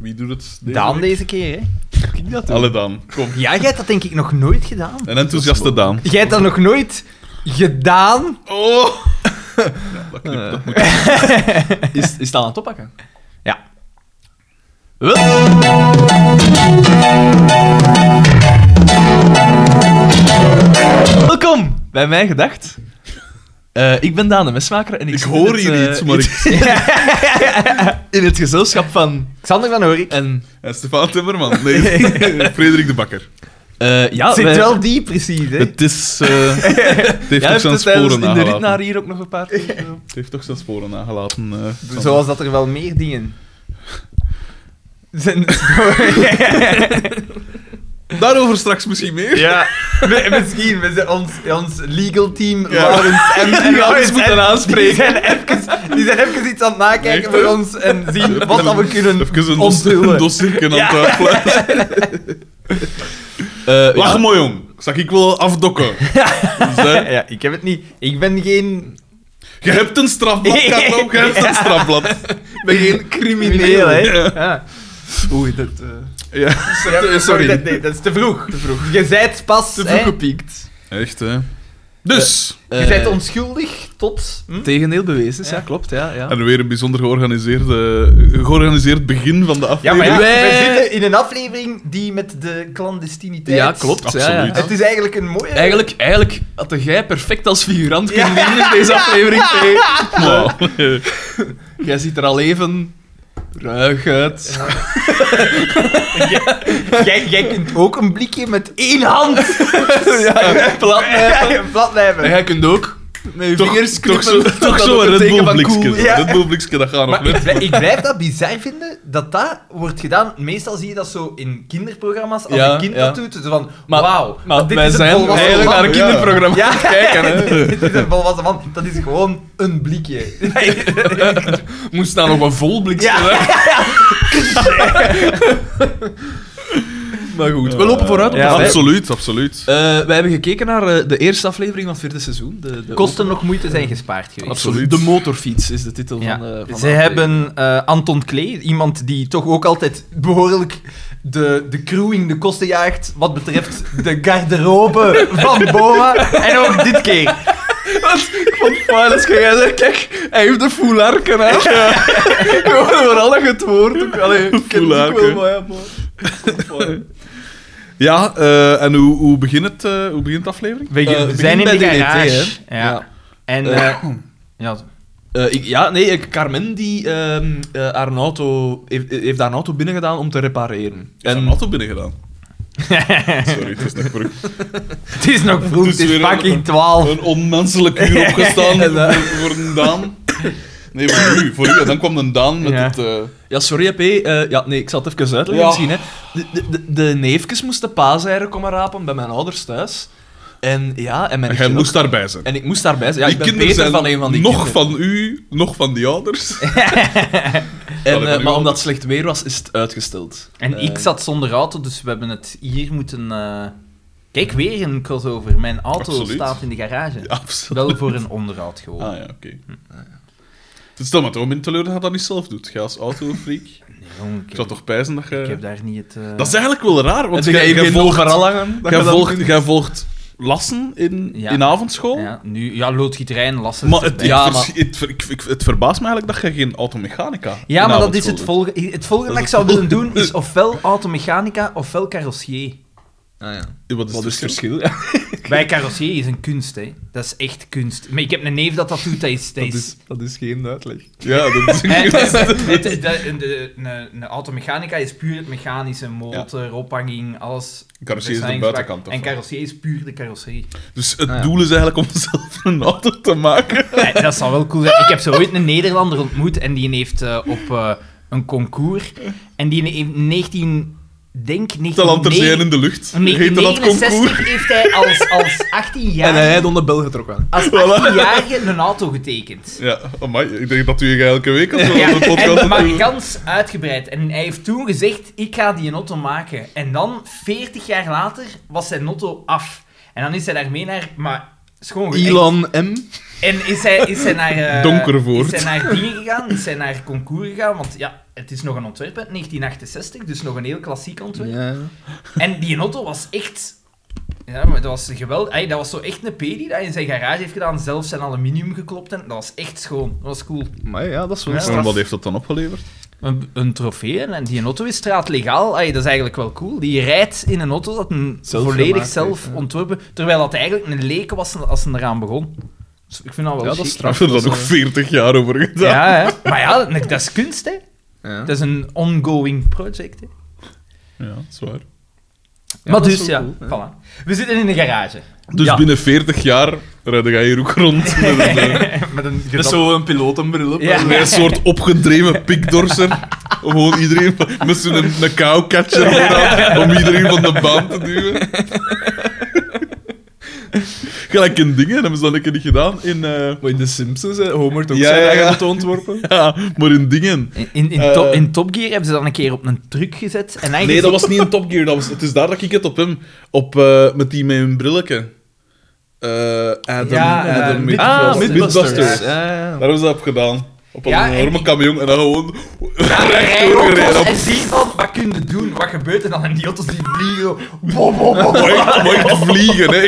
Wie doet het deze Daan week? deze keer, hè? Ik dat doen. Alle Daan, kom. Ja, jij hebt dat denk ik nog nooit gedaan. Een enthousiaste Daan. Jij hebt dat nog nooit gedaan. Oh! Ja, dat knipt, dat moet. Is, is dat aan het oppakken? Ja. Wel. Welkom bij Mijn Gedacht. Eh, ik ben Daan de Mesmaker en ik, Ik zit hoor in het, hier eh, iets, maar ik... in het gezelschap van Xander van Horik. een... En Stefan Timmerman. Nee, Frederik de Bakker. eh, ja, Het zit wij- wel diep, precies, hè? Oh, Het is... eh, het heeft Jij toch hebt zijn het tijdens sporen in de rit naar nagelaten. hier ook nog een paar keer, eh, Het heeft toch zijn sporen nagelaten. eh, Sander. Zoals dat er wel meer dingen zijn. Daarover straks misschien meer. ja, Mi- misschien. We zijn ons, ons legal team, Ja. Laurens en, en Die Laurens alles moeten en- Die aanspreken. zijn, even, die zijn even iets aan het nakijken Echt, hè? voor ons en zien wat dat we kunnen Even een, dos, een onthullen. dossierke aan het uitpluizen. eh, Wacht ja. maar, jong. Zag ik wel afdokken. Dus, hè, ja, ik heb het niet. Ik ben geen je hebt een strafblad, Karel. Je hebt een strafblad. Ik ben geen crimineel, hè? Ja. Oei, dat. eh, Ja. sorry. Dat, nee, dat is te vroeg. Te vroeg. Je zijt pas. Te hè. vroeg gepiekt. Echt, hè. Dus... Je zijt Eh, onschuldig tot. hm? Tegendeel bewezen, is, ja, klopt. Ja, ja. En weer een bijzonder georganiseerde, georganiseerd begin van de Ja, aflevering. maar ja, wij- we zitten in een aflevering die met de clandestiniteit. ja klopt. Ja, ja. Absoluut. Het is eigenlijk een mooie. Eigenlijk, eigenlijk had jij perfect als figurant kunnen Ja. dienen in deze aflevering. P. Wow. Jij ziet er al even ruig uit. Jij, jij kunt ook een blikje met één hand. Ja, plat. Ja, je En platlijven. jij kunt ook met je Toch- vingers Toch knippen. zo- dat toch dat zo ook een een Red teken Bull van blikske. cool is. Een Ja. Red Bull blikske, dat gaat nog Maar ik, net. blij- ik blijf dat bizar vinden dat dat wordt gedaan. Meestal zie je dat zo in kinderprogramma's. Als Ja, een kind ja. dat doet, zo van Maar- wauw. Maar dit wij is een zijn volwassen eigenlijk man. naar een Ja. kinderprogramma Ja. aan het kijken. Hè. dit is een volwassen man. Dat is gewoon een blikje. Moest daar nog een vol blik Ja. zijn, hè? maar goed, we lopen vooruit op Ja, de vijf. absoluut, absoluut. Eh, wij hebben gekeken naar eh, de eerste aflevering van het vierde seizoen. De, de Kosten nog moeite zijn gespaard geweest. Absoluut. De motorfiets is de titel Ja. van, eh, van de Ze aflevering. hebben eh, Anton Klee, iemand die toch ook altijd behoorlijk de, de crewing de kosten jaagt wat betreft de garderobe van Boma. En ook dit keer. Wat? Ik vond het fijn als jij zei, kijk, hij heeft de foularken aan. Ja. Vooral dat je het woord ook... Allee, ik ken het ook wel, Foularken. maar ja, maar- Ik vond het fijn. Ja, eh, en hoe, hoe, begint het, eh, hoe begint de aflevering? We Eh, we zijn in de beginnen bij DDT, garage. hè. ja. Ja. En Eh, eh, ja, Eh, ik- ja, nee, eh, Carmen die, ehm, eh, haar auto, heeft, heeft haar auto binnengedaan om te repareren. Is er een En auto binnengedaan? Sorry, het is nog vroeg. het is nog vroeg, Het is het is weer een- fucking 12. Een onmenselijk uur opgestaan voor, voor een Daan. Nee, voor u. Voor u. En dan kwam een Daan met Ja. het... eh, ja, sorry, P. eh, ja, nee, ik zal het even uitleggen Ja. misschien. Hè. De, de, de, de neefjes moesten paaseieren komen rapen bij mijn ouders thuis. En ja, en mijn en jij ook. moest daarbij zijn. En ik moest daarbij zijn. Ja, die ik ben kinderen Peter zijn van een van die nog kinderen. van u, nog van die ouders. En, van eh, uw maar omdat ouders. het slecht weer was, is het uitgesteld. En Eh, ik zat zonder auto, dus we hebben het hier moeten. eh, Kijk, weer een crossover. Mijn auto Absoluut. staat in de garage. Ja, absoluut. Wel voor een onderhoud gewoon. Ah ja, oké. Dus stel maar, toch in teleur dat je dat niet zelf doet. Jij als autofreak. Nee, jong, Ik ik, zou heb, toch pijzen dat ik heb je... daar niet het. eh, Dat is eigenlijk wel raar, want Heb jij jij hier geen volgt, overallangen? dat jij je dan volgt, kunt- jij volgt lassen in, Ja. in avondschool. ja, nu, ja, loodgieterij en lassen. Maar, is het, erbij. ik Ja, vers- Het, ver- ik- ik- het verbaast me eigenlijk dat je geen automechanica ja, in maar dat is avondschool het doet. volgende. Het volgende Dat is dat ik zou het willen volgende. doen is ofwel automechanica ofwel carrossier. Ah, ja. Wat is het verschil? Ja. Bij carrossier is een kunst, hè? Dat is echt kunst. Maar ik heb een neef dat dat doet, dat is. Dat Dat, is... is, dat is geen uitleg. Ja, dat is Eh, een kunst. het- het- de- een- de- Een een automechanica is puur het mechanische, motor, ophanging, alles. Carrossier is de Design, buitenkant. En ervan. carrossier is puur de carrosserie. Dus het Ah, ja. doel is eigenlijk om zelf een auto te maken. dat zou wel cool zijn. Ik heb zo ooit een Nederlander ontmoet en die heeft eh, op eh, een concours. En die heeft 19, denk 19, Te lanterzeer in de lucht. Heette dat concours? 1969 heeft hij als, als 18 En hij jaar. had onder bel getrokken. Als Voilà. 18-jarige een auto getekend. Ja, amai, ik denk dat u je elke week als we Ja, aan de podcast en, maar gans uitgebreid. En hij heeft toen gezegd, ik ga die auto maken. En dan, 40 jaar later, was zijn auto af. En dan is hij daarmee naar... Maar schoon Elon M. En is hij, is hij naar... eh, Donkervoort. Is hij naar dingen gegaan? Is hij naar concours gegaan? Want ja, het is nog een ontwerp uit 1968, dus nog een heel klassiek ontwerp. Ja. En die auto was echt... Ja, maar dat was geweldig. Ey, dat was zo echt een P die dat in zijn garage heeft gedaan, zelf zijn aluminium geklopt. En dat was echt schoon. Dat was cool. Maar ja, dat is wel Ja. een En straf. wat heeft dat dan opgeleverd? Een, een trofee, en die auto is straatlegaal. Ey, dat is eigenlijk wel cool. Die rijdt in een auto dat een Zelf volledig gemaakt zelf heeft, ja. ontworpen... Terwijl dat eigenlijk een leken was als ze eraan begon. Dus ik vind dat wel Ja, dat is chic. Daar hebben we Dat nog is, 40 jaar over gedaan. Ja, hè. maar ja, dat dat is kunst, hè. Ja. Dat is een ongoing project, hè. Ja, dat is waar. Ja, maar dat is dus, wel ja, cool, voilà. We zitten in een garage. Dus Ja. binnen 40 jaar redde jij hier ook rond met een, eh, Met een Dat is zo een pilotenbril op. Ja. Ja. met een soort opgedreven pikdorser. Gewoon iedereen van- met zo'n een catcher vooraan om iedereen van de baan te duwen. Gelijk een ding, hè, dat hebben ze dat lekker niet gedaan. In, eh, Maar in de Simpsons, hè, Homer toch Ja, zijn ja, eigen ja. auto ontworpen. ja, maar in dingen. In, in, in, Eh. Top- in Top Gear hebben ze dan een keer op een truck gezet. En eigenlijk Nee, dat was niet in Top Gear. Dat was, het is daar dat ik het op hem... Op, eh, met die met een brilletje. Eh, Adam, Ja, eh, Adam Mid- Ah, Midbusters. Midbusters. Midbusters. Ja, ja. Daar hebben ze dat op gedaan. Op een Ja, en enorme die- camion en dan gewoon recht Rijauto's doorgereden. Op En zie dan wat kun je doen, wat gebeurt er dan? En die auto's die vliegen zo. Bo, bo, bo. Maar echt, maar echt vliegen, hè.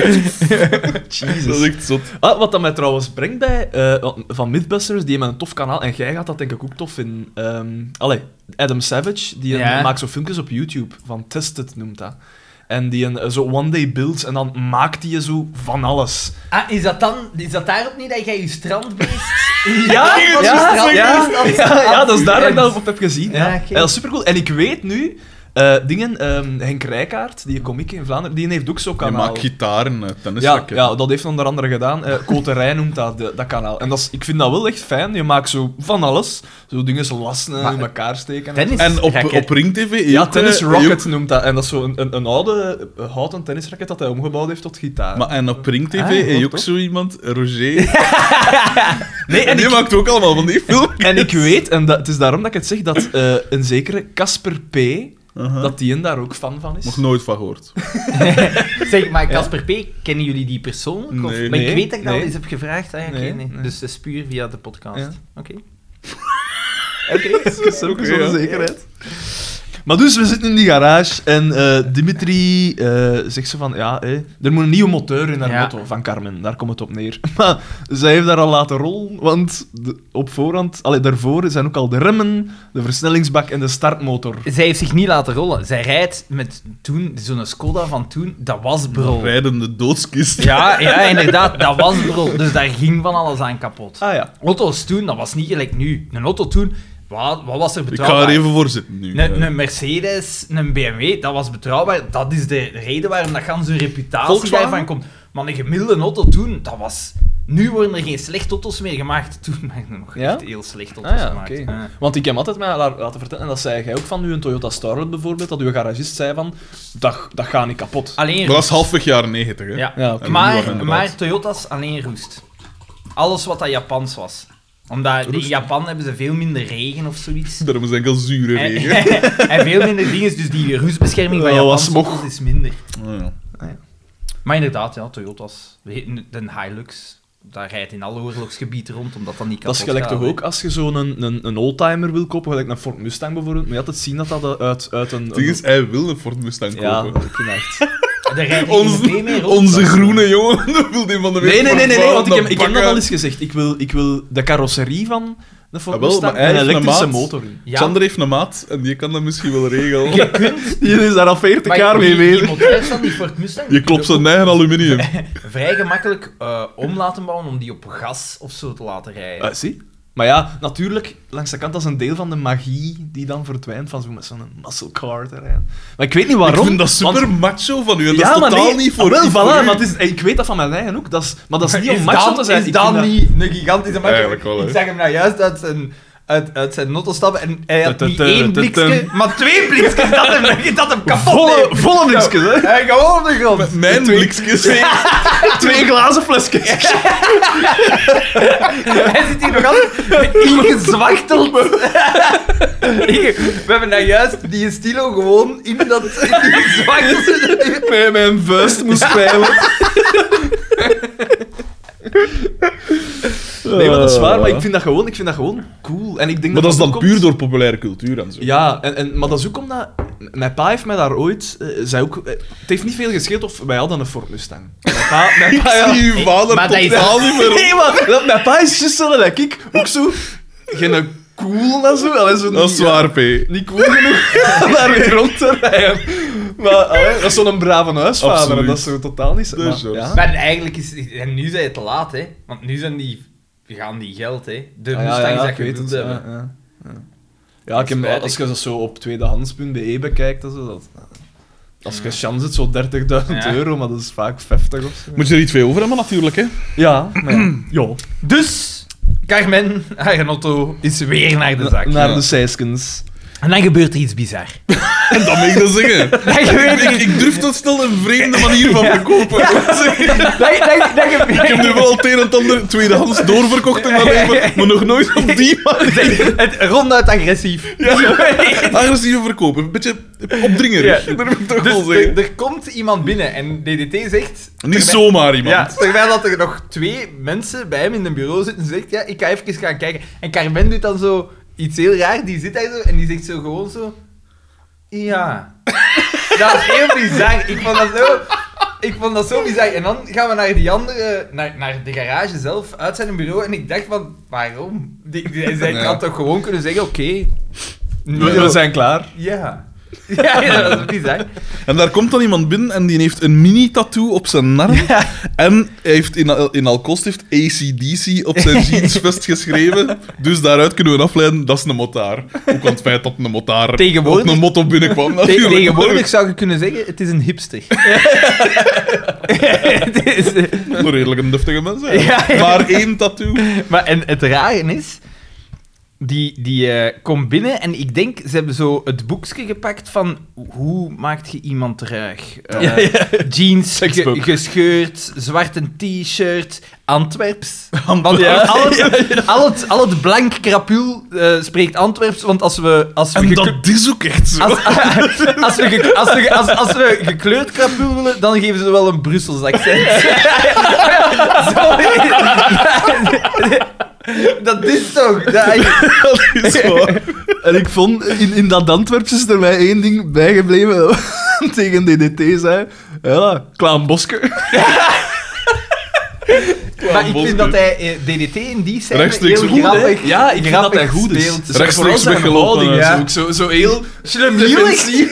Dat is echt zot. Ah, wat dat mij trouwens brengt bij eh, want van Mythbusters, die hebben een tof kanaal en jij gaat dat denk ik ook tof in. ehm allee, Adam Savage, die een- Ja. maakt zo filmpjes op YouTube van Tested noemt dat. En die een, eh, zo one day builds en dan maakt die zo van alles. Ah, is dat dan, is dat daarop niet dat jij je strandbeest... Ja, ja, ja, ja, ja, dat is daar dat ik dat dan. op heb gezien. Ja, Ja. oké. Ja, dat is supercool. En ik weet nu, eh, dingen, ehm, Henk Rijkaard, die komiek in Vlaanderen, die heeft ook zo'n Je kanaal. maakt gitaren, eh, Ja, tennisracket. ja, dat heeft onder andere gedaan. Eh Koterij noemt dat, de- dat kanaal. En dat is, ik vind dat wel echt fijn. Je maakt zo van alles. Zo dingen zo lassen en Maar- in elkaar steken. Tennis? En op, Racket. op Ring TV... Ja, ook, Tennis eh, Rocket ook- noemt dat. En dat is zo'n een, een oude eh, houten tennisracket dat hij omgebouwd heeft tot gitaar. Maar en op Ring TV Ah, heeft wat ook tof. zo iemand, Roger. nee, en die ik, maakt ook allemaal van die filmpjes. en ik weet, en dat, het is daarom dat ik het zeg, dat eh, een zekere Casper P, Aha. dat die een daar ook fan van is. Nog nooit van gehoord. Zeg, maar Casper P., kennen jullie die persoonlijk? Of? Nee. maar ik Nee, weet dat ik dat al nee. eens heb gevraagd. Ah, ja, oké, Nee, nee. nee. Dus dat is puur via de podcast. Ja. Oké. dat is ook een Oké, ja. zekerheid. Maar dus, we zitten in die garage en eh, Dimitri eh, zegt ze van, ja, eh, er moet een nieuwe motor in haar Ja. auto van Carmen, daar komt het op neer. Maar zij heeft daar al laten rollen, want de- op voorhand, allee, daarvoor zijn ook al de remmen, de versnellingsbak en de startmotor. Zij heeft zich niet laten rollen. Zij rijdt met toen, zo'n Skoda van toen, dat was bro. Rijdende doodskist. Ja, ja, inderdaad, dat was bro. Dus daar ging van alles aan kapot. Ah ja. Auto's toen, dat was niet gelijk nu. Een auto toen, wat, wat was er Ik ga betrouwbaar? er even voor zitten nu. Een, eh, een Mercedes, een BMW, dat was betrouwbaar. Dat is de reden waarom dat gans hun reputatie Volkswagen? daarvan komt. Maar een gemiddelde auto toen, dat was... Nu worden er geen slechte auto's meer gemaakt. Toen waren er nog Ja? echt heel slechte auto's Ah ja, gemaakt. Eh, oké. Ja. Want ik heb altijd mij la- laten vertellen, en dat zei jij ook van u, een Toyota Starlet bijvoorbeeld, dat uw garagist zei van, dat, dat gaat niet kapot. Alleen... Maar dat is halfweg jaren 90, hè? Ja. Ja, oké. maar, Inderdaad. maar Toyota's alleen roest. Alles wat dat Japans was. Omdat in Roest? Japan hebben ze veel minder regen of zoiets. Daarom is enkel zure Eh. En, regen. en veel minder dingen, dus die roestbescherming van Ja, wat Japanse smog. auto's is minder. Oh, ja. Maar inderdaad, ja, Toyota's. We heten De Hilux, daar rijdt in alle oorlogsgebied rond, omdat dat niet kan. Dat is gelijk toch ook als je zo'n een, een, een oldtimer wil kopen, gelijk een Ford Mustang bijvoorbeeld, moet je altijd zien dat dat eh, uit, uit een... Het ding is, hij wil een Ford Mustang een- ja, kopen. ik vind dat echt. Daar rijdt Onze- onze, mee rond. Onze groene jongen dat wil die van de Nee, wereld nee, nee, nee, nee, want ik heb, verbouwen, ik heb dat bakken. al eens gezegd. Ik wil, ik wil de carrosserie van de Ford Ah, wel, Mustang maar hij en een heeft een elektrische maat. motor in. Ja, Xander heeft een maat en die kan dat misschien wel regelen. je kunt... Die is daar al 40 maar jaar mee die- die bezig. moteurs van die Ford Mustang, die Je kun klopt ook zijn eigen aluminium. Eh, vrij gemakkelijk eh, om laten bouwen om die op gas of zo te laten rijden. Eh, zie? Maar ja, natuurlijk, langs de kant, dat is een deel van de magie die dan verdwijnt van zo met zo'n muscle car te rijden. Maar ik weet niet waarom. ik vind dat want- super macho van u. en Dat ja, is maar totaal nee, niet voor, ah, wel, niet voilà, voor u. maar het is, ik weet dat van mijn eigen ook. Dat is, maar dat is niet om Is macho dan- te zijn. Is Ik dan vind dat- niet een gigantische match? Eigenlijk wel, hè. Ik zag hem nou juist uit zijn, uit, uit zijn notto stappen en hij had niet Tututu, één tutum. blikske, maar twee blikskes dat hem, dat hem kapot Volle, deed. volle blikjes, hè? Hij gewoon op de grond. Mijn blikjes. Twee glazen flesjes. Hij zit hier nog altijd ingezwachteld. Hier, We hebben nou juist die stilo gewoon in dat in die zwachtelde. Met mijn vuist moest spelen. Nee, maar dat is waar, maar ik vind dat gewoon, ik vind dat gewoon cool. En ik denk Maar dat is dan ook puur komt- door populaire cultuur en zo. Ja, en, en, maar dat is ook omdat... Mijn pa heeft mij daar ooit... eh, zei ook, eh, het heeft niet veel gescheeld of wij hadden een Ford Mustang. Mijn pa... Mijn pa ja. Ik zie uw vader maar dat is- totaal niet meer op. Nee, maar dat, mijn pa is juist zo dat ik ook zo... Geen cool en zo. allee, zo Dat is niet- zwaar, P. Absoluut. Niet cool genoeg om daar weer rond te rijden. Maar allee, dat is zo'n brave huisvader. En dat is zo totaal niet zo... Dus, maar, ja. Maar eigenlijk is... En nu zijn je te laat, hè. Want nu zijn die... Gaan die geld, hè. De Ah, Mustangs dat ik je weet wilt het, hebben. ja, ja, ja. Ja, ik heb, als je dat zo op tweedehands.be E bekijkt, dat, is dat, als je chance hebt, zo 30.000 Ja. euro, maar dat is vaak 50 of zo. Moet je er iets veel over hebben, natuurlijk, hè? Ja, maar ja. Ja. Dus, Carmen, haar auto is weer naar de zak. Naar Ja. de seiskens. En dan gebeurt er iets bizar. En dat mag ik dan zeggen. Dan gebeurt er Ik, ik durf dat snel een vreemde manier van verkopen. Dan, dan, dan Ik heb gebeurt... nu wel het een en het ander tweedehands doorverkocht in mijn leven, maar nog nooit op die manier. Het, ronduit agressief. Agressieve verkopen, een beetje opdringerig, Ja. dat durf ik toch wel Dus zeggen. er, er komt iemand binnen en DDT zegt... Niet terwijl- zomaar iemand. Ja, terwijl dat er nog twee mensen bij hem in een bureau zitten en zegt, ja, ik ga even gaan kijken. En Carmen doet dan zo iets heel raar, die zit daar zo en die zegt zo gewoon zo... Ja. dat is heel bizar. Ik vond dat zo... Ik vond dat zo bizar. En dan gaan we naar die andere, naar, naar de garage zelf, uit zijn bureau. En ik dacht van, waarom? Die, die, zij Ja. had toch gewoon kunnen zeggen, oké. We, ja. we zijn klaar. Ja. Ja, ja, dat is bizar. En daar komt dan iemand binnen en die heeft een mini-tattoo op zijn narm. En hij heeft in, in Alkost heeft ACDC op zijn jeansvest geschreven. Dus daaruit kunnen we afleiden, dat is een motaar. Ook aan het feit dat een motaar Tegenwoordig- op een motto binnenkwam. Oh, Te- natuurlijk. tegenwoordig zou je kunnen zeggen, het is een hipster. Het is, eh, Een redelijk een deftige mens, hè. Ja, ja. Maar één tattoo. maar en het rare is, die, die eh, komt binnen en ik denk, ze hebben zo het boekje gepakt van hoe maakt je iemand ruig? Eh, Jeans, ge- Seksboek. gescheurd, zwarte t-shirt, Antwerps. Want Ja. al, het, al, het, al het blank krapul eh, spreekt Antwerps, want als we... Als we En geke- dat is ook echt Ah, zo. Als, als, we ge- als, we, ge- als, als we gekleurd krapul willen, dan geven ze wel een Brussels accent. Zo is- dat is toch... Dat is- Dat is waar. En ik vond, in, in dat Antwerpse is er mij één ding bijgebleven tegen DDT zei. Ja, Dus Klaam Bosker. maar ik Bosco. vind dat hij eh, DDT in die scène Rechtstreeks heel goed, hè? grappig Ja, ik vind dat hij goed is. speelt. Zo, Rechtstreeks vooral zijn weggelopen, houding ja. is ook zo, zo heel... Defensief.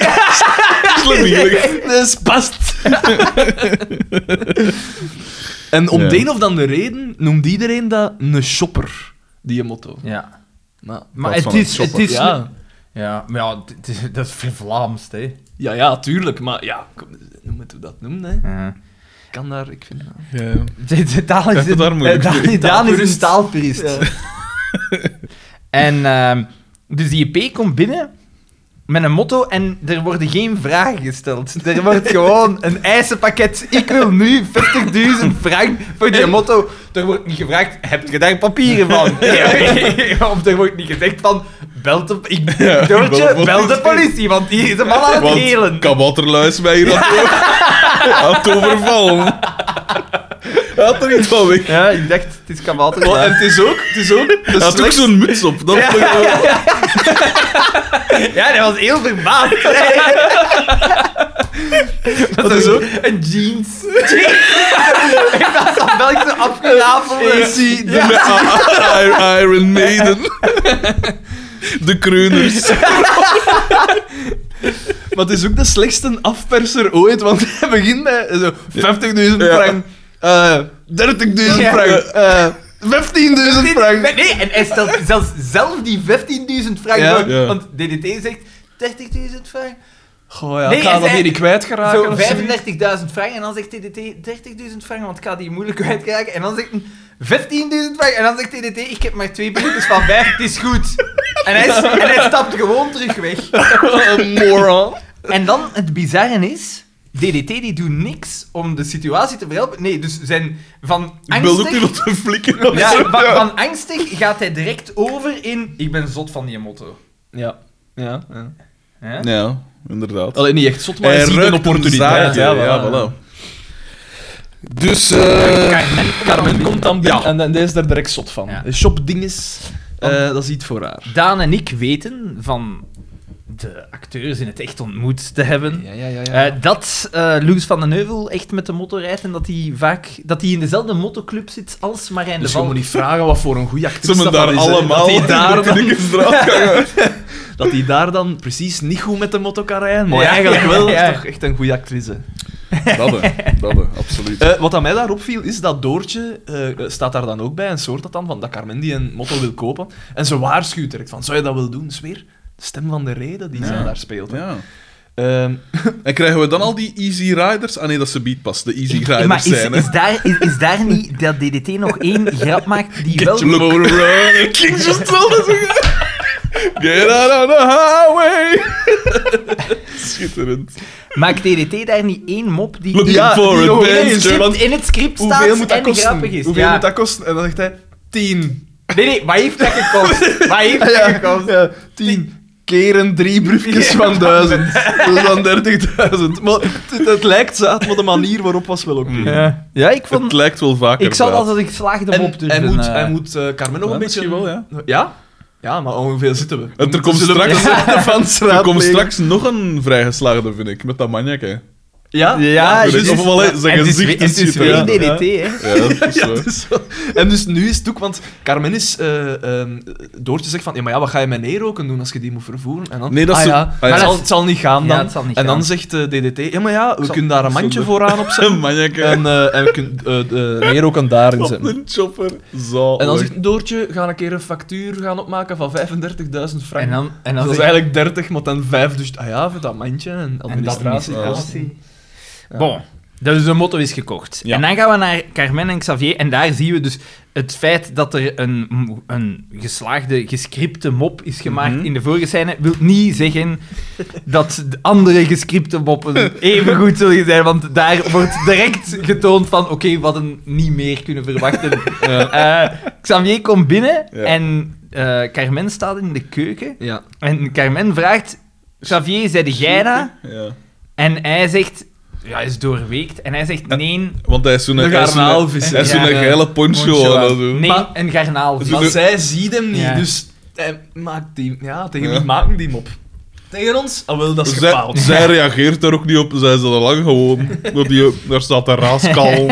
Slemmelig. Dus past. en om Ja. de een of andere reden noemt iedereen dat een shopper, die motto. Ja. Maar, Maar Wat het van een is, het shopper. is... ja. Ja, maar ja, het is- dat is vervlaamst, hè. ja, ja, tuurlijk. Maar ja, kom, hoe moeten we dat noemen? Hè? Ja. Kan daar, ik vind dat. Ja. De, de taal Ja, is een, daar moet ik eh, Daan- mee. Daan is een Taalpurist. taalpurist. en ehm, dus die EP komt binnen met een motto en er worden geen vragen gesteld. Er wordt gewoon een eisenpakket. Ik wil nu 50.000 frank voor die motto. Er wordt niet gevraagd, heb je daar papieren van? Ja, of er wordt niet gezegd van, bel de, ik, Ja, Doortje, bel de bel de politie. politie, want die is een man aan het helen. Want kabouterlui is mij hier aan het over- aan het overvallen. Hij had er iets van weg. Ja, ik dacht, het is kabouter. Oh, en het is ook, het is ook de Hij had ook slechtste- zo'n muts op. Dat vond ik wel- Ja, dat was heel verbaasd. Dat is ook Een jeans. Ik was van welke afgerafelde... AC. de me- I- I- Iron Maiden. De kreuners. Maar het is ook de slechtste afperser ooit, want hij begint met zo 50.000 Ja. frank, eh, 30.000 Ja. frank, eh, 15.000 frank. Nee, nee, en hij stelt zelfs zelf die 15.000 frank Ja. voor, Ja. Want DDT zegt 30.000 frank. Goh, ja, Nee, ik ga hij dat zei- hier niet kwijtgeraken. Zo of zoiets. 35.000 frank. En dan zegt DDT 30.000 frank, want ik ga die moeilijk kwijtraken. En dan zegt hij 15.000 frank. En dan zegt DDT, ik heb maar twee briefjes van vijf, het is goed. En hij, en hij stapt gewoon terug weg. moron. En dan het bizarre is. DDT die doet niks om de situatie te verhelpen. Nee, dus zijn van Ik wilde ook angstig... iemand te flikken. of Ja, zo. van, van angstig gaat hij direct over in... Ik ben zot van die motto. Ja. Ja, ja. Hè? Ja, inderdaad. Alleen niet echt zot, maar Hij hij ziet een ruikt een opportuniteit. zaadje, ja, ja, voilà. voilà. Dus, eh, Carmen komt dan binnen Ja. en, en die is daar direct zot van. Ja. Shop dinges, eh, dat is iets voor haar. Daan en ik weten van de acteurs in het echt ontmoet te hebben. ja, ja. eh, dat eh Louis van den Heuvel echt met de motto rijdt en dat hij vaak dat hij in dezelfde mottoclub zit als Marijn dus de Val. je moet niet vragen wat voor een goede ze actrice hebben dat daar is, hè. allemaal Dat die daar, in dan, de straat gaan. dat die daar dan precies niet goed met de motto kan rijden, maar Ja, eigenlijk ja, wel. ja. Dat is toch echt een goede actrice. Dat, hè. dat, hè. absoluut. Eh, wat aan mij daar opviel, is dat Doortje eh, staat daar dan ook bij en soort dat dan van dat Carmen die een motto wil kopen. En ze waarschuwt direct van, zou je dat wel doen? Dat is weer de stem van de reden die zij Ja. daar speelt. hè. Ja. Ehm, En krijgen we dan al die Easy Riders? Ah nee, dat is de beat pas, de Easy Riders maar is, zijn. hè. is, daar, is, is daar niet dat DDT nog één grap maakt die wel... Look. Running. Klinkt zo snel dat ze- Get out of the highway! Schitterend. Maakt DDT daar niet één mop die Look die Ja, for die nog eens, adventure. want in het script hoeveel staat moet dat en kosten? grappig is? Hoeveel Ja. moet dat kosten? En dan zegt hij, tien. Nee, nee, maar heeft dat gekost? Maar heeft dat ja, gekost? ja, tien keren drie briefjes van duizend. Dat is dan dertigduizend. Maar het, het lijkt zaad, maar de manier waarop was wel oké. Mm. Ja. ja, ik vond... Het lijkt wel vaker. Ik zal wel. dat als ik slaag de En mop durven. hij moet, eh. hij moet eh, Carmen nog Ja, een beetje... misschien wel, ja. Ja? Ja, maar hoeveel zitten we? En er komt Zullen we straks- de fans Er komt raadplegen? straks nog een vrijgeslaagde, vind ik, met dat manjak, hè. Ja? Ja, Vind ik. juist. Of wel, hè, zijn En het is gezicht weer- is het is schitterend. weer ja. DDT, hè. Ja, dat is Ja, zo. dus wel. en dus nu is het ook, want Carmen is eh ehm Doortje zegt van, ja, maar ja, wat ga je met neerroken doen als je die moet vervoeren? En dan, Nee, dat is ah, zo- ja, ah, ja. maar het zal, het zal niet gaan Ja, dan. het zal niet en dan gaan. zegt eh, DDT, ja, maar ja, we kunnen daar een mandje zonde. vooraan opzetten Een manjak, hè. en, eh, en we kunnen eh, de neerroken daarin Op zetten. een chopper. Zalig. En dan zegt Doortje, ga een keer een factuur gaan opmaken van 35.000 frank. Dus En dan, en dan dat is zeg- eigenlijk 30, maar dan 5, dus ah ja, voor dat mandje en en dat is administratie. niet kosten. Ja. Bon. Dus de motto is gekocht. Ja. En dan gaan we naar Carmen en Xavier. En daar zien we dus het feit dat er een, een geslaagde, gescripte mop is gemaakt Mhm. in de vorige scène. Wil niet zeggen dat de andere gescripte moppen even goed zullen zijn. Want daar wordt direct getoond van: oké, wat een niet meer kunnen verwachten. Eh, Xavier komt binnen Ja. en eh, Carmen staat in de keuken. Ja. En Carmen vraagt: Xavier, zei jij dat? Ja. En hij zegt... Ja, hij is doorweekt. En hij zegt nee, Want hij is zo'n... De hij is zo'n- garnaalvisser. Hij is zo'n Ja. geile poncho Poncho aan aan. het doen. nee, maar- een garnaal. Zo- Maar zij ziet hem niet, Ja. dus hij maakt die, ja, tegen Ja. wie maken die hem op? Tegen ons? Ah, wel, dat is Zij, gepaald. zij reageert daar ook niet op. Zij is al lang gewoon. Dat die, daar staat een raaskal.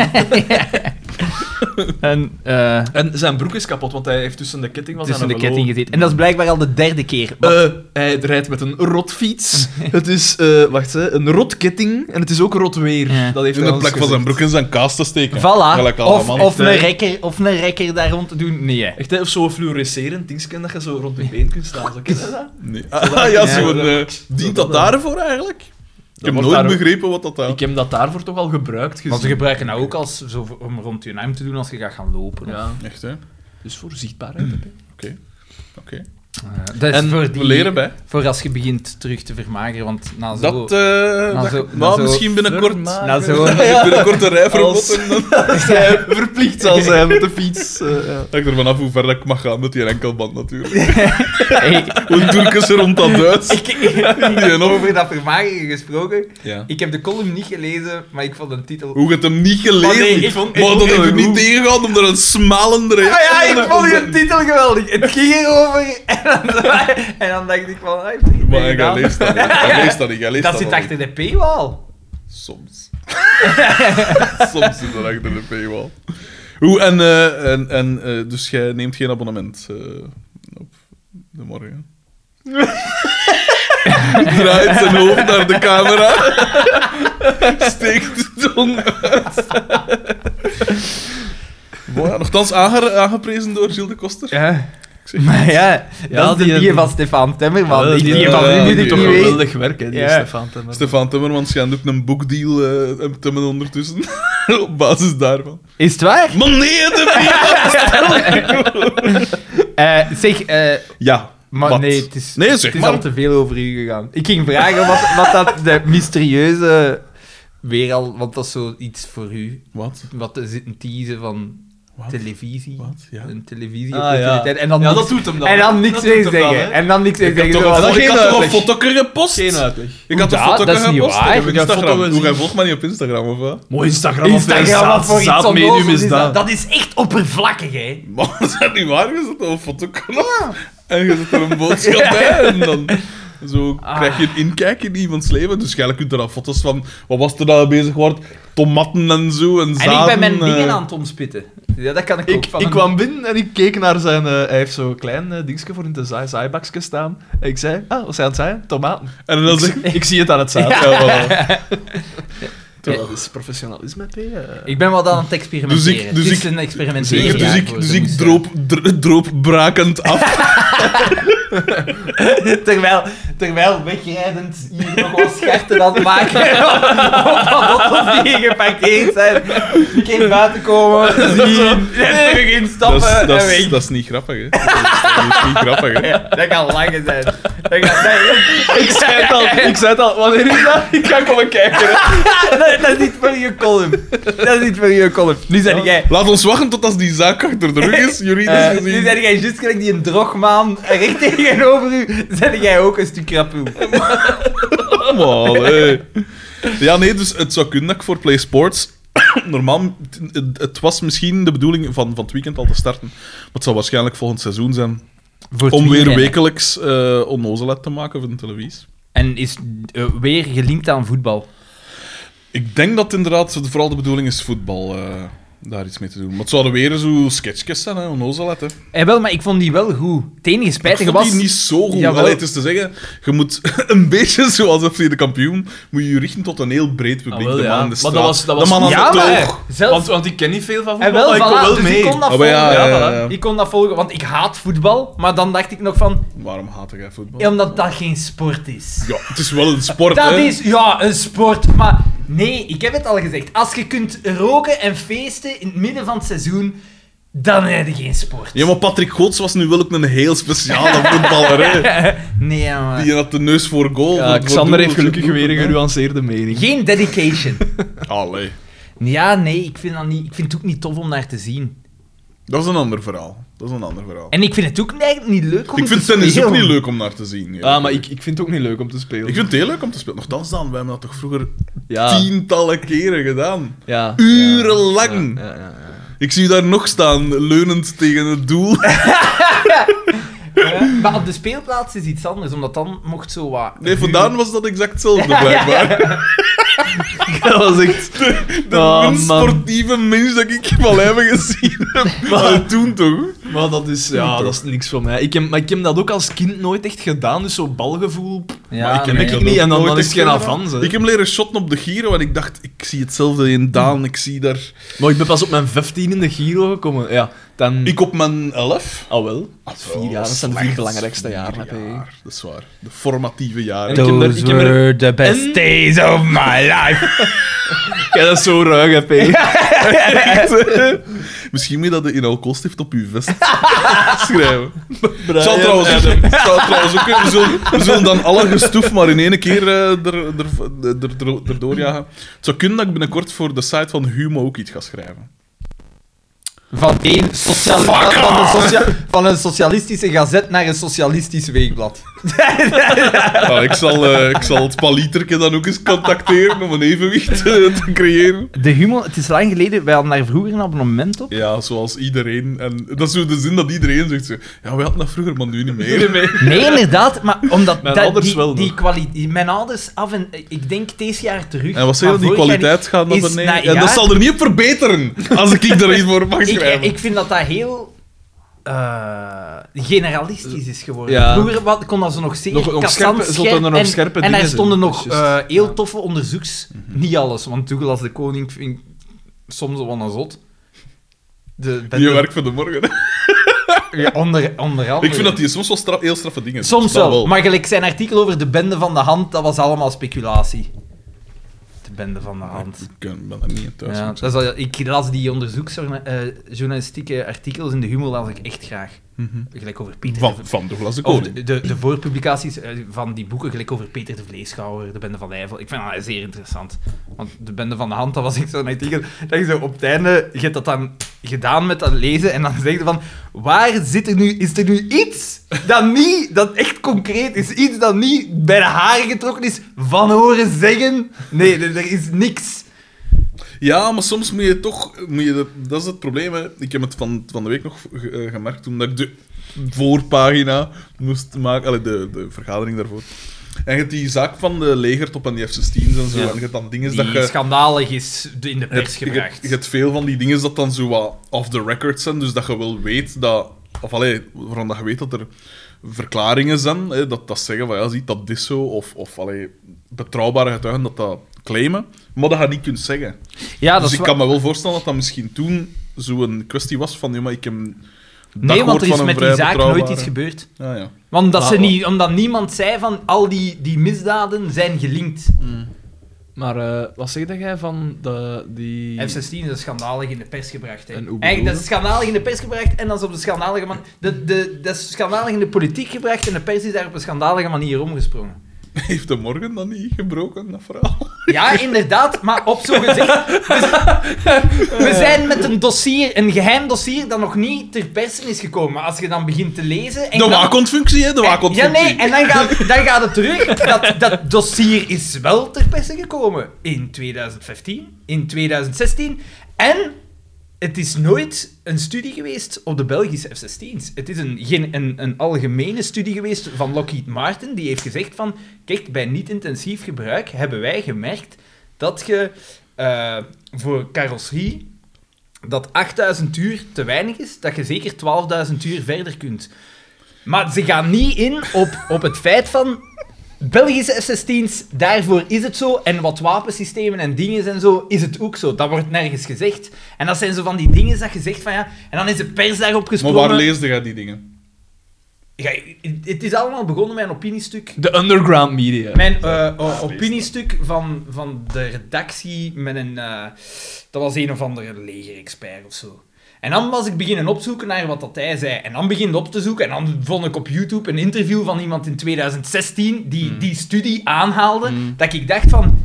En, eh, En zijn broek is kapot, want hij heeft tussen de ketting van tussen de zijn ketting envelop- gezeten. En dat is blijkbaar al de derde keer. Maar- Eh, hij rijdt met een rotfiets. het is, eh, wacht, hè, een rotketting en het is ook rot weer. Ja. Dat heeft In hij de ons plek van zijn gezegd. broek in zijn kaas te steken. voilà. Gelijk Of, allemaal. of, een eh. rekker, of een rekker daar rond te doen. Nee. hè. Echt, hè, of zo'n fluorescerend dingetje dat je zo rond je been kunt staan. Zo, ken je dat? Nee. Ah, ja, zo'n, Ja. eh, dient dat daarvoor eigenlijk? Ik heb wordt nooit daar ook- begrepen wat dat Ik daar... heb dat daarvoor toch al gebruikt gezien. Maar ze gebruiken dat ook als, zo, voor- om rond je arm te doen als je gaat gaan lopen. of- Ja, Echt, hè? Oké. dus voor zichtbaarheid. hè. Oké. Eh, dat is En voor, We die, leren bij. voor als je begint terug te vermageren. Want na zo... Dat, eh dat- zo- maar nou, zo- misschien binnenkort... Vermaken. na zo- Binnenkort een rij voor Als- botten, dan- Als hij verplicht zal zijn met de fiets. eh, ja. Dat ik ervan af hoe ver dat ik mag gaan met die enkelband natuurlijk. Hey, Hoe Turk is er rond dat Duits? Die en of- Over dat vermageren gesproken. Ja. Ik heb de column niet gelezen, maar ik vond de titel... Hoe je het hem niet gelezen Maar nee, ik hebt. vond- ik Maar vond dat het heeft heel u niet goed. tegengehouden om er een smalende Ah reactie ja, ik vond je je titel geweldig. Het ging erover. En dan, en dan dacht ik van, hij heeft het niet Maar meer hij gedaan. leest dat niet. Hij leest dat niet. Hij leest Dat dat zit al achter de paywall. niet. Soms. Soms zit dat achter de paywall. Hoe, en, eh, en, en eh, dus jij neemt geen abonnement eh, op de morgen? Draait zijn hoofd naar de camera. Steekt het onder. Boah, nogthans aange- aangeprezen door Gilles de Koster. ja. Ik zeg- Maar ja, Ja, dat is die- de die van Stefan Temmerman. Ja, die, die, die- van ja, nu moet die ik toch niet wel weten. geweldig werk, hè, die Ja. Stefan Timmerman. Stefan Timmermans gaat ook een boekdeal eh temmen ondertussen. op basis daarvan. Is het waar? Maar nee, de Eh, zeg, eh, Ja. maar wat? nee, het is, Nee, het zeg is maar. al te veel over u gegaan. Ik ging vragen wat, wat dat de mysterieuze weer al, want dat is zoiets voor u. Wat? Wat er zit een teaser van televisie. Wat? Ja. Een televisie Ah, ja. En dan ja, niks, dat doet hem dan. en dan niks Dat meer doet hem dan, zeggen. hè. en dan niks meer zeggen. Ik zoals- had toch, dat ik geen had toch een uitleg. fotoker gepost? Geen uitleg. Ik had toch Ja, fotoker dat is niet gepost? waar. Ik heb Ik een heb Instagram. foto gezien. Hoe, jij volgt mij niet op Instagram, of wat? Mooi Instagram. Instagram, wat voor iets onnozels medium is dat. Dat is echt oppervlakkig, hè. Maar dat is dat niet waar? Je zet op een fotokanaal en je zet er een boodschap bij. En dan zo Ah. krijg je een inkijk in iemands leven. Dus jij kunt er dan foto's van... Wat was er daar bezig wordt? Tomatten en zo, en En zaden. ik ben mijn eh. dingen aan het omspitten. Ja, dat kan ik, ook Ik, van ik een- kwam binnen en ik keek naar zijn... eh, hij heeft zo'n klein eh, dingetje voor in de zaai, zaaibakje staan. En ik zei, ah, wat zijn het zijn? Tomaten. En dan zeg ik... Ik zie het aan het zaad. Ja, voilà. Toch, Dat is professionalisme, P. eh. Ik ben wat aan het experimenteren. Dus ik- dus het is ik- een experimenteren. Zeker, dus jaar ik, voor dus de ik moestuin. droop, dr- droopbrakend af. eh, terwijl, terwijl wegrijdend hier nog wat scherten aan het maken. Op wat auto's die geparkeerd zijn. Geen buiten komen, zien, en terug instappen Dat is, dat, en is, weg. dat is niet grappig, hè? Dat is, dat is niet grappig, hè? Ja, dat kan langer zijn. Dat kan, Ik zei het al, ik zei het al. Wanneer is dat? Ik ga komen kijken. hè. dat, dat is niet voor je column. Dat is niet voor je column. Nu zijn jij... Laat ons wachten tot als die zaak achter de rug is, juridisch eh, nu gezien. zijn jij juist gelijk die een drogmaan recht tegenover u. Zijn jij ook een stuk rapoe. Allemaal, hé. Ja, nee, dus het zou kunnen dat ik voor Play Sports... Normaal, het, het was misschien de bedoeling van, van het weekend al te starten. Maar het zou waarschijnlijk volgend seizoen zijn. Om weer wekelijks eh onnozelheid te maken voor de televisie. En is eh, weer gelinkt aan voetbal. Ik denk dat inderdaad vooral de bedoeling is voetbal eh, daar iets mee te doen. Maar het zouden weer zo sketchjes zijn, hè, onnozelheid. Hè. Eh, wel, maar ik vond die wel goed. Het enige Ik spijtige vond was... die niet zo goed. Jawel. Allee, het is te zeggen, je moet een beetje zoals FC de kampioen, moet je je richten tot een heel breed publiek. Ah, wel, de man ja. aan de Maar straat, dat was- dat was- de man aan ja, de maar toog. eh, zelfs... Want, want ik ken niet veel van en voetbal, wel, maar ik voilà, kon wel dus mee. ik kon dat Ah, maar ja, volgen. ja, ja, ja. Ik kon dat volgen, want ik haat voetbal. Maar dan dacht ik nog van... Waarom haat jij voetbal? eh, Ja. omdat dat geen sport is. het is wel een sport, Dat hè. is, ja, een sport. Maar nee, ik heb het al gezegd. Als je kunt roken en feesten in het midden van het seizoen, dan heb je geen sport. Ja, maar Patrick Goots was nu wel ook een heel speciale voetballer, hè. Nee, ja, maar... Die had de neus voor goal. voor- Ja, voor Xander heeft doeltje. gelukkig weer een genuanceerde mening. Geen dedication. Allee, ja, nee, ik vind, dat niet, ik vind het ook niet tof om naar te zien. dat is een ander verhaal. Dat is een ander verhaal. En ik vind het ook eigenlijk niet leuk om ik vind te tennis ook spelen. niet leuk om naar te zien. ja. Ah, maar ik, ik vind het ook niet leuk om te spelen. Ik vind het heel leuk om te spelen. Nogthans dan, wij hebben dat toch vroeger ja, tientallen keren gedaan. ja, Urenlang. Ja, ja, ja. Ik zie u daar nog staan, leunend tegen het doel. Ja, maar op de speelplaats is iets anders, omdat dan mocht zo wat... Nee, vandaan was dat exact hetzelfde, Oh, blijkbaar. Dat was echt... De Oh, minst man. sportieve mens dat ik van hem gezien heb. Maar toen toch? Maar dat is, ja, dat is niks voor mij. Ik heb, maar ik heb dat ook als kind nooit echt gedaan, dus zo balgevoel. pff, Ja, maar ik ken nee. ik heb niet ook en dan, nooit dan is echt het geen gedaan. avans. hè. Ik heb leren shotten op de Giro en ik dacht, ik zie hetzelfde in Daan, ik zie daar... Maar ik ben pas op mijn 15 in de Giro gekomen. Ja, dan... Ik Ah, op mijn 11. Al wel. vier jaar, dat zijn de vier Slechts belangrijkste jaren. vier hè. jaar, Dat is waar. De formatieve jaren. En- Those were the best days of my life. Ja, dat is zo ruig, hè, P. Misschien moet je dat in alcoholstift op je vest schrijven. Het zal Brian trouwens, Adams. het zal trouwens ook... We zullen, we zullen dan alle gestoef maar in één keer eh, er, er, er, er, erdoor jagen. Het zou kunnen dat ik binnenkort voor de site van Humo ook iets ga schrijven. Van één sociaal van, een socia- van een socialistische gazet naar een socialistisch weekblad. Nou, ik, zal, eh, ik zal het palieterke dan ook eens contacteren om een evenwicht eh, te creëren. De humor, het is lang geleden, wij hadden daar vroeger een abonnement op. Ja, zoals iedereen. En dat is zo de zin dat iedereen zegt. Zo, ja, wij hadden dat vroeger, maar nu niet meer. Nee, inderdaad, maar omdat Mijn dat- ouders die, wel die nog. kwaliteit. Mijn ouders af en ik denk deze jaar terug. En wat zeg je, maar die vorig jaar kwaliteit gaat naar is beneden. na- En ja, dat zal er niet op verbeteren, als ik daar iets voor mag ik, schrijven. ik vind dat dat heel eh, generalistisch is geworden. Ja. Vroeger wa- kon dat ze nog zeer Nog- nog kassant scherpe- stonden er nog en, scherpe en dingen er in. stonden Dat nog is juist. Mhm. eh, heel toffe onderzoeks. Niet alles, want Toegel als de koning vind ik soms wel een zot. De, Je bende- werk voor de morgen. ja, onder, onder andere. Ik vind dat die soms wel straf, heel straffe dingen doet. Soms Dat wel, maar gelijk zijn artikel over de bende van de hand, dat was allemaal speculatie. De bende van de hand. Ik ben ben er niet in thuis. Ja, moet ik dat is al- ik las die onderzoeksjournalistieke artikels in de humor las ik echt graag. Mhm. Gelijk over Pieter de Van, van Douglas de Of Koning. Oh, de, de, de voorpublicaties eh, van die boeken, gelijk over Peter de Vleeschouwer, de Bende van Nijvel. Ik vind dat zeer interessant. Want de Bende van de Hand, dat was ik zo'n artikel. Dat je zo op het einde, je hebt dat dan gedaan met dat lezen en dan zeg je van, waar zit er nu, is er nu iets dat niet, dat echt concreet is, iets dat niet bij de haren getrokken is, van horen zeggen? Nee, er, er is niks. Ja, maar soms moet je toch... Moet je dat, dat is het probleem, hè. Ik heb het van, van de week nog ge- eh, gemerkt toen dat ik de voorpagina moest maken. Allee, de, de vergadering daarvoor. En je hebt die zaak van de legertop en die F-16's en zo. Ja. En je hebt dan dingen dat Die je... schandalig is in de Je hebt- pers je hebt- gebracht. Je hebt veel van die dingen dat dan zo wat off the record zijn, dus dat je wel weet dat... Of allee, waarvan dat je weet dat er verklaringen zijn, hè, dat dat zeggen van ja, ziet dat dit zo, of, of allee, betrouwbare getuigen dat dat claimen, maar dat je niet kunt zeggen. Ja, Ah, dat dus is ik wa- kan me wel voorstellen dat dat misschien toen zo'n kwestie was van, ja, maar ik heb... dat Nee, gehoord want er is van een met die vrij zaak nooit betrouwbare- iets gebeurd. Ja, ja. Want dat ze Maar- niet, omdat niemand zei van al die, die misdaden zijn gelinkt. Maar eh, wat zeg jij van de, die... F-16 is dat schandalig in de pers gebracht. Hè. En hoe Eigenlijk, dat bedoel is schandalig in de pers gebracht en dat is op de schandalige man... De, de, dat is schandalig in de politiek gebracht en de pers is daar op een schandalige manier omgesprongen. Heeft de morgen dan niet gebroken, dat verhaal? Ja, inderdaad, maar op zo'n gezicht... We, we zijn met een dossier, een geheim dossier, dat nog niet ter persen is gekomen. Maar als je dan begint te lezen... En De dan- Eh, waakhondfunctie, hè, de Ja, waakhondfunctie. nee, en dan gaat, dan gaat het terug. Dat, dat dossier is wel ter perse gekomen. In 2015, in 2016. En het is nooit een studie geweest op de Belgische F-16's. Het is een, geen, een, een algemene studie geweest van Lockheed Martin. Die heeft gezegd van... Kijk, bij niet-intensief gebruik hebben wij gemerkt dat je eh, voor carrosserie dat 8000 uur te weinig is, dat je zeker 12.000 uur verder kunt. Maar ze gaan niet in op, op het feit van. Belgische F-16's, daarvoor is het zo. En wat wapensystemen en dingen en zo, is het ook zo. Dat wordt nergens gezegd. En dat zijn zo van die dingen dat je zegt van ja. En dan is de pers daarop Maar gesprongen. waar leesde jij die dingen? Ja, het is allemaal begonnen met een opiniestuk. De underground media. Mijn eh, o- opiniestuk van, van de redactie met een... eh, dat was een of andere legerexpert of zo. En dan was ik beginnen opzoeken naar wat dat hij zei. En dan begin op te zoeken. En dan vond ik op YouTube een interview van iemand in 2016 Mm. die die studie aanhaalde. Dat ik dacht van...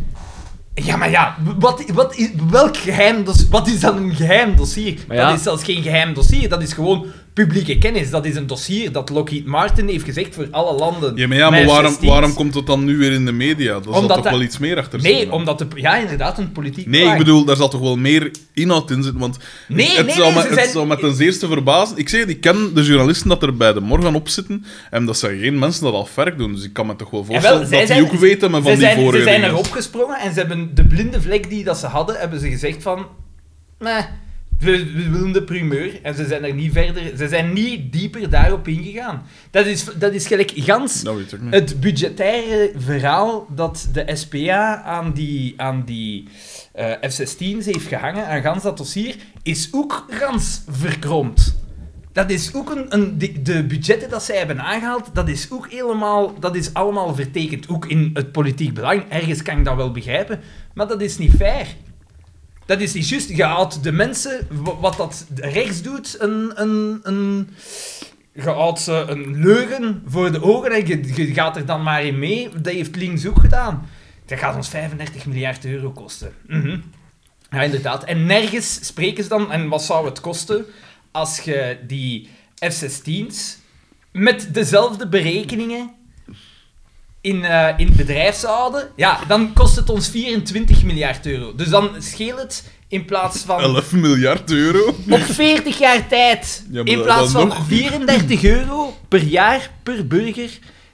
Ja, maar ja, wat, wat is, welk geheim dossier, wat is dan een geheim dossier? Maar ja. Dat is zelfs geen geheim dossier, dat is gewoon publieke kennis. Dat is een dossier dat Lockheed Martin heeft gezegd voor alle landen. Ja, maar, ja, maar Met waarom, 16's. waarom komt het dan nu weer in de media? Daar zat Omdat toch dat- wel iets meer achter Nee, zitten? omdat de... Ja, inderdaad, een politiek Nee, ik belang. bedoel, daar zat toch wel meer inhoud in zitten, want Nee, het, nee, zou nee, me, ze het zijn- zou me ten zeerste verbazen. Ik zeg het, ik ken de journalisten dat er bij de morgen op zitten, en dat zijn geen mensen dat al werk doen, dus ik kan me toch wel Ja, wel, voorstellen zij dat zijn- die ook weten maar van ze die zijn, vorige Ze zijn dingen. erop gesprongen en ze hebben de blinde vlek die dat ze hadden, hebben ze gezegd van... Nee, we, we willen de primeur. En ze zijn er niet verder... Ze zijn niet dieper daarop ingegaan. Dat is, dat is gelijk gans... Dat Nou, weet ik niet. Het budgettaire verhaal dat de SPA aan die, aan die eh, F-16's heeft gehangen, aan gans dat dossier, is ook gans verkromd. Dat is ook een, een de, de budgetten dat zij hebben aangehaald, dat is ook helemaal, dat is allemaal vertekend. Ook in het politiek belang, ergens kan ik dat wel begrijpen, maar dat is niet fair. Dat is niet juist. Je houdt de mensen, wa- wat dat rechts doet, een, een, een, je houdt ze een leugen voor de ogen en je, je gaat er dan maar in mee. Dat heeft links ook gedaan. Dat gaat ons 35 miljard euro kosten. Mhm. Ja, inderdaad. En nergens spreken ze dan, en wat zou het kosten als je die F-16's met dezelfde berekeningen in, eh, in het bedrijf zou houden? Ja, dan kost het ons 24 miljard euro. Dus dan scheelt het in plaats van 11 miljard euro? op 40 jaar tijd, Ja, maar in plaats dan van nog. 34 euro per jaar per burger,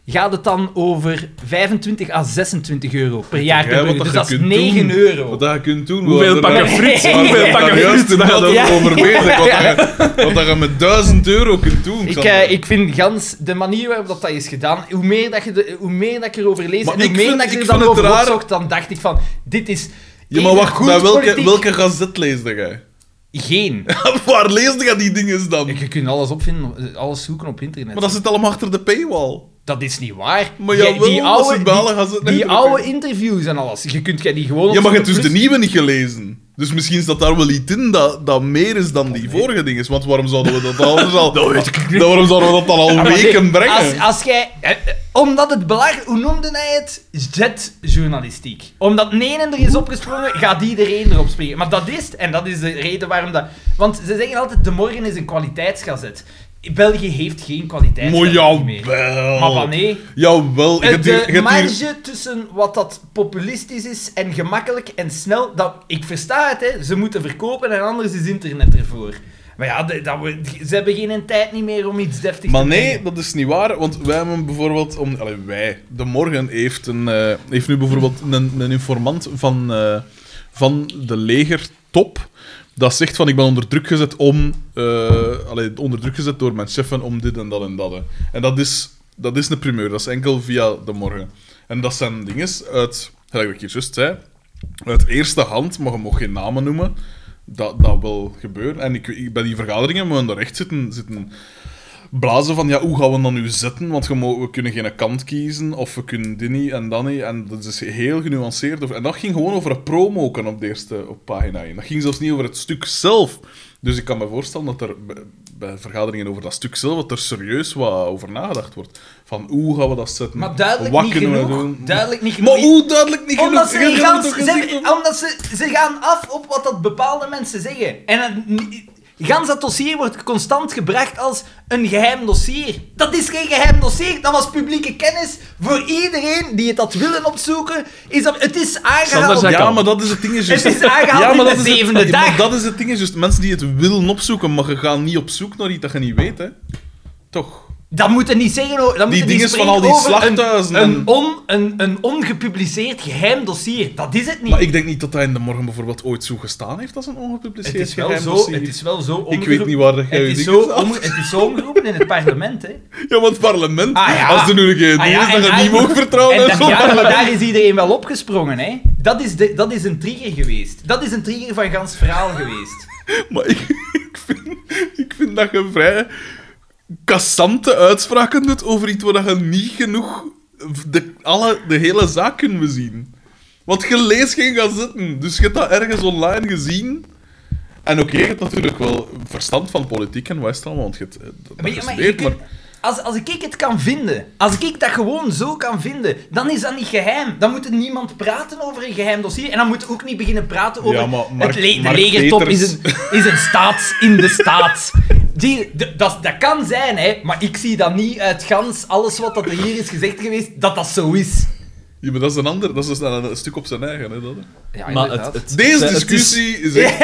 gaat het dan over 25 à 26 euro per jaar per Ja, wat burger. Dus je dat is kunt 9 doen, euro. Wat dat je kunt doen... Hoeveel wat- pakken daar- friet? daar- Hoeveel daar- pakken daar juist friet? inderdaad Ja. over bezig, wat, dat je, wat dat je met 1000 euro kunt doen. Ik, Xander. eh, ik vind gans de manier waarop dat, dat is gedaan, hoe meer, dat, je de, hoe meer dat ik erover lees Maar en hoe ik meer vind- dat ik ik er dan vind het over raar- opzocht, dan dacht ik van, dit is... ja, maar wacht, goed bij welke, politiek. welke gazet leesde jij? Geen. Waar leesde jij die dingen dan? Je kunt alles opvinden, alles zoeken op internet. Maar dat zit allemaal achter de paywall. Dat is niet waar. Maar Jij- jawel, die dat oude, is wel, die- dat is het die niet oude erbij. interviews en alles. Je kunt jij die gewoon op Ja, maar je hebt zo'n dus de plus- nieuwe niet gelezen. Dus misschien staat daar wel iets in dat, dat meer is dan die vorige dingen. Want waarom zouden we dat dan anders al... dat weet ik Waarom zouden we dat dan al weken brengen? Ah, Als, als jij... eh, eh, Omdat het belangrijk... Hoe noemde hij het? Z-journalistiek. Omdat nenen er is opgesprongen, gaat iedereen erop springen. Maar dat is het. En dat is de reden waarom dat... Want ze zeggen altijd, de morgen is een kwaliteitsgazet. België heeft geen Maar kwaliteitsgazet meer. jawel. Maar wanneer? Jawel. Je hebt hier- je Eh, De hebt hier- marge tussen wat dat populistisch is en gemakkelijk en snel, dat, ik versta het, hè. ze moeten verkopen en anders is internet ervoor. Maar ja, de- dat we, ze hebben geen tijd niet meer om iets deftigs Maar te nee, brengen. dat is niet waar. Want wij hebben bijvoorbeeld... Om, allee, wij. De Morgen heeft, een, eh, heeft nu bijvoorbeeld een, een informant van, eh, van de legertop... Dat zegt van, ik ben onder druk gezet om... eh, allee, onder druk gezet door mijn cheffen om dit en dat en dat. hè. En dat is, dat is een primeur. Dat is enkel via De Morgen. En dat zijn dingen uit... Gelijk wat ik hier juist zei. Uit eerste hand, maar je mag geen namen noemen... Dat, dat wil gebeuren. En ik, ik- bij die vergaderingen moeten we daar echt zitten, zitten blazen van ja, hoe gaan we dan nu zetten? Want je mo- we kunnen geen kant kiezen of we kunnen dit niet en dat niet. En dat is heel genuanceerd. En dat ging gewoon over een promoken op de eerste op pagina 1. Dat ging zelfs niet over het stuk zelf. Dus ik kan me voorstellen dat er bij- bij vergaderingen over dat stuk zelf, dat er serieus wat over nagedacht wordt. Van hoe gaan we dat zetten? Maar duidelijk wat niet kunnen we genoeg. doen? Duidelijk niet Maar genoeg. hoe duidelijk niet Omdat ze, genoeg? die Je hebt gans- het ook ze, gezegd, hebben- hoor. omdat ze, ze gaan af op wat dat bepaalde mensen zeggen. En het, ni- gans dat dossier wordt constant gebracht als een geheim dossier. Dat is geen geheim dossier, dat was publieke kennis. Voor iedereen die het had willen opzoeken, is dat, het is Sander aangehaald. zei- Ja, kan. maar dat is het ding is juist. Het is aangehaald in de is het- zevende maar dag. dat is het ding is juist. Mensen die het willen opzoeken, maar je gaat niet op zoek naar iets dat je niet weet, hè? Toch? Dat moeten niet zeggen. hoor. Dat moeten dinges spreken van al die over een- slachthuizen Een, en- on, een, een ongepubliceerd geheim dossier. Dat is het niet. Maar ik denk niet dat hij in de morgen bijvoorbeeld ooit zo gestaan heeft als een het, ongepubliceerd is wel geheim zo, dossier. het is wel zo Ik weet omgeroepen- niet waar jij het je is, ding zo is aan. omge- het is zo omgeroepen in het parlement, hè. Ja, want het parlement, Ah, ja. als er nu een keer Ah, doel ja, is, dan en ga je niet daar- mogen vertrouwen. En En dat- zo. ja, maar daar is iedereen wel opgesprongen, hè. Dat is, de, dat is een trigger geweest. Dat is een trigger van gans verhaal geweest. Maar ik, ik vind, ik vind dat je vrij kassante uitspraken doet over iets waar je niet genoeg de, alle, de hele zaak kunt bezien. Want je leest geen gazetten, dus je hebt dat ergens online gezien. En oké, je hebt natuurlijk wel verstand van politiek en wat is het allemaal, want je hebt eh, dat Maar, ja, maar je gestudeerd, maar... kunt- als, als ik het kan vinden, als ik dat gewoon zo kan vinden, dan is dat niet geheim. Dan moet er niemand praten over een geheim dossier. En dan moet er ook niet beginnen praten over... Ja, maar Mark- het le- de Mark legertop Peters- is een, is een staats in de staat. Die, de- dat, dat kan zijn, hè. Maar ik zie dat niet uit gans alles wat dat er hier is gezegd geweest, dat dat zo is. Ja, maar dat is een ander, dat is dus een, een stuk op zijn eigen. Hè, dat, hè. Ja, Maar inderdaad. het, het, Deze het is- discussie is, echt...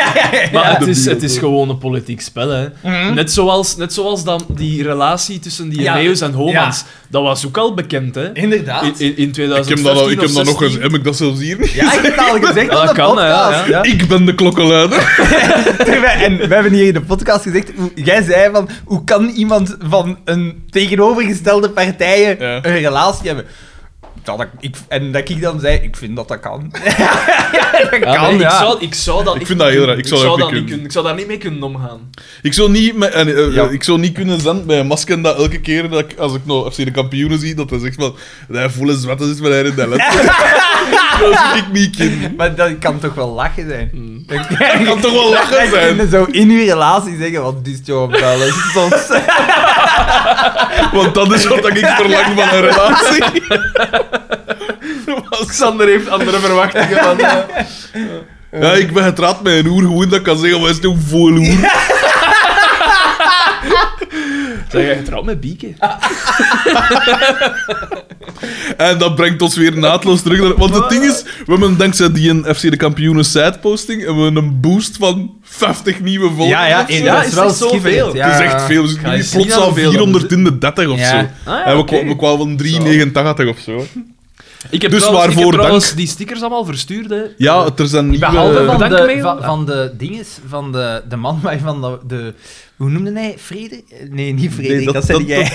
Maar het is, debiel, het is hoor. gewoon een politiek spel, hè. Net zoals, net zoals dan die relatie tussen die Ja. Neus en Homans. Dat was ook al bekend, hè. In, Inderdaad. in, in Ik heb dat, al- 2015 ik heb of dat nog 16. eens, heb ik dat zelfs hier niet? Ja, ik heb het al gezegd op Ja, de dat kan, hè, ja, podcast. ja. Ik ben de klokkenluider. En we hebben hier in de podcast gezegd, hoe- jij zei van, hoe kan iemand van een tegenovergestelde partijen Ja. een relatie hebben? Dat ik, ik- en dat ik dan zei, ik vind dat dat kan. dat Ja, kan, nee, ja. Ik zou, ik zou dat Ik niet vind dat heel kunnen. raar. Ik zou dat ook dat niet kunnen. niet kunnen. Ik zou daar niet mee kunnen omgaan. Ik zou niet, met, en, eh, eh, Ja. ik zou niet kunnen zenden bij een masker dat elke keer dat ik, als ik nou FC de kampioenen zie, dat hij zegt van dat hij volle zwette zit met haar in de let. dat zou ik niet kunnen. Maar dat kan toch wel lachen zijn? Dat Mm. Dat kan toch wel lachen dat zijn. je zo in uw relatie zeggen, wat is jouw bellen soms? Want dat is wat ik verlang van een relatie. Xander heeft andere verwachtingen van... eh. Ja, ik ben getrouwd met een oer, gewoon dat ik kan zeggen, wat is nou vol oer? Zijn jij getrouwd met Bieke? En dat brengt ons weer naadloos terug. naar- Want het ding is, we hebben dankzij die een FC de kampioenen sideposting hebben we een boost van 50 nieuwe volgers. of zo. dat is wel schitterend, Het is echt veel. Dus Ga je nu zien plots aan al hoeveel dat 400 in de 30 of Ja. zo. Ah, ja, en we, oké. kwa- we kwamen van 389 of zo. Ik heb Dus trouwens, ik heb waarvoor trouwens dank? die stickers allemaal verstuurd, hè. Ja, er zijn nieuwe... Behalve van Bedankt, de, Mail. van, van de dinges, van de, de man waarvan de, de... Hoe noemde hij? Frederik? Nee, niet Frederik, Nee, dat, dat- zei dat- jij.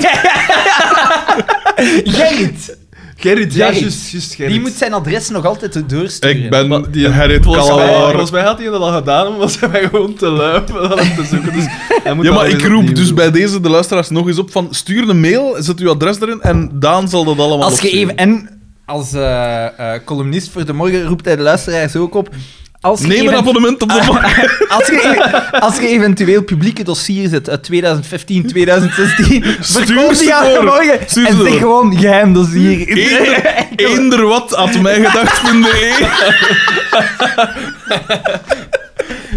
Gerrit! Gerrit, ja, ja, juist- juist, juist Gerrit. Die moet zijn adres nog altijd doorsturen. Ik ben die- Gerrit Volgens mij, Kalaar. volgens mij had hij dat al gedaan, maar was hij mij gewoon te lui om dat op te zoeken. Dus hij moet Ja, dat maar weer ik roep opnieuw dus doen. bij deze de luisteraars nog eens op van... Stuur een mail, zet uw adres erin en Daan zal dat allemaal Als je opzoeken. even, en als eh, eh, columnist voor de morgen roept hij de luisteraars ook op. Als je Neem een even- Ah, abonnement op de bank. Als je, als je eventueel publieke dossiers hebt uit 2015, 2016, Stuur verkoop ze die aan door. morgen Stuur ze en door. zeg gewoon geheim dossier. Eender, eender wat at E. mijgedacht.be.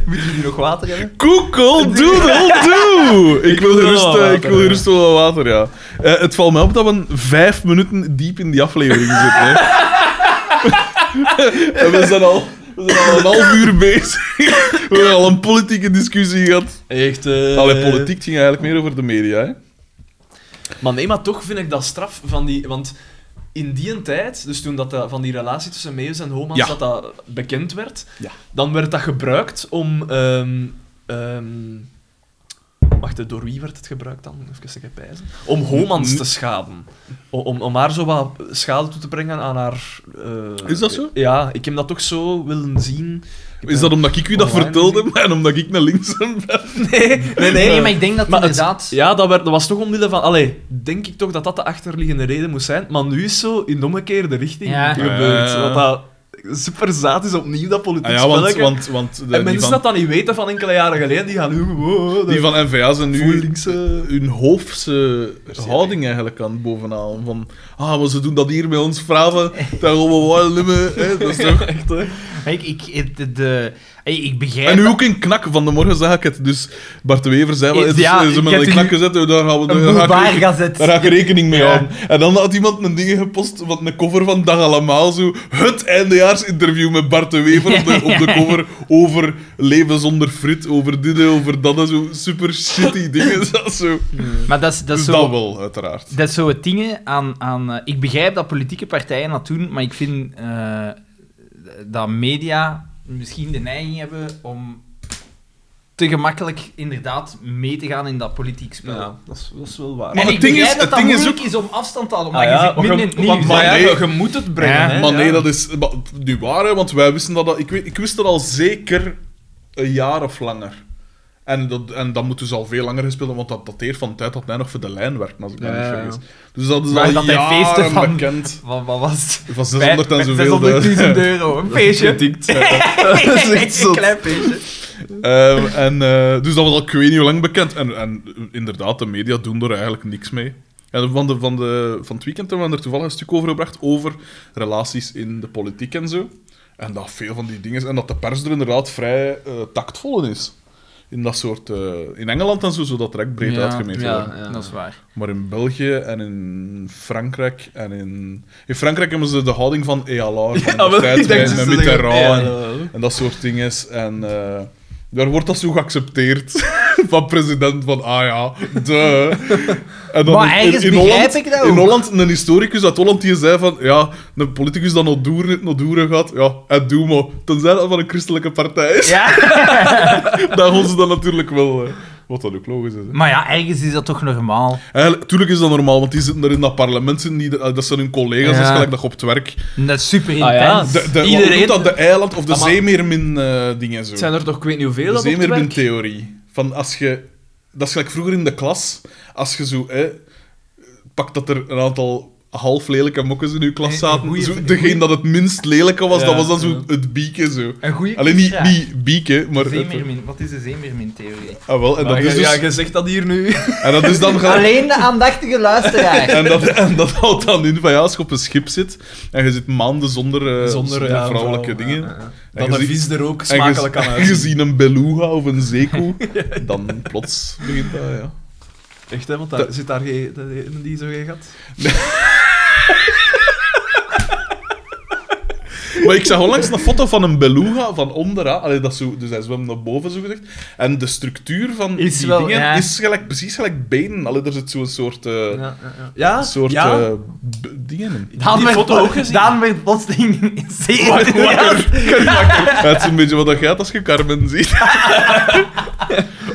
Moet je nu nog water hebben? Google doodle doe! Ik wil wil gerust, wel eh, ik Oh, water, wil ja. gerust wel wat water, ja. Eh, het valt mij op dat we een vijf minuten diep in die aflevering zitten. Hè. En we, zijn al, we zijn al een half uur bezig. We hebben al een politieke discussie gehad. Echt... eh, Allee, politiek het ging eigenlijk meer over de media, hè. Maar nee, maar toch vind ik dat straf van die... Want in die tijd, dus toen dat, dat- van die relatie tussen Meus en Homans Ja. dat dat bekend werd, Ja. dan werd dat gebruikt om... ehm, ehm, wacht, eh, door wie werd het gebruikt dan? Even een pijzen. Om Homans te schaden. O- Om, om haar zo wat schade toe te brengen aan haar... eh, Is dat zo? Ja, ik heb dat toch zo willen zien. Ik Is ben- dat omdat ik u dat online vertelde gezien. en omdat ik naar links ben? Nee, nee, Nee, nee, maar ik denk dat Maar het- inderdaad... Ja, dat, werd, dat was toch omwille van... Allee, denk ik toch dat dat de achterliggende reden moest zijn. Maar nu is zo in de omgekeerde richting Ja. gebeurd. Ja. Wat dat super zaad is opnieuw, dat politiek Ah ja, want, spelletje. want, want de- en die, mensen van, dat dan niet weten van enkele jaren geleden, die gaan nu oh, gewoon... die van NVA zijn voel nu links, eh. hun hoofdse houding eigenlijk aan het bovenaan. Van, ah, maar ze doen dat hier bij ons, vragen, daar gaan we wel nummer, hè, dat is toch... Echt, hè. Ik, ik, ik- de, de- ik- ik begrijp... En nu ook een knak, van de morgen zag ik het. Dus Bart de Wever zei, wel, het is- Ja, ze hebben ik heb een u knak gezet, daar gaan we... Een daar ga ik boelbaar rekening- gazet. daar ga ik rekening mee Ja. houden. En dan had iemand een ding gepost, wat een cover van Dag Allemaal, zo het eindejaarsinterview met Bart de Wever op de, op de cover over leven zonder frit, over dit en over dat en zo super shitty dingen. Dat is zo. Maar dat is, dat is Dus zo... dat wel, uiteraard. Dat is zo het ding aan... aan eh, ik begrijp dat politieke partijen dat doen, maar ik vind eh, dat media misschien de neiging hebben om te gemakkelijk inderdaad mee te gaan in dat politiek spel. Ja, dat is, dat is wel waar. Maar en het ik ding begrijp is- dat het dat ding is moeilijk is, om afstand te houden, maar Ah je ja, zit midden in het want- want- nieuws. maar ja, hè. je, je moet het brengen, Ja. hè. Maar nee, Ja. dat is maar nu waar, hè, want wij wisten dat, dat ik, weet, ik wist dat al zeker een jaar of langer. En dat, en dat moet dus al veel langer gespeeld hebben, want dat dateert van de tijd dat hij nog voor de lijn werkte, als ik me Ja, niet ja, ja. vergis. Dus dat is Maar al dat hij jaren feesten van- bekend. Wat, wat was het? Van 600 en Met- met zoveel. 600.000 euro, een feestje. Getikt, ja. dat is echt zot. Een klein feesttje. Ehm, en, eh, dus dat was al ik weet niet hoe lang bekend. En, en inderdaad, de media doen er eigenlijk niks mee. En van, de, van, de, van het weekend hebben we er toevallig een stuk over gebracht, over relaties in de politiek en zo. En dat veel van die dingen... En dat de pers er inderdaad vrij eh, tactvol in is. In dat soort... eh, in Engeland en zo, zodat er echt breed Ja, uitgemeten ja. wordt. Dat is waar. Maar in België en in Frankrijk en in... In Frankrijk hebben ze de houding van EALA, van Ah, de wel, tijd ik dacht bij- dat met ze zeggen, Mitterrand ja, en- ja. en dat soort dingen. En eh, daar wordt dat zo geaccepteerd van president van, ah ja, de. En dan Maar ergens begrijp ik dat ook. In Holland, een historicus uit Holland die zei van, ja, een politicus dat nog doeren, het nog doeren gaat, ja, het doe maar. Tenzij dat van een christelijke partij is, Ja. dan gaan ze dat natuurlijk wel... eh, wat dat ook logisch is. hè. Maar ja, ergens is dat toch normaal. Eigenlijk, tuurlijk is dat normaal, want die zitten er in dat parlement, zitten die, eh, dat zijn hun collega's, Ja. dat is gelijk nog op het werk. En Dat is super Ah ja, intens. De, de, Iedereen... Iedereen- Wat dat? De eiland of de Ah, maar- zeemeermin eh dingen zo. Het zijn er toch, ik weet niet hoeveel, De dat op het werk. zeemeermintheorie. Van als je... Dat is gelijk vroeger in de klas. Als je zo... Hè, pak dat er een aantal half lelijke mokkes in je klas zaten. goeie- zo, degene dat het minst lelijke was, Ja, dat was dan zo ja. het bieken zo. Een goede Alleen niet, niet bieken, maar... Het, Zeemeermin. Wat is de zeemeermin-theorie? ah, wel, en, Maar dat je- is dus, Ja, je zegt dat hier nu. en dat is dan... gelijk- Alleen de aandachtige luisteraar. En dat, en dat houdt dan in van ja, als je op een schip zit en je zit maanden zonder, eh, zonder, Zonder ja, vrouwelijke vrouw, dingen. ja, ja, ja. En je Dat de ziet- vis er ook En je- smakelijk aan en uitziet. je ziet een beluga of een zeekoe, dan plots begint dat, ja. Echt, hè? Want daar, zit daar geen... dat- die- Die zo geen gat? Maar ik zag onlangs een foto van een beluga van onderaan. Allee, dat is zo, dus hij zwemt naar boven, zo gezegd. En de structuur van Is die wel, dingen ja. is gelijk, precies gelijk benen. Allee, er zit zo'n soort, eh, Ja, ja, ja. ja? soort ja? eh, b- dingen in. die foto ook gezien. Daan werd plotseling zeer Wakker, enthousiast. wakker, wakker. Het is een beetje wat dat gaat als je Carmen ziet.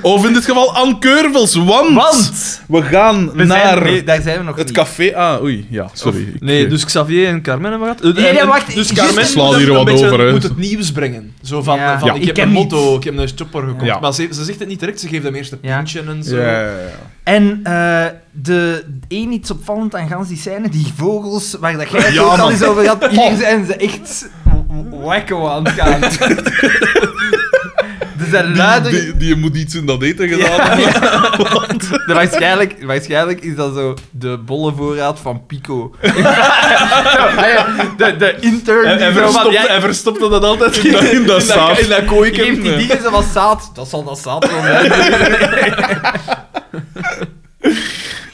of in dit geval Anne Keurvels, want, Want we gaan we naar zijn, nee, daar zijn we nog het niet. café... Ah, oei, ja, sorry. Ik- eh, Nee, dus Xavier en Carmen hebben we gehad. Nee, nee, wacht, Dus ik- Carmen Slaan moet hier een wat beetje- over, hè. moet het nieuws brengen. Zo van, Ja. van Ja. ik, Ik heb heb een motto, niets. ik heb een chopper gekocht. Ja. Maar ze, ze zegt het niet direct, ze geeft hem eerst een Ja. pintje en zo. Ja, ja, ja. En eh, de één iets opvallend aan gans die scène, die vogels waar dat jij het Ja, ook al man. eens over had, hier zijn ze echt wacko aan het gaan. Er zijn Die, luider... die, die moet iets in dat eten gedaan hebben. De- waarschijnlijk, waarschijnlijk is dat zo de bollenvoorraad van Pico. Zo, ah ja, de, de intern En, die en, zo van, verstopte, ja, en verstopte dat altijd In dat- in dat zaad. In dat kooikje. geef die dingen zo wat zaad. Dat zal dat zaad wel zijn.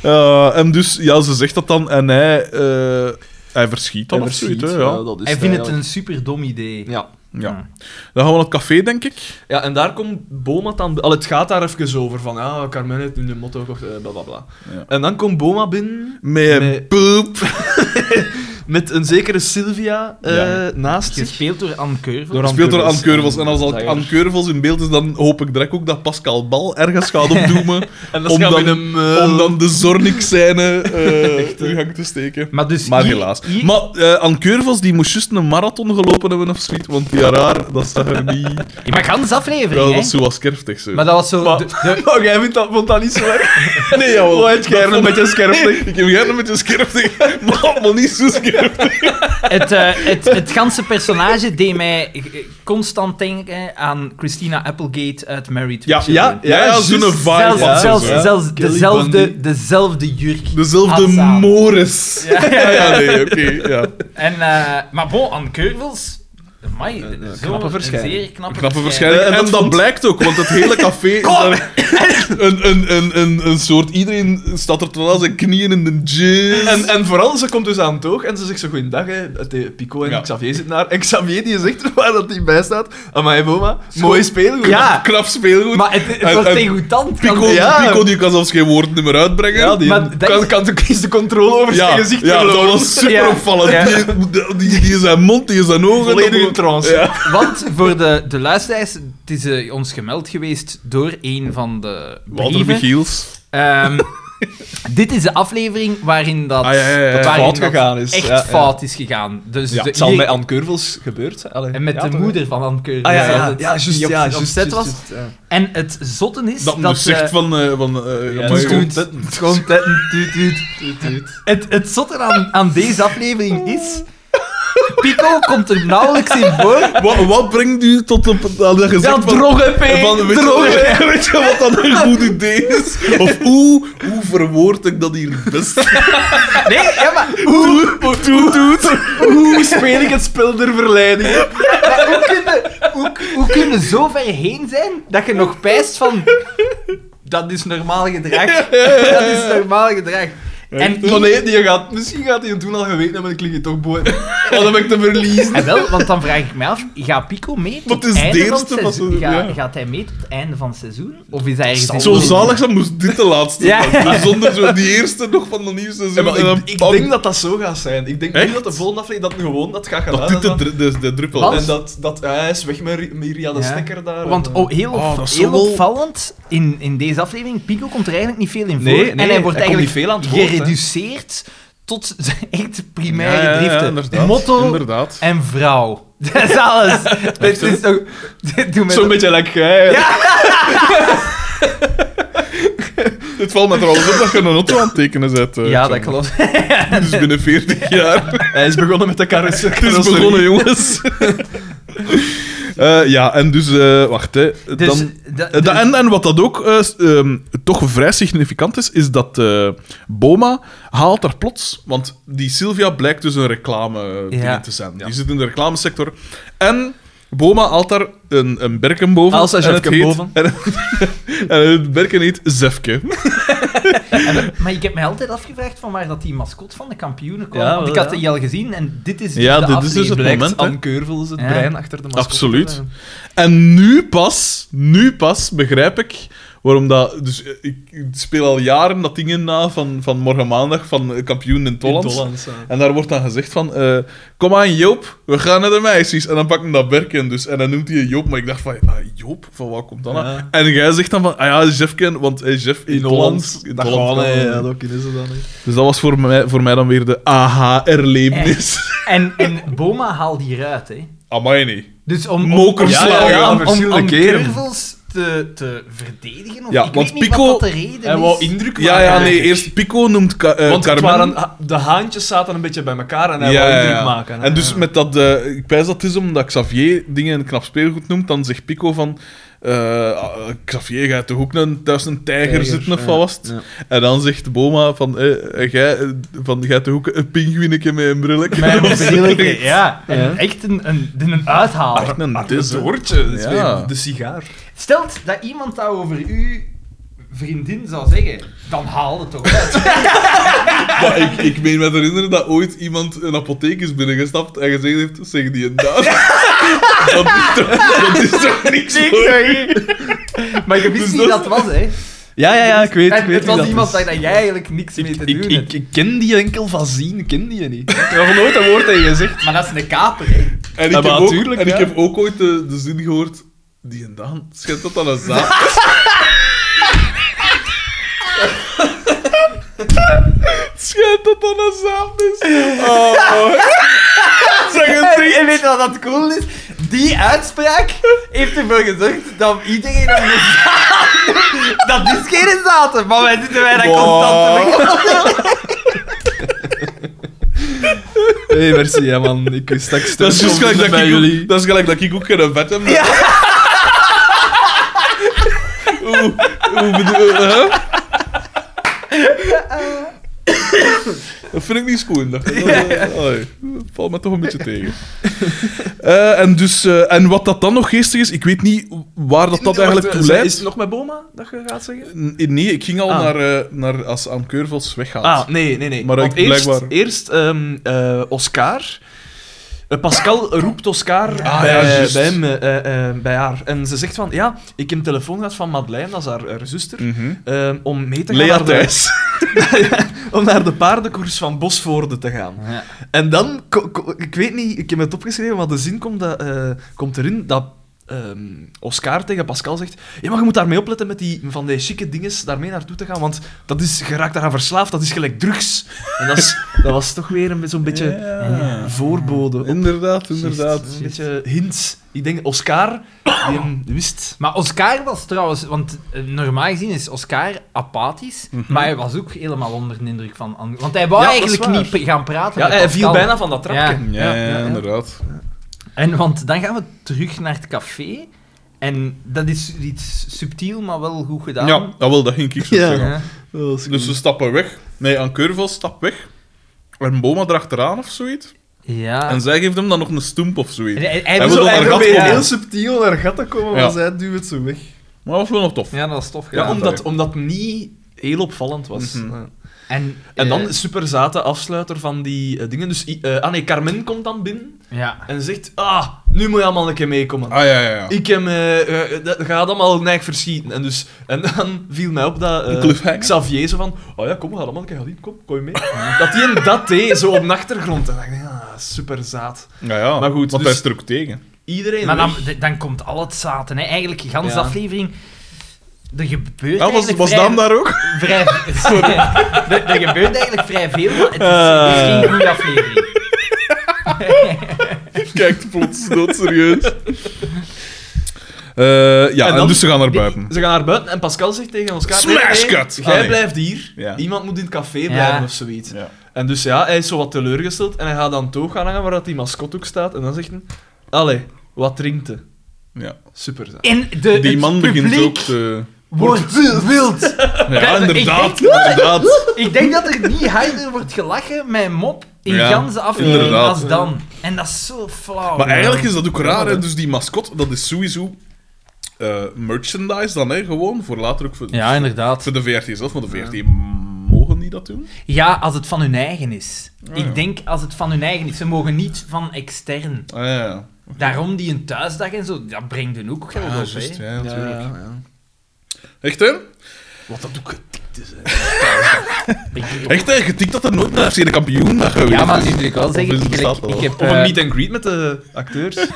Eh, en dus, ja, ze zegt dat dan en hij, eh, hij verschiet dan Hij of zoiets. verschiet, hè, ja, Ja. dat is Hij vindt het eigenlijk- een super dom idee. Ja. Ja. Dan gaan we naar het café, denk ik. ja, en daar komt Boma dan... Al, het gaat daar even over, van ja, Carmen heeft nu de motto gekocht, eh, bla bla bla. Ja. En dan komt Boma binnen Met Nee. poep. met een zekere Sylvia eh, Ja. naast zich. Gespeeld door Anne Curve. Door Anne Speelt door Anne Curvels. Keurvels. En als al Zanger. Anne Keurvels in beeld is, dan hoop ik direct ook dat Pascal Bal ergens gaat opdoemen. En dat Om gaan we dan- in een meul. om dan de Zornik-scène eh, in gang te steken. Maar dus Maar hier- helaas. hier- Maar eh Anne Keurvels, die moest juist een marathon gelopen hebben of zoiets, want die raar, dat zag er niet... Ja, maar gans aflevering, Ja, dat hè? was zo wat kerftig, zo. Maar dat was zo... Maar- de- de- Maar jij vindt dat, vond dat niet zo erg? Nee, jawel. Oh, het Dat Gerben vond- met je scherpte. Ik heb Gerben met je scherpte, maar, maar niet zo scherp. het, eh, het, het ganse personage deed mij eh, constant denken aan Christina Applegate uit Married with Ja, Children. ja, ja, ja juist. zo'n vibe. Zelfs, had ze zelfs, zo, hè. zelfs Kelly dezelfde, Bundy. dezelfde jurk. Dezelfde had ze aan. Morris. Ja, ja, nee, oké. ja. En, eh, maar bon, aan Keurvels... Amai, Een- een zo'n- knappe een verschijning. zeer knappe, Knappe verschijning. verschijning. Eh, en En dat dat vond- blijkt ook, want het hele café is daar een, een, een, een, een soort... Iedereen staat er terwijl zijn knieën in de jizz. En, en vooral, ze komt dus aan het oog en ze zegt zo goeiedag, hè. Het, eh, Pico en Ja. Xavier zitten daar. En Xavier die zegt er waar dat hij bij staat. Amai, Boma, mooi speelgoed. Ja. Knap speelgoed. Maar het, het En- was en degoutant. Pico, want- Ja. Pico die kan zelfs geen woord meer uitbrengen. Ja, die Maar dat kan, is- kan de, is de controle over ja, zijn gezicht ja, dat verloren. was super Ja. opvallend. Ja. Die, die, die zijn mond, die zijn ogen. Volledig dat- in trance. Ja. Want voor de, de luisteraars, het is eh, ons gemeld geweest door een van de Walter brieven. Michiels. Ehm, dit is de aflevering waarin dat, Ah, ja, ja, ja, ja. waarin Fout dat gegaan is, echt ja, ja. fout is gegaan. Dus Ja, de- Het zal hier- bij Anne Curvels gebeurd zijn. Allee, en met ja, de toch, hè? moeder van Anne Keur. Ah ja, ja, die ja, op- ja, juist, die op, ja, op juist, set juist, was. juist, ja. En het zotten is Dat, dat... moest zegt eh, van... eh, van eh, Ja, ja, toet, maar- dat toet, is goed. schoon tetten, toet, toet. Tuut, tuut. Het, het zotte aan, aan deze aflevering is... Pico komt er nauwelijks in voor. wat, wat brengt u tot op dat je Ja, zegt van... droge P, van, weet, droge je, weet je wat dat een goed idee is? Of hoe, hoe verwoord ik dat hier het best? Nee, ja, maar Hoe, hoe doet? Hoe speel ik het spel der verleiding? Maar hoe kunnen hoe, hoe kunnen zo ver heen zijn dat je nog pijst van... Dat is normaal gedrag. Dat is normaal gedrag. En, Maar nee, die gaat, misschien gaat hij het doen al geweten hebben, ik lig hier toch boven. Oh, dan ben ik te verliezen. en wel, want dan vraag ik mij af, gaat Pico mee tot Wat is het einde het van eerste van het seizoen? seizoen, Ga- ja. Gaat hij mee tot het einde van het seizoen? Of is hij ergens... Zo zalig zijn moest dit de laatste Ja. zijn. Dus Zonder zo die eerste nog van de nieuwe Ja, seizoen. maar en dan ik, ik pam. denk dat dat zo gaat zijn. Ik denk Echt? niet dat de volgende aflevering dat gewoon dat gaat gaan dat dit de, dru- de, de druppel Wat? is. En dat, dat ja, hij is weg met Ri- Miria de Ja. Stekker daar. eh. Want En, oh, heel, Oh, dat is heel wel- opvallend, in, in deze aflevering, Pico komt er eigenlijk niet veel in voor. Nee, nee, en hij wordt hij komt eigenlijk niet veel aan het woord, hè. gereduceerd tot zijn echt primaire Ja, ja, ja, driften. inderdaad. Motto Inderdaad. en vrouw. Dat is alles. Dit is toch... dit doet mij Zo'n toch- beetje lekker. jij. Het valt me trouwens op dat je een auto aan het tekenen zet. eh, Ja, Xander. dat klopt. Dus binnen 40 jaar. Hij is begonnen met de carousel. Het is begonnen, jongens. Eh, ja, en dus... eh, wacht, hè. Dus, dan, da- Eh, dus- da- en, en wat dat ook eh, s- ehm, toch vrij significant is, is dat eh, Boma haalt daar plots... Want die Sylvia blijkt dus een reclame eh, Ja. ding te zijn. Die zit in de reclamesector. En Boma haalt daar een, een berken boven. Als hij en het Zefke heet- boven. En, en het berken heet Zefke. en- maar ik heb mij altijd afgevraagd van waar dat die mascot van de kampioenen kwam. Ja, Want ik wel, had ja. die al gezien en dit is dus Ja, de dit is dus het aflevering. moment, hè. Anne Keurvel is het Ja. brein achter de mascotte. Absoluut. En nu pas, nu pas begrijp ik waarom dat. Dus eh, ik ik speel al jaren dat dingen na van, van morgen maandag van eh, kampioen in In Tolland. Tollands, ja. En daar wordt dan gezegd van, eh, kom aan Joop, we gaan naar de meisjes. En dan pakken dat Berken dus. En dan noemt hij Joop, maar ik dacht van, ah, Joop, van waar komt dat nou? Ja. En jij zegt dan van, ah ja, Jeffken, want eh, Jeff in, In Holland. Holland. in Dat Holland gaan, kan hè, dat. ja, dat kunnen ze dan. hè. Dus dat was voor mij, voor mij dan weer de aha-erlevenis. En, en Boma haalt hieruit, hè. Amai, nee. Dus om... om- Mokerslagen. om- om- Ja, ja, ja, om- om verschillende keren. Keurvels te- te, te verdedigen? Of Ja, ik want weet niet Pico- wat dat de reden Hij is. wou indruk Ja, maken, ja, denk nee. ik. Eerst Pico noemt Ka- eh, Want het Carmen. waren, ha- de haantjes zaten een beetje bij elkaar en hij Ja, wou ja, indruk ja. maken. hè. En dus met dat, eh, ik wijs dat het is omdat Xavier dingen een knap speelgoed noemt, dan zegt Pico van. eh, ah, Xavier, gaat toch ook een, thuis een tijger, Tijger, zitten of ja, wat was het? ja. En dan zegt Boma van, eh, eh, jij eh, van, jij toch ook een pinguïnetje met een brilletje? Mijn Of zoiets. mobieletje, ja. En Ja. Echt een, een, een uithaler. Echt een Het dizzer. hoortje, dat is Ja. weer de sigaar. Stelt dat iemand dat over uw vriendin zou zeggen, dan haal het toch uit. Maar ik, ik meen me te herinneren dat ooit iemand een apotheek is binnengestapt en gezegd heeft, zeg die een daar. dat, is toch, dat is toch niks hoor. Maar je Wist Dus niet dat- dat het was, hè? Ja, ja, ja, ik weet, Het, ik weet het wie was dat iemand is. waar dat jij eigenlijk niks mee te Ik, doen hebt. ik, ik ken die enkel van zien, ik ken die niet. Ik heb nog nooit een woord tegen gezegd. Maar dat is een kaper, hè? En ik, Ja, heb, maar ook, natuurlijk, en ik ja. heb ook ooit de, de zin gehoord, die een Daan, schijnt dat dan een zaak? schijnt dat dan een zaak is? Oh. zeg het En, en weet je wat dat cool is? Die uitspraak heeft ervoor gezorgd dat iedereen aan de zaten- Dat is geen zaten, maar wij zitten wij daar constant te Wow. Hé, hey, merci, ja, man. Ik wist dat ik Dat is steun dus gelijk vond dat, bij ik jullie. ook, dat is gelijk dat ik ook geen vet heb. Hoe, hoe bedoel eh, hè? Dat vind ik Oh, niet schoon. Dat, dat, allee, valt me toch een beetje tegen. Eh, en, dus, eh, en wat dat dan nog geestig is, ik weet niet waar dat, dat eigenlijk toe Wacht, eh, Is leidt. het nog met Boma dat je gaat zeggen? N- Nee, ik ging al Ah. naar, eh, naar als Anne Keurvels weggaat. Ah, nee, nee, nee. Maar Want ik- eerst, blijkbaar- eerst ehm, eh, Oscar. Eh, Pascal roept Oscar Ah, ja, bij, juist. bij hem, eh, eh, bij haar. En ze zegt van, ja, ik heb een telefoon gehad van Madeleine, dat is haar, haar zuster, Mhm. ehm, om mee te gaan Lea naar de, Thijs. om naar de paardenkoers van Bosvoorde te Ah. gaan. Ja. En dan, ko- ko- ik weet niet, ik heb het opgeschreven, maar de zin komt, dat, eh, komt erin dat ehm, Oscar tegen Pascal zegt: Ja, maar je moet daarmee opletten met die, van die chique dinges daarmee naartoe te gaan, want dat is, je raakt daaraan verslaafd, dat is gelijk drugs. En dat, is, dat was toch weer een, be- zo'n beetje Ja. voorbode. op- Inderdaad, inderdaad. Een beetje hint. Ik denk, Oscar, die hem wist. Maar Oscar was trouwens, want eh, normaal gezien is Oscar apathisch, maar hij was ook helemaal onder de indruk van. An- Want hij wou Mhm. Ja, dat is eigenlijk waar. niet pr- gaan praten. Ja, met hij viel Pascal. bijna van dat trapje. Ja, ja, inderdaad. En want dan gaan we terug naar het café. En dat is iets subtiel, maar wel goed gedaan. Ja, dat wil, Ah, dat ging ik zo Ja. zeggen. Ja. Dus ze stappen weg. Nee, Ankeurvel stapt weg. En Boma erachteraan of zoiets. Ja. En zij geeft hem dan nog een stoemp of zoiets. En Maar hij- hij Hij was wil zo- dan hij naar gat probeerde- komen. ja. subtiel naar gat te komen, Ja. zij duwt het zo weg. dat was wel nog tof. Ja, dat was tof Ja, gedaan. Ja, omdat, sorry. omdat het niet heel opvallend was. Mhm. Ja. En, En dan eh, super zate afsluiter van die eh, dingen. Dus i- eh, ah nee, Carmen komt dan binnen ja. en zegt: Ah, nu moet je allemaal een keer meekomen. Ah ja, ja, ja. Ik heb, eh, eh, dat gaat allemaal neig verschieten. En, dus, en dan viel mij op dat eh, Een cliffhanger. Xavier zo van: Oh ja, kom, we gaan allemaal een keer gaan eten. kom, kom je mee. dat hij een dat deed, zo op de achtergrond. En dan dacht ik: Ah, super zaad. ja, ja. Maar goed, want dus- hij is er ook tegen. Iedereen. Maar dan, weg. d- dan komt al het zaten. Hè. Eigenlijk, de hele Ja. aflevering... Er Ja, gebeurt was eigenlijk was vrij- Daan daar ook? Vrij, sorry. er, er gebeurt eigenlijk vrij veel, maar het is, het is Eh. geen goede aflevering. Kijkt plots doodserieus. serieus. ja, En en, dan- dus ze gaan naar buiten. Ze gaan naar buiten en Pascal zegt tegen ons: Smash nee, nee, cut! Jij Ah, nee. blijft hier, Ja. iemand moet in het café Ja. blijven of zoiets. Ja. En dus ja, hij is zo wat teleurgesteld en hij gaat aan het oog gaan hangen waar dat die mascot ook staat. En dan zegt hij, allee, wat drinkt hij? Ja. Super. zaak. En de, Die het man begint publiek ook te... wordt wild. Ja, ik inderdaad. denk- inderdaad. Ik denk dat er niet harder wordt gelachen met een mop in Ja, ganse aflevering inderdaad. als dan. En dat is zo flauw. Maar eigenlijk is dat ook raar, hè. hè. Dus die mascot, dat is sowieso... eh, merchandise dan, hè, gewoon. Voor later ook voor, Ja, inderdaad. Voor de VRT zelf, want de VRT mogen niet dat doen. Ja, als het van hun eigen is. ja. Ik denk als het van hun eigen is. Ze mogen niet van extern. Ah ja, ja. Daarom die een thuisdag en zo, dat brengt hun ook geld op. juist, hè. Ah, ja, Ja, natuurlijk. ja, ja. Echt hè? Wat dat ook getikt is, hè. Echt hè? Getikt dat er nooit naar FC de kampioen dat geweest Ja, maar is. nu moet ik wel Of zeggen, is het ik, bestaat ik al? heb... Of eh, een meet and greet met de acteurs.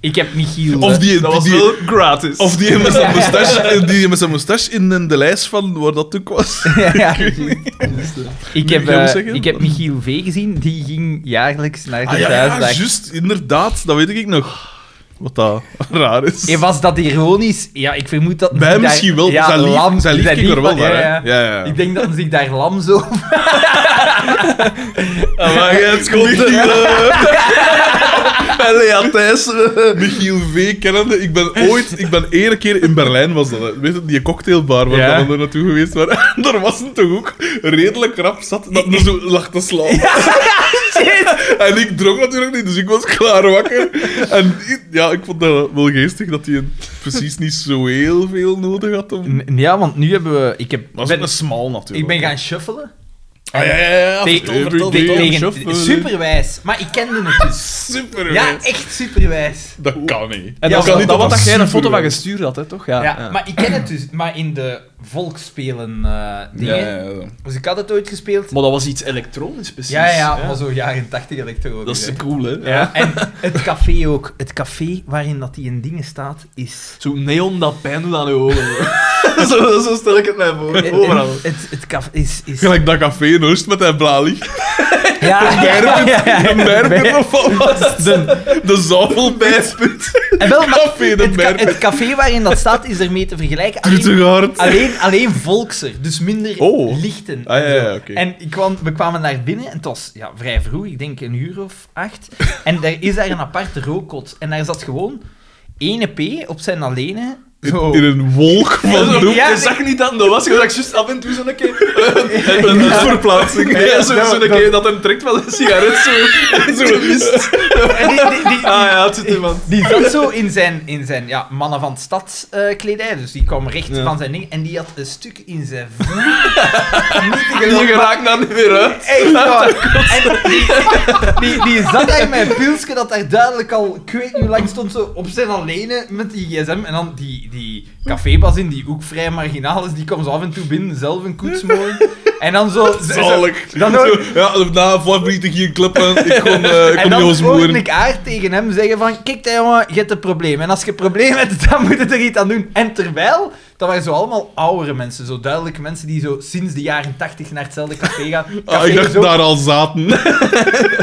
ik heb Michiel... Of eh, die, dat was die, wel gratis. of die met zijn moustache, eh, die met zijn moustache in de, de lijst van waar dat ook was. ja, ik, heb, Moet ik jou eh, zeggen? ik heb Michiel V gezien, die ging jaarlijks naar de Ah, ja, ja, thuisdag. juist, inderdaad, dat weet ik nog. Wat dat raar is. Eh, was dat ironisch? Ja, ik vermoed dat... Bij daar- misschien wel. Ja, zijn lief, lam- zijn lief zijn ging er lief wel van- naar, ja, hè. Ja, ja. Ik denk dat hij zich daar lam zo... Ah, Maar jij hebt gewoon eh. En Lea Thijs, eh, Michiel V. kennende. Ik ben ooit, ik ben één keer in Berlijn was dat. hè. Weet je, die cocktailbar waar Ja. we dan naartoe geweest waren. En daar was een toch ook redelijk rap zat dat me zo lag te slaan. En ik dronk natuurlijk niet, dus ik was klaar wakker. En i- ja, ik vond dat wel geestig dat hij precies niet zo heel veel nodig had. Om... N- Ja, want nu hebben we... Ik, heb, Maar ben- een smal ik natuurlijk. ben gaan shuffelen. Ah, ja, ja, ja. Te- Vertel, te- vertel, vertel. tegen- Shuffle. Superwijs. Maar ik kende het dus. Super. Ja, echt superwijs. Dat kan niet. Ja, En dat, kan was niet, dat dat wat dat was jij een foto van superwijs. gestuurd had, hè, toch? Ja. Ja, maar ik ken het dus. Maar in de volksspelen eh Ja, dingen. ja, ja. Dus ik had het ooit gespeeld. Maar dat was iets elektronisch, precies. ja, ja, maar zo jaren 80 elektro. Dat is hè. te cool, hè? ja. En het café ook. Het café waarin dat die in dingen staat is... Zo neon dat pijn doet aan je ogen. zo, zo stel ik het mij voor. en- Overal. en Het, het café is... is Gelijk dat café in Oost met dat blauw licht. ja, ja, ja, ja. De merker of alvast. De, de zwavelbijsput. En wel, maar Café de het, ca- merker. het café waarin dat staat is ermee te vergelijken. Alleen, Tuttegaard. Ah, alleen, alleen volkser. Dus minder Oh. lichten. ja, ja, oké. En ik kwam, we kwamen naar binnen en het was ja, vrij vroeg, ik denk een uur of acht. En daar is daar een aparte rookkot. En daar zat gewoon ene P op zijn allene. Zo. In, in een wolk van doek. ja, je nee. zag niet dat dat was, je zag juist af en toe zo'n keer... Een luchtverplaatsing. Ja, Ja, zo, zo'n keer dat hem trekt van een sigaret, zo... zo mist. En die, die, die, Ah ja, het zit iemand. die zat zo in zijn, in zijn ja, mannen van stad eh, kledij. Dus die kwam recht Ja. van zijn ding. En die had een stuk in zijn vloer. Die geraakt daar niet weer uit. Echt waar. nou, En die, die, die zat daar met een pilsje dat daar duidelijk al, ik weet niet hoe lang stond, zo op zijn alleen met die gsm. En dan die, die cafébas in, die ook vrij marginaal is, die kwam zo af en toe binnen, zelf een koets mooi. En dan zo... zo- Zalig. Dan Zo, ook- ja, na vijf minuten ging ik klappen. Ik kon, eh, ik en kon niet dan hoorde osmoeren. ik haar tegen hem zeggen van, kijk daar jongen, je hebt een probleem. En als je een probleem hebt, dan moet je er iets aan doen. En terwijl, dat waren zo allemaal oudere mensen, zo duidelijk mensen die zo sinds de jaren tachtig naar hetzelfde café gaan. Ah, ik Café dacht zo- daar al zaten.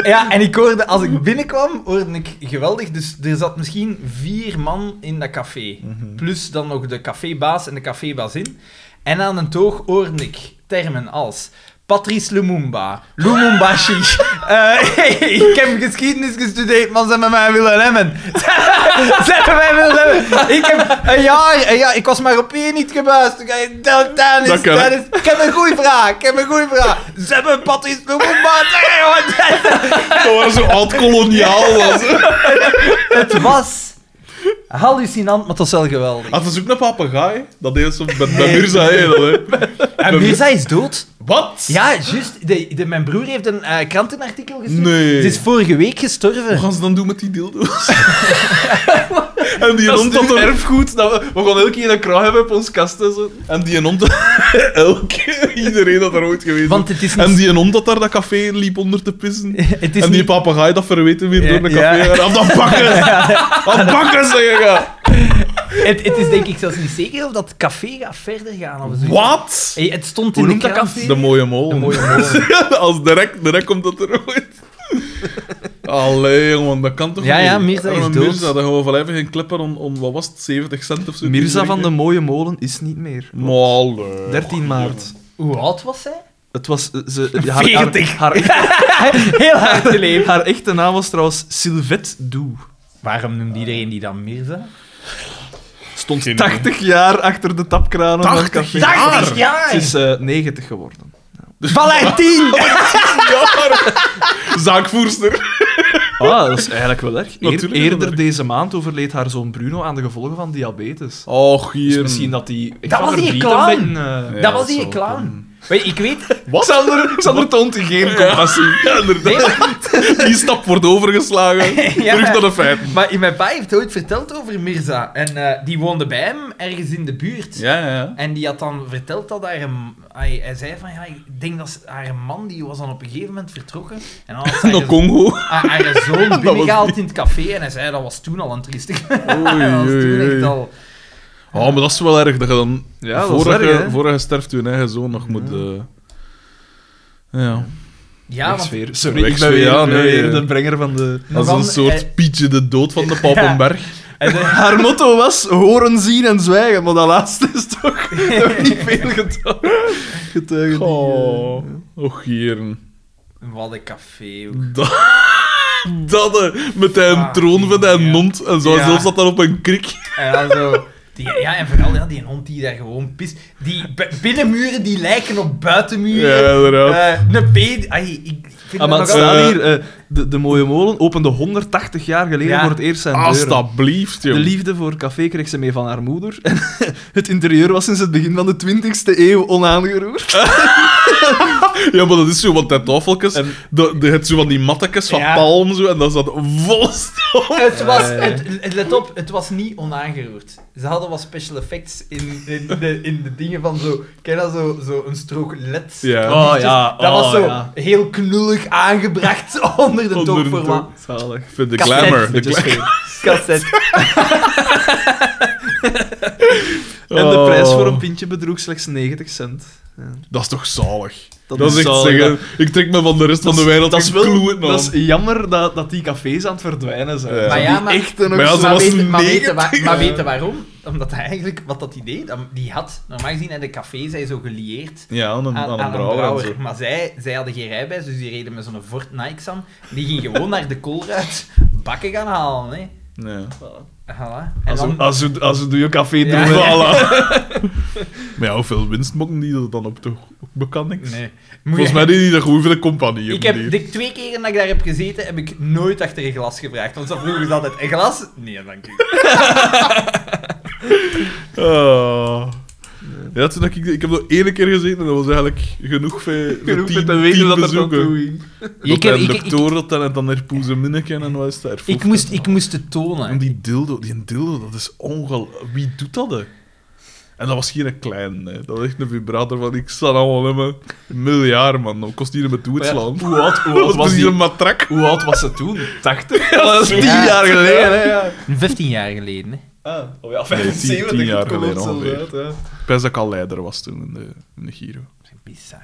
Ja, en ik hoorde, als ik binnenkwam, hoorde ik geweldig. Dus er zat misschien vier man in dat café. Mhm. Plus dan nog de cafébaas en de cafébazin. En aan een toog hoorde ik termen als Patrice Lumumba, Lumumbashi. Eh, ik heb geschiedenis gestudeerd, maar ze hebben mij willen remmen. ze hebben mij willen remmen. Ik heb een jaar, een jaar ik was maar op één niet gebuist. Dat, dat is, Dat kan, dat hè. is. Ik heb een goede vraag, ik heb een goede vraag. Ze hebben Patrice Lumumba. tegen- Dat was zo oud-koloniaal. was. Het was hallucinant, maar het was wel geweldig. Had ze ook een papegaai? Dat deed ze met, met Mirza. hè, dat, hè. En Mirza is dood. Wat? Ja, juist. De, de, mijn broer heeft een eh, krantenartikel gezien. Nee. Ze is vorige week gestorven. Wat gaan ze dan doen met die dildo's? en die Dat hond is dat toch er... erfgoed. Dat we, we gaan elke keer een kraag hebben op ons kasten. Zo. En die hond... Elke... Iedereen dat er ooit geweest is. Want het is En niet- die hond dat daar dat café liep onder te pissen. Het is en die niet- papegaai dat verweten weer Ja, door de café. ja. En af dat bakken! Af bakken, zeg ik! ja. het, het is denk ik zelfs niet zeker of dat café gaat verder gaan. Of zo. Wat? Hey, het stond Hoe in noemt de dat krant. café? De mooie mol. De mooie molen. Als direct, direct komt dat er ooit. Allee, jongen, dat kan toch Ja, niet? ja, Mirza is Arme dood. Mirza, dat gaan we van even gaan klippen om, om, wat was het, 70 cent of zo. te Mirza van de drinken. Mooie Molen is niet meer. Maar allee. 13 maart. Hoe oud was zij? Het was... eh, Ze, haar, haar, 40. haar, echte, Heel hard geleefd. haar echte naam was trouwens Sylvette Doe. Waarom noemt iedereen die dan Mirza? Stond Geen 80 jaar achter de tapkranen van het 80 café. jaar? 80 jaar! Ze is eh, 90 geworden. eh, Valentien! Zaakvoerster. Ah, dat is eigenlijk wel erg. Eer- Natuurlijk is dat eerder erg. deze maand overleed haar zoon Bruno aan de gevolgen van diabetes. Och, hier. Dus misschien dat die... Ik Dat ga was die verdriet clown. een beetje, eh, Ja, dat was dat die zou clown. Weet, ik weet... Wat? Xander, Xander toont geen compassie. Ja, inderdaad. Nee, maar- Die stap wordt overgeslagen. Ja. Terug naar de feiten. Maar mijn pa heeft ooit verteld over Mirza. En eh, die woonde bij hem, ergens in de buurt. Ja, ja. En die had dan verteld dat haar... m- Hij, hij zei van, ja, ik denk dat ze- haar man, die was dan op een gegeven moment vertrokken. En dan had ze Naar haar, zo- Congo. haar- haar zoon was binnengehaald in het café. En hij zei, dat was toen al een triestig. dat was toen echt al... Oh, maar dat is wel erg dat je dan... Ja, dat is vorige, erg, hè? vorige sterft je eigen zoon nog moet... eh, Ja. Ja, want... Wegsfeer. Sorry, ik ben Wegsfeer, weer, ja, ik ben nee, weer ja. de brenger van de... Als Dan, een soort eh, Pietje de Dood van de Papenberg. En eh, dan- Haar motto was horen, zien en zwijgen, maar dat laatste is toch nog niet veel getuigen. getuigen die, eh, Oh, och jeren. Wat een café. ook. Dat, dat eh, met zijn Ah, troon van zijn ja. mond en zo Ja. zelfs dat daar op een krik. En dan zo... Die, ja, en vooral ja, die hond die daar gewoon pist. Die b- binnenmuren die lijken op buitenmuren. Ja, inderdaad. Eh, een peed... Ai, ik vind eh. dat Ah, maar het nog staat Eh. hier, eh, de, de Mooie Molen opende 180 jaar geleden Ja. voor het eerst zijn deuren. Alsjeblieft, De Ah, joh. liefde voor café kreeg ze mee van haar moeder. En eh, het interieur was sinds het begin van de 20e eeuw onaangeroerd. Ja, maar dat is zo, want dat tafeltjes, En- de, de, het zo van die mattekes van Ja. palm zo, en dat zat vol stof. Het was, Eh. het, let op, het was niet onaangeroerd. Ze hadden wat special effects in, in, de, in de dingen van zo... Ken je dat zo, zo een strook led? Ja. Dat Oh lichtjes, ja, Dat was oh zo ja. heel knullig aangebracht onder de Onder de toonformaat. Zalig. Ik vind de Cassette. glamour. De Dit is gla- veel. Cassette. En de Oh. prijs voor een pintje bedroeg slechts 90 cent. Dat is toch zalig? Dat, is is echt zalig, zeggen, ik trek me van de rest van de wereld dat is, een kloe in de dat hand. is jammer dat, dat die cafés aan het verdwijnen zijn. Ja. Zo Maar die ja, maar- echte nog Maar ja, zo- ze maar, was weten, maar, weten, wa- 90. maar weten waarom? Omdat hij eigenlijk, wat dat idee, die had, normaal gezien, en de café zijn zo gelieerd Ja, aan een, aan, aan een brouwer en brouwer. zo. Maar zij, zij hadden geen rijbewijs, dus die reden met zo'n Ford Nikes aan. Die ging gewoon naar de koolruit bakken gaan halen. Hè. Ja. Voilà. En Als we- dan, Als we- als we doe je café doen. Ja. hè. Maar ja, hoeveel winst mokken die dat dan op toch ook bekend niks? nee. Moet Volgens je- mij die dat gewoon voor de compagnie. ik heb de twee keren dat ik daar heb gezeten, heb ik nooit achter een glas gevraagd. Want ze vroegen ze altijd, een glas? Nee, dank u. Oh. Ja, toen heb ik, ik heb nog één keer gezeten en dat was eigenlijk genoeg voor Genoeg tien, om te weten tien dat er bezoeken. toe ging. Dat Ik hij heb- een ik- ik- doctor had en dan- dan haar poeze minneken en wat is daar? Ik moest, ik moest het En tonen. die dildo, die dildo, dat is ongelooflijk. Wie doet dat? Hè? En dat was geen klein, hè. dat was echt een vibrator van ik zal allemaal hebben. Een miljard man, dat kost hier met toe het Maar ja, slaan. Hoe oud, hoe, Dat oud was was die, hier een matrak. hoe oud was ze toen? 80? dat is 10 jaar geleden. Hè, ja. 15 jaar geleden, hè. Ah, oh ja, Nee, 75 tien- tien jaar het komt geleden zelfs ongeveer. uit, hè. Ik wist dat ik al leider was toen in de, in de Giro. Bizar.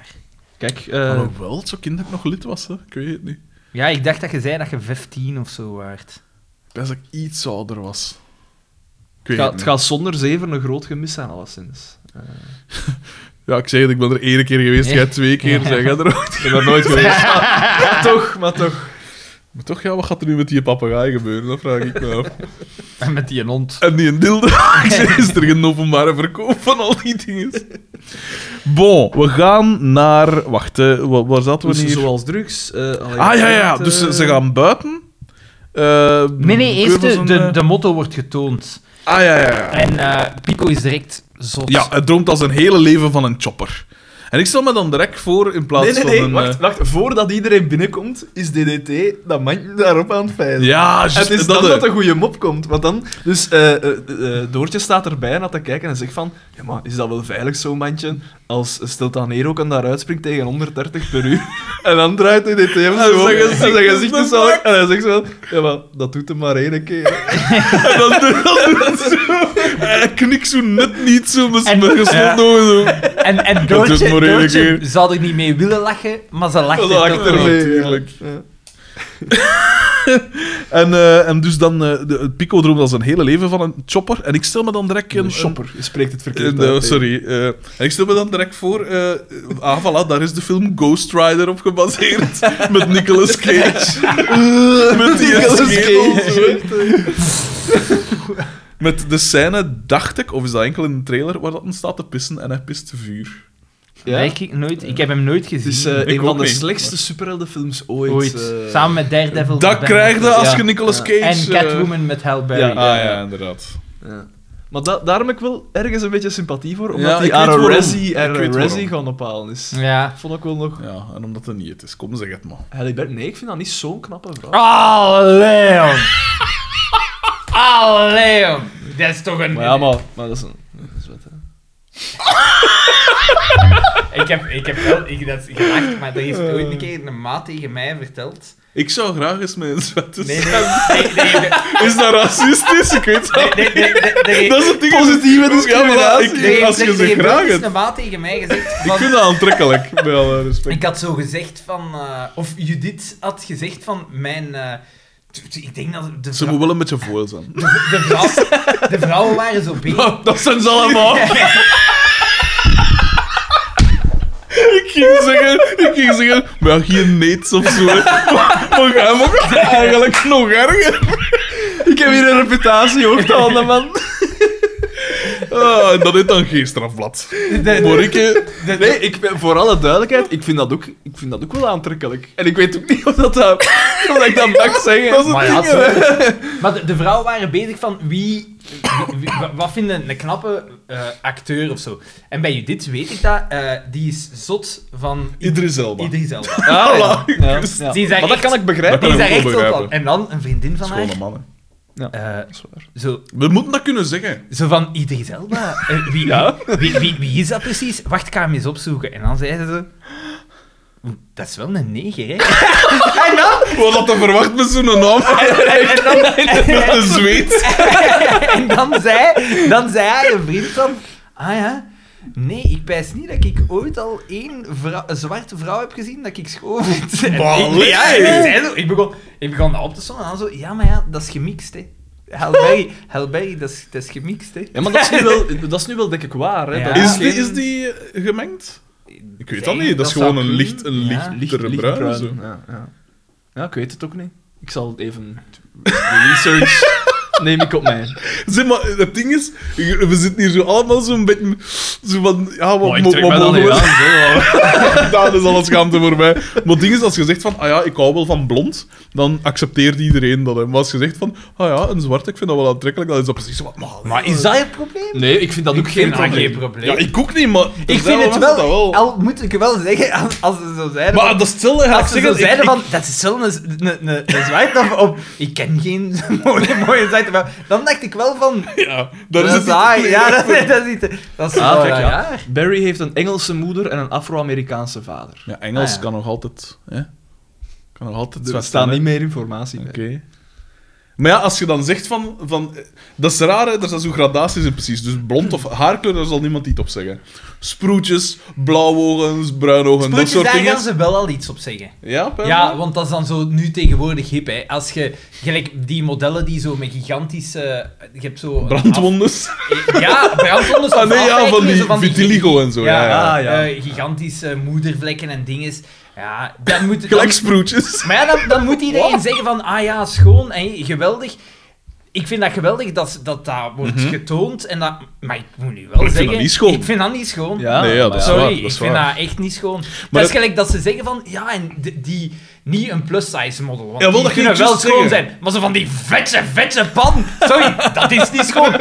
Kijk, eh, Ah, maar wel, zo kind dat ik nog lid was, hè. ik weet het niet. Ja, ik dacht dat je zei dat je 15 of zo waart. Ik wist dat ik iets ouder was. Ik weet het, gaat, het het niet. gaat zonder zeven een groot gemis zijn, alleszins. Ja, ik zeg het, ik ben er één keer geweest, jij twee keer, zeg jij er ook. Ik ben er nooit geweest. maar toch, maar Dus toch. Maar toch, ja, wat gaat er nu met die papegaai gebeuren, dat vraag ik me af. En met die hond. En die een dildo. Ik zeg, is er geen openbare verkoop van al die dingen? Bon, we gaan naar... Wacht, hè, wa- waar zaten we Dus hier? zoals drugs. eh, alleen- Ah, ja, ja. Dus ze, ze gaan buiten. Eh, Nee, nee, eerst Curvels de, en, de, eh, de motto wordt getoond. Ah, ja, ja, ja. En eh, Pico is direct zot. Ja, het droomt als een hele leven van een chopper. En ik stel me dan direct voor, in plaats Nee, nee, nee, van een... wacht, eh, wacht. Voordat iedereen binnenkomt, is DDT dat mandje daarop aan het feilen. Ja, En juist. het is dat, eh, dan hè. dat een goede mop komt. Want dan, dus eh, eh, eh, Doortje staat erbij naar te kijken en zegt van... Ja, maar is dat wel veilig, zo'n mandje? Als stelt dan hier ook en daaruit springt tegen 130 per uur. En dan draait hij dit hem En zo zijn om. En gezicht zijn is gezicht is zo... bevlakt. En hij zegt zo van... Ja, maar dat doet hem maar één keer. En dan doet dat doet het zo. En hij knikt zo net niet zo, met zijn En- gesloten ogen zo. En, en Dat doet Doortje, maar één Doortje keer. zou er niet mee willen lachen, maar ze lacht Dat er lacht toch er mee. mee. natuurlijk. Ja. En, eh, en dus dan... eh, de, Pico droomt als een hele leven van een chopper. En ik stel me dan direct... Een een- shopper. Je spreekt het Eh, verkeerd nee, uit, hè. sorry. eh, en ik stel me dan direct voor... eh ah, voilà, daar is de film Ghost Rider op gebaseerd. met Nicolas Cage. met die Nicolas schedel Cage. zo, hè. Met de scène, dacht ik, of is dat enkel in de trailer, waar dat dan staat te pissen en hij pist vuur. Ja? Nee, ik, nooit, ik heb hem nooit gezien. Het is eh, Ik een van ook de niet. slechtste superheldenfilms ooit. ooit. eh. Samen met Daredevil. Dat Ben krijg je als Ja. je Nicolas Ja. Cage... En eh, Catwoman met Halle Berry. Ja. Ah ja, inderdaad. Ja. Maar da- daarom heb ik wel ergens een beetje sympathie voor, omdat Ja, ik die weet Ara waarom. Resi, Ik Ara weet Resi waarom. gaan ophalen is. Ja. Vond ik wel nog... Ja, en omdat het niet het is. Kom, zeg het maar. Halle Berry- nee, ik vind dat niet zo'n knappe vrouw. Oh, Leon. Oh, Leon. Dat is toch een... Maar ja, maar, maar dat is een... Dat is wat, hè. Ik heb, ik heb wel, ik, dat is gelacht, maar er is ooit een keer een maat tegen mij verteld. Ik zou graag eens met een zwette Nee, nee, nee, nee, nee, Is dat racistisch? Ik weet het nee, nee, nee, nee, nee. Dat is het ding. Positieve Ja, maar discriminatie. ik- Er heeft- als je er ze heeft graag ooit eens hebt. een maat tegen mij gezegd Ik van... vind dat aantrekkelijk, bij alle respect. Ik had zo gezegd van... eh, of Judith had gezegd van... Mijn eh, Ik denk dat de, Ze vrou- moet wel een beetje voor zijn. de, vrouw- de vrouwen waren zo bezig. Dat zijn ze allemaal. Ik ging zeggen, ik ging zeggen, maar geen neets of zo. hè. Maar maar jij mag het eigenlijk nog erger. Ik heb hier een reputatie ook te handen, man. Ah, en dat is dan geen strafblad. Maar ik, eh, Nee, ik, ben- voor alle duidelijkheid, ik vind, dat ook, ik vind dat ook wel aantrekkelijk. En ik weet ook niet of, dat, dat, of dat ik dat mag zeggen. Dat is het Maar, ja, ding, hè. zo- maar de, de vrouwen waren bezig van wie, wie- wie- wa- wat vinden een knappe eh, acteur of zo. En bij Judith weet ik dat, eh, die is zot van Idris Elba. Idris Elba. Ah, ja. Ja, Ja. Die is daar Maar dat echt- kan ik Dat begrijpen. kan die is daar ik echt wel zot van. begrijpen. En dan een vriendin van haar, Schone mannen. eh, is waar. zo, We moeten dat kunnen zeggen. zo van Idris Elba. Eh, wie, wie, wie, wie is dat precies? Wacht, ik ga hem eens opzoeken. En dan zeiden ze... Dat is wel een neger, hè? Wat had dat verwacht met zo'n naam? En dan, Met een zweet. En dan zei, dan zei hij een vriend van... Ah ja, nee, ik pijs niet dat ik ooit al één vrou- een zwarte vrouw heb gezien dat ik schoon vind. En ik, Ballet. ja, en ik, zei zo- ik, begon, ik begon dat op te sommen en dan zo... Ja, maar ja, dat is gemixt, hè. Halberry, Halberry, dat is, dat is gemixt, hè. Ja, maar dat is nu wel, dat is nu wel denk ik waar. Hè. Ja. Dat Is die, geen- is die eh, gemengd? Ik weet dat Zeggen, niet. Dat is zou gewoon een kunnen. licht, een Ja. licht, lichtere bruin. zo. Ja, ja. ja, ik weet het ook niet. Ik zal even... De research neem ik op mij. Zeg maar, het ding is, we zitten hier zo allemaal zo'n beetje... Zo van, ja, wat, Oh, ik mo- trek wat mij dat mogen niet we- aan. zo. Daar is alles schaamte voor mij. Maar het ding is, als je zegt van, ah ja, ik hou wel van blond, dan accepteert iedereen dat. Hè. Maar als je zegt van, ah ja, een zwart, ik vind dat wel aantrekkelijk, dan is dat precies wat... Maar, Maar is dat het probleem? Nee, ik vind dat ook geen vind dat probleem. geen probleem. Ja, ik ook niet, maar... er ik zijn vind mensen het wel, dat Al moet ik wel zeggen, als, als ze zo zeiden... Maar dat is hetzelfde, ga ik Als ze zo zeggen... zeiden ik- van, dat is wel een, z- een, een, een zwarte of op, ik ken geen mooie, mooie zwarte vrouw. Dan dacht ik wel van, ik- Ja, daar dat is is het. saai. Ja, dat, dat is niet... Dat is Ah, wel kijk, ja. raar. Barry heeft een Engelse moeder en een Afro-Amerikaanse vader. Ja, Engels Ah, ja. kan nog altijd... Hè? Kan nog altijd... Er zwart staat zijn, hè. Dus niet meer informatie bij. Oké. Maar ja, als je dan zegt van... van eh, dat is raar, hè? Er zijn zo gradaties in precies. Dus blond of haarkleur, daar zal niemand iets op zeggen. Sproetjes, blauwe ogen, bruine ogen, dat Sproetjes, soort daar gaan dingen. ze wel al iets op zeggen. Ja, Pamela? Ja, want dat is dan zo nu tegenwoordig hip, hè. Als je, gelijk die modellen die zo met gigantische... Je hebt zo... een Brandwondes. af- eh, Ja, brandwondes. of Ah nee, ja, van afwijkingen, die zo vitiligo en zo. Ja, ja. ja. eh, gigantische moedervlekken en dinges. Ja, dat moet... dat- Gelijk sproetjes. Maar ja, dan, dan moet iedereen zeggen van, ah ja, schoon en geweldig. Ik vind dat geweldig dat dat, dat wordt getoond. En dat, maar ik moet nu wel Mhm. ik vind zeggen... dat niet schoon. Ik vind dat niet schoon. Ja, nee, ja, dat is Sorry, waar. Dat ik is vind waar. dat echt niet schoon. dat Maar- is gelijk dat ze zeggen van, ja, en d- die... Niet een plus-size model, want Ja, wel, die dat ging kunnen ik wel juist schoon zeggen. zijn. Maar zo van die vetse, vetse pan. Sorry, dat is niet schoon.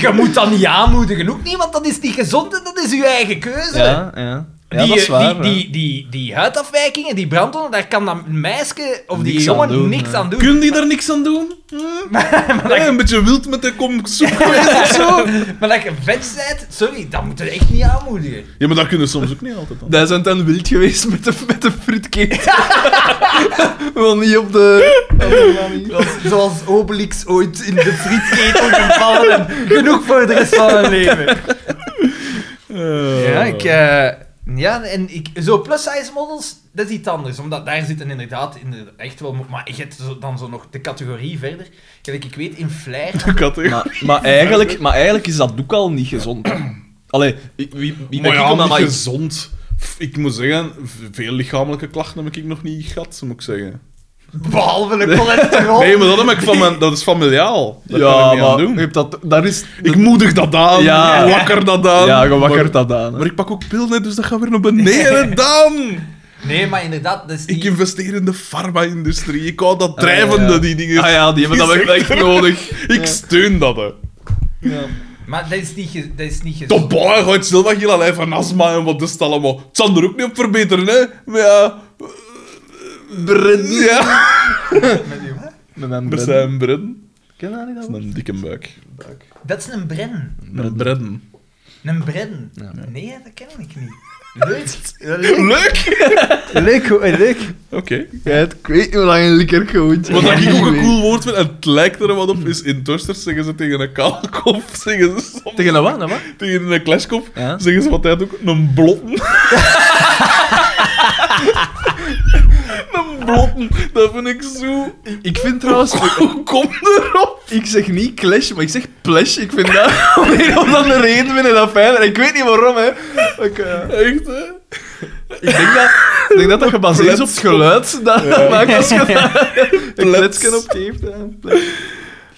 Je moet dat niet aanmoedigen, ook niet, want dat is niet gezond en dat is uw eigen keuze. Ja, ja. Ja, die, dat is eh, waar. die, die, die, die huidafwijkingen, die brandwonden, daar kan dat meisje of die Niks jongen aan doen, niks hè. aan doen. Kun die daar niks aan doen? Hm? Eh, een beetje wild met de kom soep geweest of zo. Maar dat je vet bent, sorry, dat moet je echt niet aanmoedigen. Ja, maar dat kunnen soms ook niet altijd. aan. Daar zijn dan wild geweest met de, met de fruitcake. Wel niet op de... op de manier. Zoals Obelix ooit in de frietketel gevallen en genoeg voor de rest van mijn leven. Oh. Eh, Ja, ik, eh, ja en ik, zo plus-size models, dat is iets anders. Omdat daar zitten inderdaad, inderdaad echt wel... mo- Maar je hebt zo- dan zo nog de categorie verder. Kijk, ik weet, in Flair... Ik had echt- Maar, maar, eigenlijk, maar eigenlijk is dat ook al niet gezond. Allee, ik- wie, wie ben maar ik ja, om dat niet maar... gezond. F- Ik moet zeggen, v- veel lichamelijke klachten heb ik nog niet gehad, moet ik zeggen. Behalve de cholesterol. Nee, maar dat, heb ik van mijn, dat is familiaal. Dat kan Ja, ik niet aan maar je doen. hebt dat... Daar is... Ik moedig dat aan, Ja. wakker dat aan. Ja, je Maar- wakkert dat aan. hè. Maar ik pak ook pil net, dus dat gaat weer naar beneden dan. Nee, maar inderdaad, dat is Ik niet... investeer in de farma-industrie. Ik hou dat Ah, ja, ja. drijvende, die dingen. Ah ja, die hebben dat Die wel echt nodig. Ik steun dat, hè. Ja. Maar dat is niet, ge- dat is niet De gezond. boy gooit stil van heel lijf van astma en wat is het allemaal. Het zal er ook niet op verbeteren, hè. Maar ja... eh, Ja. Met mijn Er bread. zijn bredden. Ken je dat niet? dat Dat is woord? een dikke buik. Dat is een bren. Met bredden. Een bren. Ja. Nee, dat ken ik niet. Leuk. Leuk. Leuk! Leuk, hoor, leuk. Oké. Ja, het- ik weet niet hoe lang een likker goed. Wat dat ik ook een cool woord vind, en het lijkt er wat op, is in Tosters zeggen ze tegen een kaalkop, zeggen ze soms- Tegen een wat, een wat? tegen een kleskop, Ja. zeggen ze wat hij ook, een blotten. Een blotten, dat vind ik zo... Ik vind trouwens... Hoe kom erop? Ik zeg niet clash, maar ik zeg plash. Ik vind dat om een of andere reden vind ik dat fijner. Ik weet niet waarom, hè. Ik, eh, Echt, hè? ik denk dat ik denk dat, dat gebaseerd is op het geluid. Dat Ja. maakt als je daar een Plets. kletsken op geeft. hè. Plets.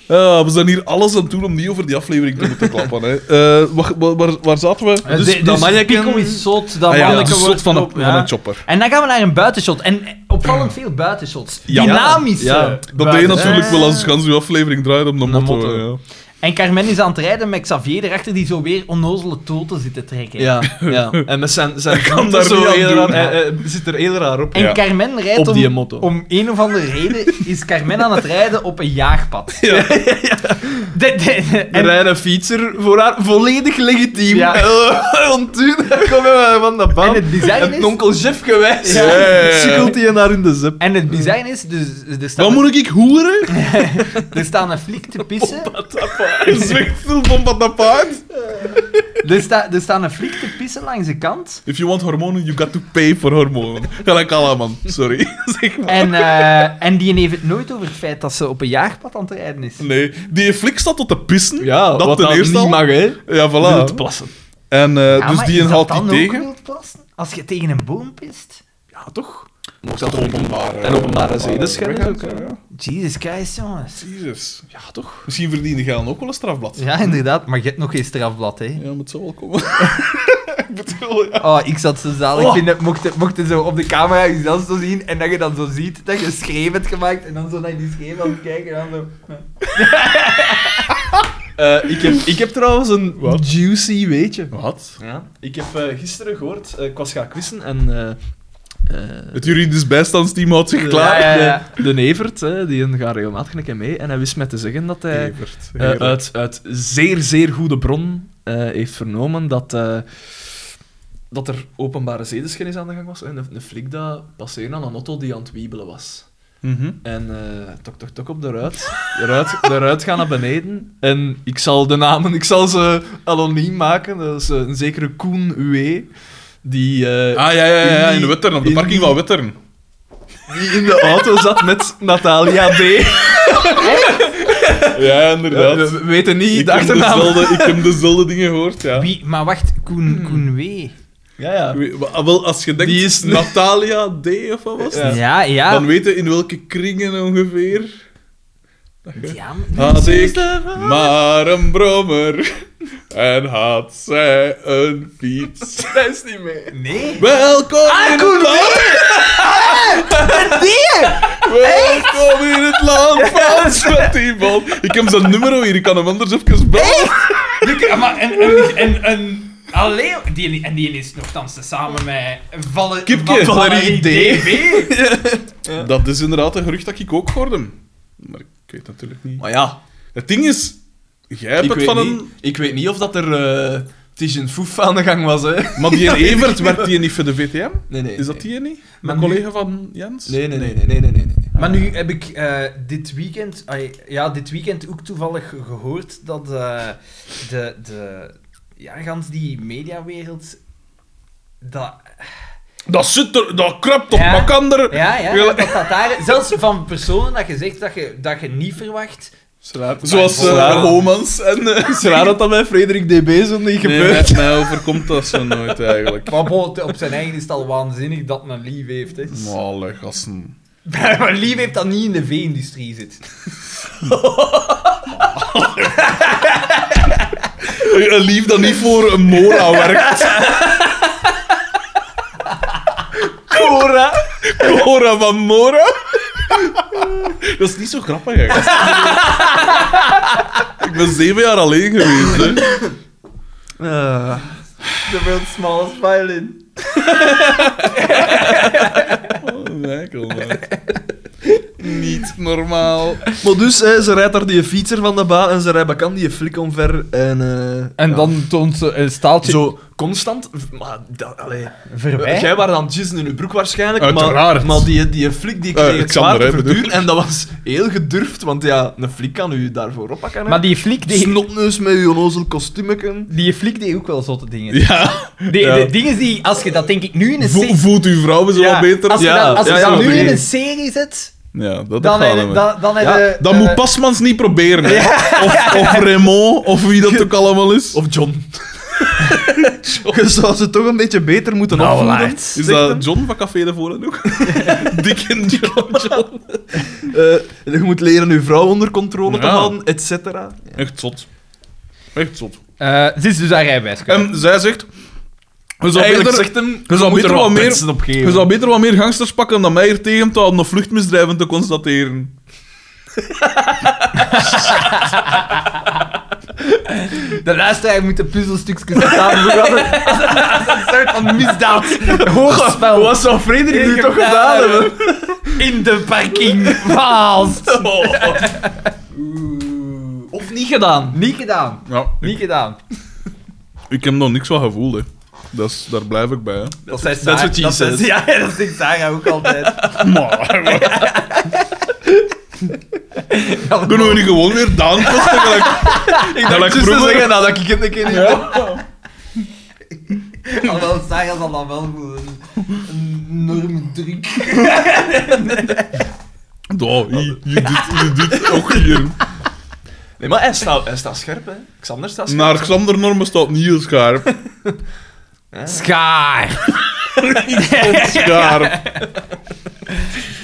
Ah, we zijn hier alles aan het doen om niet over die aflevering te moeten klappen. Hè. Eh, waar, waar- waar, waar zaten we? Dus, dat manneken- Pico is zot, dat Ah ja, manneke de wordt shot van een, erop, van ja. een chopper. En dan gaan we naar een buitenshot. En eh, opvallend veel buitenshots. Ja. Dynamische Ja, Dat deed je buitenshots. natuurlijk wel als gans uw aflevering draait om de motto. motto. ja. En Carmen is aan het rijden met Xavier erachter, die zo weer onnozele toten zit te trekken. Ja, ja. En met zijn, zijn kan kanten daar niet zo aan heel doen. raar, hij- hij zit er heel raar op. En Ja. Carmen rijdt Op die om, motto. om een of andere reden is Carmen aan het rijden op een jaagpad. Ja. De- de- En en- rijden een fietser voor haar volledig legitiem. Ja. Ontduwen, dan komen we van de en baan. het bizar En is... onkel Jeff gewijs. Ja, ja, ja, ja. Sukkelt hij naar in de zip. En het bizar is, dus, er, Wat staan, moet ik hoeren? er staan een flik te pissen. Zegt veel bomba dat paard. Er, sta, er staan een flik te pissen langs de kant. If you want hormonen, you got to pay for hormonen. Gelijk man. sorry. zeg maar. En, eh, en die heeft het nooit over het feit dat ze op een jaagpad aan het rijden is. Nee, die flik staat tot te pissen. Ja, dat wat ten dan eerste niet al. mag, hè. Ja, Voilà. Te voilà. plassen. En eh, Ja, dus maar die is een dat haalt dan die ook tegen. wild plassen? Als je tegen een boom pist? Ja, toch? Mocht dat openbaar. En openbare Oh, zedenschennis eh, ook, hè. Jesus Christ, jongens. Jezus. Ja, toch? Misschien verdiende Galen ook wel een strafblad. Ja, inderdaad, maar je hebt nog geen strafblad, hè. Ja, maar het zou wel komen. ik bedoel, ja. Oh, ik zat zo zalig. Oh. Ik vind het, mocht, het- mocht het zo op de camera jezelf zo zien en dat je dan zo ziet dat je een schreef hebt gemaakt en dan zo naar die schreef aan het kijken en dan zo... Eh, ik, heb, ik heb trouwens een Wat? juicy weetje. Wat? Ja. Ik heb eh, gisteren gehoord, eh, ik was gaan quizzen en... eh, eh, Het juridisch bijstandsteam houdt zich klaar. Ja, ja, ja. De, de Evert, hè, die gaat regelmatig een keer mee. E En hij wist mij te zeggen dat hij Evert, eh, heerlijk. uit, uit zeer, zeer goede bron eh, heeft vernomen dat, eh, dat er openbare zedenschennis aan de gang was. En een, een flik dat passeerde aan een auto die aan het wiebelen was. Mhm. En eh tok, tok, tok op de ruit. De ruit, de ruit gaat naar beneden. En ik zal de namen, ik zal ze anoniem maken. Dat is eh, een zekere Koen Uwe. Die, eh, Ah, ja, ja, ja, ja, in de die- Wetteren, op de in parking die- van Wetteren. die in de auto zat met Natalia D. Ja, inderdaad. We we weten niet ik, dus de heb achternaam. dezelfde, ik heb dezelfde dingen gehoord, ja. Hmm. Wie? Maar wacht, Koen, Koen W. Ja, ja. Ik weet- wa- Wel, als je denkt, Die is- Natalia D of wat was het? Ja. Ja, ja. Dan weten in welke kringen ongeveer. Ja, maar- Had ik maar een brommer en had zij een fiets. Dat is niet mee. Nee. Welkom Ah, in Koen het land! Welkom in het land van Smetibal! Ik heb zijn nummer hier, ik kan hem anders even bellen. Luc, maar en, en, en, en alleen, die, en die is nogthans tezamen met Valer, Kipke. Valerie Valerie D. Dat is inderdaad een gerucht dat ik ook hoorde. Maar ik weet natuurlijk niet. Maar ja, Het ding is, jij hebt ik het weet, van niet, een... ik weet niet of dat er eh Tis en Foef aan de gang was, hè. Maar die Evert, werkt die niet voor de VTM? Nee, nee. Is dat die niet? Maar Mijn nu- collega van Jens? Nee, nee, nee, nee, nee, nee, nee. nee. Maar nu heb ik eh, dit weekend, ai, ja, dit weekend ook toevallig gehoord dat eh, de, de, ja, gans die mediawereld, dat, Dat zit er, dat krapt op Ja. makander. ja, ja, Wil- dat dat daar, zelfs van personen dat je zegt dat je, dat je niet verwacht, Zoals eh, Zwaar. Homans en... eh, Het is raar dat dat bij Frederik DB zo niet Nee, gebeurt. mij- mij overkomt dat zo nooit eigenlijk. maar bon, op zijn eigen is het al waanzinnig dat men lief heeft, hè. Maar alle gasten. Maar lief heeft dat niet in de V-industrie zit. Een lief dat niet voor een Mora werkt. Cora! Mora van Mora. Dat is niet zo grappig, hè. gast. Ik ben zeven jaar alleen geweest, hè. Eh. The world's smallest violin. Oh, Michael, man. Niet normaal. Maar dus, hè, ze rijdt daar die fietser van de baan en ze rijdt bekant die flik omver. En, eh, En ja. dan toont ze een staaltje Zo, constant. Maar, dat, allee. verwijt. Jij was aan het jizzen in je broek waarschijnlijk. Uiteraard. Maar, maar die, die flik die Eh, kreeg het zwaar Xander, te hè, bedoel. verduren. En dat was heel gedurfd, want ja, een flik kan u daarvoor oppakken. hè. Maar die fliek deed, Snotneus met uw onnozel kostuumeken. die fliek deed ook wel zotte dingen. Ja. De, Ja. de dingen die, als je dat denk ik nu in een Vo- serie... voelt uw vrouw me zo wat beter? Als je Ja, dat, als je ja, dat ja, nu nee. in een serie zet, Ja, dat dan gaan heb we. je... Dan, dan heb Ja, je, Dat eh, moet Pasmans niet proberen. hè. Of, of Raymond, of wie dat ook allemaal is. Of John. Je zou ze toch een beetje beter moeten Nou, opvoeden. laat. zegt Is hem. dat John van Café de Voren ook? Dik en John. John. Eh, je moet leren uw vrouw onder controle te Ja. houden, et cetera. Echt zot. Echt zot. eh, ze is dus haar rijbewijs kwijt. Ehm, En Ehm, zij zegt... Je zou Eigenlijk beter, zegt hem, je zou moet beter er wat meer- mensen op geven. je zou beter wat meer gangsters pakken dan mij hier tegen te houden of vluchtmisdrijven te constateren. De luisteraar moet de puzzelstukjes samenvoegen als, als, als een soort van misdaad. Hoogspel. Wat zou Frederik nu Ik toch heb gedaan daar- hebben? Oh. In de parking. Vast. Of niet gedaan. Niet gedaan. Ja, ik, Niet gedaan. ik heb nog niks van gevoeld, hè. Dat is, daar blijf ik bij, hè. Dat zei that's Sarah- what she dat zei- said. Ja, dat zegt Sarah ook altijd. Kunnen we niet gewoon weer Daan posten? gelijk- Ik dacht dacht juist te zeggen, nou, dat ik het een keer niet... Alhoewel, Sarah zal dan wel een, een enorme druk. Oh, je, je, doet, je doet ook hier. Nee, maar hij staat, hij staat scherp, hè. Xander staat scherp. Naar Xander Normen staat niet heel scherp. Schaar. Scherp.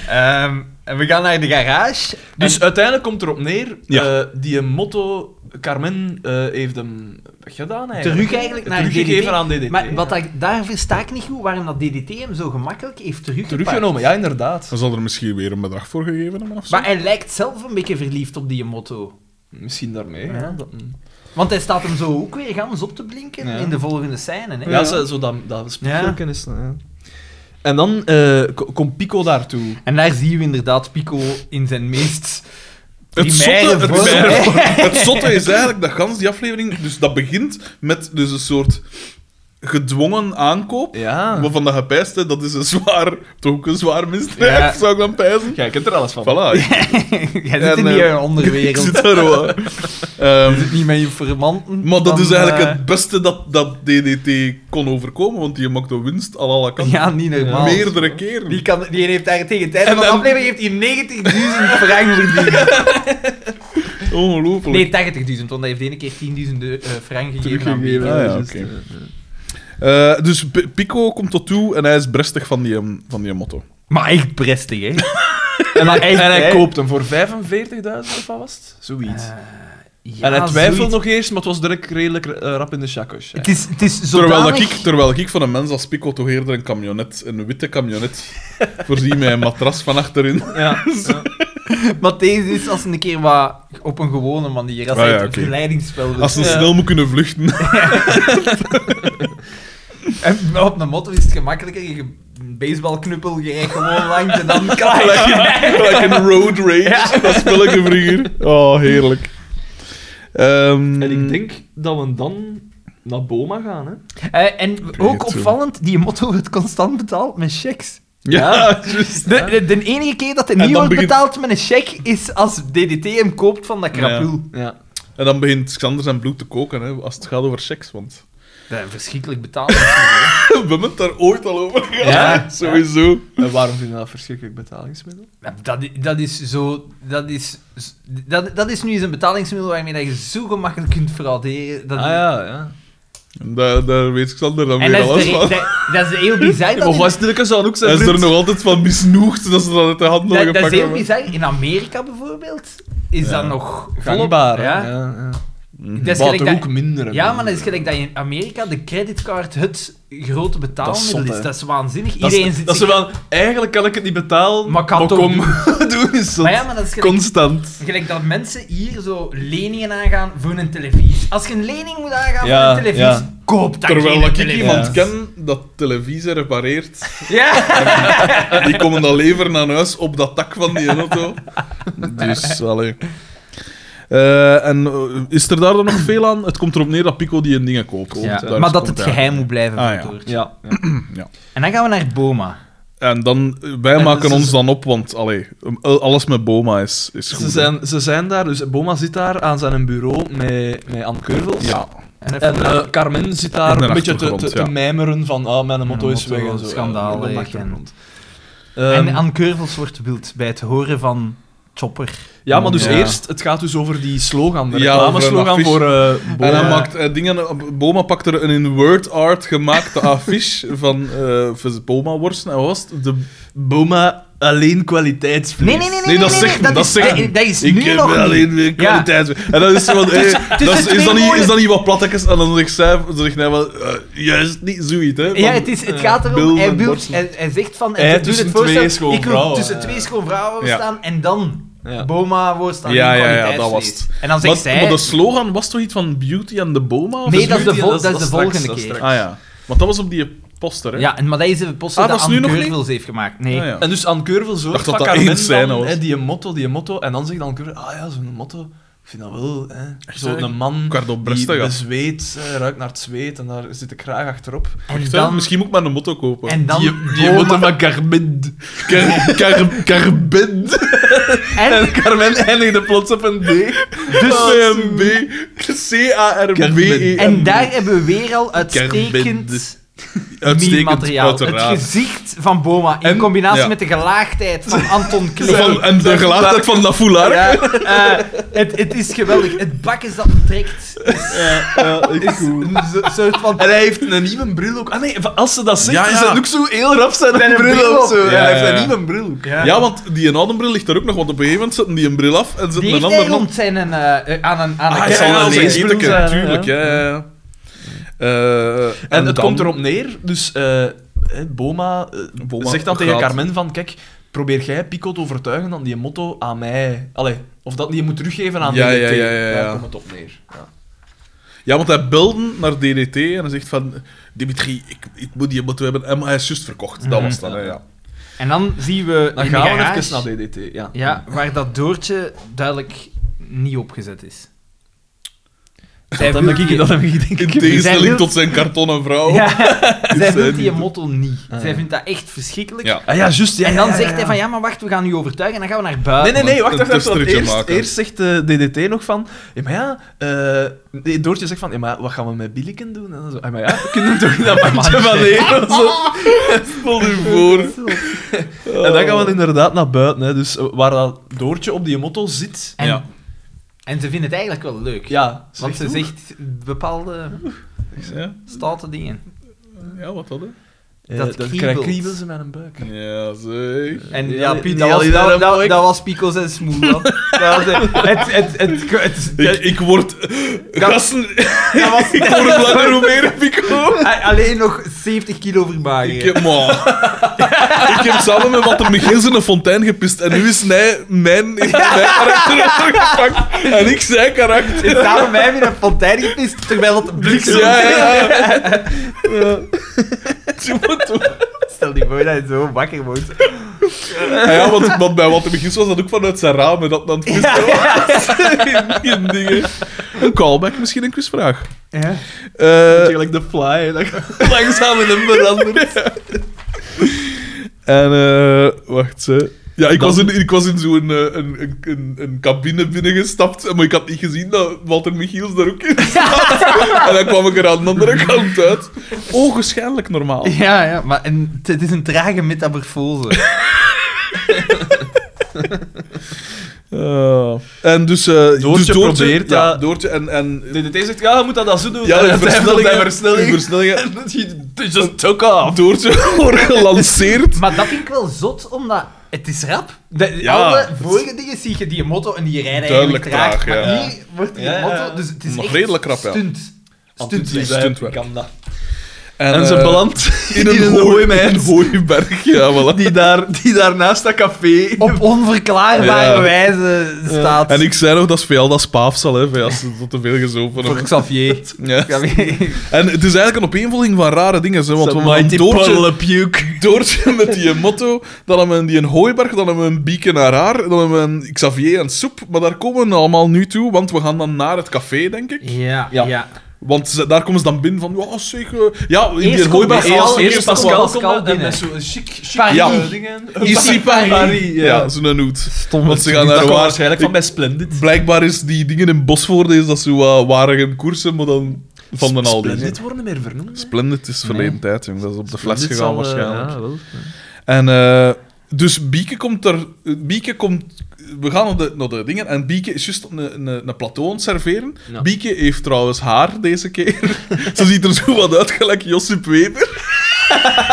Ehm, en we gaan naar de garage. Dus uiteindelijk komt erop neer, Ja. eh, die motto, Carmen eh, heeft hem weggedaan eigenlijk. Terug eigenlijk naar Teruggegeven DDT. aan DDT. Maar wat ja. ik, daar versta ik niet goed waarom dat DDT hem zo gemakkelijk heeft teruggepakt. Teruggenomen, ja, inderdaad. Dan zal er misschien weer een bedrag voor gegeven hebben of zo. Maar eh, hij lijkt zelf een beetje verliefd op die motto. Misschien daarmee, ja. Ja. dat- Want hij staat hem zo ook weer gans op te blinken Ja. in de volgende scène. Hè? Ja, Zo, zo dat, dat speelfilmpje is, ja. En dan eh, ko- komt Pico daartoe. En daar zien we inderdaad Pico in zijn meest Het primaire zotte, het, vorm. primaire vorm. het zotte is eigenlijk dat gans die aflevering... Dus dat begint met dus een soort gedwongen aankoop. Ja. Waarvan dat gepijst, hè, dat is een zwaar... Toch ook een zwaar misdrijf, Ja. zou ik dan pijzen. Jij kent er alles van. Voilà, ik Jij zit in En, die eh, eh, ik onderwereld. zit daar wel. Ehm, Niet met informanten. maar dat dan, is eigenlijk eh, het beste dat, dat DDT kon overkomen, want die maakte winst aan alle kanten. Ja, niet normaal. Meerdere keren. Die, kan, die heeft daar tegen tijd van de dan- aflevering heeft hij 90.000 frank verdiend. Ongelooflijk. Nee, 80.000, want hij heeft de ene keer 10.000 de- eh, frank gegeven. aan Teruggegeven. Pico. Ah, ja, Dus, oké. eh, Eh, dus P- Pico komt tot toe en hij is brestig van die, ehm, van die motto. Maar echt prestig, hè? En hij, en hij hè? Eh, koopt hem voor 45.000 of wat was het? Zoiets. en hij twijfelt nog eerst, maar het was direct redelijk eh, rap in de chakos. Het is, het is zodanig... Terwijl, dat ik, terwijl ik van een mens als Pico toch eerder een camionet, een witte camionet, voorzien met een matras van achterin. Ja. Maar deze is als een keer wat op een gewone manier. Als Ah, hij ja, het oké. verleidingsspel wil. Als ze Ja. snel moet kunnen vluchten. En op een motto is het gemakkelijker. Je een baseballknuppel, je rijdt gewoon langs en dan klaar. Like een road rage. Dat spelletje vroeger. Oh, heerlijk. Ehm, En ik denk dat we dan naar Boma gaan, hè? Eh, en ook toe. opvallend, die motto wordt constant betaald met checks. Ja, juist. De, de, de enige keer dat hij En niet dan wordt begint- betaald met een cheque is als DDT hem koopt van dat krapul. Ja. En dan begint Xander zijn bloed te koken hè, als het gaat over seks. Want Dat is verschrikkelijk betaald. we hebben het daar ooit al over gehad. Ja. Sowieso. En waarom vinden we dat verschrikkelijk betalingsmiddel? Ja, Dat, i- dat is zo. Dat is, dat, dat is nu eens een betalingsmiddel waarmee dat je zo gemakkelijk kunt frauderen. Dat, Ah ja, ja. En daar, daar weet Xander dan En weer dat alles is, de, van. dat, dat is heel bizar. Dat Maar in- Wasnilke zou Hij ook zijn is er vriend... nog altijd van misnoegd dat ze dat uit de handen dat, dat gepakt is heel hebben. bizar. In Amerika bijvoorbeeld is Ja. dat nog volop. Gangbaar, hè? Ja. ja. ja. Dat is Maar gelijk toch dat- ook minder. hè, Ja, maar dat minder. is gelijk dat in Amerika de creditcard het grote betaalmiddel zot, is. hè. Dat is waanzinnig. Dat, Iedereen is, zit dat ze zich- wel... Eigenlijk kan ik het niet betalen, Maar maar, ik kan toch kom, doe eens dat. Maar ja, maar dat is gelijk, Constant. gelijk dat mensen hier zo leningen aangaan voor een televisie. Als je een lening moet aangaan Ja, voor een televisie, ja. koop dat Terwijl geen dat ik televisie. iemand Ja. ken dat televisie repareert. Ja. Die komen dan leveren aan huis op dat tak van die auto. Dus, allee. Eh, en eh, is er daar dan nog veel aan? Het komt erop neer dat Pico die een dingen koopt. Daar is- Maar dat komt het hij geheim aan. moet blijven Ah, ja. vertoord. Ja. En dan gaan we naar Boma. En dan, eh, wij En dus maken ze- ons dan op, want allee, eh, alles met Boma is, is goed. Ze zijn, ze zijn daar, dus Boma zit daar aan zijn bureau met, met Anne Keurvels. Ja. En En eh, Carmen zit In daar de een beetje te, te, achtergrond, te ja. mijmeren van ah, mijn motto Mijn is motto, weg en zo. schandaal, Ja, in de ik, achtergrond. en Ehm, Anne Keurvels wordt wild bij het horen van Chopper. ja, maar dus Ja. eerst, het gaat dus over die slogan, de Ja, over reclame-slogan een voor eh En hij Boma. maakt eh, dingen. Boma pakt er een in word art gemaakte affiche van eh Boma worsten. En wat was het? De, Boma alleen kwaliteitsvlees. Nee, nee, nee, nee. nee, dat zegt nee, hem, dat dat is- zegt hem. eh, dat is ik nu heb nog niet. alleen weer kwaliteit. En dat is zo van, eh, dat is, is, twee dat niet, mooie- is dat niet wat plattekjes? En dan zegt zij, dan zegt hij wel, eh, juist niet zoiets, hè? Ja, van- het, is, het gaat erom, Bill hij, en wil, Borsten. hij, hij zegt van, Hij hij doet dus tussen het twee voorstel, ik wil schoonvrouwen, tussen ja. twee schoonvrouwen Ja. staan en dan Ja. Boma wordt staan Ja, in ja, ja, dat kwaliteitsvlees. was het. En dan maar, zegt zij, maar de slogan was toch iets van Beauty and the Boma? of nee, zo? dat is de, Beauty, vol- dat is- dat is de dat is volgende straks, dat is keer. straks. Ah ja, want dat was op die poster, hè? Ja, en, maar dat is de poster Ah, dat dat is nu Anne nog niet? Keurvels heeft gemaakt. Ah, Nee. ja. En dus Anne Keurvel zo dacht van dat dat Carmen één scène dan, was. hè, die motto, die motto. En dan zegt Anne Keurvel, ah ja, zo'n motto. Ik vind dat wel, hè. hè? Zo'n man Ricardo die Bresta, ja. bezweet, eh, ruikt naar het zweet en daar zit de kraag achterop. En Echt, hè? dan, Misschien moet ik maar een motto kopen. en dan die die motto van Carmen. Car- car- Carbin. en, Carmen eindigde plots op een D. Dus CMB. E C-A-R-B-E. en daar hebben we weer al uitstekend Kerbende. meme-materiaal. Het uiteraard. gezicht van Boma in En- combinatie ja. met de gelaagdheid van Anton Klee. Van- en de gelaagdheid van dat foulard. Ja, eh, het, het is geweldig. Het bak is dat hem trekt. is Een zo- soort van... En hij heeft een nieuwe bril ook. Ah nee, als ze dat zegt, Ja, ja. is dat ook zo heel rap zijn Zijn bril, bril of op. zo. Ja, hij heeft ja, een ja. nieuwe bril ook. Ja, want die een oude bril ligt er ook nog, want op een gegeven moment zetten die een bril af en zetten Die een heeft andere hij op. rond zijn eh, eh, aan een, aan Ah, een ja, het zal ja, een zijn leesbril bril zijn, zijn, hè. tuurlijk. Ja, ja, ja. Eh, En, het dan- komt erop neer, dus eh, eh, Boma, eh, Boma zegt dan tegen gaat- Carmen van, kijk, probeer jij Pico te overtuigen dat die motto aan mij... Allee, of dat die je moet teruggeven aan Ja, DDT. ja, ja, ja, ja. Daar komt het op neer. Ja. Ja, want hij belde naar DDT en hij zegt van... Dimitri, ik, ik moet die motto hebben. En maar hij is juist verkocht. Dat was dat, hè, ja. En dan zien we Dan in gaan de garage, we even naar DDT, ja. Ja, waar dat doortje duidelijk niet opgezet is. Zij Dat wil heb ik, die- dat heb ik denk In ik. Zij wil- tegenstelling tot zijn kartonnen vrouw. Ja, zij zijn wil niet die op- motto niet. Ah, Zij ja. vindt dat echt verschrikkelijk. Ja. Ah ja, juist. Ja, en dan ja, ja, zegt ja. hij van, ja, maar wacht, we gaan u overtuigen en dan gaan we naar buiten. Nee, nee, nee, wacht, Een wacht, wacht. want testritje Eerst, maken. eerst zegt eh, de DDT nog van... Ja, maar ja... eh, nee, Doortje zegt van... Ja, maar wat gaan we met Billeken doen? En dan zo, "Ah, maar ja, we kunnen hem toch in dat mandje van leren of zo. Stel u voor. En Oh. dan gaan we inderdaad naar buiten, hè. Dus eh, waar dat Doortje op die motto zit... En, Ja. en ze vindt het eigenlijk wel leuk. Ja, want ze zegt bepaalde Ja, stoute dingen. ja wat hadden? dat dat Eh, dan kriebelt. krijg kriebels in mijn buik. Ja, zeg. En Die ja, Ali- Piet, die dat was, Ali daar dat, een dat, mooi- dat was Pico's en Smoel. dat. Dat was, eh, het, het, het, het, Ik, ik word... Gasten, dat was ik word langer hoe meer pico. a- alleen nog 70 kilo Ik vermager. heb, maar, ik heb samen met Walter McGins in een fontein gepist. En nu is hij mijn, mijn karakter afgepakt. En ik zijn karakter. Ik sta bij mij weer een fontein gepist, terwijl het bliksem... Ja, ja, ja. Doe maar, doe maar. Stel je voor dat je zo wakker wordt. Ja, Ah ja, want, want bij Walter McGins was dat ook vanuit zijn ramen dat dan het pissen was. In dingen. Een callback, misschien een quizvraag. Ja. Eh, Eigenlijk de fly, dat langzaam in hem verandert. En eh, wacht, ze. Ja, ik was in, ik was in zo'n eh, een, een, een, een cabine binnengestapt, maar ik had niet gezien dat Walter Michiels daar ook in zat. en dan kwam ik er aan de andere kant uit. Ogenschijnlijk normaal. Ja, ja, maar en, het- het is een trage metamorfose. Eh, en dus, eh, dus Doortje probeert ja, dat- Doortje en... en DDT zegt, ja, je moet dat, dat zo doen. ja, En de hij blijft op die versnellingen. de versnelling. versnellingen. It just took off. Doortje wordt gelanceerd. maar dat vind ik wel zot, omdat het is rap. De, Ja. alle vorige dingen zie je die motto en die rijden Duidelijk eigenlijk traag. traag, ja. Maar hier wordt die Ja, ja. motto, dus het is Maar echt redelijk rap, ja. stunt. die Stunt. zei, ik kan dat. En, En ze eh, belandt in in een hooi in een mijn hooiberg. Ja, voilà. die, daar, die daar naast dat café... Op onverklaarbare Ja. wijze staat. En ik zei nog dat is veel dat spaaf zal, hè, veel als ze tot te veel gezopen Voor hebben. Xavier. Ja. Xavier. En het is eigenlijk een opeenvolging van rare dingen, hè, want we Mighty hebben Doortje, puddle of puke. Doortje met die motto, dan hebben we die een hooiberg, dan hebben we een bieken naar haar, dan hebben we een Xavier en soep, maar daar komen we allemaal nu toe, want we gaan dan naar het café, denk ik. Ja, Ja. ja. Want ze- daar komen ze dan binnen van, ja, zeg, eh, ja, in Eerst die hooiberg... komt als- Pascal- Eerst Pascal, Pascal komt en binnen. met zo'n chic, chic eh, Paris. Ja. dingen. Ici Paris. Paris, ja. ja. zo'n hoed. Stom. Want ze gaan Dat naar kwam waar... waarschijnlijk van bij Splendid. Blijkbaar is die dingen in Bosvoorde is dat zo uh, warige koersen, maar dan van de Aldi. Splendid worden meer vernoemd. Splendid is verleden tijd, jong. Dat is op de fles Splendid gegaan, zal, eh, waarschijnlijk. ja, wel. En eh, dus Bieke komt er... Bieke komt... We gaan naar de, naar de dingen en Bieke is juist een, een, een plateau aan het serveren. Ja. Bieke heeft trouwens haar deze keer. Ze ziet er zo wat uit, gelijk Josip Weber.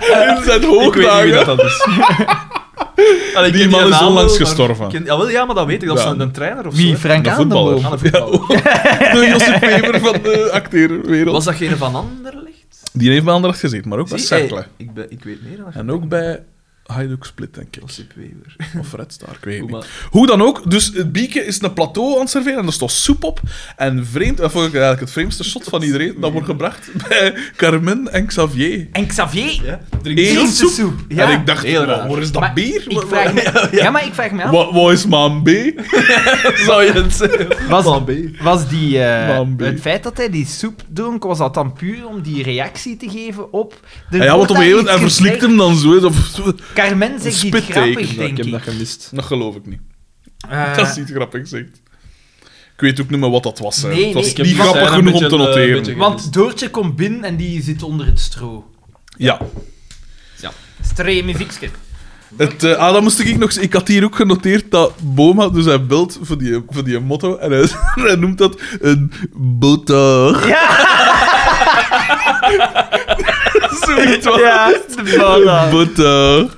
In zijn Ik weet niet wie dat hoogdagen. dat is. Allee, ik Die ken man is naam wel, onlangs maar gestorven. ik ken- Ja, wel, ja, maar dat weet ik. Dat is Ja. een, een trainer of Wie? zo. hè. Frank Een voetballer. Aandenboom? Ah, een voetballer. De Josip Weber van de acteerwereld. Was dat geen van Anderlecht? Die heeft bij Anderlecht gezeten, maar ook bij Zie, Cercle. hey, ik, ben, ik weet meer dan En ook bij Hajduk Split, denk ik. Josip Weber. Of Red Star, ik weet het Hoe niet. maar- Hoe dan ook, dus het bieken is een plateau aan het serveren en er stond soep op. En vreemd, dat vond ik eigenlijk het vreemdste shot van iedereen, dat wordt gebracht bij Carmen en Xavier. En Xavier? Eén Drinkt de soep. soep. En Ja. ik dacht, Heel raar. waar waar is dat Maar bier? Ik vraag me, ja, maar ik vraag me af. Wat, wat is maan B? Zou je het zeggen? Was, was die, eh, Man B. het feit dat hij die soep dronk, was dat dan puur om die reactie te geven op... de En ja, want op een gegeven moment, hij verslikt hem dan zo. hè, zo- zo- Carmen zegt Een iets spitteken. grappig, denk ik. gemist. Dat geloof ik niet. Eh, Dat is niet grappig, zegt. Ik weet ook niet meer wat dat was. Hè. Nee, het was nee, ik heb niet die grappig scène genoeg om een te beetje, eh, noteren. beetje- Want Doortje komt binnen en die zit onder het stro. Ja. Streme fikske. Het, eh, ah, dat moest ik nog... Ik had hier ook genoteerd dat Boma, dus hij belt voor die, voor die motto, en hij, hij noemt dat een boter. Zoiets wat. Ja, Een boter.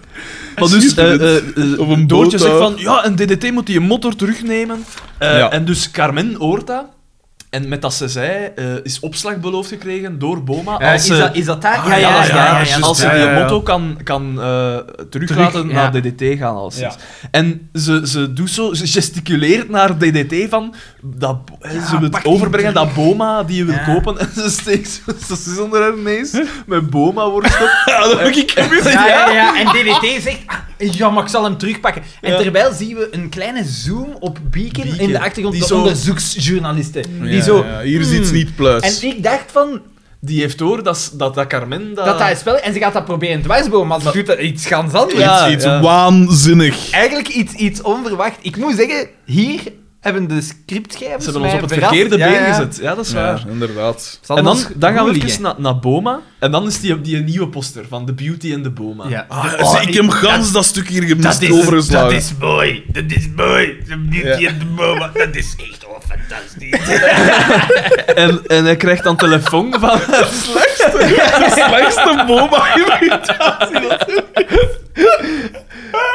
Maar Zie dus, je eh, dit? eh, eh, Of een Doortje boot, zegt eh. van, ja, een DDT moet die motor terugnemen. Eh, Ja. En dus Carmen hoort dat. En met dat ze zei, eh, is opslag beloofd gekregen door Boma. Eh, als Is ze- dat, is dat daar? Ah, ja, ja, ja, ja, juist. als ze ja, ja, die ja. motto kan, kan eh, teruglaten Terug, ja. naar DDT gaan. Als En ze, ze doet zo, ze gesticuleert naar DDT van dat, bo- hè, ze wil pak het die overbrengen dat Boma die wil Ja. kopen. En ze steekt zo- ze is onder haar neus met Boma worst op. Ja, dat heb ik gemist. Ja, ja, ja. En DDT zegt, ah, ja, maar ik zal hem terugpakken. En Ja. terwijl zien we een kleine zoom op Beacon, Beacon, in de achtergrond, die de zo- onderzoeksjournalisten. Die Ja, zo... ja, hier is iets hmm. niet pluis. En ik dacht van, Die heeft door dat, s- dat, dat Carmen dat... Ah. dat hij spel en ze gaat dat proberen dwarsbomen, maar ze doet dat iets gans anders. Ja. iets iets waanzinnig. Eigenlijk iets, iets onverwacht. Ik moet zeggen, hier hebben de scriptschrijvers Ze hebben ons mij op het verrast. verkeerde Ja, been ja. gezet. Ja, dat is waar. Ja, inderdaad. Het zal En dan, ons dan gaan we goed even liggen. na, naar Boma. En dan is die, die nieuwe poster van The Beauty and the Boma. Ja. Ah, zie, ik heb gans dat, stuk hier gemist Dat is, overgeslagen. dat is mooi. Dat is mooi. De beauty Ja. en de boa. Dat is echt oh, wel fantastisch. En, en hij krijgt dan telefoon van... de slechtste Boma.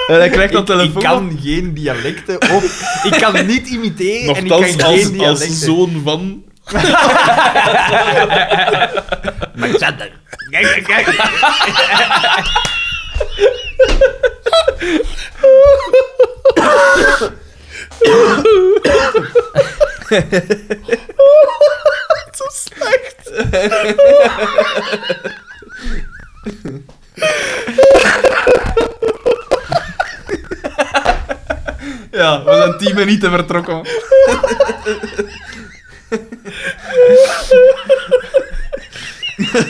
en hij krijgt dan Ik, ik telefoon van... kan geen dialecten op. ik kan niet imiteren en ik kan Nochtans, geen als, als dialecten. zoon van... Alexander. Kijk, kijk, kijk. Ja, we zijn tien minuten vertrokken.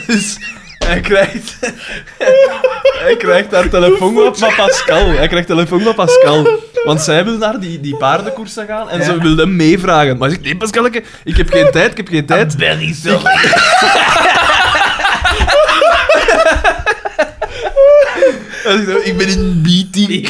dus hij krijgt... hij krijgt haar telefoon op van Pascal. Hij krijgt telefoon van Pascal. Want zij wil naar die, die paardenkoersen gaan en ze wil hem meevragen. Maar hij zegt, nee Pascal, ik heb geen tijd, ik heb geen tijd. Very sorry. Hij zegt, ik ben in een meeting.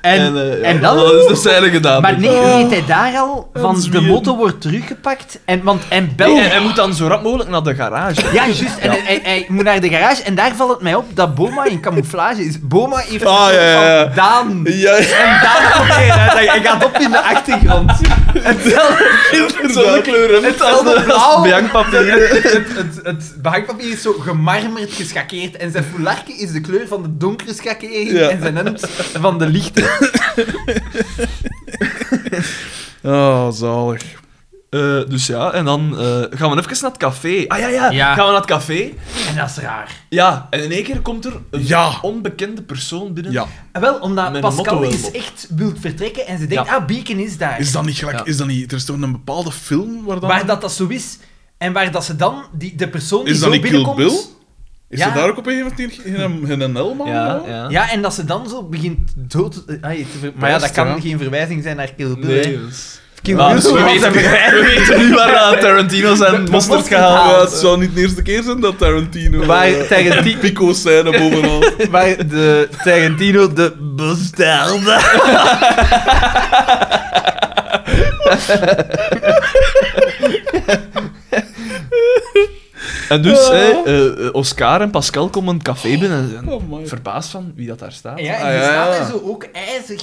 En, en, eh, ja, dan... Dat is de scène gedaan. Maar nee, weet hij daar al van de zwieren. motto wordt teruggepakt en, want, en Nee, bel... hij, hij moet dan zo rap mogelijk naar de garage. Ja, juist. En hij, hij moet naar de garage en daar valt het mij op dat Boma in camouflage is. Boma heeft Ah, een ja, soort ja, ja. van Daan. Ja, ja, En Daan komt eruit. Hij, hij gaat op in de achtergrond. inderdaad. kleuren. Hetzelfde blauw. behangpapier. Het, het, het, het behangpapier is zo gemarmerd geschakeerd en zijn foularke is de kleur van de donkere schakering Ja. en zijn hemd van de lichte. Oh, zalig. Eh, dus ja, en dan eh, gaan we even naar het café. Ah ja, ja, Ja. gaan we naar het café. En dat is raar. Ja, en in één keer komt er een Ja. onbekende persoon binnen. Ja. En wel, omdat Met een Pascal motto wel is op. echt wild vertrekken en ze denkt, Ja. ah, Beacon is daar. Is dat niet gelijk? Ja. Is dat niet... Er is toch een bepaalde film waar dat... Waar dat, dat zo is en waar dat ze dan, die, de persoon die is zo dat niet Kill binnenkomt... Bill? Is Ja. er daar ook op een gegeven moment geen- geen, geen NL man? ja, ja. Ja, en dat ze dan zo begint dood... eh, ai, te ver- Maar ja, dat kan ja. geen verwijzing zijn naar Kill Bill. hè. Nee. dus- Kill Nou, Bill dus we, was weten, een verwijzing. we weten nu waar eh, Tarantino zijn mosterd gehaald Ja, het zou niet de eerste keer zijn dat Tarantino... Waar eh, Tarantino- Pico's zijn er bovenal. Waar de Tarantino de bestelde. En dus, Ja. hè, eh, eh, Oscar en Pascal komen een café binnen en zijn Oh, my. verbaasd van wie dat daar staat. Ja, en Ah, die ja, staat ja. daar zo ook ijzig.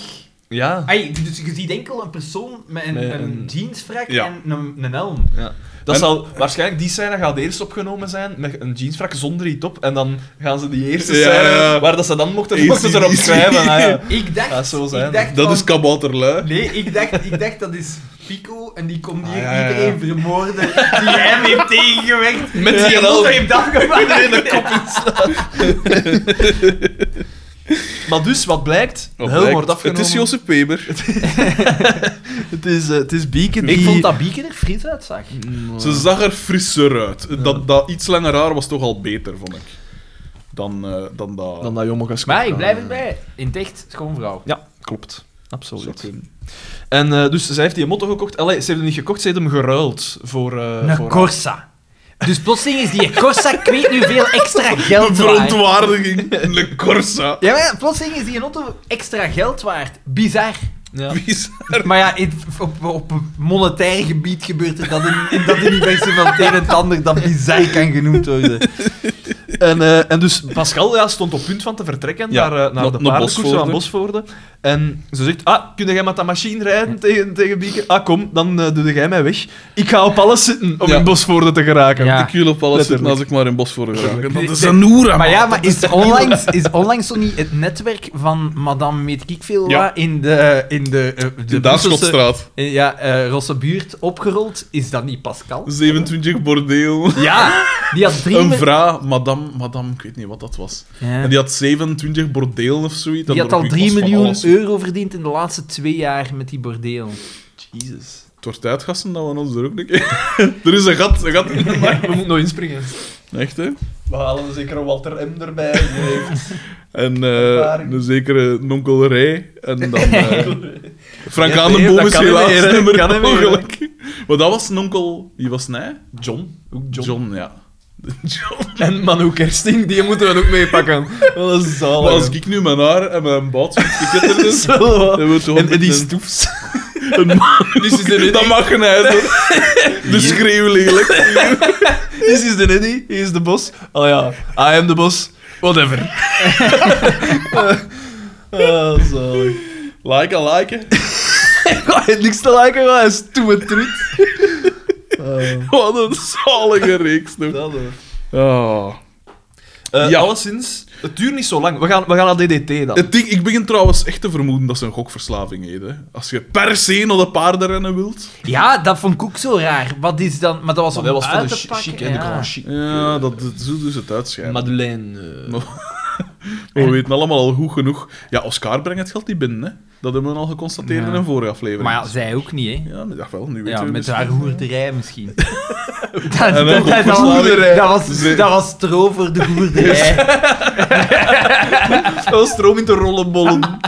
Ja. Ai, dus je ziet enkel een persoon met een, Met een, een- jeansfrak Ja. en een, een helm. Ja. Dat En- zal, waarschijnlijk die scène gaat eerst opgenomen zijn met een jeansfrak zonder iets op. En dan gaan ze die eerste Ja, scène, ja. waar dat ze dan mochten, Easy, mochten ze erop easy. schrijven. Ah, ja. Ik dacht... Dat zou zijn. Ik dacht Dat van- is kabouterlui. Nee, ik dacht, ik dacht dat is Pico en die komt hier Ah, ja, ja, ja. iedereen vermoorden die hem heeft tegengewerkt. Met die die hem helm. heeft afgepakt. Maar dus, wat blijkt? De Wat helm blijkt, wordt afgenomen. Oh, Het is Josep Peber. het is, eh, het is Ik Beacon die- vond dat Bieken er fris uitzag. Ze zag er frisser uit. Dat, dat iets langer haar was toch al beter, vond ik. Dan, eh, dan dat... Dan dat jongen gaat Maar ik blijf erbij. In het echt, schoon vrouw. Ja, klopt. Absoluut. Zou kunnen. En eh, dus, zij heeft die motto gekocht. Allee, ze heeft hem niet gekocht, ze heeft hem geruild voor... eh Een voor Corsa. Dus plotseling is die Corsa, ik weet nu veel extra De geld waard. verontwaardiging. Le Corsa. Ja, maar ja, plotseling is die auto extra geld waard. Bizar. Ja. Wie is- Maar ja, in- op, op monetair gebied gebeurt er dat in, in dat universum van het een en het ander dat bizar kan genoemd worden. En, eh, en dus Pascal ja, stond op punt van te vertrekken Ja, naar, eh, naar- naar de naar paardenkoersen Bosvoorde. van Bosvoorde. En ze zegt, ah, kun jij met dat machine rijden tegen, tegen Bieke? Ah, kom, dan eh, doe jij mij weg. Ik ga op alles zitten om Ja. in Bosvoorde te geraken. Ja. Ik wil op alles zitten Letterlijk. als ik maar in bos voor raak. Dat is Nee, een hoera, Maar ja, man. maar is onlangs, is onlangs zo niet het netwerk van madame weet ik veel wat Ja. in de... In de, eh, de Daar Brusselse- Schotstraat. eh, Ja, eh Rosse buurt opgerold. Is dat niet Pascal? 27 bordeel. Ja, die had drie... Een me- vrouw, madame, madame, ik weet niet wat dat was. Ja. En die had 27 bordeel of zoiets. en Die had daar al was 3 van miljoen alles. euro verdiend in de laatste twee jaar met die bordeel. Jezus. Het wordt tijd, gasten, dat we ons er ook een keer- er is een gat, een gat in de markt. We moeten nog inspringen. Echt, hè? We halen zeker Walter M. erbij. Die heeft- En eh Ervaring. een zekere nonkel Rij. En dan... eh, Frank Ja, Aandenboom nee, dat is kan niet helaas meer, hè. nummer Kan niet meer, hè. ongeluk. Maar dat was nonkel... Wie was hij? John. Ook John. John, ja. John. En Manu Kersting, die moeten we ook meepakken. Dat is zalig. Maar als ik nu mijn haar en mijn baat zo'n piketter is... Zo. Dan moet je En, en die een- stoefs. een man- Dit is de Dat Eddy. mag geen uit, hoor. De schreeuw lelijk. Dit is de Eddy. Hij is de bos. Oh ja, I am de bos. Whatever. Ah, zalig. Like en liken. Ik heb niks te liken, maar hij is toe en truut. Wat een zalige reeks, toch? Dat, hoor. Ah. Eh, Ja. Alleszins, het duurt niet zo lang. We gaan, we gaan naar DDT dan. Het ding, ik begin trouwens echt te vermoeden dat ze een gokverslaving hebben. Als je per se naar de paardenrennen wilt. Ja, dat vond ik ook zo raar. Wat is dan... Maar dat was om uit te pakken, ja. chic. Ja, dat, dat- zo doen ze het uitschijnen. Maar Madeleine. eh, we weten allemaal al goed genoeg. Ja, Oscar brengt het geld niet binnen, hè. Dat hebben we al geconstateerd in een vorige aflevering. Maar ja, zij ook niet, hè. Ja, nee, dat wel, nu weten Ja, we dus met misschien. haar hoerderij misschien. dat, dat, En dan dat, dat, goed verslaan. dat was, Ze- dat was stro voor de hoerderij. Wel stroom in te rollen bollen.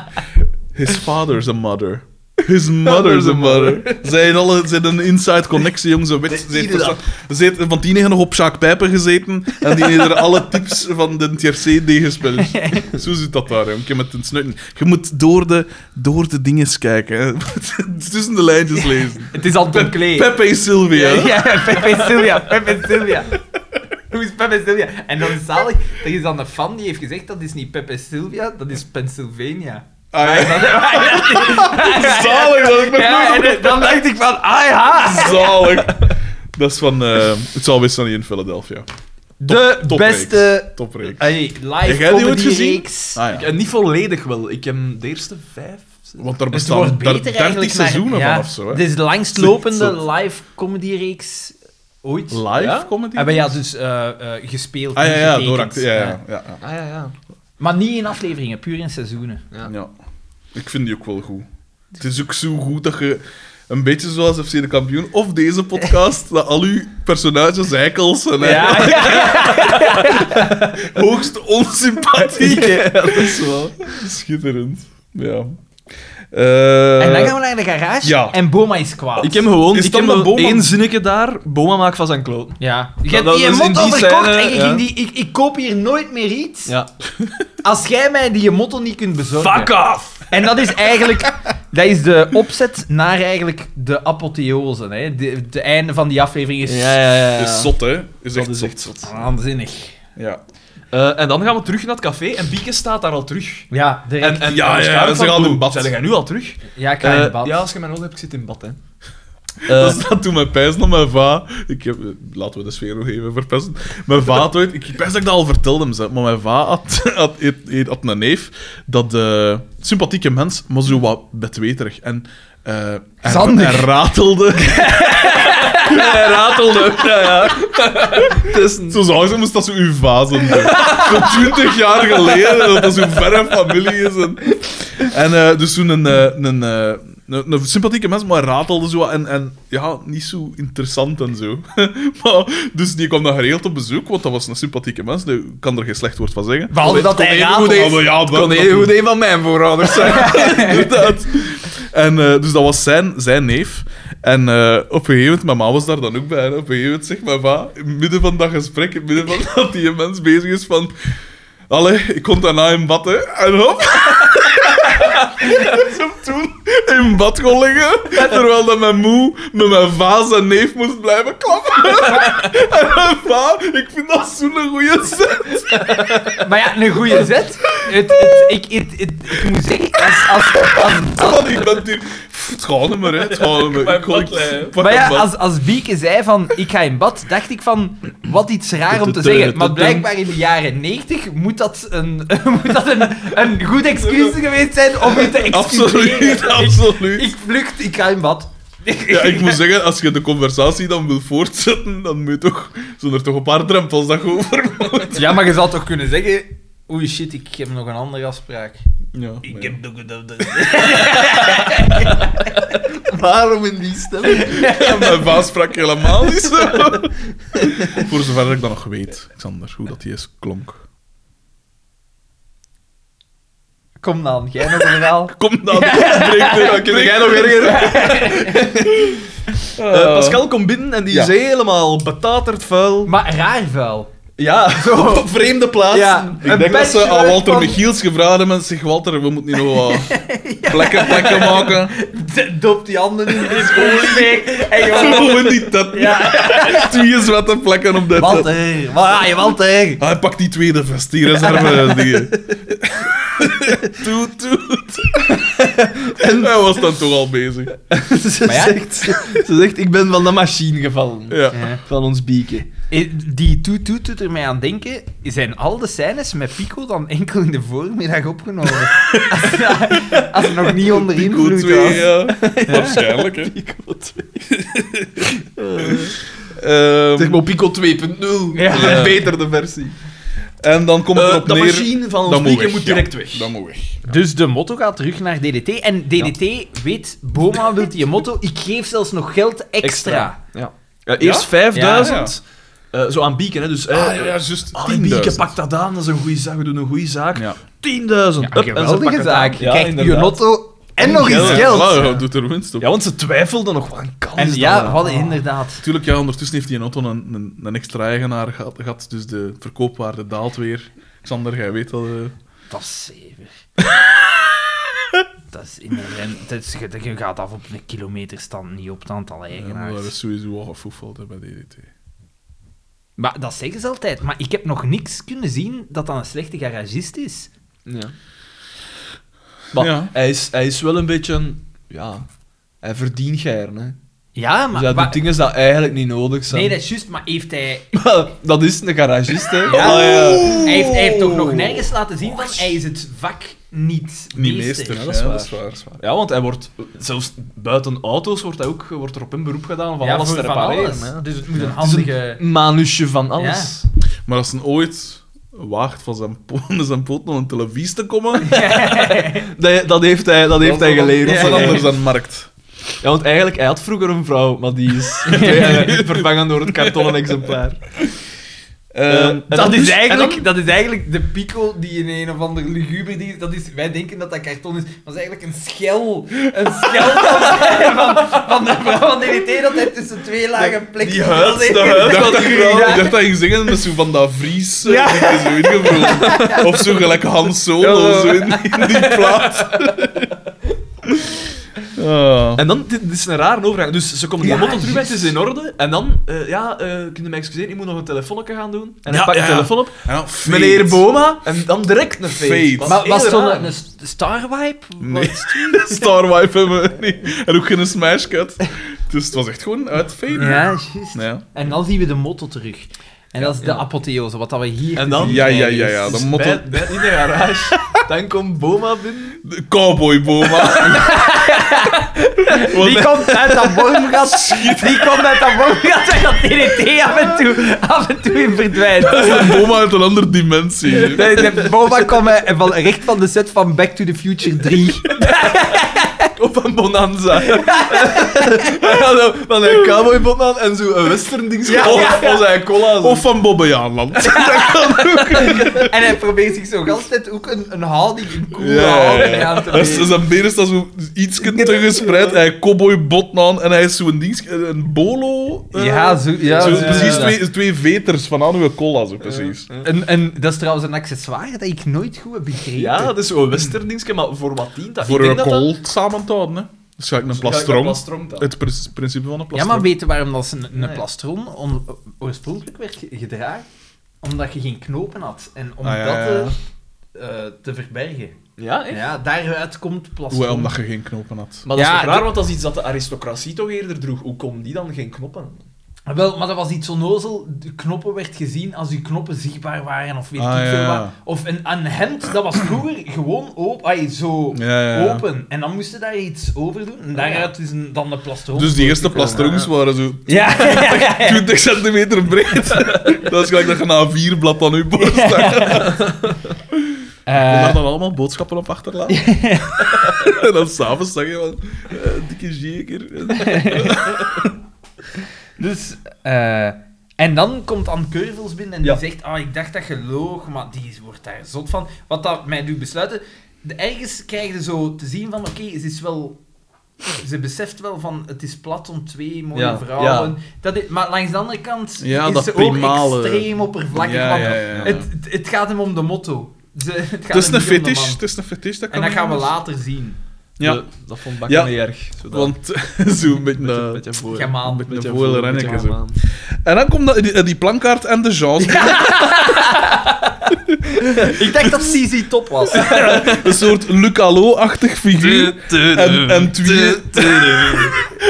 His father's a mother. His mother's a mother. Zijn, alle, zijn een inside connectie, jongens. Ze weet- ze heeft versta- ze heeft- want die heeft nog op Sjaak Pijper gezeten. En die heeft er alle tips van de TRC gespeeld. Zo zit dat daar, jongen. Met een snuiten. Je moet door de, door de dinges kijken. hè. Tussen de lijntjes lezen. Het is Anton Klee. Pepe en Sylvia. Ja, Pepe Sylvia, Pepe Sylvia. Hoe is Pepe Sylvia? En dan is zalig, er is dan een fan die heeft gezegd dat is niet Pepe Sylvia, dat is Pennsylvania. Ah, ja. Zalig! Zalig dat ik nog nooit Ja, en dan dacht ik van, ah ja! Zalig. Dat is van... eh, het zal wees van die in Philadelphia. De topreeks. beste Topreeks. Hey, Heb live jij die ooit comedy gezien? reeks. Ah, ja. Eh, niet volledig wel. Ik heb de eerste vijf. zes- Want daar Dus bestaan Het wordt daar beter 30 eigenlijk, maar- seizoenen ja, van of zo. Hè? Het is de Zo- langstlopende live comedy reeks ooit. Live Ja? comedy? Hebben ja, dus eh, eh, gespeeld. Ah ja, niet ja, getekend. door act- ja, ja, ja, ja. Ah ja, ja. Maar niet in afleveringen, puur in seizoenen. Ja. Ja. Ik vind die ook wel goed. Het is ook zo goed dat je een beetje zoals FC de kampioen of deze podcast, dat al uw personages heikels zijn. hè. Ja, ja. Eh, Hoogst onsympathiek. hè. dat is wel schitterend. Ja. Eh, En dan gaan we naar de garage ja. en Boma is kwaad. Ik heb gewoon Is ik dat heb met wel Boma? één zinnetje daar. Boma maakt van zijn kloot. Ja. Je Dat- hebt dat die is in motto die verkocht scène, en je ja. ging die... Ik, ik koop hier nooit meer iets Ja. als jij mij die motto niet kunt bezorgen. Fuck off! En dat is eigenlijk... Dat is de opzet naar eigenlijk de apotheose. Hè. De, de einde van die aflevering is ja, ja. Is zot, hè? Is echt Dat is zot. echt zot. waanzinnig. Ja, Eh, en dan gaan we terug naar het café en Bieke staat daar al terug. Ja, direct. En, en, Ja, en ja, Schaar ze van, gaan in "Oeh, bad." Zijn jij nu al terug? ja, ik ga in Eh, bad. Ja, als je mij nodig hebt, ik zit in bad, hè. Eh, dat, is, dat doet mij pijs naar mijn va. Ik heb, laten we de sfeer nog even verpesten. Mijn va had ooit, ik pijs dat ik dat al vertelde, hem, zeg, maar mijn va had, had, had, had een neef, dat eh, sympathieke mens, maar zo wat bedweterig. En eh, hij, Zandig. hij ratelde. hij ratelde ook, ja, ja. Zo zou ze moest dat zo uw va zijn. dus. zo. Zo twintig jaar geleden, dat dat zo'n verre familie is. En, en eh, dus toen een, eh, een, eh, een, een sympathieke mens, maar ratelde zo wat en, en ja, niet zo interessant en zo. maar, dus die kwam dan geregeld op bezoek, want dat was een sympathieke mens, daar kan er geen slecht woord van zeggen. Behalve dat hij ratelde. Ja, maar ja, dat- dat- een van mijn voorouders zijn. Inderdaad. En, eh, dus dat was zijn, zijn neef. En eh, op een gegeven moment, mijn ma was daar dan ook bij. En op een gegeven moment zegt mijn va, in het midden van dat gesprek, in het midden van dat die mens bezig is van... Allee, ik kon daarna in bad, hè. En hop. Dus hem toen in bad kon liggen, terwijl dat mijn moe met mijn va zijn neef moest blijven klappen. en mijn va, ik vind dat zo'n goeie zet. Maar ja, een goede zet. Het, het, ik, het, het- ik moet zeggen, als, als, als, Want ik ben hier... Pff, Het gaat niet meer, hè. Het gaat niet meer. Mijn Ik kon- bad, hè. pak Maar ja, een bad. als, als Bieke zei van ik ga in bad, dacht ik van wat iets raar om te zeggen. Maar blijkbaar in de jaren 90 moet dat een, moet dat een, een goed excuus geweest zijn om je te excuseren. Absoluut, absoluut. Ik vlucht, ik ga in bad. ja, ik moet zeggen, als je de conversatie dan wil voortzetten, dan moet je toch, zijn er toch een paar drempels dat je over moet. Ja, maar je zou toch kunnen zeggen, oei shit, ik heb nog een andere afspraak. Ja, maar Ik ja. heb nog een... Waarom in die stem? Mijn baas sprak helemaal niet zo. Voor zover ik dat nog weet, Xander, hoe dat die is klonk. Kom dan, jij nog een verhaal. Kom dan, breek nu, dan kun jij nog Eh, erger. Eh, Pascal komt binnen en die is Ja. helemaal betaterd vuil. Maar raar vuil. Ja, op vreemde plaatsen. Ja. Ik Een denk dat ze aan bachelor Walter van- Michiels gevraagd hebben, zeg Walter, we moeten nu nog wat plekken, plekken maken. Doop die handen in de school mee. En Zo gewoon... gewoon die dat. Ja, Twee zwette plekken op dat. Walter, waar je Walter? Hij pakt die tweede vest, die reserve dingen. Toet, toet. En hij was dan toch al bezig. ze, Maar ja. zegt, ze zegt, ik ben van de machine gevallen. Ja. Van ons bieken. Eh, Die toet toet doet er mij aan denken, zijn al de scènes met Pico dan enkel in de voormiddag opgenomen? als, als er nog niet onder Pico invloed 2, was. ja. Waarschijnlijk, hè. Pico 2. Ehm, Zeg maar Pico 2.0. Ja. Een verbeterde versie. en dan komt Eh, erop de neer... machine van ons dat bieken weg, moet ja. direct weg. Dat moet weg. Dus de motto gaat terug naar DDT. En DDT weet, Boma wil die motto, ik geef zelfs nog geld extra. Ja. Eh, eerst 5000. eh, zo aan bieken, hè. Dus, eh, Ah, ja, juist ah, 10.000. bieken, pak dat aan. Dat is een goede zaak. We doen een goede zaak. Ja. 10.000. Hup, en Een ze pakken geweldige het zaak. aan. Je Ja, krijgt je inderdaad. motto En nog eens Ja, geld. Ja, dat doet er winst op. Ja, want ze twijfelden nog wel een kans. En dat ja, wel. Oh. wat inderdaad. Natuurlijk, ja, ondertussen heeft die auto een, een, een extra eigenaar gehad, gehad, dus de verkoopwaarde daalt weer. Xander, jij weet dat. eh. Dat is zeker. dat is inherent. Dat is, je- je gaat af op een kilometerstand, niet op het aantal ja, maar dat eigenaars. is eh, sowieso al gefoefeld hè, bij DDT. Maar dat zeggen ze altijd. Maar ik heb nog niks kunnen zien dat dat een slechte garagist is. Ja. Maar Ja. Hij, is, hij is wel een beetje... Ja, hij verdient geir, hè. Ja, Dus maar... hij wa- doet dingen dat eigenlijk niet nodig zijn. nee, dat is juist. Maar heeft hij... Dat is een garagist, hè. Ja. Oh, ja. Hij heeft, hij heeft toch nog nergens laten zien van hij is het vak niet, Niet meester. meester, ja, dat is waar. waar. Dat is waar. Ja, want hij wordt... Zelfs buiten auto's wordt, hij ook, wordt er op een beroep gedaan van Ja, alles te voor- van repareren. alles. hè. Dus het moet een Het is handige... een manusje van alles. Maar als een ooit waagt van zijn, po van zijn poot naar een televisie te komen, Dat, dat heeft hij, dat dat heeft hij is wel- geleerd. Dat is wel anders dan markt. Ja, want eigenlijk, hij had vroeger een vrouw, maar die is vervangen door het kartonnen exemplaar. Eh, Ehm, en Dat, is dus- eigenlijk, en dat is eigenlijk de pico die in een of ander luguber die dat is. Wij denken dat dat karton is, maar dat is eigenlijk een schel. Een schel van, van, van de vrouw van DWT dat hij tussen twee lagen plekjes... die huid, Dat is- de huid. Ik dacht dat je Ja. ik dacht dat je ging zingen met zo van dat Vries eh, ding zo ingevuld. Of zo gelijk Hans Solo Ja, zo in, in die plaat. Ah. En dan, dit, dit is een rare overgang. Dus ze komen die Ja, motto terug, het juist. is in orde. En dan, eh, ja, eh kun je mij excuseren, ik moet nog een telefoonnetje gaan doen. En hij Ja, pakt ja, de ja. telefoon op. En dan fade. Meneer Boma. En dan direct een Fade. feit. Maar was zo'n een st- starwipe? Nee. Star Wife hebben we niet. En ook geen Smash Cut. Dus het was echt gewoon uitfaden. Ja, juist. Ja. En dan zien we de motto terug. En dat is de apotheose, wat dat we hier... En dan... Ja, ja, ja, ja. dus De motto... bij- bij- in de garage. Dan komt Boma binnen. de Cowboy Boma. Die komt uit dat wormgat. Die komt uit dat wormgat en dat DDT af en toe, af en toe in verdwijnt. Boma uit een andere dimensie. De, de Boba kwam eh, van, recht van de set van Back to the Future 3. Op een bonanza. ja, zo, van een cowboybot aan en zo een western ding. Ja, of, ja, ja. of zijn cola. zo. Of van Bobbejaanland. En hij probeert zich zo de hele tijd ook een, een houding, een coole Ja, ja, houding ja. aan te Als- nemen. als Zijn been is dat zo iets te gespreid. Hij heeft cowboy bot aan en hij is zo'n ding, een bolo. eh, Ja, zo, ja, zo, zo- precies ja. twee, twee veters van aan uw cola, zo precies. En, en dat is trouwens een accessoire dat ik nooit goed heb begrepen. Ja, dat is zo'n western dingetje, maar voor wat dient dat? Voor Ik een denk dat dat- kool samen te houden, hè. Dus ga ik een plastron. plastron dan. het prin- principe van een Ja, plastron. maar weten waarom dat ze een, een Nee. plastron on- oorspronkelijk werd ge- gedragen? Omdat je geen knopen had. En om Ah, ja, dat ja, eh, ja. eh, te verbergen. Ja, echt? Ja, daaruit komt plastron. Hoewel, omdat je geen knopen had. Maar dat Ja, is toch raar, die- want dat is iets dat de aristocratie toch eerder droeg. Hoe komen die dan geen knoppen? Wel, maar dat was iets onnozel. De knoppen werd gezien als die knoppen zichtbaar waren of weet Ah, ik ja, veel ja. wat. Of een, een hemd, dat was vroeger gewoon open, ay, zo Ja, ja, ja. open. En dan moesten daar iets over doen. En daaruit is een, dan de plastron. Dus die eerste voortgekomen. plastrons waren zo Ja, ja, ja, ja. 20 centimeter breed. dat is gelijk dat je na vier blad aan je borst hebt. Om daar dan allemaal boodschappen op achterlaten. en dan s'avonds zeg je van... eh, dikke zeker. Dus, eh, en dan komt Anne Keuvels binnen en Ja. die zegt, ah, ik dacht dat je loog, maar die wordt daar zot van. Wat dat mij doet besluiten, de- ergens krijg je zo te zien van, oké, ze is wel... Ze beseft wel van, het is plat om twee mooie Ja, vrouwen. Dat is- maar langs de andere kant Ja, is dat ze ook primale. extreem oppervlakkig. Ja, want ja, ja. Het, het, het gaat hem om de motto. Ze, het, gaat Het is hem een niet om de fetish. man. Het is een fetish. Dat kan En dat niet gaan we anders. later zien. Ja, De- dat vond Bakker Ja. niet erg. Zodat, want zo met met een een... beetje voor. Gemaal. Met beetje een voile voor, beetje renneke zo. aan. En dan komt dat, die, eh, die plankaart en de jaws. Ik dacht dat CZ top was. Een soort Lucalo-achtig figuur. En, en twee...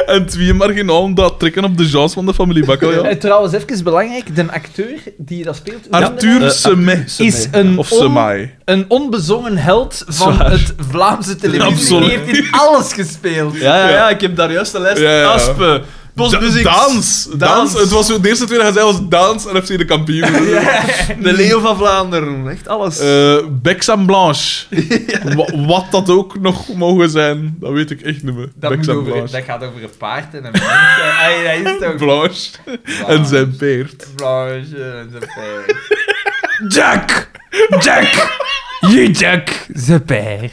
en twee marginaal dat trekken op de jaws van de familie Bakkelja. Eh, Trouwens, even belangrijk, de acteur die dat speelt... hoe noemde Arthur eh, Semé. is een, Of on- Semai. een onbezongen held van Zwaar. het Vlaamse televisie. Absoluut. Die heeft in alles gespeeld. Ja, ja, ja, ik heb daar juist de lijst. Ja, ja. Aspen, Da- Postmuziek, Daans. Daans. Het was zo, de eerste twee dat hij zei was Daans en FC de kampioen. de Leeuw van Vlaanderen, echt alles. Eh Bex en Blanche. Wa- wat dat ook nog mogen zijn, dat weet ik echt niet meer. Dat, Bex moet en over, Blanche. dat gaat over een paard en een mens. Ay, dat is toch... Blanche. Ah. En zijn peert. Blanche en zijn paard. Jack! Jack! You Jack! Ze pij.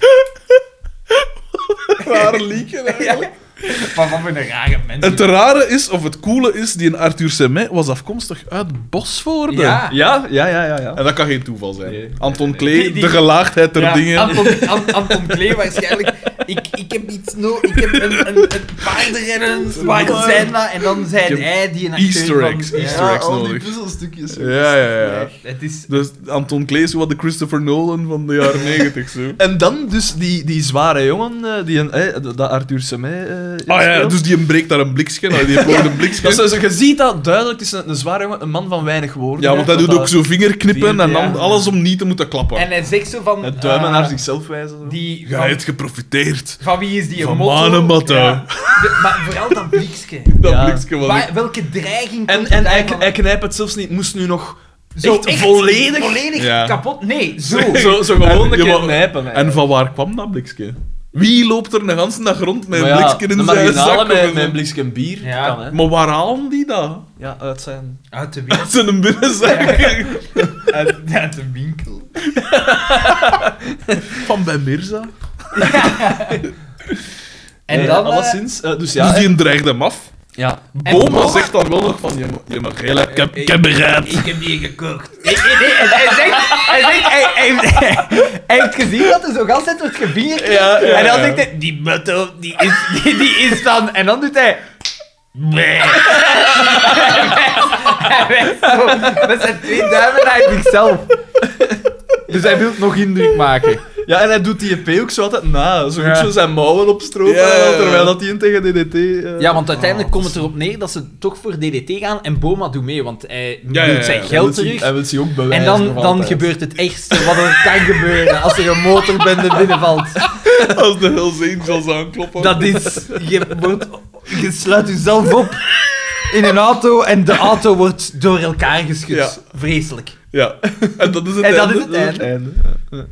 raar liedje eigenlijk. Maar wat voor een rare mens. Het rare is, of het coole is, die Arthur Semet was afkomstig uit Bosvoorde. Ja. Ja, ja, ja, ja. ja. En dat kan geen toeval zijn. Nee. Anton Klee, Die- die- de gelaagdheid der Ja, dingen. Anton, An- Anton Klee waarschijnlijk. Ik, ik heb iets no Ik heb een, een, een paardenrennen. Waar zijn dat? En dan Ik zijn heb hij die een acteur Easter van- eggs, Ja. Easter eggs al die nodig. puzzelstukjes. Ja, ja, ja. Het is... Dus Anton Klee is wat de Christopher Nolan van de jaren negentig, zo. En dan dus die, die zware jongen, eh, die een, eh, dat Arthur Semet eh, Ah ja, speelt. dus die breekt daar een blikschen uit. Die heeft een Dat blikschen. is, dus- je ziet dat duidelijk, het is een, een zware jongen, een man van weinig woorden. Ja, want hij hè, doet ook zo vingerknippen en dan Ja. alles om niet te moeten klappen. En hij zegt zo van... Het duimen eh, naar zichzelf wijzen. zo. Die, Jij van, hebt geprofiteerd. van wie is die Van motto? Manenmatta. Ja. De- maar vooral dat blikske. Dat Ja. blikske was Waar- welke dreiging En, komt en hij, daarvan? hij knijpt het zelfs niet, moest nu nog Zo echt volledig- volledig Ja. kapot? Nee, zo. zo, zo gewoon En- een ja, keer maar- knijpen. hè. En van waar kwam dat blikske? Wie loopt er een ganse dag rond met een Maar ja, blikske de dus- in zijn marginale zak? met, of met zo? een blikje bier Ja. kan, hè. Maar waar halen die dat? Ja, uit zijn... Uit de winkel. Uit zijn binnenzak. Uit, uit de winkel. Van bij Mirza. En Eh, dan... eh, alleszins, eh, dus ja, dus die dreigt hem af. eh, ja. En Boma Boma- zegt dan wel nog van, je mag, je mag heel erg- ik heb, ik Ik heb bereid. Ik heb die gekocht. Nee, nee, nee. En Hij zegt... Hij, zegt hij, hij, hij heeft gezien dat er zo altijd wordt gevierd. en dan zegt hij... Die motto, die is... Die, die is dan... En dan doet hij... Bleh. Hij wijst zo met zijn twee duimen naar zichzelf. Dus hij wil nog indruk maken. ja, en hij doet die EP ook zo altijd na. Zo goed Ja. zo zijn mouwen opstropen, Ja, ja, ja. terwijl dat hij tegen DDT... eh, Ja, want uiteindelijk komt het erop neer dat ze toch voor DDT gaan en Boma doet mee, want hij ja, doet ja, zijn ja. hij wil geld zich- terug. Hij wil zich ook bewijzen En nog dan, dan altijd. gebeurt het ergste wat er kan gebeuren als er een motorbende binnenvalt. Als de Hells Angels aankloppen. Dat is... Je, wordt, je sluit jezelf op in een auto en de auto wordt door elkaar geschud. Ja. Vreselijk. Ja. En dat is het En dat einde. is het einde. Einde.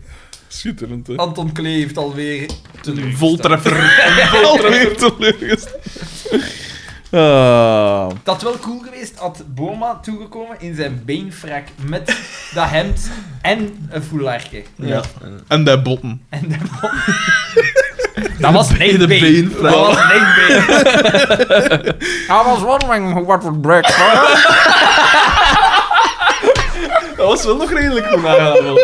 Schitterend, Oh, hè. Anton Klee heeft alweer... Voltreffer. Alweer teleurgesteld. Ah. Dat wel cool geweest had Boma toegekomen in zijn beenfrak met dat hemd en een foularke. Ja. En die botten. En de bo- Dat was In echt de been. been. dat was een been. I was wondering what would break. Dat was wel nog redelijk goed aangedaan.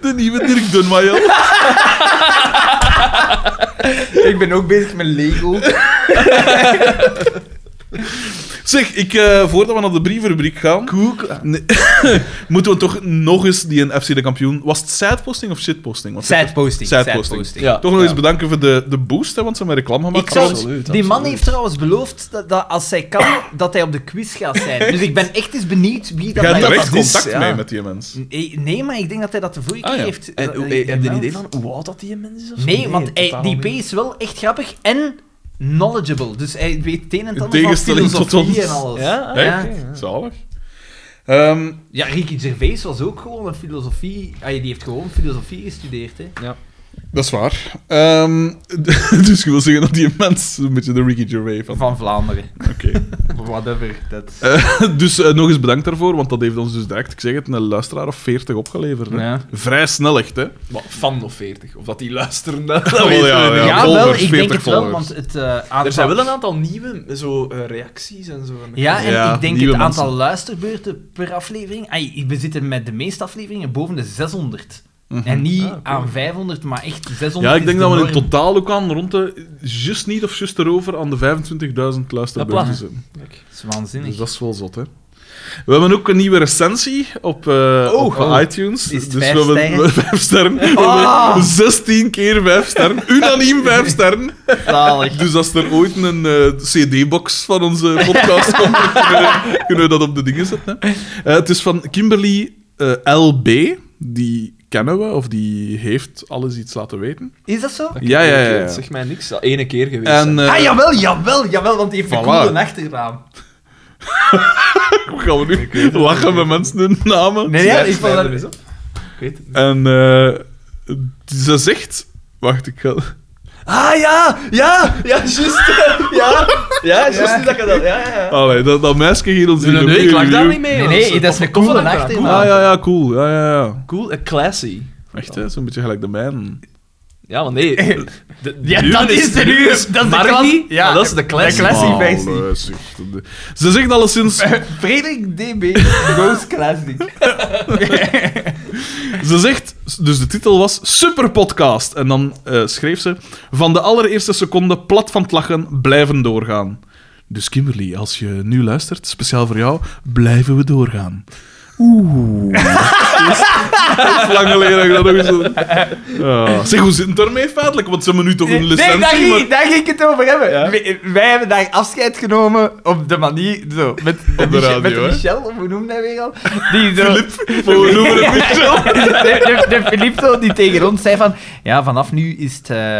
De nieuwe Dirk Dunmaier. Ik ben ook bezig met Lego. Zeg, ik, eh, voordat we naar de brievenrubriek gaan... Koek. Nee. Moeten we toch nog eens die een FC de kampioen. Was het sideposting of shitposting? Want Sideposting. Sideposting. Ja. Toch nog eens bedanken voor de, de boost, hè, want ze hebben reclame Ik gemaakt. zou, trouwens. absoluut, die man absoluut. heeft trouwens beloofd dat, dat als hij kan, dat hij op de quiz gaat zijn. Dus ik ben echt eens benieuwd wie dat Jij hebt hij dat direct is, contact ja. mee met die mens. Nee, nee, maar ik denk dat hij dat de vorige Ah, keer ja. heeft. En, eh, hoe- eh, heb je een gemeld. idee van hoe oud dat die mens is? of zo? Nee, want hij- totaal die P niet. is wel echt grappig en knowledgeable. Dus hij weet het een en het In ander van tegenstelling tot filosofie ons. en alles. Ja? Ah, ja. Hè? oké, ja. Zalig. Ehm, Ja, Ricky Gervais was ook gewoon een filosofie... ay, die heeft gewoon filosofie gestudeerd, hè. dat is waar. Ehm, dus je wil zeggen dat die mens een beetje de Ricky Gervais van. Van Vlaanderen. Oké. Whatever. Dat... Eh, dus eh, nog eens bedankt daarvoor, want dat heeft ons dus direct, ik zeg het, een luisteraar of 40 opgeleverd. hè. Ja. Vrij snel echt, hè? Maar van of 40. Of dat die luisteren, dat, dat wel, weten we Oh, ja, niet. Ja, wel, volgers, ik denk 40 het wel, volgers. want het eh, aantal... Er zijn wel een aantal nieuwe zo, eh, reacties en zo. Ja, en Ja, ik denk het nieuwe aantal mensen. luisterbeurten per aflevering... ay, we zitten met de meeste afleveringen boven de 600. En niet Ah, cool. aan 500, maar echt 600 Mhm. Ja, is ik denk de dat we in norm. totaal ook aan rond de... Just niet of just erover aan de 25.000 luisterbeurten Hopla. zijn. Dat is waanzinnig. Dus dat is wel zot, hè. We hebben ook een nieuwe recensie op, eh, op Oh. iTunes. Is het dus vijf we hebben sterren? Ah. vijf sterren. We hebben 16 keer vijf sterren. Unaniem vijf sterren. Zalig. Dus als er ooit een eh, CD-box van onze podcast komt, kunnen, we- kunnen we dat op de dingen zetten. Hè? Eh, het is van Kimberly eh, LB. Die kennen we, of die heeft alles iets laten weten. Is dat zo? Ja, ja, ja, ja. Dat zegt mij niks. Dat ene keer geweest. En, zijn. eh, ah, jawel, jawel, jawel, want die heeft een Voilà. coole achternaam. Hoe gaan we nu lachen met mensen hun namen? Nee, ja, ik vond Snijder dat... is op. Ik weet het niet. En eh, ze zegt... Wacht, ik ga... Ah, ja! Ja! Ja, juist. ja, ja, juist niet dat ik dat... Ja, ja, ja. Allee, dat, dat meisje hier ons hier ik opnieuw lag daar review. niet mee. Nee, hoor. nee, Zo, dat is een toffe coole achternaam. achternaam. Ah, ja, ja, cool. Ja, ja, ja. Cool, eh, classy. Echt, hè, zo'n beetje gelijk de mijne. Ja, maar nee. De, de Ja, uren dat is de uur. Dat is de Margie, klas- ja, maar dat is de classic. de classic. Classic Wauw, versie. luister. Ze zegt alleszins... Frederik DB. Ghost Classic. Ze zegt, dus de titel was Superpodcast. En dan eh, schreef ze: Van de allereerste seconde plat van het lachen blijven doorgaan. Dus Kimberly, als je nu luistert, speciaal voor jou, blijven we doorgaan. Oeh. Dat is lang geleden dat ik dat nog eens doe. Ja. Zeg, hoe zit het daarmee feitelijk? Want ze hebben nu toch een licentie? Nee, daar ging, maar- daar ging ik het over hebben. Wij, wij hebben daar afscheid genomen op de manier... Zo, met, met, Op de radio, Michel- met de hè? Michel, of hoe noemde hij weer al? Die zo, Voor noemen het Michel. de, de, de Philippe zo, die tegen ons zei van... Ja, vanaf nu is het... eh,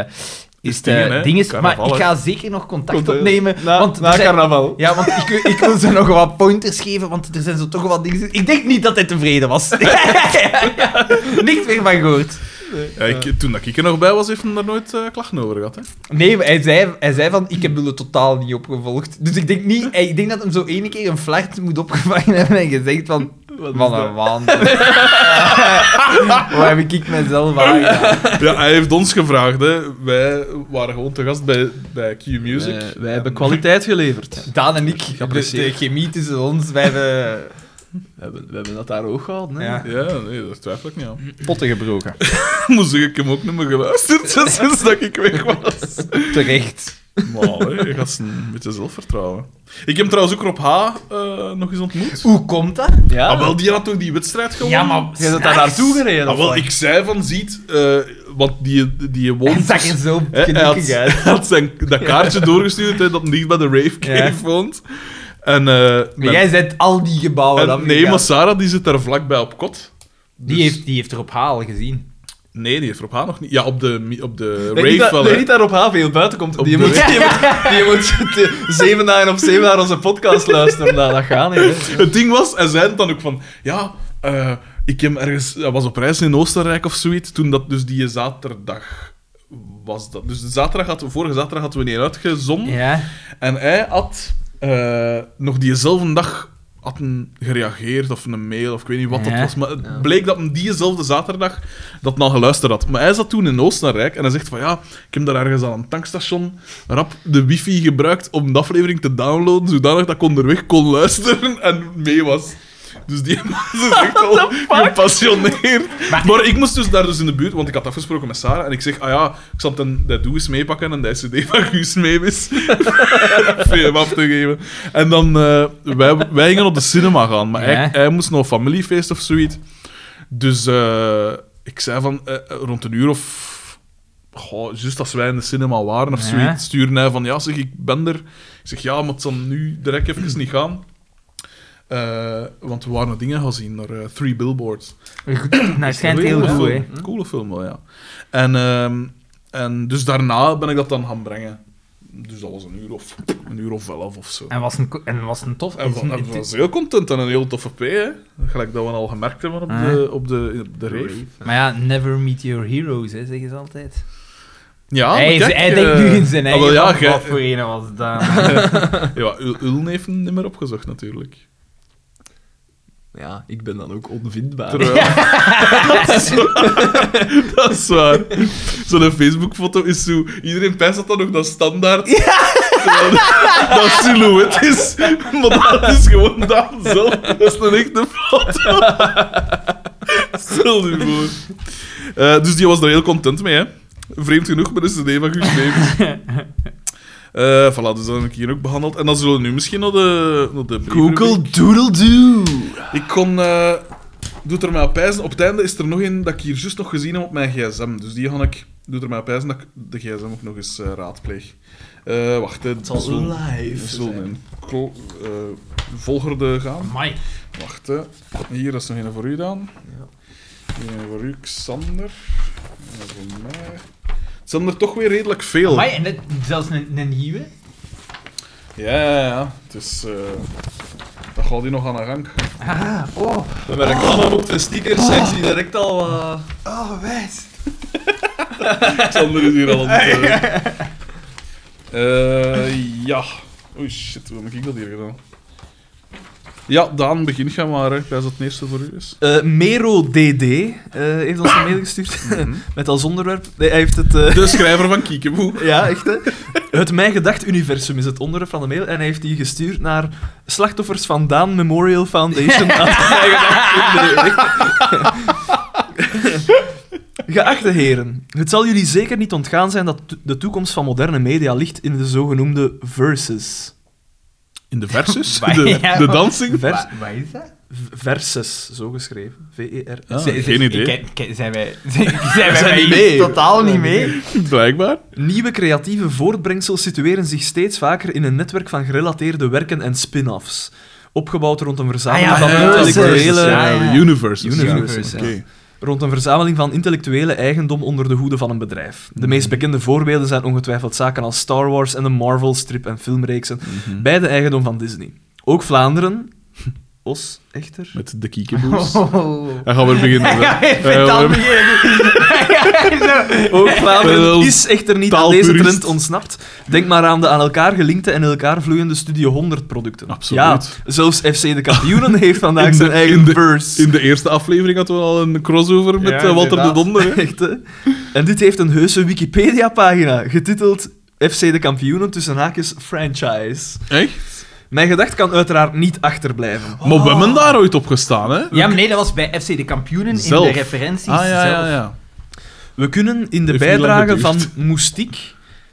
is het eh, dingen, hè? dinges, maar Carnaval, ik hè? eh, ga zeker nog contact Contact. opnemen. Na, want er na zijn- carnaval. Ja, want ik, wil- ik wil ze nog wat pointers geven, want er zijn zo toch wat dingen. Ik denk niet dat hij tevreden was. Niks meer van gehoord. Ja, ik, toen dat ik er nog bij was, heeft hij daar nooit eh, klachten over gehad. Hè? Nee, maar hij zei, hij zei van, ik heb Bulle totaal niet opgevolgd. Dus ik denk, niet, ik denk dat hem zo ene keer een flart moet opgevangen hebben en gezegd van, wat een waanzin. Waar heb ik mezelf aan gedaan? Ja, hij heeft ons gevraagd. Hè. Wij waren gewoon te gast bij, bij Q Music. Eh, wij hebben kwaliteit geleverd. Daan en ik, dus de, de chemie tussen ons, wij hebben We hebben, we hebben dat daar ook gehouden. Hè? Ja. Ja, nee, daar twijfel ik niet aan. potten gebroken. Moest zeggen, ik heb ook niet meer geluisterd sinds dat ik weg was. Terecht. Maar hé, je gaat een beetje zelfvertrouwen. Ik heb trouwens ook Rob H. eh, nog eens ontmoet. Hoe komt dat? Ja. Ah, wel, die had toch die wedstrijd gewonnen? Ja, maar... Je bent daar naartoe gereden. Ah, of wel, wat? ik zei van, ziet, eh want die, die Hij woont... dus- zag er zo Hè, hij had, gelukkig uit. hij had zijn, dat kaartje doorgestuurd, hè, dat hem niet bij de Rave Cave Ja. woont. En, eh, Maar jij zet al die Oh, gebouwen en- af. nee, maar Sarah die zit daar vlakbij op kot. Die Dus- heeft, die heeft er op haal gezien. Nee, die heeft Rob H. nog niet. Ja, op de, mi- op de Nee, Rave niet, dat- wel, nee, hè. niet daar op H veel buiten komt. Die de moet, die, moet, die moet de- zeven dagen op zeven naar onze podcast luisteren. Nou, dat gaat niet. Hè. Het ding was, hij zei het dan ook van... Ja, eh, ik heb ergens... Hij was op reis in Oostenrijk of zoiets, toen dat dus die zaterdag was dat. Dus de zaterdag had, vorige zaterdag hadden we niet uitgezonden. Ja. En hij had eh, nog diezelfde dag had een gereageerd of een mail of ik weet niet wat dat Ja. was. Maar het bleek dat hem diezelfde zaterdag dat nou geluisterd had. Maar hij zat toen in Oostenrijk en hij zegt van ja, ik heb daar ergens aan een tankstation rap de wifi gebruikt om de aflevering te downloaden, zodanig dat ik onderweg kon luisteren en mee was. Dus die man is echt al gepassioneerd. Maar, ik moest dus daar dus in de buurt, want ik had afgesproken met Sarah en ik zeg, ah ja, ik zal dan dat doe eens meepakken en dat cd van Guus mee is. film af te geven. En dan, eh, wij, wij gingen op de cinema gaan, maar hij, Ja. hij moest nog een familiefeest of zoiets. Dus eh, ik zei van, eh, rond een uur of... Goh, juist als wij in de cinema waren of Ja. zoiets, stuurde hij van, ja zeg, ik ben er. Ik zeg, ja, maar het zal nu direct even niet gaan. Eh, want we waren naar dingen gaan zien, naar eh, Three Billboards. Goed, nou, schijnt Goeie heel film. goed, hè. Hm? Coole film wel, ja. En, ehm, en dus daarna ben ik dat dan gaan brengen. Dus dat was een uur of, een uur of elf of zo. En was een, ko- en was een tof. En is een- wa- en was heel content en een heel toffe P, hè. Gelijk dat we al gemerkt hebben op Ah. de, op de, op de rave. maar ja, never meet your heroes, hè, zeggen ze altijd. Ja, Ah, maar hij, is- kijk, hij eh, denkt nu in zijn ah, wel, eigen ja, van, gij- wat voor een was dat. Ja, Ul- Uln heeft hem niet meer opgezocht, natuurlijk. Ja, ik ben dan ook onvindbaar. Terwijl... dat, is waar. dat is waar. Zo'n Facebook-foto is zo... Iedereen pijst dat dan ook dat standaard... Terwijl dat- Dat silhouet is. Maar dat is gewoon Daan zelf. Dat is een echte foto. Stel je voor. Eh, dus die was er heel content mee, hè. Vreemd genoeg, maar dat is de idee van Guus Meeuwis. Eh voilà, dus dat heb ik hier ook behandeld. En dan zullen we nu misschien naar de, naar de brievenrubriek. Doodle Doo. Ik kon... eh doet er mij op pijzen. Op het einde is er nog een dat ik hier juist nog gezien heb op mijn gsm. Dus die ga ik... Doet er mij op pijzen dat ik de gsm ook nog eens eh, raadpleeg. Eh, wacht, hè. Het zal live We zullen in klo- eh, volgorde gaan. Amai. Wacht, hè. Hier is nog een voor u dan. Hier een voor u, Xander. En voor mij... Het zijn er toch weer redelijk veel. Amai, en dat, zelfs een, een nieuwe? Ja, ja, ja. Het is... eh, dat gaat hier nog aan de gang. Met mijn reclameboek de stickers zijn ze direct al... eh, Oh, wijs. Sander is hier al aan het... eh. Eh, ja. Oei, shit, hoe heb ik dat hier gedaan? Ja, Daan, begin gaan maar. Hè. Ik wijs dat het eerste voor u is. Eh, Mero DD eh, heeft ons een mail gestuurd met als onderwerp. Nee, hij heeft het. eh, De schrijver van Kiekeboe. Ja, echt hè? Het Mijn Gedacht Universum is het onderwerp van de mail en hij heeft die gestuurd naar slachtoffers van Daan Memorial Foundation. aan het Mijn Gedacht Universum. Geachte heren, het zal jullie zeker niet ontgaan zijn dat to- de toekomst van moderne media ligt in de zogenoemde verses. In de versus. De, de dansing. Vers, Wa- Wat is dat? v- verses, zo geschreven. E V-E-R-S. Ah, Zijn- geen zijn- idee. ik- ik- Zijn wij, zijn, zijn wij zijn bij niet iets mee. totaal niet mee? Blijkbaar. Nieuwe creatieve voortbrengsels situeren zich steeds vaker in een netwerk van gerelateerde werken en spin-offs. Opgebouwd rond een verzameling Eh, Ah ja, van ja, ja, intellectuele... ja, ja, ja. Universes. Universes, Oké. Rond een verzameling van intellectuele eigendom onder de hoede van een bedrijf. De meest bekende voorbeelden zijn ongetwijfeld zaken als Star Wars en de Marvel-strip en filmreeksen, Mhm. beide eigendom van Disney. Ook Vlaanderen, Os, echter, Met de Kiekeboes. Oh. Dan gaan we beginnen. Ja, ik Eh, vind we dat hebben- niet. Zo. Ook Vlaanderen Wel, is echter niet aan deze taalpurist. trend ontsnapt. Denk maar aan de aan elkaar gelinkte en in elkaar vloeiende Studio 100 producten. Absoluut. Ja, zelfs FC de Kampioenen heeft vandaag In de- zijn eigen in de- verse. In de eerste aflevering hadden we al een crossover met Ja, eh, Walter de inderdaad. Donder. hè. Echt, hè? En dit heeft een heuse Wikipedia-pagina, getiteld FC de Kampioenen tussen haakjes franchise. Echt? Mijn gedacht kan uiteraard niet achterblijven. Maar we Oh. hebben daar ooit op gestaan, hè? Ja, maar nee, dat was bij FC de kampioenen Zelf. in de referenties Ah, ja, zelf. ja, ja. We kunnen in de Heeft niet lang bijdrage van geduurd. Moestiek,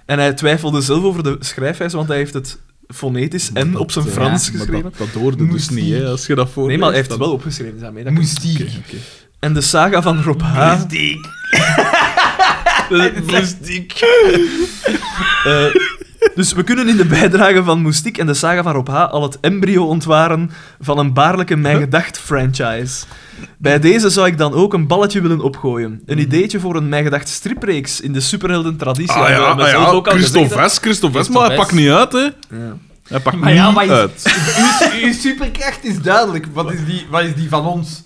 en hij twijfelde zelf over de schrijfwijze, want hij heeft het fonetisch en op zijn Ja, Frans maar geschreven. Dat, dat hoorde dus Moest niet, hè, als je dat voor. Nee, maar hij heeft het wel opgeschreven, daarmee. Dat Moestiek. Oké, oké. En de saga van Rob Ah. H. Eh, Stiek. Moestiek. dus we kunnen in de bijdrage van Moestiek en de saga van Rob H. al het embryo ontwaren van een baarlijke Mijn Gedacht franchise. Bij deze zou ik dan ook een balletje willen opgooien. Mhm. Een ideetje voor een Mijn Gedacht stripreeks in de Eh, superhelden traditie. Ah ja, ah, ja. Christophe Vest, Christophe Vest, maar hij pakt niet uit, hè? Hij pakt Maar ja, niet maar is- uit. Uw, uw superkracht is duidelijk. Wat is die, wat is die van ons?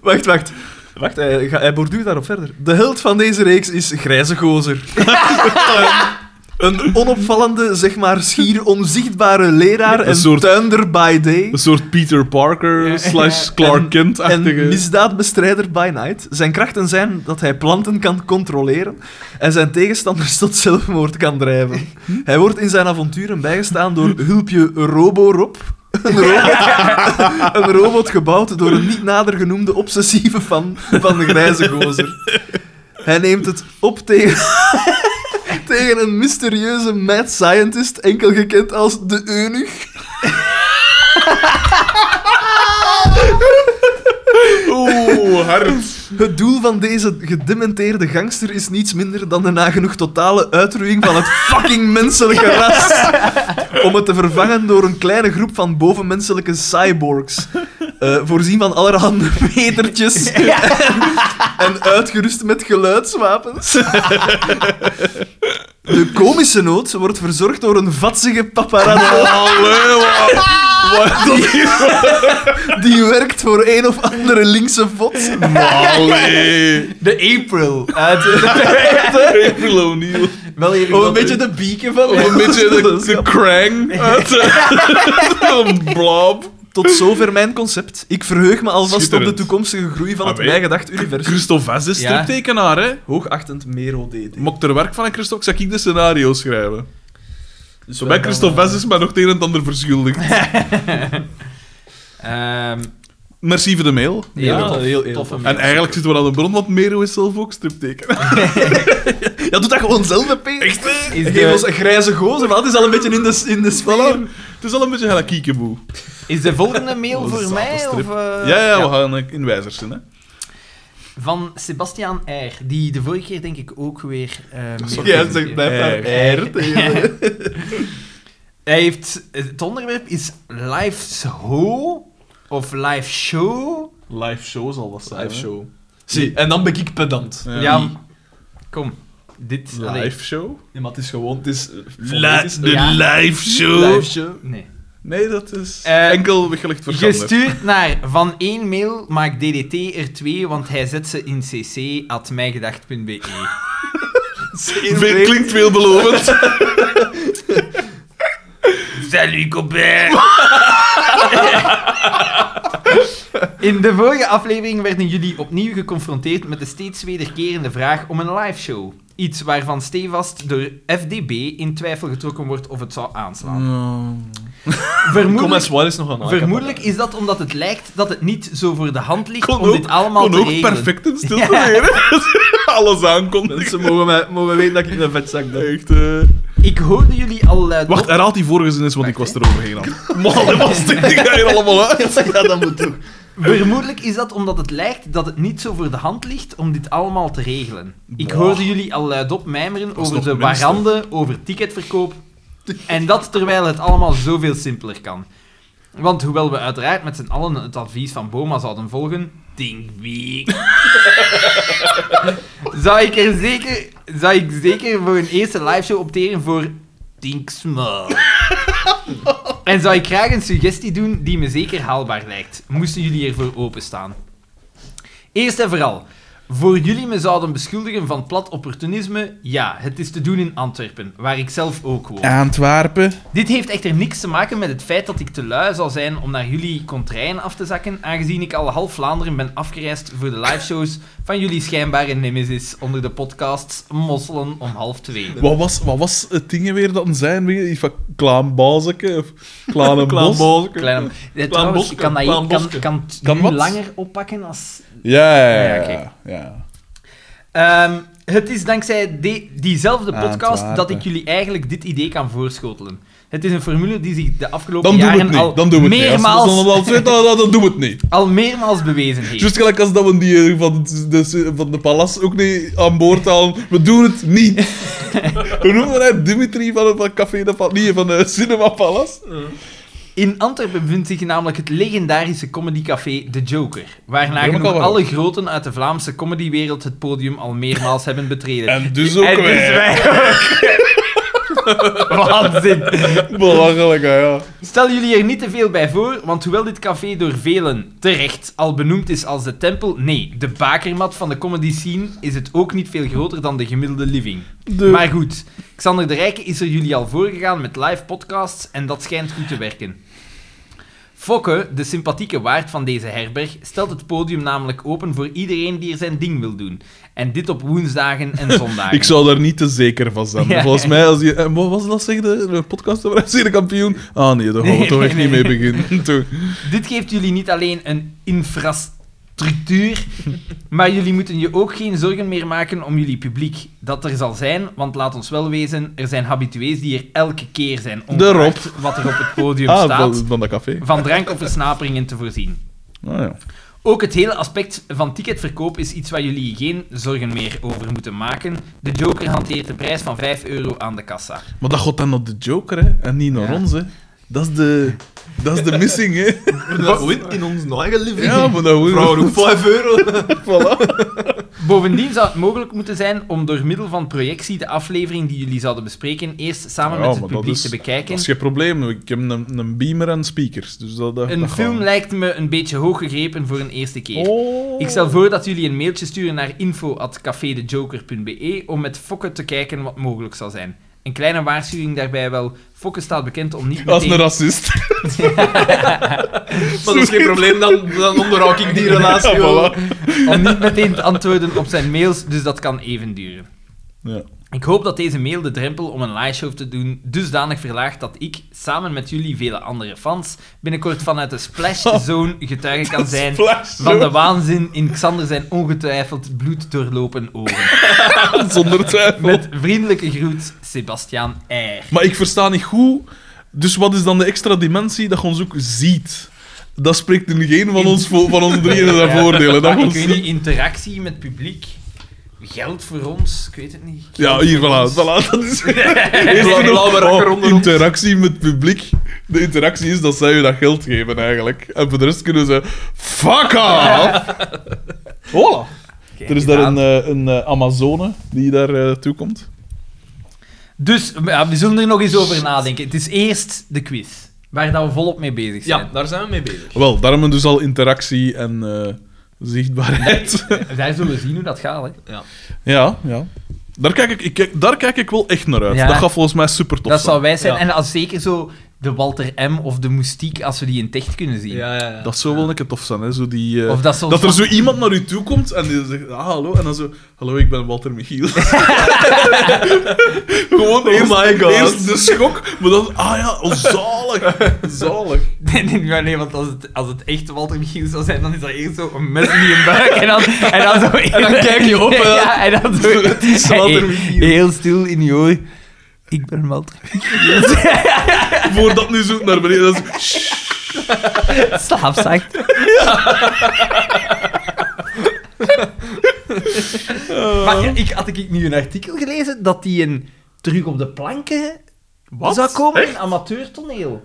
Wacht, wacht. Wacht, hij, ga- hij borduurt daarop verder. De held van deze reeks is Grijze Gozer. een, een onopvallende, zeg maar schier onzichtbare leraar en Een soort- tuinder by day. Een soort Peter Parker slash En- Clark En Kent-achtige. misdaadbestrijder by night. Zijn krachten zijn dat hij planten kan controleren en zijn tegenstanders tot zelfmoord kan drijven. Hij wordt in zijn avonturen bijgestaan door hulpje Roborob. Een robot, een robot gebouwd door een niet nader genoemde obsessieve fan van de grijze gozer. Hij neemt het op tegen, tegen een mysterieuze mad scientist, enkel gekend als de Eunuch. Oeh, hard. Het doel van deze gedementeerde gangster is niets minder dan de nagenoeg totale uitroeiing van het fucking menselijke ras. Om het te vervangen door een kleine groep van bovenmenselijke cyborgs. Eh, voorzien van allerhande metertjes en, en uitgerust met geluidswapens. De komische noot wordt verzorgd door een vatsige paparazzo Allee, wat- wat- dat is- die werkt voor een of andere linkse vod. Allee. De April. Uit, April O'Neil. wel even Om een dat- beetje de bieken van Of een beetje de, de krang uit eh, een blob. Tot zover mijn concept. Ik verheug me alvast op de Schitterend. toekomstige groei van het Ah, wij- bijgedacht universum. Christophe Vest is Ja. striptekenaar, hè? Hoogachtend Mero DD. Mocht er werk van een Christophe, zag ik de scenario schrijven. Zo bij dan, Christophe Vest is mij nog het een en het ander verschuldigd. Ehm, Merci voor de mail. heel Ja, tof. heel, heel Toffe tof. En eigenlijk zitten we aan de bron, want Mero is zelf ook striptekenaar. Ja, doe dat gewoon zelf, hè, Peter. Echt, Is Geef de- ons een grijze gozer, want het is al een beetje in de, in de sfeer. Het is al een beetje gelijk kiekeboe. Is de volgende mail Wat een voor mij? zatenstrip. Of, eh, Ja, ja, we gaan eh, in wijzer zijn, hè. Van Sebastiaan R. Die de vorige keer denk ik ook weer... eh, mail Jij zegt heeft gestuurd. blijf daar Eh, R tegen. Hij heeft... eh, Het onderwerp is Life's Ho of Life Show. Live show zal wat zijn, Live show. Zie, en dan ben ik pedant. Ja. Ja. Kom. Dit... allee, Live show? Ja, maar het is gewoon, het is... eh, La- fonetisch, de Ja. live show. live show. Nee. Nee, dat is Eh, enkel weggelegd voor Sander. Gestuurd naar van één mail, maak DDT er twee, want hij zet ze in cc at mijgedacht.be. Veel- Klinkt veelbelovend. Salut, Colbert. In de vorige aflevering werden jullie opnieuw geconfronteerd met de steeds wederkerende vraag om een liveshow. Iets waarvan stevast door FDB in twijfel getrokken wordt of het zou Mm. aanslaan. Oh. Kom Vermoedelijk, eens, wat is nog een aankomen. vermoedelijk is dat omdat het lijkt dat het niet zo voor de hand ligt Kon om ook, dit allemaal kon te ook regelen. perfect in stilte leren. Alles aankondigen. Mensen mogen, mij, mogen weten dat ik een vetzak ben. Echt, eh. Ik hoorde jullie al eh, luid Wacht, herhaalt die vorige zin eens, want ik was er overheen aan. Man, dat was dit die ga je allemaal uit. Ja, dat moet toch. Vermoedelijk is dat omdat het lijkt dat het niet zo voor de hand ligt om dit allemaal te regelen. Ik hoorde jullie al luidop mijmeren over nog de het minste. warande, over ticketverkoop. En dat terwijl het allemaal zoveel simpeler kan. Want hoewel we uiteraard met z'n allen het advies van Boma zouden volgen, ding wie. zou ik er zeker, zou ik zeker voor een eerste liveshow opteren voor Think Small. En zou ik graag een suggestie doen die me zeker haalbaar lijkt. Moesten jullie ervoor openstaan. Eerst en vooral, voor jullie me zouden beschuldigen van plat opportunisme, ja, het is te doen in Antwerpen, waar ik zelf ook woon. Antwerpen. Dit heeft echter niks te maken met het feit dat ik te lui zal zijn om naar jullie contraien af te zakken, aangezien ik al half Vlaanderen ben afgereisd voor de liveshows van jullie schijnbare nemesis onder de podcasts Mosselen om half twee. Wat was, wat was het ding weer dat zijn? Die van Klaan Bazeke of Klaan en Klein Bos? bolletje. Kleine... Ja, trouwens, Boske, kan dat Plan je kan, Boske. kan het Kan nu wat? langer oppakken als... Ja, ja, ja. Ja, ja, oké. ja. Ehm, het is dankzij de- diezelfde Ah, podcast Antwerpen. dat ik jullie eigenlijk dit idee kan voorschotelen. Het is een formule die zich de afgelopen Dan doen we jaren het niet. al Dan doen we het niet. Als- meermaals, Als we al zitten, dan, dan, dan doen we het niet. al meermaals bewezen heeft. Juist gelijk als dat we die eh, van de, van de palas ook niet aan boord halen. We doen het niet. Hoe noemen we dat? Dimitri van het van Café de Palas. Nee, van de Cinema Palace. In Antwerpen bevindt zich namelijk het legendarische comedycafé De Joker, waar al nagenoeg wel. alle groten uit de Vlaamse comedywereld het podium al meermaals hebben betreden. En dus ook En dus wij. wij ook. Waanzin. Belachelijk, hè, ja. Stel jullie er niet te veel bij voor, want hoewel dit café door velen terecht al benoemd is als de tempel, nee, de bakermat van de comedy scene is het ook niet veel groter dan de gemiddelde living. Maar goed, Xander de Rijke is er jullie al voorgegaan met live podcasts en dat schijnt goed te werken. Fokke, de sympathieke waard van deze herberg, stelt het podium namelijk open voor iedereen die er zijn ding wil doen. En dit op woensdagen en zondagen. Ik zou daar niet te zeker van zijn. Ah, Ja. Volgens mij, als je... En wat was dat, zeg de, de podcast over FC de kampioen? Ah nee, daar gaan we Nee, toch echt nee, niet mee beginnen. Toch. Dit geeft jullie niet alleen een infrastructuur, maar jullie moeten je ook geen zorgen meer maken om jullie publiek. Dat er zal zijn, want laat ons wel wezen, er zijn habitués die er elke keer zijn. ongeacht Wat er op het podium Ah, staat, van, van dat café. van drank of versnaperingen te voorzien. Ah, ja. Ook het hele aspect van ticketverkoop is iets waar jullie geen zorgen meer over moeten maken. De Joker hanteert de prijs van 5 euro aan de kassa. Maar dat gaat dan naar de Joker, hè? En niet naar Ja. ons, hè? Dat is de... Dat is de missing, hè? Dat wint in ons eigen living. Ja, maar dat hoor Vrouw, ook 5 euro. Bovendien zou het mogelijk moeten zijn om door middel van projectie de aflevering die jullie zouden bespreken eerst samen Ja, met het maar dat publiek is- te bekijken. Dat is geen probleem. Ik heb een, een beamer en speakers. Dus dat, dat, Een dat film gaat. lijkt me een beetje hoog gegrepen voor een eerste keer. Oh. Ik stel voor dat jullie een mailtje sturen naar info.cafedejoker.be om met Fokke te kijken wat mogelijk zal zijn. Een kleine waarschuwing daarbij wel. Fokke staat bekend om niet Als een meteen... racist. Maar dat is geen probleem, dan, dan onderhoud ik die relatie Ja, wel. voilà. om niet meteen te antwoorden op zijn mails, dus dat kan even duren. Ja. Ik hoop dat deze mail de drempel om een live show te doen dusdanig verlaagt dat ik, samen met jullie vele andere fans, binnenkort vanuit de Oh. Splash Zone getuige kan zijn Flash, van de waanzin in Xander zijn ongetwijfeld bloed doorlopen Oh. ogen. Zonder twijfel. Met vriendelijke groet, Sebastiaan R. Maar ik versta niet hoe. Dus wat is dan de extra dimensie dat je ons ook ziet? Dat spreekt in geen van ons, vo- van ons drieën zijn voordelen. Dat Maar ik ons... weet niet, interactie met publiek, geld voor ons, ik weet het niet. Ja, hier, voilà. voilà dat is... Eerst doen- Blauwe- blauwe rakker oh, onder ons. interactie met het publiek. De interactie is dat zij je dat geld geven, eigenlijk. En voor de rest kunnen ze... Fuck off! Hola! Er is daar een, eh, een eh, Amazone die daar eh, toe komt. Dus ja, we zullen er nog eens over nadenken. Het is eerst de quiz, waar dat we volop mee bezig zijn. Ja, daar zijn we mee bezig. Wel, daarom dus al interactie en eh, zichtbaarheid. Zij zullen zien hoe dat gaat, hè. Ja, ja. Daar kijk, ik, ik kijk, daar kijk ik wel echt naar uit. Ja. Dat gaat volgens mij super tof Dat zou zijn. wij zijn. Ja. En als zeker zo de Walter M. of de Moestiek als we die in ticht kunnen zien. Ja, ja, ja. Dat zou wel een keer tof zijn, hè? Zo die, eh, Of dat ze ons dat er zo iemand naar u toe komt en die zegt: ah, hallo. En dan zo: Hallo, ik ben Walter Michiel. Gewoon eerst, my God. eerst de schok, maar dan: Ah ja, oh, zalig. Zalig. Nee, nee, nee, nee, want als het, als het echt Walter Michiel zou zijn, dan is dat eerst zo een mes in je buik. En dan, en dan, zo en dan kijk je op, hè. Ja, en dan zo... Het is Walter Michiel. Heel stil in je oor. Ik ben Walter Michiel. Voordat nu zoekt naar beneden. Dat is, Slaapzacht. Maar ja, ik, had ik nu een artikel gelezen dat die een terug op de planken Wat? zou komen in amateurtoneel.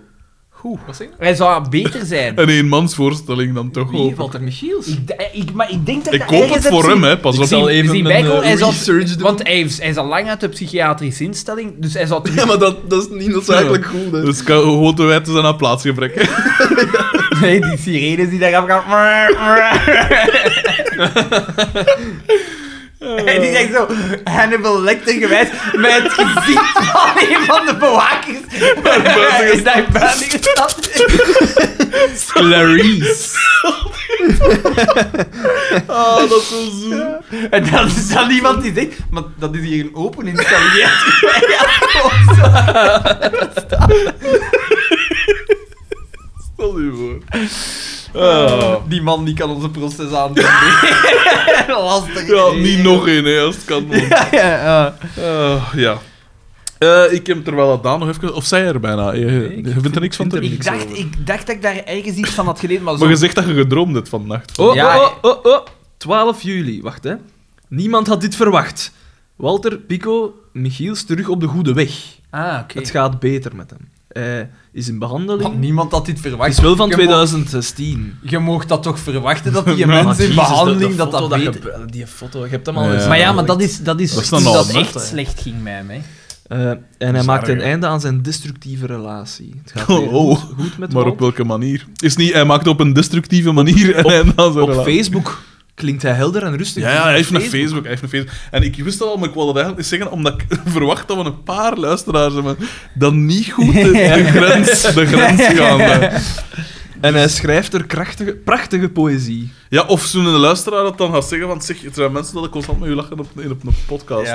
Wat zeg je? Hij zou beter zijn. een eenmansvoorstelling dan toch Wie? ook. Walter Michiels? Ik, d- eh, ik, maar ik denk dat Ik dat koop het ergens heb voor hem, zien- hè? Pas Ik op. zal Ik even zie een Michael, eh, hij zal- research doen. Want hij is, hij is al lang uit de psychiatrische instelling, dus hij zou terug... Ja, maar dat, dat is niet noodzakelijk goed. hè. Dus kan gewoon te wijten zijn aan plaatsgebrek. Nee, die sirenes die daar afgaan... En die zegt zo, Hannibal Lecter gewijd, met het gezicht van een van de bewakers. buiten Is daar buiten gestapt? Clarice. Ah, dat is zo zoen. En dan is dan iemand die zegt, maar dat is hier een open instelling. die heeft gewijd." Ja, gewoon zo. Stel je voor. Ah. Die man die kan onze proces aandoen. Lastig. Ja, niet nog één, hè, als het kan. man. Ja, ja, ja. Ah, ja. Eh, ik heb terwijl dat Daan nog even... Of zij er bijna. Je, je vindt er niks van? te Ik dacht, ik dacht dat ik daar ergens iets van had gelezen, maar zo... Maar je zegt dat je gedroomd hebt vannacht. Oh, Ja, oh, oh, oh, oh. 12 juli, wacht hè. Niemand had dit verwacht. Walter Pico Michiels terug op de goede weg. Ah, oké. Het gaat beter met hem. Hij is in Want behandeling. niemand had dit verwacht. Hij is wel van Je mo- 2016. Je mocht dat toch verwachten, dat die Maar mensen in Jezus, behandeling, Nou, dat foto dat beter... je- die foto, je hebt hem Ja. al eens. Maar ja, maar dat is, dat is, Dat is toen dan dat al, hè? echt slecht ging met hem. Hè. Eh, en hij is maakt erg, een hè. einde aan zijn destructieve relatie. Het gaat Oh, weer oh. goed, goed met Maar Walter. op welke manier? Is niet, hij maakt op een destructieve manier en hij na zijn Op relatie. Facebook klinkt hij helder en rustig. Ja, ja, hij heeft een Facebook. Facebook. Hij heeft een Facebook. En ik wist dat al, maar ik wilde dat eigenlijk niet zeggen, omdat ik verwacht dat we een paar luisteraars hebben dan niet goed de, de grens, de grens gaan. eh. En hij schrijft er krachtige, prachtige poëzie. Ja, of zo'n luisteraar dat dan gaat zeggen, want zeg, er zijn mensen dat ik constant met u lachen op, in, op een podcast.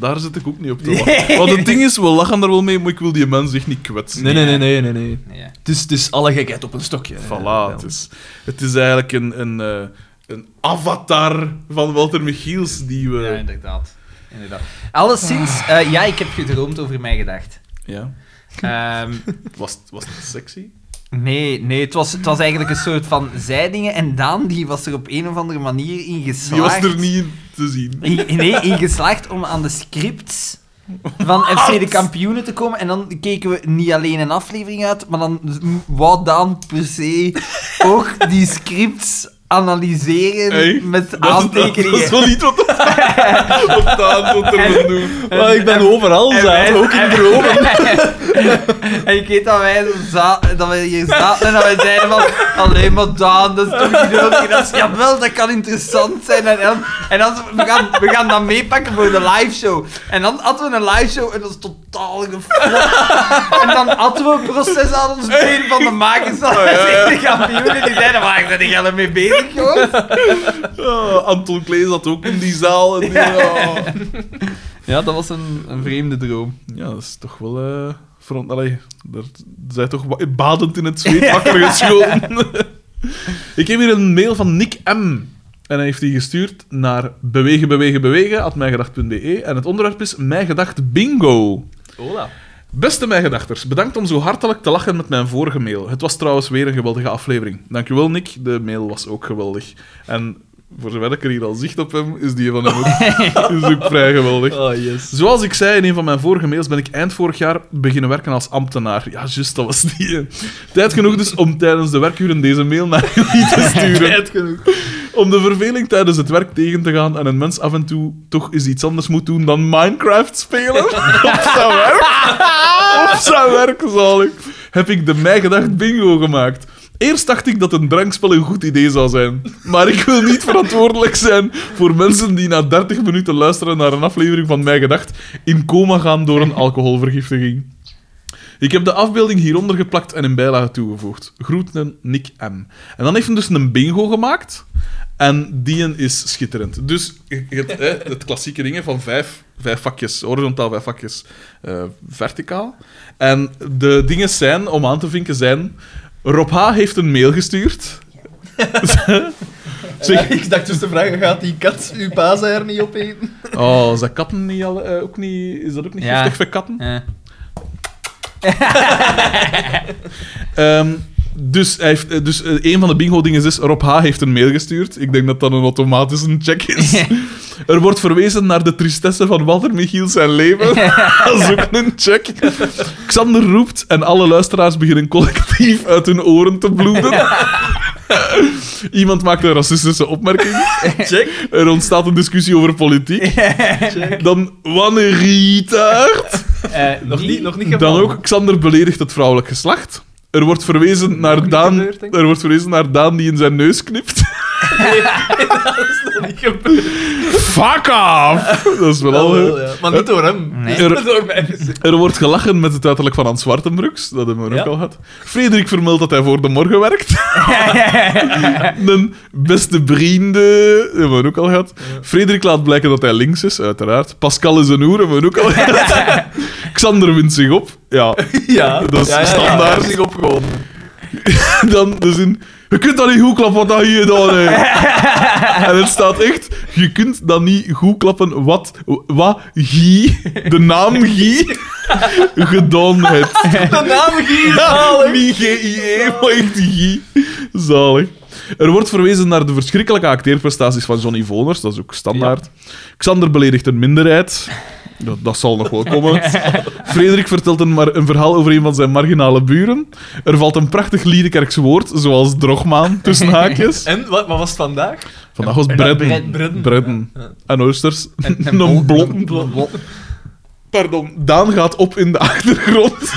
Daar zit ik ook niet op te wachten. Want het ding is, we lachen er wel mee, maar ik wil die mens echt niet kwetsen. Nee, nee, nee, nee, nee. nee. Ja. Het, is, het is alle gekheid op een stokje. hè. Voilà, het is, het is eigenlijk een, een, eh, een avatar van Walter Michiels die we... ja, inderdaad. inderdaad. Alleszins, eh, ja, ik heb gedroomd over mij gedacht. Ja. Ehm, Was, was het sexy? nee, nee het, was, het was eigenlijk een soort van zijdingen. En Daan die was er op een of andere manier in geslaagd. Die was er niet in te zien. In- nee, in geslaagd om aan de scripts van FC de kampioenen te komen. En dan keken we niet alleen een aflevering uit, maar dan dus wou Daan per se ook die scripts analyseren Hey, met Dat- Dat, aantekeningen. dat is wel niet wat op aan tot er wil doen. Maar Ah, ik ben overal En wij- zaad, ook in en- dromen. en ik weet dat wij, zo za- dat wij hier zaten en dat wij zeiden van... Alleen maar Daan, dat is toch niet nodig? En dat is, jawel, dat kan interessant zijn. En dan, en dan zo, we, gaan, we gaan dat meepakken voor de liveshow. En dan hadden we een liveshow en dat is totaal geflopt. En dan hadden we een proces aan ons been van de makers van de kampioenen. Die zeiden, waar ben ik al mee bezig, jongens? Ja, Anton Klee zat ook in die zaal. En die, ja. Ja, dat was een, een vreemde droom. Ja, dat is toch wel... eh front, allee, daar zijn toch wa- badend in het zweet wakker geschoten. ik heb hier een mail van Nick M. En hij heeft die gestuurd naar bewegen, bewegen, bewegen, at mijgedacht.be. En het onderwerp is Mijn Gedacht Bingo. Hola. Beste mijgedachters, bedankt om zo hartelijk te lachen met mijn vorige mail. Het was trouwens weer een geweldige aflevering. Dankjewel, Nick. De mail was ook geweldig. En voor zover ik er hier al zicht op heb, is die van hem ook, is ook vrij geweldig. Oh, yes. Zoals ik zei in een van mijn vorige mails, ben ik eind vorig jaar beginnen werken als ambtenaar. Ja, juist, dat was die. hè. Tijd genoeg dus om tijdens de werkuren deze mail naar jullie te sturen. Tijd genoeg. Om de verveling tijdens het werk tegen te gaan en een mens af en toe toch eens iets anders moet doen dan Minecraft spelen. op zijn werk. op zijn werk, zalig. Heb ik de mij gedacht bingo gemaakt. Eerst dacht ik dat een drankspel een goed idee zou zijn. Maar ik wil niet verantwoordelijk zijn voor mensen die na 30 minuten luisteren naar een aflevering van Mij Gedacht in coma gaan door een alcoholvergiftiging. Ik heb de afbeelding hieronder geplakt en in bijlage toegevoegd. Groeten Nick M. En dan heeft hij dus een bingo gemaakt. En die is schitterend. Dus je je hebt hè, het klassieke ding hè, van vijf, vijf vakjes, horizontaal vijf vakjes, eh, verticaal. En de dingen zijn, om aan te vinken, zijn... Rob H. heeft een mail gestuurd. zeg, Ik dacht dus de vraag, gaat die kat uw paza er niet opeten? oh, zijn katten niet al, eh, ook niet... Is dat ook niet Ja. giftig voor katten? Eh. Ehm, dus hij heeft, eh, dus eh, een van de bingo-dingen is: Rob H. heeft een mail gestuurd. Ik denk dat dat een automatische check is. er wordt verwezen naar de tristesse van Walter Michiel zijn leven. dat is ook een check. Xander roept en alle luisteraars beginnen collectief uit hun oren te bloeden. Iemand maakt een racistische opmerking. Check. Er ontstaat een discussie over politiek. Dan wanneer Rita. Eh, Nog die- niet, nog niet Dan ook, Xander beledigt het vrouwelijk geslacht. Er wordt verwezen naar niet Daan... gebeurd, denk ik. Er wordt verwezen naar Daan die in zijn neus knipt. niet gebeurd. Fuck off! Dat is wel al... Wel, eh, ja. Maar niet door hem. Nee. Er, er wordt gelachen met het uiterlijk van Hans Zwartenbroeks. Dat hebben we ook Ja. al gehad. Frederik vermeldt dat hij voor de morgen werkt. Een beste vrienden. Dat hebben we ook al gehad. Frederik laat blijken dat hij links is, uiteraard. Pascal is een oer. Hebben we ook al gehad. Xander wint zich op. Ja, Ja. dat is Ja, ja, ja. standaard. Zich opgewonden. dan dus in... Je kunt dat niet goed klappen wat dat je gedaan hebt. en het staat echt... Je kunt dat niet goed klappen wat... Wat Guy... De naam Guy... gedaan hebt. De naam Guy. Ja, niet G-I-E, maar echt Guy. Zalig. Er wordt verwezen naar de verschrikkelijke acteerprestaties van Johnny Voners. Dat is ook standaard. Xander beledigt een minderheid. Dat, dat zal nog wel komen. Frederik vertelt een, maar een verhaal over een van zijn marginale buren. Er valt een prachtig Liedekerks woord, zoals drogmaan, tussen haakjes. En, wat, wat was het vandaag? Vandaag was Bredden. Bredden. Bredden. En oysters. En een blond. Pardon. Daan gaat op in de achtergrond.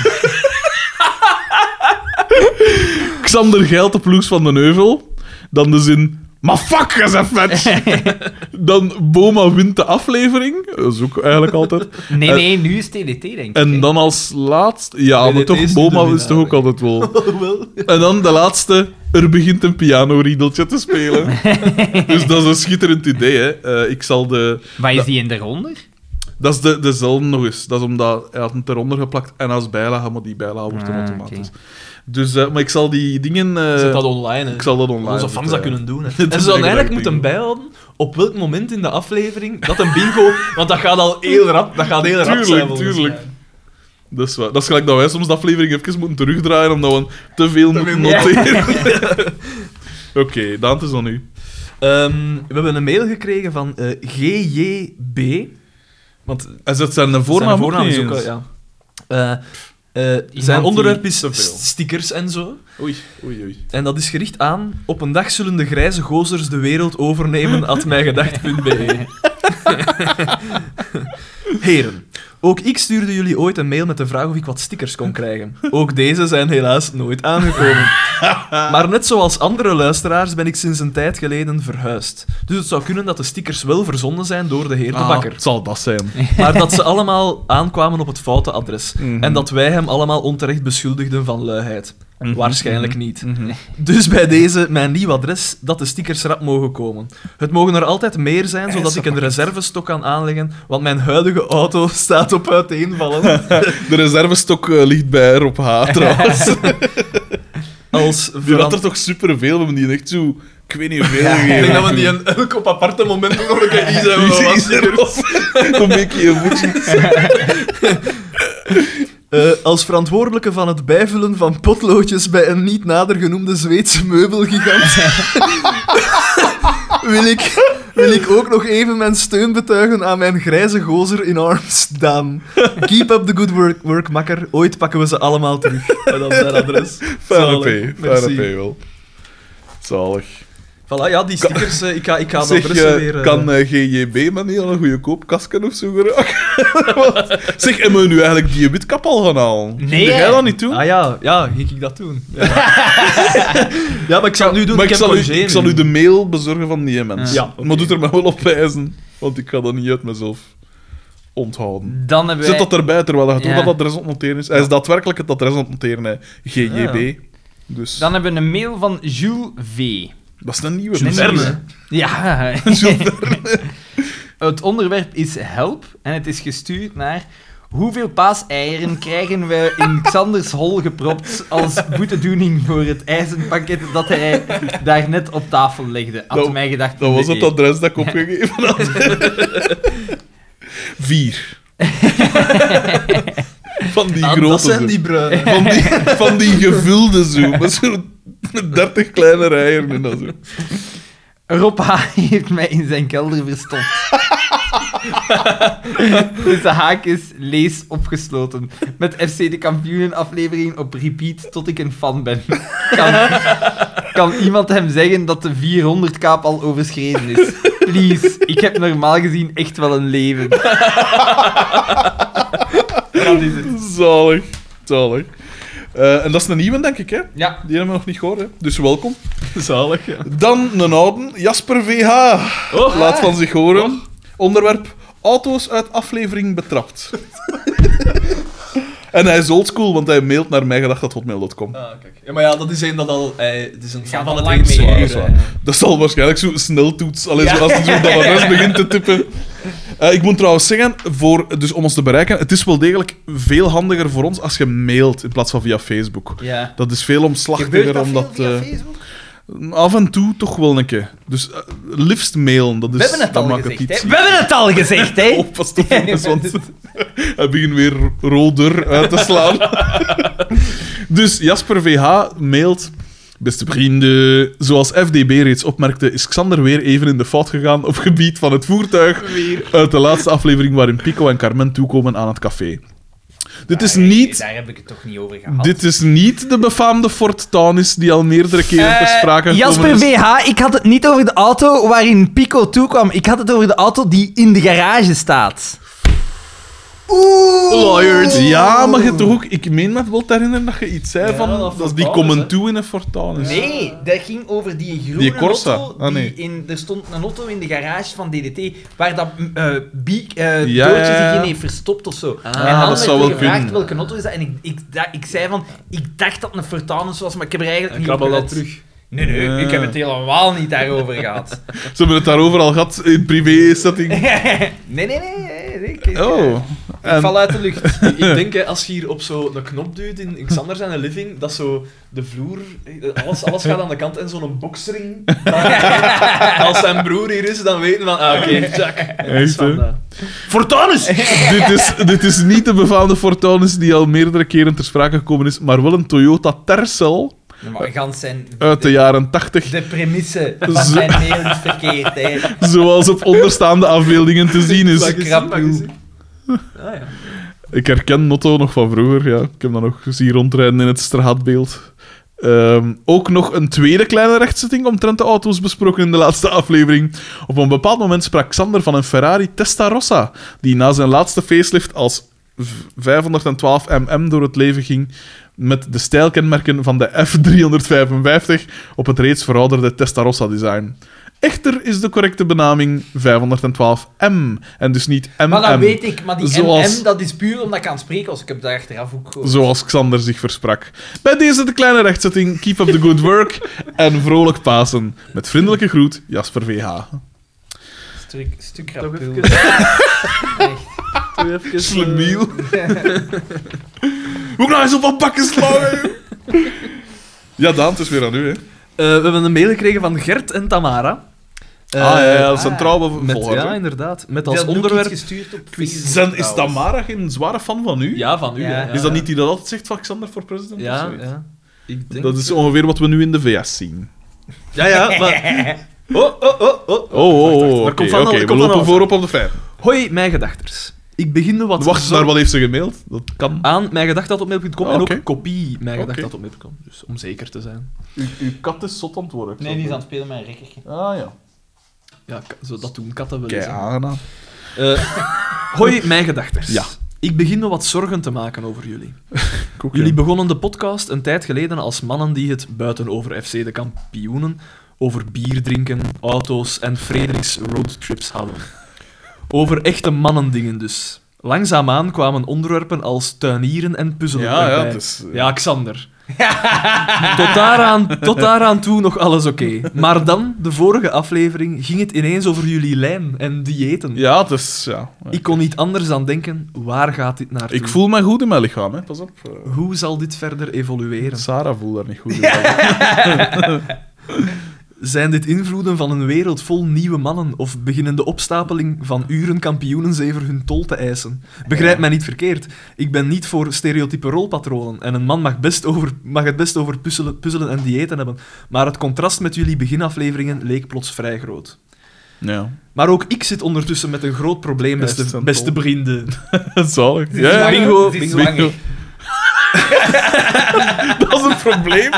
Xander geilt de ploes van de Neuvel. Dan de zin... Maar fuck, je bent vet! Dan Boma wint de aflevering. Dat is ook eigenlijk altijd. Nee, nee, nu is TDT, denk ik. En dan als laatst... Ja, Nee, maar dit toch, is niet Boma de is toch ook altijd wel... Wel. En dan de laatste. Er begint een pianoriedeltje te spelen. dus dat is een schitterend idee, hè. Eh, ik zal de... Maar is die in de ronde? Dat is de, dezelfde nog eens. Dat is omdat hij had hem eronder geplakt en als bijlage, maar die bijlage wordt dan Ah, automatisch. Dus, eh, maar ik zal die dingen... eh, Zet dat online, hè. ik zal dat online... Onze fans dat zetten, ja. kunnen doen. hè. is En een ze zouden gelijk eigenlijk moeten bingo. bijhouden op welk moment in de aflevering dat een bingo... Want dat gaat al heel rap, dat gaat heel rap zijn, Tuurlijk, volgens mij. tuurlijk. Dat is, waar. dat is gelijk dat wij soms de aflevering even moeten terugdraaien omdat we te veel moeten noteren. Oké, Daan, het is dan nu. Ehm, we hebben een mail gekregen van eh, GJB. Want En zet zijn voornaam, zijn voornaam ook is niet ook al- eens. ja. Eh, eh, zijn die- onderwerp is Te veel. st- stickers en zo. Oei, oei, oei. En dat is gericht aan... Op een dag zullen de grijze gozers de wereld overnemen, at mijgedacht.be. E. Heren, ook ik stuurde jullie ooit een mail met de vraag of ik wat stickers kon krijgen. Ook deze zijn helaas nooit aangekomen. Maar net zoals andere luisteraars ben ik sinds een tijd geleden verhuisd. Dus het zou kunnen dat de stickers wel verzonden zijn door de heer de Ah, Bakker. het zal dat zijn. Maar dat ze allemaal aankwamen op het foute adres. Mhm. En dat wij hem allemaal onterecht beschuldigden van luiheid. Waarschijnlijk niet. Mhm. Dus bij deze, mijn nieuw adres, dat de stickers rap mogen komen. Het mogen er altijd meer zijn, zodat ik een reservestok kan aanleggen, want mijn huidige auto staat op uiteenvallen. De reservestok eh, ligt bij Rob H. trouwens. Als Die had verand- er toch superveel, we hebben die echt zo... Ik weet niet hoeveel Ik gegeven. denk dat we die een, elk op aparte momenten nog een keer zijn. Die wat is erop. Een beetje een voetje. Eh, als verantwoordelijke van het bijvullen van potloodjes bij een niet nader genoemde Zweedse meubelgigant wil, ik, wil ik ook nog even mijn steun betuigen aan mijn grijze gozer in arms, Daan. Keep up the good work, work makker. Ooit pakken we ze allemaal terug. En dan zijn adres. Fijne Zalig. P, fijne Merci. P wel. Zalig. Voilà, ja, die stickers. eh, ik ga, ik ga de Zeg, adressen eh, weer... eh, kan eh, GJB maar niet aan een goede koopkasken of zo geraken? Want- zeg, en we nu eigenlijk die witkap al gaan halen? Nee, Doe jij hè? dat niet toe? Ah ja, ja, ging ik dat doen. Ja, Ja, maar ik zal het nu doen. maar ik, ik, heb zal u, congé ik zal nu. u de mail bezorgen van die mens. Ja, oké. Maar doet er mij wel op wijzen, want ik ga dat niet uit mezelf onthouden. Dan hebben Zet wij... dat erbij, terwijl hij Ja. wat adres aan het noteren is. Hij is daadwerkelijk het adres aan het noteren, hè. GJB. Dus Dan hebben we een mail van Jules V. dat is een nieuwe. Jules mensen. Verne. Ja. Jules Verne. Het onderwerp is help en het is gestuurd naar hoeveel paaseieren krijgen we in Xanders hol gepropt als boetedoening voor het ijzerpakket dat hij daarnet op tafel legde? Had Dat- mij gedacht. Dat was het dat. adres dat ik opgegeven had. Vier. Van die Ah, grote dat zijn zo. die bruine. Van, die, van die gevulde zo. Met zo'n dertig kleine rijen en dat zo. Rob H. heeft mij in zijn kelder verstopt. dus de haak is lees opgesloten. Met FC de kampioenen aflevering op repeat tot ik een fan ben. Kan, kan iemand hem zeggen dat de 400 kaap al overschreden is? Please, ik heb normaal gezien echt wel een leven. Dat is het. Zalig. Zalig. Eh, en dat is een nieuwe, denk ik, hè? Ja. Die hebben we nog niet gehoord, hè? Dus welkom. Zalig, ja. Dan een oude, Jasper VH. Oh. Laat van zich horen. Onderwerp: auto's uit aflevering betrapt. en hij is oldschool, want hij mailt naar mijgedacht.hotmail.com. Ah, kijk. Ja, maar ja, dat is een dat al... eh, het is een Gaat van al het lang eerste hè. mee, uur, Dat is hè. waar. Dat zal waarschijnlijk zo'n sneltoets. Alleen zo als hij zo dat adres begint te tippen. Eh, ik moet trouwens zeggen, voor, dus om ons te bereiken, het is wel degelijk veel handiger voor ons als je mailt in plaats van via Facebook. Ja. Dat is veel omslachtiger, Gebeurt dat omdat... veel eh, via Facebook? Af en toe toch wel een keer. Dus eh, liefst mailen. Dat is, We hebben het dat al maakt gezegd, iets hè. We hebben het al gezegd, hè? op pas op, jongens, dus- want hij begint weer roder uit te slaan. dus Jasper VH mailt... Beste vrienden, zoals FDB reeds opmerkte, is Xander weer even in de fout gegaan op gebied van het voertuig uit de laatste aflevering waarin Pico en Carmen toekomen aan het café. Dit is niet Daar heb ik het toch niet over gehad. dit is niet de befaamde Fort Townis die al meerdere keren ter Eh, sprake gekomen Jasper is. VH, ik had het niet over de auto waarin Pico toekwam. Ik had het over de auto die in de garage staat. Oh. Ja, maar je toch ook... Ik meen me wel te herinneren dat je iets zei van... dat Dat, Fort die Townis, komen hè? toe in een Fort Townis. Nee, dat ging over die groene Die Corsa. auto. Ah, nee. die in, er stond een auto in de garage van DDT waar dat eh Biek, eh, Ja, Doortje ja, ja. zich in heeft verstopt of zo. Ah, en dan dat werd zou er wel gevraagd kunnen. welke auto is dat. En ik, ik, da- ik zei van, ik dacht dat het een Fortanus was, maar ik heb er eigenlijk En niet krabbel op dat gelet. terug. Nee, nee, Ja. ik heb het helemaal niet daarover gehad. Ze hebben het daarover al gehad in privé-setting. Nee, nee, nee. nee, nee, ik, Oh. ik En- Ehm. val uit de lucht. Ik denk, hè, als je hier op zo'n knop duwt in in Xander zijn living, dat zo de vloer, eh, alles, alles gaat aan de kant en zo'n boksring. Als zijn broer hier is, dan weten we van, ah, oké, Jack. Echt, hè? eh, Fortanus! dit, is, dit is niet de befaamde Fort Townis die al meerdere keren ter sprake gekomen is, maar wel een Toyota Tercel Maar gans zijn... uit de jaren 80, De premisse Zo. van zijn mail is verkeerd, hè. zoals op onderstaande afbeeldingen te zien is. Zo krap, joh. Ah, ja. Ik herken Notto nog van vroeger, ja. Ik heb dat nog zien rondrijden in het straatbeeld. Ehm, ook nog een tweede kleine rechtszitting omtrent de auto's besproken in de laatste aflevering. Op een bepaald moment sprak Xander van een Ferrari Testarossa, die na zijn laatste facelift als v- 512 mm door het leven ging met de stijlkenmerken van de F355 op het reeds verouderde Testarossa-design. Echter is de correcte benaming 512M en dus niet MM. Maar dat weet ik, maar die Zoals- MM, dat is puur omdat ik aan het spreken was. Ik heb daar achteraf ook gehoord. Zoals Xander zich versprak. Bij deze de kleine rechtzetting. Keep up the good work. en vrolijk Pasen. Met vriendelijke groet, Jasper VH. Stuk, stuk Toch rapul. even- Toch even, eh, Slemiel. Hoe nou eens op wat pakken slagen? joh? ja, Daan, het is weer aan u, hè. Eh, we hebben een mail gekregen van Gert en Tamara. Eh, ah, ja, ja, dat is een ah, trouwe Met, volger, ja, hè. inderdaad. Met Die als had ook onderwerp... iets gestuurd op Facebook Zijn, is trouwens. Tamara geen zware fan van u? Ja, van u. Ja. hè, Is dat niet die dat altijd zegt van Xander voor president? of Ja, zoiets? ja. Ik denk Dat is ongeveer wat we nu in de VS zien. Ja, ja, maar... Oh, oh, oh, Oh, oh. oh, oh. wacht, daar Oké, komt van oké, alles, we komt van lopen alles. voorop op de feiten. Hoi, mijn gedachters. Ik begin nu wat Wacht, zor- naar wat heeft ze gemaild? Dat kan. aan mijngedacht.mail.com Ah, en oké. ook kopie mijngedacht.mail.com. Dus om zeker te zijn. Uw, kat is zot aan het worden. Nee, die is aan het spelen met een rekkertje. Ah, ja. Ja, ka- zo, dat doen katten wel Kei eens. hè. aangenaam. Eh, hoi, mijn gedachters. Ja. Ik begin me wat zorgen te maken over jullie. Jullie begonnen de podcast een tijd geleden als mannen die het buiten over FC de kampioenen, over bier drinken, auto's en Frederiks roadtrips hadden. Over echte mannendingen dus. Langzaamaan kwamen onderwerpen als tuinieren en puzzelen Ja, ja, erbij. het is, eh. Ja, Xander. tot, daaraan, tot daaraan toe nog alles oké. Maar dan, de vorige aflevering, ging het ineens over jullie lijn en diëten. Ja, het is... Ja. Ik kon niet anders dan denken, waar gaat dit naartoe? Ik voel mij goed in mijn lichaam, hè. Pas op. eh. Hoe zal dit verder evolueren? Sarah voelt daar niet goed in. Ja. Zijn dit invloeden van een wereld vol nieuwe mannen of beginnen de opstapeling van uren kampioenenzever hun tol te eisen? Begrijp mij niet verkeerd. Ik ben niet voor stereotype rolpatronen en een man mag, best over, mag het best over puzzelen, puzzelen en diëten hebben, maar het contrast met jullie beginafleveringen leek plots vrij groot. Maar ook ik zit ondertussen met een groot probleem, Juist, beste, zo'n beste tol. vrienden. Zalig. Ja, ja. Bingo, Het is bingo. zwanger. Dat is een probleem.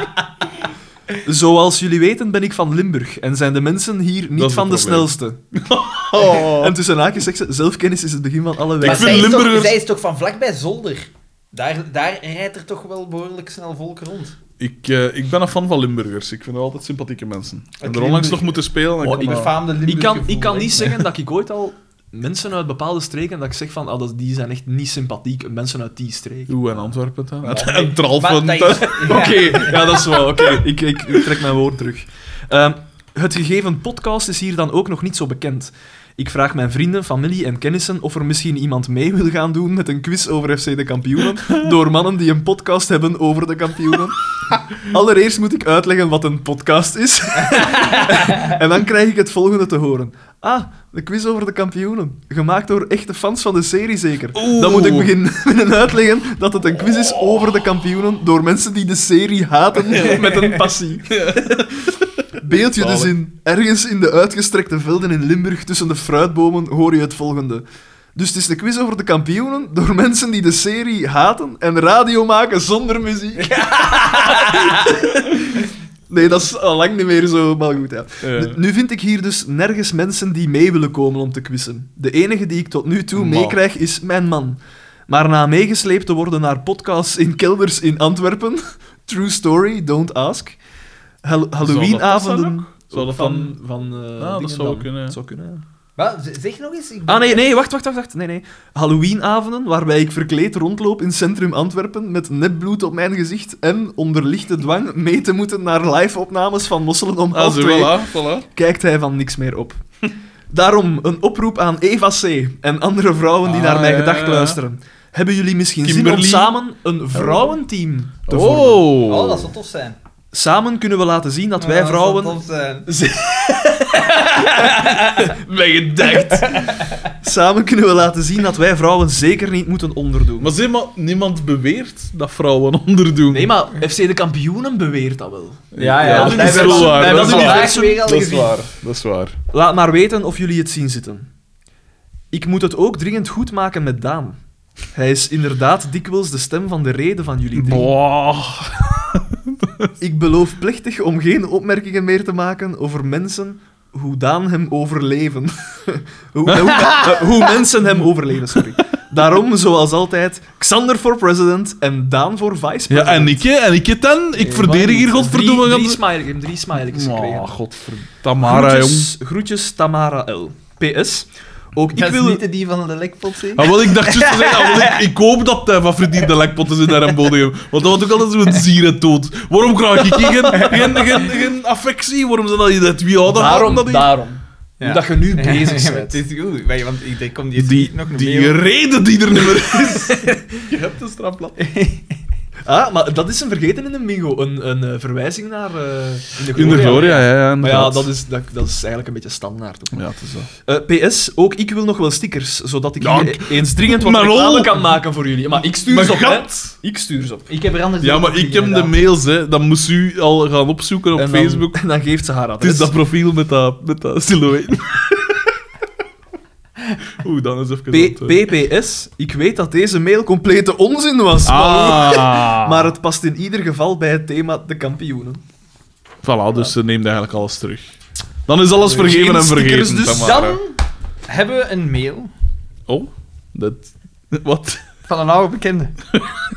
Zoals jullie weten ben ik van Limburg en zijn de mensen hier Dat niet is van de een probleem. snelste. Oh. En tussen haakjes zegt ze, zelfkennis is het begin van alle Ik wijsheid. vind zij, is toch, Limburgers- zij is toch van vlakbij Zolder? Daar, daar rijdt er toch wel behoorlijk snel volk rond. Ik, eh, ik ben een fan van Limburgers. Ik vind dat altijd sympathieke mensen. En er onlangs Limburg- nog moeten spelen. dan Oh, kan ik dat- Befaamde Ik Limburg kan, ik kan niet zeggen dat ik ooit al mensen uit bepaalde streken, dat ik zeg van, ah, dat, die zijn echt niet sympathiek, mensen uit die streek. Oeh, en Antwerpen dan? en Tralfen. Maar dan. dat is- Oké, ja, dat is wel. Oké, ik, ik, ik trek mijn woord terug. Ehm, het gegeven podcast is hier dan ook nog niet zo bekend. Ik vraag mijn vrienden, familie en kennissen of er misschien iemand mee wil gaan doen met een quiz over FC de kampioenen door mannen die een podcast hebben over de kampioenen. Allereerst moet ik uitleggen wat een podcast is. en dan krijg ik het volgende te horen. Ah, de quiz over de kampioenen. Gemaakt door echte fans van de serie zeker. Dan moet ik beginnen beginnen uitleggen dat het een quiz is over de kampioenen door mensen die de serie haten met een passie. Beeld je dus in. Ergens in de uitgestrekte velden in Limburg tussen de fruitbomen hoor je het volgende. Dus het is de quiz over de kampioenen door mensen die de serie haten en radio maken zonder muziek. Nee, dat is al lang niet meer zo, maar goed, ja. Ja. Nu- Nu vind ik hier dus nergens mensen die mee willen komen om te quizzen. De enige die ik tot nu toe meekrijg is mijn man. Maar na meegesleept te worden naar podcasts in kelders in Antwerpen... True story, don't ask. Hal- Halloweenavonden... Zou dat dan- van eh, dat dingen zou dan. kunnen, ja. Dat zou kunnen, ja. Wat? Z- Zeg nog eens. Ik ben- Ah, nee, nee, wacht, wacht, wacht. wacht. Nee, nee. Halloweenavonden, waarbij ik verkleed rondloop in centrum Antwerpen met nepbloed op mijn gezicht en onder lichte dwang mee te moeten naar live-opnames van Mosselen om half Ah, zo, twee voilà, voilà. kijkt hij van niks meer op. Daarom een oproep aan Eva C. en andere vrouwen die Ah, naar mijn ja, gedacht ja. luisteren. Hebben jullie misschien Kimberly. zin om samen een vrouwenteam te vormen? Oh. Oh, dat zou tof zijn. Samen kunnen we laten zien dat wij Ah, vrouwen... Dat zou tof zijn. Mijn gedacht! samen kunnen we laten zien dat wij vrouwen zeker niet moeten onderdoen. Maar zeg maar, niemand beweert dat vrouwen onderdoen. Nee, maar FC De Kampioenen beweert dat wel. Ja, Ja, dat dat is hebben we wel waar, vandaag dat is vandaag waar. weer al dat is gezien. waar. Dat is waar. Laat maar weten of jullie het zien zitten. Ik moet het ook dringend goed maken met Daan. Hij is inderdaad dikwijls de stem van de reden van jullie drie. Boah. Ik beloof plechtig om geen opmerkingen meer te maken over mensen hoe Daan hem overleven. hoe, hoe, eh, hoe mensen hem overleven, sorry. Daarom, zoals altijd, Xander voor president en Daan voor vice Ja, president. en ik, hè, en ik het dan. Ik verdedig hier, godverdomme. Drie, drie gans- smiley- ik heb drie smiley's gekregen. Oh, godverdomme. Tamara, jong. groetjes, groetjes Tamara L. PS. Ook ik Dat is wil... niet de die van de lekpot, zeg. Ah, wel, ik dacht juist te zeggen, ah, wel, ik, ik hoop dat hij van verdiende lekpotten zijn daar een bodem. Want dat was ook altijd zo'n zierentoot. Waarom krijg ik geen, geen, geen, geen affectie? Waarom zijn dat niet dat wie hadden? Daarom, dat die- daarom. Ja. Omdat je nu bezig Ja, maar Het bent. is goed, want- want ik denk, kom die, die, nog een die mail. reden die er niet meer is. Je hebt een strafblad. Ah, maar dat is een vergeten in de bingo. Een, een eh, verwijzing naar... eh, In de Gloria, ja. ja Maar ja, dat is, dat, dat is eigenlijk een beetje standaard. ook. Ja, het is dat. Eh, PS, ook ik wil nog wel stickers, zodat ik Ja, hier ik- eens dringend wat Maar lol. reclame kan maken voor jullie. Maar ik stuur Maar ze op, hè. gat. Ik stuur ze op. Ik heb er anders Ja, ook maar op ik heb de gedaan. mails, hè. Dan moest u al gaan opzoeken op En dan- Facebook. En dan geeft ze haar Het adres. is dat profiel met dat, met dat silhouet. Oeh, dan is even... P- dat, eh. PPS, ik weet dat deze mail complete onzin was. maar- Ah. Maar het past in ieder geval bij het thema de kampioenen. Voilà, dus ze neemt eigenlijk alles terug. Dan is alles vergeven en vergeten. stickers dus. Tamara. Dan hebben we een mail Oh, dat... Wat? van een oude bekende.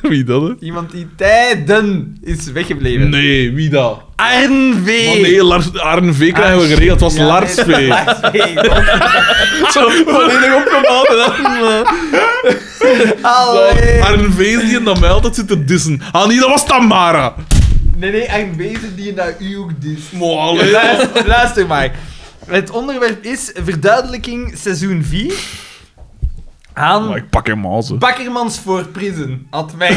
Wie dat, hè? Iemand die tijden is weggebleven. Nee, wie dat? Arn V. Maar nee, Lars, Arne V krijgen we geregeld. Het was Ja, Lars nee, V. Volledig opgebouwd en dan... Allee. Arne V is die in dat mij altijd zit te dissen. Ah nee, dat was Tamara. Nee, nee, en wezen die naar u ook dus. Maar allee. Luister, luister maar. Het onderwerp is verduidelijking seizoen 4 aan Maar ik pak hem al zo. Bakkermans voor Prison. Had mij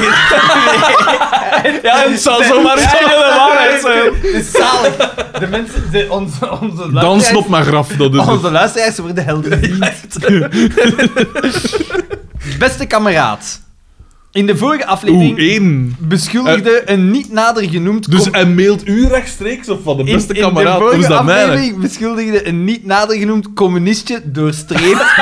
Ja, het zou zomaar een hele waarheid zijn. Het is zalig. De mensen, de, onze, onze, Dansen op luisteraars, mijn graf, dat is het. onze luisteraars worden helden niet. Beste kameraad. In de vorige aflevering Oeh, één. beschuldigde een niet nader genoemd... Dus com- en mailt u rechtstreeks of van de in- beste in kameraad? Hoe de is vorige dat mij? aflevering beschuldigde een niet nader genoemd communistje doorstreept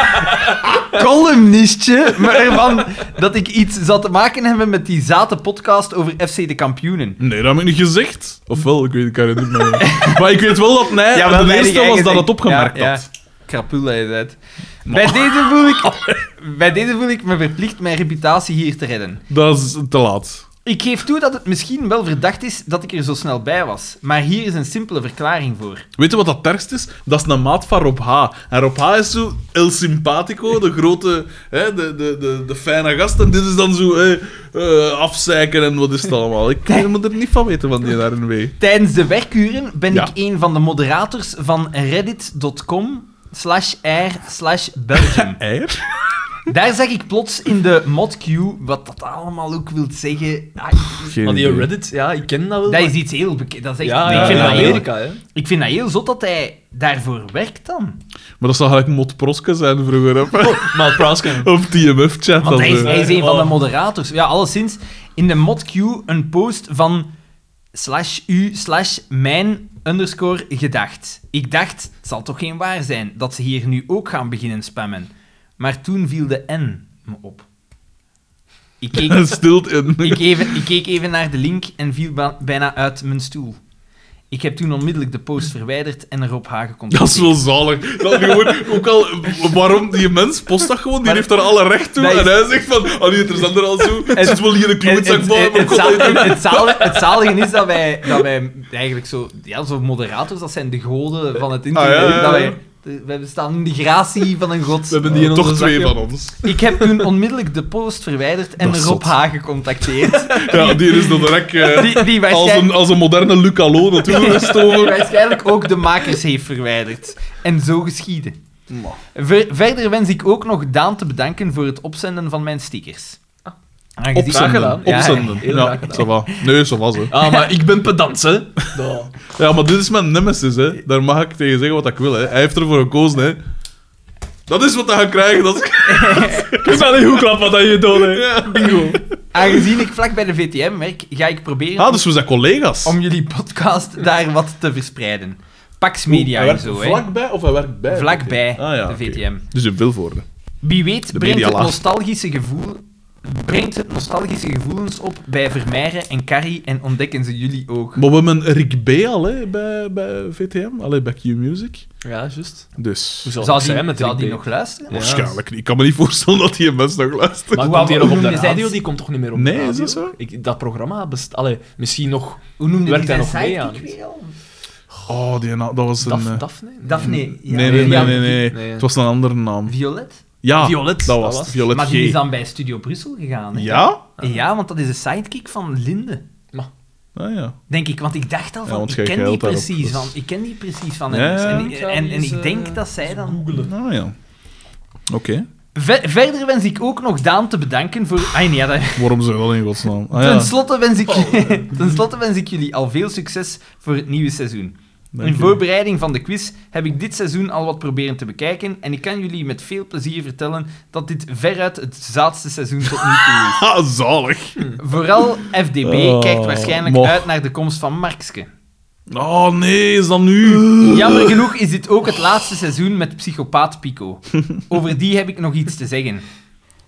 columnistje, maar ervan dat ik iets zat te maken hebben met die zate podcast over FC de kampioenen. Nee, dat heb ik niet gezegd. Ofwel, ik weet het, ik herinner het me niet. Maar ik weet wel dat Nij Ja, wel, de nee, die eerste jij was dat gezegd. het opgemerkt Ja, ja. had. Krapul dat je bent. Bij deze, voel ik, bij deze voel ik me verplicht mijn reputatie hier te redden. Dat is te laat. Ik geef toe dat het misschien wel verdacht is dat ik er zo snel bij was. Maar hier is een simpele verklaring voor. Weet je wat dat terst is? Dat is een maat van Rob H. En Rob H is zo El Simpatico, de grote, hè, de, de, de, de fijne gast. En dit is dan zo hè, eh, afzeiken en wat is het allemaal. Ik moet er niet van weten van die RNW. Tijdens de werkuren ben Ja. ik een van de moderators van reddit.com slash r slash Belgium. Eier? Daar zag ik plots in de modqueue, wat dat allemaal ook wil zeggen... ah, Geen Maar die idee. Reddit, ja, ik ken dat wel. dat maar- is iets heel bekend. Dat is echt, ik, ja, ik vind vind dat heel, Amerika, hè. ik vind dat heel zot dat hij daarvoor werkt dan. Maar dat zou eigenlijk Mot Proske zijn vroeger. Oh, Hè? Maar Praskin. Op TMF-chat. Want hij is, hij is een van de Oh. moderators. Ja, alleszins in de modqueue een post van slash u slash mijn underscore gedacht. Ik dacht, het zal toch geen waar zijn dat ze hier nu ook gaan beginnen spammen. Maar toen viel de N me op. Ik keek, Stilt in. ik even, ik keek even naar de link en viel ba- bijna uit mijn stoel. Ik heb toen onmiddellijk de post verwijderd en erop Hagen Dat is gecontacteerd. wel zalig. Dat gewoon, ook al, waarom die mens post dat gewoon, die Maar- heeft daar alle recht toe. dat is- En hij zegt van, oh nee, er zijn er al zo. Het zit wel hier een En- en- klootzak van, en- maar Het kon dat zaal- niet. en het zaal- het zalige is dat wij, dat wij eigenlijk zo, ja, zo moderators, dat zijn de goden van het internet. Ah, ja, ja, ja. Dat wij, de- wij bestaan in de gratie van een god. We hebben die in Toch toch twee twee van ons. Ik heb toen onmiddellijk de post verwijderd en Dat is Rob zot. Hagen gecontacteerd. Ja, die is dat rek eh, Die, die, als, waarschijn- een, als een moderne Lucalo naartoe die gestoven. waarschijnlijk ook de makers heeft verwijderd. En zo geschiedde. Ver- verder wens ik ook nog Daan te bedanken voor het opzenden van mijn stickers. Ah. Aangezien- Opzenden. Ja, Opzenden. heel Ja, graag gedaan. ça va. Nee, ça va, ze. Ah, maar ik ben pedant, hè. Da. Ja, maar dit is mijn nemesis, hè. Daar mag ik tegen zeggen wat ik wil, hè. Hij heeft ervoor gekozen, hè. Dat is wat hij gaat krijgen. Dat is... Ik is wel niet goed klap wat dat je doet, hè. Aangezien ik vlak bij de VTM werk, ga ik proberen Ah, dus we zijn collega's. om jullie podcast daar wat te verspreiden. Pax Media Hij en werkt zo, hè. Vlakbij of hij werkt bij? Vlakbij Ah, ja, de oké. VTM. Dus in Vilvoorde. Wie weet De brengt het, medialaag. nostalgische gevoel, brengt het nostalgische gevoelens op bij Vermeijren en Carrie en ontdekken ze jullie ook. Maar we hebben een Rick B al hè, bij, bij VTM, allee, bij Q Music. Ja, juist. Dus Hoe zal Zou het die, zijn met zou die Rick nog Day? luisteren? Ja. waarschijnlijk niet. Ik kan me niet voorstellen dat die mens nog luistert. Maar Hoe komt die oud- nog hoe op de noemde zij radio? het? Die komt toch niet meer op Nee, de radio? is dat zo? Ik, dat programma bestaat... Allee, misschien nog... Hoe noemde Werkt die hij zijn nog mee sidekick weer al? Oh, die na- dat was een... Daf, eh, Daphne? Nee. Daphne. ja. nee, nee, nee, Ja, nee, nee. nee. Het was een andere naam. Violet? Ja, Violet, dat dat was het. was. Violet Maar G. die is dan bij Studio Brussel gegaan, hè? Ja? Ja, want dat is de sidekick van Linde. Ah, ja. Denk ik, want ik dacht al Ja, van, want ik jij ken die geilt daarop, precies dus- van, ik ken die precies van Ja, ergens. ja, en, ik en, zou en, die eens, ik denk eh, dat zij dan... Ah, ja. Oké. Ve- verder wens ik ook nog Daan te bedanken voor... Ah, nee, ja, dat... Waarom ze wel in godsnaam? Ah, ten, ja. slotte wens ik... ten slotte wens ik jullie al veel succes voor het nieuwe seizoen. Dank In je. voorbereiding van de quiz heb ik dit seizoen al wat proberen te bekijken en ik kan jullie met veel plezier vertellen dat dit veruit het zaadste seizoen tot nu toe is. Ha, Ah, zalig. Vooral FDB Oh, kijkt waarschijnlijk moch. uit naar de komst van Markske. Oh, nee, is dat nu? Jammer genoeg is dit ook het laatste seizoen met psychopaat Pico. Over die heb ik nog iets te zeggen.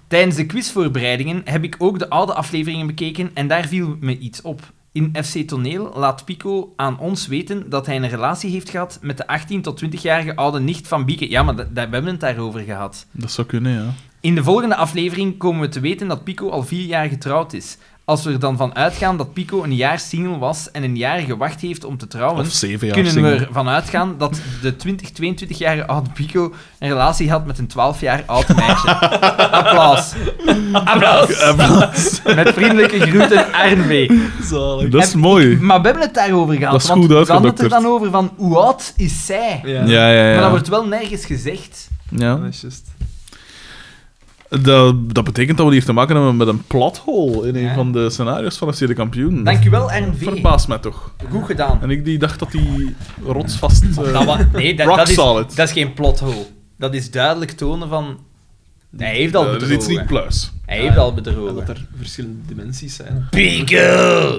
Tijdens de quizvoorbereidingen heb ik ook de oude afleveringen bekeken en daar viel me iets op. In FC Toneel laat Pico aan ons weten dat hij een relatie heeft gehad met de 18 tot 20-jarige oude nicht van Bieke. Ja, maar da- daar hebben we het daarover gehad. Dat zou kunnen, ja. In de volgende aflevering komen we te weten dat Pico al vier jaar getrouwd is. als we er dan van uitgaan dat Pico een jaar single was en een jaar gewacht heeft om te trouwen, Of zeven jaar kunnen we single. ervan uitgaan dat de 20, 22-jarige oude Pico een relatie had met een 12 jaar oud meisje. Applaus. Applaus. Met vriendelijke groeten, RNW. Zalig. Dat is mooi. Maar we hebben het daarover gehad. Dat is want goed we hadden het er uitgedokterd. dan over van hoe oud is zij? Ja. Ja, ja, ja. Maar dat wordt wel nergens gezegd. Ja. Dat is juist. Dat, dat betekent dat we hier te maken hebben met een plot hole in een Ja. van de scenario's van FC de Kampioen. Dankjewel, RNV. Verbaast mij toch. Goed gedaan. En ik die dacht dat die rotsvast... eh, Dat wa- nee, dat, rock dat, is, solid. dat is geen plot hole. Dat is duidelijk tonen van... Hij heeft al ja, eh, er is bedrogen. iets niet pluis. Hij heeft al En dat bedrogen. er verschillende dimensies zijn. Pico!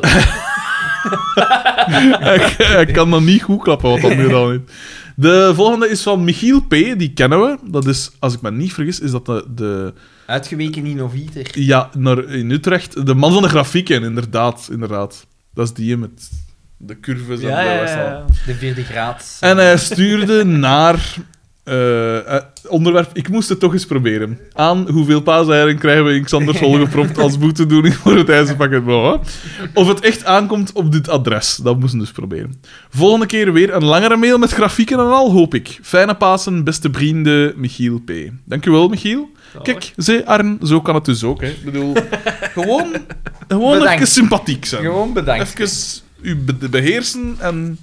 ik, ik kan dat niet goed klappen, wat dat nu dan is. De volgende is van Michiel P. Die kennen we. Dat is, als ik me niet vergis, is dat de, de Uitgeweken innovieter. ja, naar, in Utrecht, de man van de grafieken, inderdaad, inderdaad. Dat is die met de Dus curves en de ja. De vierde graad. En eh, hij stuurde naar eh, eh, onderwerp. Ik moest het toch eens proberen. Aan hoeveel paaseieren krijgen we in Xander Sol gepropt als boetedoening voor het ijzerpakket. Bla, bla. Of het echt aankomt op dit adres. Dat moesten we dus proberen. Volgende keer weer een langere mail met grafieken en al, hoop ik. Fijne Pasen, beste vrienden, Michiel P. Dankjewel, Michiel. Kijk, ze, Arn, zo kan het dus ook. Hè. Ik bedoel, gewoon, gewoon Bedankt. even sympathiek zijn. Gewoon bedankt. Even u be- beheersen en...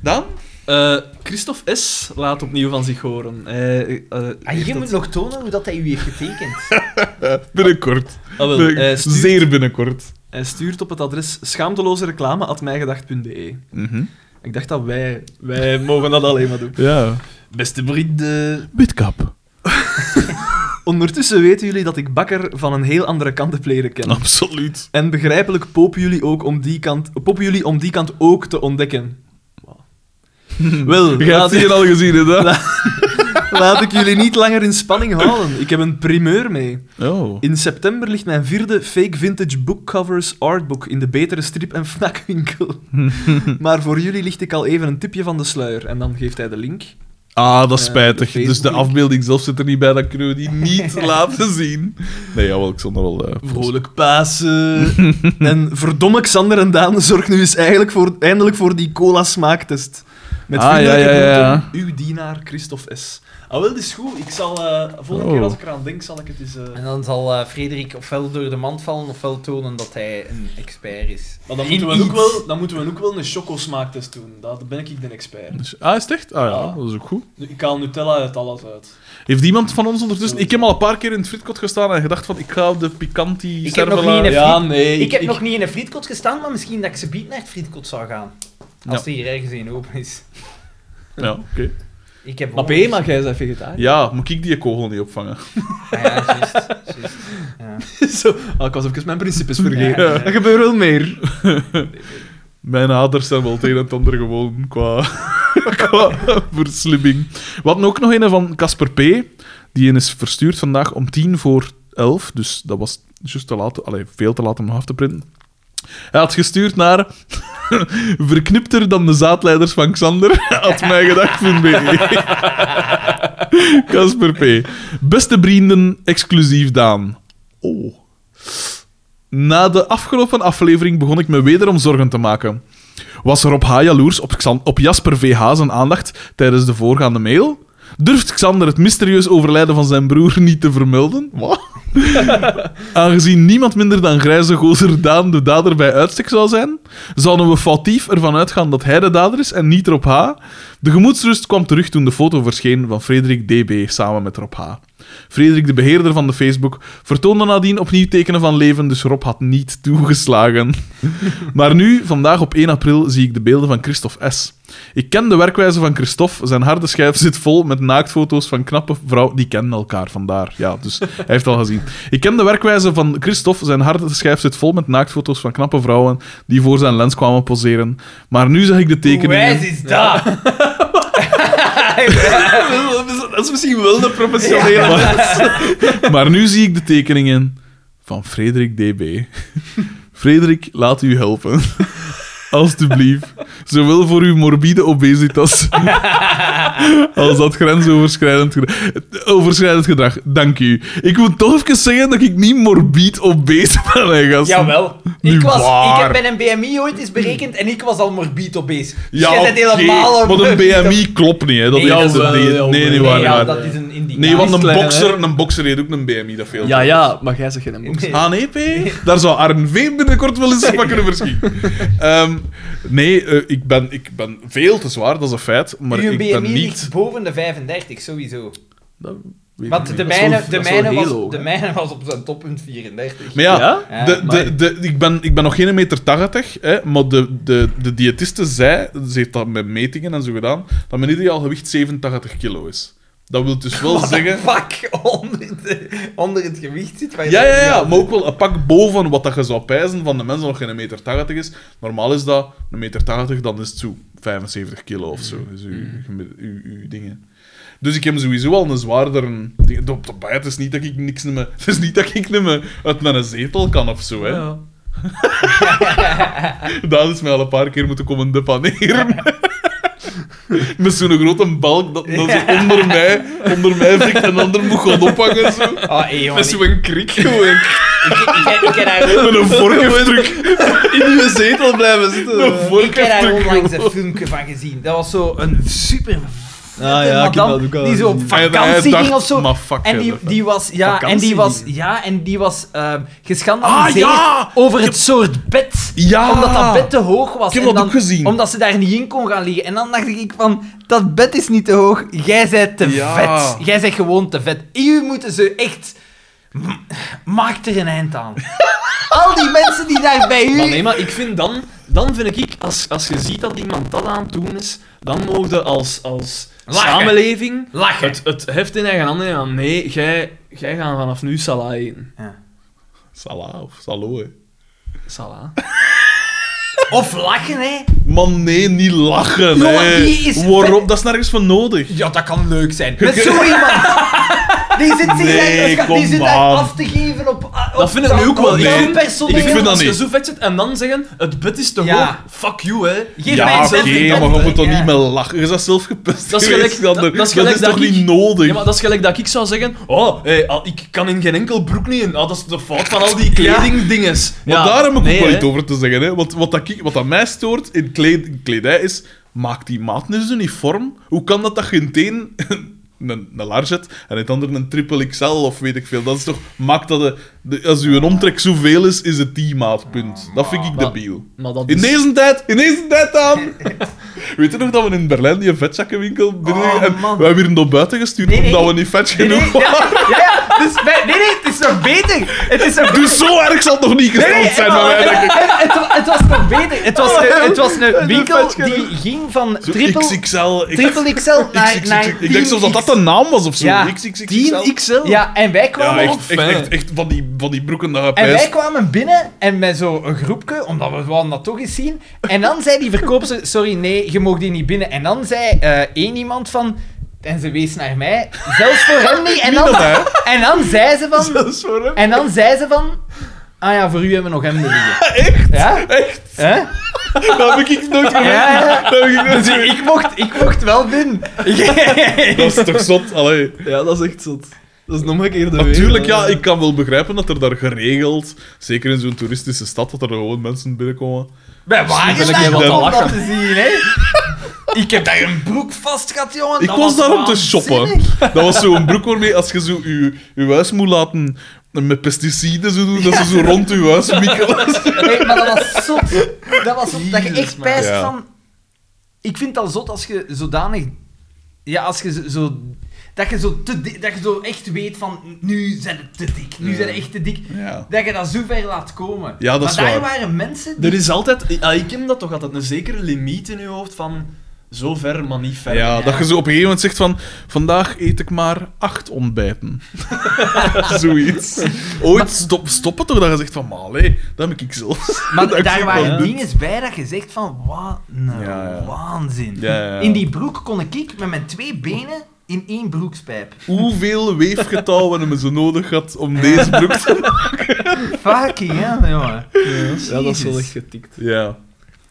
Dan? Eh, Christophe S. laat opnieuw van zich horen. Hij, eh, Ah, heeft je dat- moet nog tonen hoe dat hij u heeft getekend. Binnenkort. Ah, wel, Binnenkort. hij, stuurt, Zeer binnenkort. hij stuurt op het adres schaamtelozereclame.mijgedacht.be. Mhm. Ik dacht dat wij, wij mogen dat alleen maar doen. Ja. Beste vrienden. Bitkap. Ondertussen weten jullie dat ik Bakker van een heel andere kant heb leren kennen. Absoluut. En begrijpelijk popen jullie, ook om die kant, popen jullie om die kant ook te ontdekken. Wow. Wel, Je hebt laat, die al gezien, hè? laat ik jullie niet langer in spanning houden. Ik heb een primeur mee. Oh. In september ligt mijn vierde fake vintage bookcovers artbook in de betere strip- en fnakwinkel. maar voor jullie licht ik al even een tipje van de sluier. En dan geeft hij de link. Ah, dat is Eh, spijtig. de dus de Facebook. afbeelding zelf zit er niet bij, dat kunnen we die niet laten zien. Nee, jawel, ik zal er wel... eh, Vrolijk Pasen. en verdomme Xander en Daan, zorg nu eens eigenlijk voor, eindelijk voor die cola-smaaktest. Met Ah, vriendelijke ja, ja, ja. groeten, uw dienaar Christophe S. Ah, wel, dat is goed. Ik zal, eh, volgende Oh. keer als ik eraan denk, zal ik het eens... eh, En dan zal eh, Frederik ofwel door de mand vallen ofwel tonen dat hij een expert is. Maar dan In moeten, we ook iets. wel, dan moeten we ook wel een chocosmaaktest doen. Daar ben ik de expert. post. Ah, is het echt? Ah ja, Ah. dat is ook goed. Ik haal Nutella uit alles uit. Heeft iemand van ons ondertussen... Ik heb al een paar keer in het fritkot gestaan en gedacht van, ik ga op de pikanti Ik heb nog servola- niet een- Ja, nee. Ik, heb nog niet in een frietkot gestaan, maar misschien dat ik ze biedt naar het frietkot zou gaan. Als die hier ergens in open is. Ja, oké. Ik heb Maar honger. B, maar jij bent vegetariër. Ja, moet ik die kogel niet opvangen? Ah ja, juist. juist. Ja. Zo. Ah, ik was even mijn principes Ja, vergeten. ja, ja. Er gebeurt wel meer. Mijn aders zijn wel het een en het ander gewoon qua, qua verslimming. We hadden ook nog een van Casper P. Die een is verstuurd vandaag om tien voor elf. Dus dat was juist te laat, allee, veel te laat om nog af te printen. Hij had gestuurd naar verknipter dan de zaadleiders van Xander, had mij gedacht van Casper P. Beste vrienden, exclusief Daan. Oh. Na de afgelopen aflevering begon ik me wederom zorgen te maken. Was Rob H. jaloers op, Xan- op Jasper VH zijn aandacht tijdens de voorgaande mail? Durft Xander het mysterieus overlijden van zijn broer niet te vermelden? Wat? Aangezien niemand minder dan grijze gozer Daan de dader bij uitstek zou zijn, zouden we foutief ervan uitgaan dat hij de dader is en niet Rob H. De gemoedsrust kwam terug toen de foto verscheen van Frederik DB samen met Rob H. Frederik, de beheerder van de Facebook, vertoonde nadien opnieuw tekenen van leven, dus Rob had niet toegeslagen. maar nu, vandaag op 1 april, zie ik de beelden van Christophe S. Ik ken de werkwijze van Christophe. Zijn harde schijf zit vol met naaktfoto's van knappe vrouwen. Die kennen elkaar vandaar. Ja, dus hij heeft het al gezien. Ik ken de werkwijze van Christophe. Zijn harde schijf zit vol met naaktfoto's van knappe vrouwen die voor zijn lens kwamen poseren. Maar nu zag ik de Hoe tekeningen. wijs is dat? Dat is misschien wel de professionele... Maar, maar nu zie ik de tekeningen van Frederik DB. Frederik, laat u helpen. Alsjeblieft. Zowel voor uw morbide obesitas als dat grensoverschrijdend gedrag. Overschrijdend gedrag, dank u. Ik moet toch even zeggen dat ik niet morbid obese ben, hè, gasten. Jawel. Nu Ik, was, ik waar. heb mijn BMI ooit eens berekend en ik was al morbid obese. Dus Ja, jij bent oké, helemaal al maar een morbid obese. BMI klopt niet, hè. Dat Nee, heeft- jawel, nee, jawel. nee, niet Nee, waar. Nee, niet ja, waar. dat is een indicatie. Nee, want een klein, bokser, een bokser heeft ook een BMI, dat veel. Ja, ja, maar jij zegt geen box. Nee. Ah, nee, P. Daar zou RNV binnenkort wel eens van kunnen verschieten. Ehm, nee, eh, ik, ben, ik ben veel te zwaar, dat is een feit. Maar Uw ik BMI ben niet... ligt boven de 35, sowieso. Weet ik Want de niet. mijne, de, dat is wel mijne heel was, hoog, de hè? mijne was op zijn toppunt 34. Maar ja, Ja? Ja, de, de, amai. de, ik, ben, ik ben nog geen meter 80, hè, maar de, de, de diëtiste zei, ze heeft dat met metingen en zo gedaan, dat mijn ideaal gewicht 87 kilo is. Dat wil dus wel zeggen... Fuck, onder, de- onder het gewicht zit. waar Ja, je- ja, ja, maar ook wel een pak boven wat dat je zou pijzen van de mensen nog geen meter 80 is. Normaal is dat een meter 80, dan is het zo 75 kilo of zo. Dus uw, gemi- uw, uw dingen. Dus ik heb sowieso al een zwaarder. ding. Op de bij, het is niet dat ik niks meer. Het is niet dat ik niet meer uit mijn zetel kan of zo, hè. Ja. Daan is mij al een paar keer moeten komen depaneren. Met zo'n grote balk dat, dat zo onder mij, onder mij fikt en de ander moet gaan ophangen. Zo. Ah, hey, jongen, Met ik, zo'n krik gewoon. ik, ik, ik heb daar ook- Met een vork even terug. In uw zetel blijven zitten. Ah, Een vork ik heb even daar terug. onlangs een filmpje van gezien. Dat was zo een super Ah ja, ik heb dat ook al die zo op gezien. Hij vakantie dacht, ging of zo. maar fuck en die, verder. die was, ja, en Vakantie die was, ging. ja, en die was ehm, geschandaliseerd Ah, ja! over het soort bed. Ja! Omdat dat bed te hoog was. Ik heb en dat dan, ook gezien. Omdat ze daar niet in kon gaan liggen. En dan dacht ik van, dat bed is niet te hoog. Jij bent te Ja. vet. Jij bent gewoon te vet. U moeten ze echt... M- Maak er een eind aan. Al die mensen die daar bij u... Maar nee, maar ik vind dan, dan vind ik, als, als je ziet dat iemand dat aan het doen is, dan mogen we als, als Lachen. samenleving Lachen. het, het heft in eigen handen nemen. Nee, jij, jij gaat vanaf nu sala in. Salah of Salo, hè. Sala. Of lachen, hè. Man, nee, niet lachen, Jongen, hè. die is Waarom? Dat is nergens voor nodig. Ja, dat kan leuk zijn. Met zo iemand. Die zit zich Nee, daar- kom die zit daar aan. af te geven op... op Dat vind oh, ik nu ook wel op nee. zo'n Ik personeel. Ik vind dat als je niet. zo vet zit en dan zeggen, het bed is te Ja. hoog, fuck you, hè. Geef mij ja, een oké, zes in maar bed, je moet toch ja. niet meer lachen. Je is dat zelf gepest Dat is geweest, gelijk- Sander. dat- dat dat is gelijk is toch dat niet ik- nodig? Ja, maar dat is gelijk dat ik zou zeggen, oh, hey, al- ik kan in geen enkel broek niet in. Ah, dat is de fout van al die kledingdinges. Maar Ja, daar heb ik nee, ook wel hè. iets over te zeggen. Hè. Want wat, dat, ik- wat dat mij stoort in, kleed, in kledij is... Maakt die maat nu zijn uniform? Hoe kan dat dat geen teen... Een, een larget en het andere een triple XL of weet ik veel. Dat is toch... Maakt dat... De, de- als uw omtrek zoveel is, is het die maat, punt. Dat vind ik Maar- debiel. Maar dat In is... deze tijd, in deze tijd aan. Weet je nog dat we in Berlijn die vetzakkenwinkel binnen Oh, en man. we hebben hier naar buiten gestuurd Nee, nee. omdat we niet vet Nee, genoeg nee, waren? ja, ja, ja. Dus wij- nee, nee, het is nog beter. Het is nog Dus zo erg zal het toch niet gesteld Nee, Oh, zijn bij mij? denk ik. het, het, wa- het was nog beter. Het was, een- het was een winkel die ging van Zo triple, XXL, ik- triple XL naar, XXX. naar Ik denk zelfs dat 10X. dat de naam was of zo. Ja, XXXL. 10 XL? Ja, en wij Ja, kwamen op. echt, echt, echt, echt van, die, van die broeken naar En wij pijs. kwamen binnen en met zo'n groepje, omdat we wilden dat toch eens zien. En dan zei die verkoopster, sorry, nee, je mag die niet binnen. En dan zei eh, één iemand van... En ze wees naar mij, zelfs voor hem niet. En dan, en dan zei ze van... Dat is voor hem. En dan zei ze van... Ah ja, voor u hebben we nog hem liggen. Echt? Ja? Echt? Hè? Dat heb ik nooit gemerkt. Ja, ja. Dat, heb ik nooit Dus ik, gemerkt. ik mocht, ik mocht wel binnen. dat is toch zot? Allee. Ja, dat is echt zot. Dat is nog een keer de Natuurlijk, ja, ik kan wel begrijpen dat er daar geregeld, zeker in zo'n toeristische stad, dat er gewoon mensen binnenkomen. Wij waren Misschien ben ik daar hier wel te om dat lachen. te zien, hè? Ik heb daar een broek vast gehad, jongen. Ik dat was daar om te waanzinnig. shoppen. Dat was zo'n broek waarmee als je zo je, je huis moet laten met pesticiden zo doen, dat ze zo rond je huis wikkelen. Nee, maar dat was zot. Dat was zot. dat je echt pijst Ja. van... Ik vind dat zot als je zodanig... Ja, als je zo- zo... Dat je zo, te dik- dat je zo echt weet van... Nu zijn het te dik. Nu zijn het echt te dik. Ja. Dat je dat zo ver laat komen. Ja, dat maar is waar. daar waren mensen die... Er is altijd, ah, ik ken dat toch altijd, een zekere limiet in je hoofd van zo ver, maar niet ver. Ja, dat je zo op een gegeven moment zegt van, vandaag eet ik maar acht ontbijten. Zoiets. Ooit stop, stoppen toch dat je zegt van, maar allee, dat heb ik zelfs. Maar Dat ik daar zo waren van- dingen bij dat je zegt van... Wat een Ja, ja. waanzin. Ja, ja, ja. In die broek kon ik ik met mijn twee benen in één broekspijp. Hoeveel weefgetouwen hebben ze nodig gehad om deze broek te Fucking hell, jongen. Ja, dat is wel Jezus. echt getikt. Ja.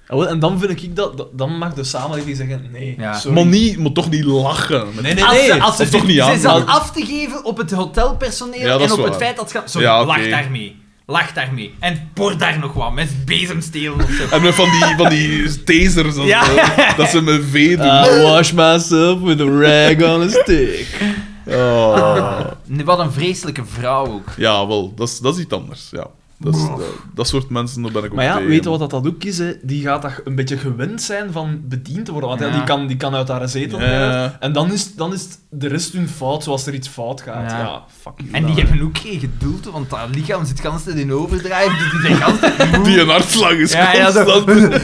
Ah, wel, en dan vind ik dat, dat- dan mag de samenleving zeggen, nee, Ja. sorry. Maar, niet, maar toch niet lachen. Met- Nee, nee, Als nee. ze, als ze, Of toch niet ze aan, zat maar- af te geven op het hotelpersoneel Ja, dat en is op wel het waar. feit dat ze... Sorry, Ja, oké. lach daarmee. Lach daarmee. En port daar nog wat met bezemstelen of zo. En met van die, van die tasers en Ja. zo, dat ze met vee doen. I wash myself with a rag on a stick. Oh. Nee, Wat een vreselijke vrouw ook. Ja, wel, dat is, dat is iets anders. Ja. Dat, is, dat, dat soort mensen, daar ben ik ook Maar ja, tegen. weet je wat dat, dat ook is? Hè? Die gaat dat een beetje gewend zijn van bediend te worden. Want ja, Ja. die, kan, die kan uit haar zetel. Ja. blijven. En dan is, dan is het de rest hun fout, zoals er iets fout gaat. Ja. Ja, fuck you. En die hebben ook geen geduld, want dat lichaam zit de hele tijd in overdrijf. Dus die zijn de hele tijd moe. Die een hartslag is Ja, ja, zo. constant.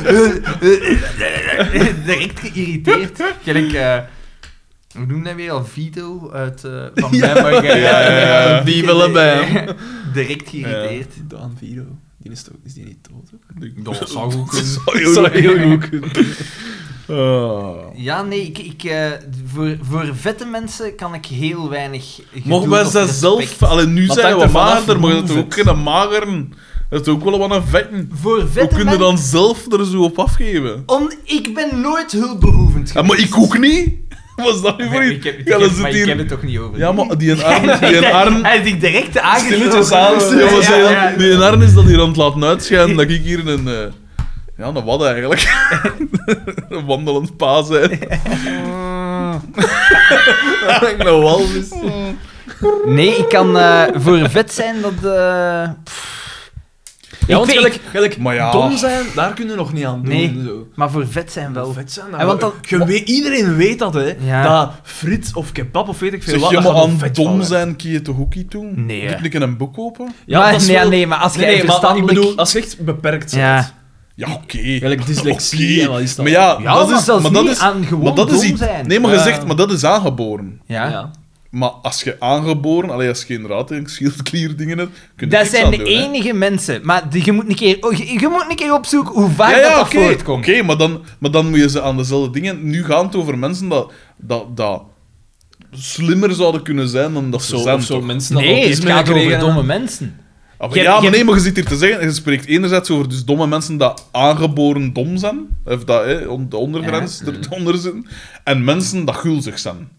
Direct geïrriteerd. Gelijk, eh hoe noemde hij weer al? Vito uit eh, Van Ja. Bam. maar jij- Ja, ja, ja. Die willen Bam. Direct geïrriteerd. Daan Viro. Die is, toch, is die niet dood? Ook? "Oh, Dat zou goed kunnen. Zou je Dat zou ook- heel goed kunnen. Ah. Ja, nee, ik, ik, eh, voor, voor vette mensen kan ik heel weinig. geduld Mogen wij of ze respect- zelf... Allee, nu Maar zijn het we hangt ervan af magerder, maar hoe dat is vet. ook geen mageren. Dat is ook wel wat een vetten. Voor Hoe vette kun je mensen. dan zelf er zo op afgeven? Om, ik ben nooit hulpbehoevend. Ja, maar ik ook niet. Was dat nu voor Nee, ik iets? heb, ik Ja, heb- dan maar zit ik heb hier... het toch niet over. Ja, maar die een arm... Die een arm... Hij is zich direct Stilletjes aangesloten. aan. Ja, maar Ja, zei dan, ja. Die een arm is dat hier aan het laten uitschijnen dat ik hier een... eh, ja, een wat eigenlijk. een wandelend pa zijn. Dat ik nou al wist. Nee, ik kan eh, voor vet zijn dat. eh, pff. Ja, want ik weet- gelijk, gelijk Maar ja. dom zijn, daar kunnen we nog niet aan doen. Nee. Zo. maar voor vet zijn wel. Vet zijn, En nou, want dan- je weet, iedereen weet dat, hè. Ja. Dat friet of kebab of weet ik veel Zeg wat, je dat maar gaat nog aan vet dom vallen. zijn, kun je toch ook iets doen? Nee, hè. Kun je een boek kopen? Ja, Maar- dat is nee, wel- nee, maar als jij Nee, nee, maar verstandelijk... ik bedoel, als je echt beperkt bent. ja. Ja, oké. Gelijk dyslexie Oké. en wat is dat? Maar ja, Ja, dat maar is, zelfs maar dat niet is, aan gewoon maar dat is dom iets- zijn. Nee, maar Ja. je zegt, maar dat is aangeboren. Ja. Maar als je aangeboren, allee, als je inderdaad een schildklierdingen hebt, kun je Dat niks aan zijn de doen, hè. enige mensen. Maar die, je, moet een keer, oh, je, je moet een keer opzoeken hoe vaak Ja, dat, ja, dat oké, voortkomt. oké, maar, dan, maar dan moet je ze aan dezelfde dingen... Nu gaan het over mensen dat, dat, dat slimmer zouden kunnen zijn dan dat Of ze zo, zijn. of zo toch? mensen dat Nee, het autisme gaat over krijgen. domme mensen. Ah, maar Je ja, hebt- maar je nee, maar je zit hier te zeggen... Je spreekt enerzijds over dus domme mensen dat aangeboren dom zijn. Of dat, hè, on- de ondergrens eronder zitten. En mensen dat gulzig zijn.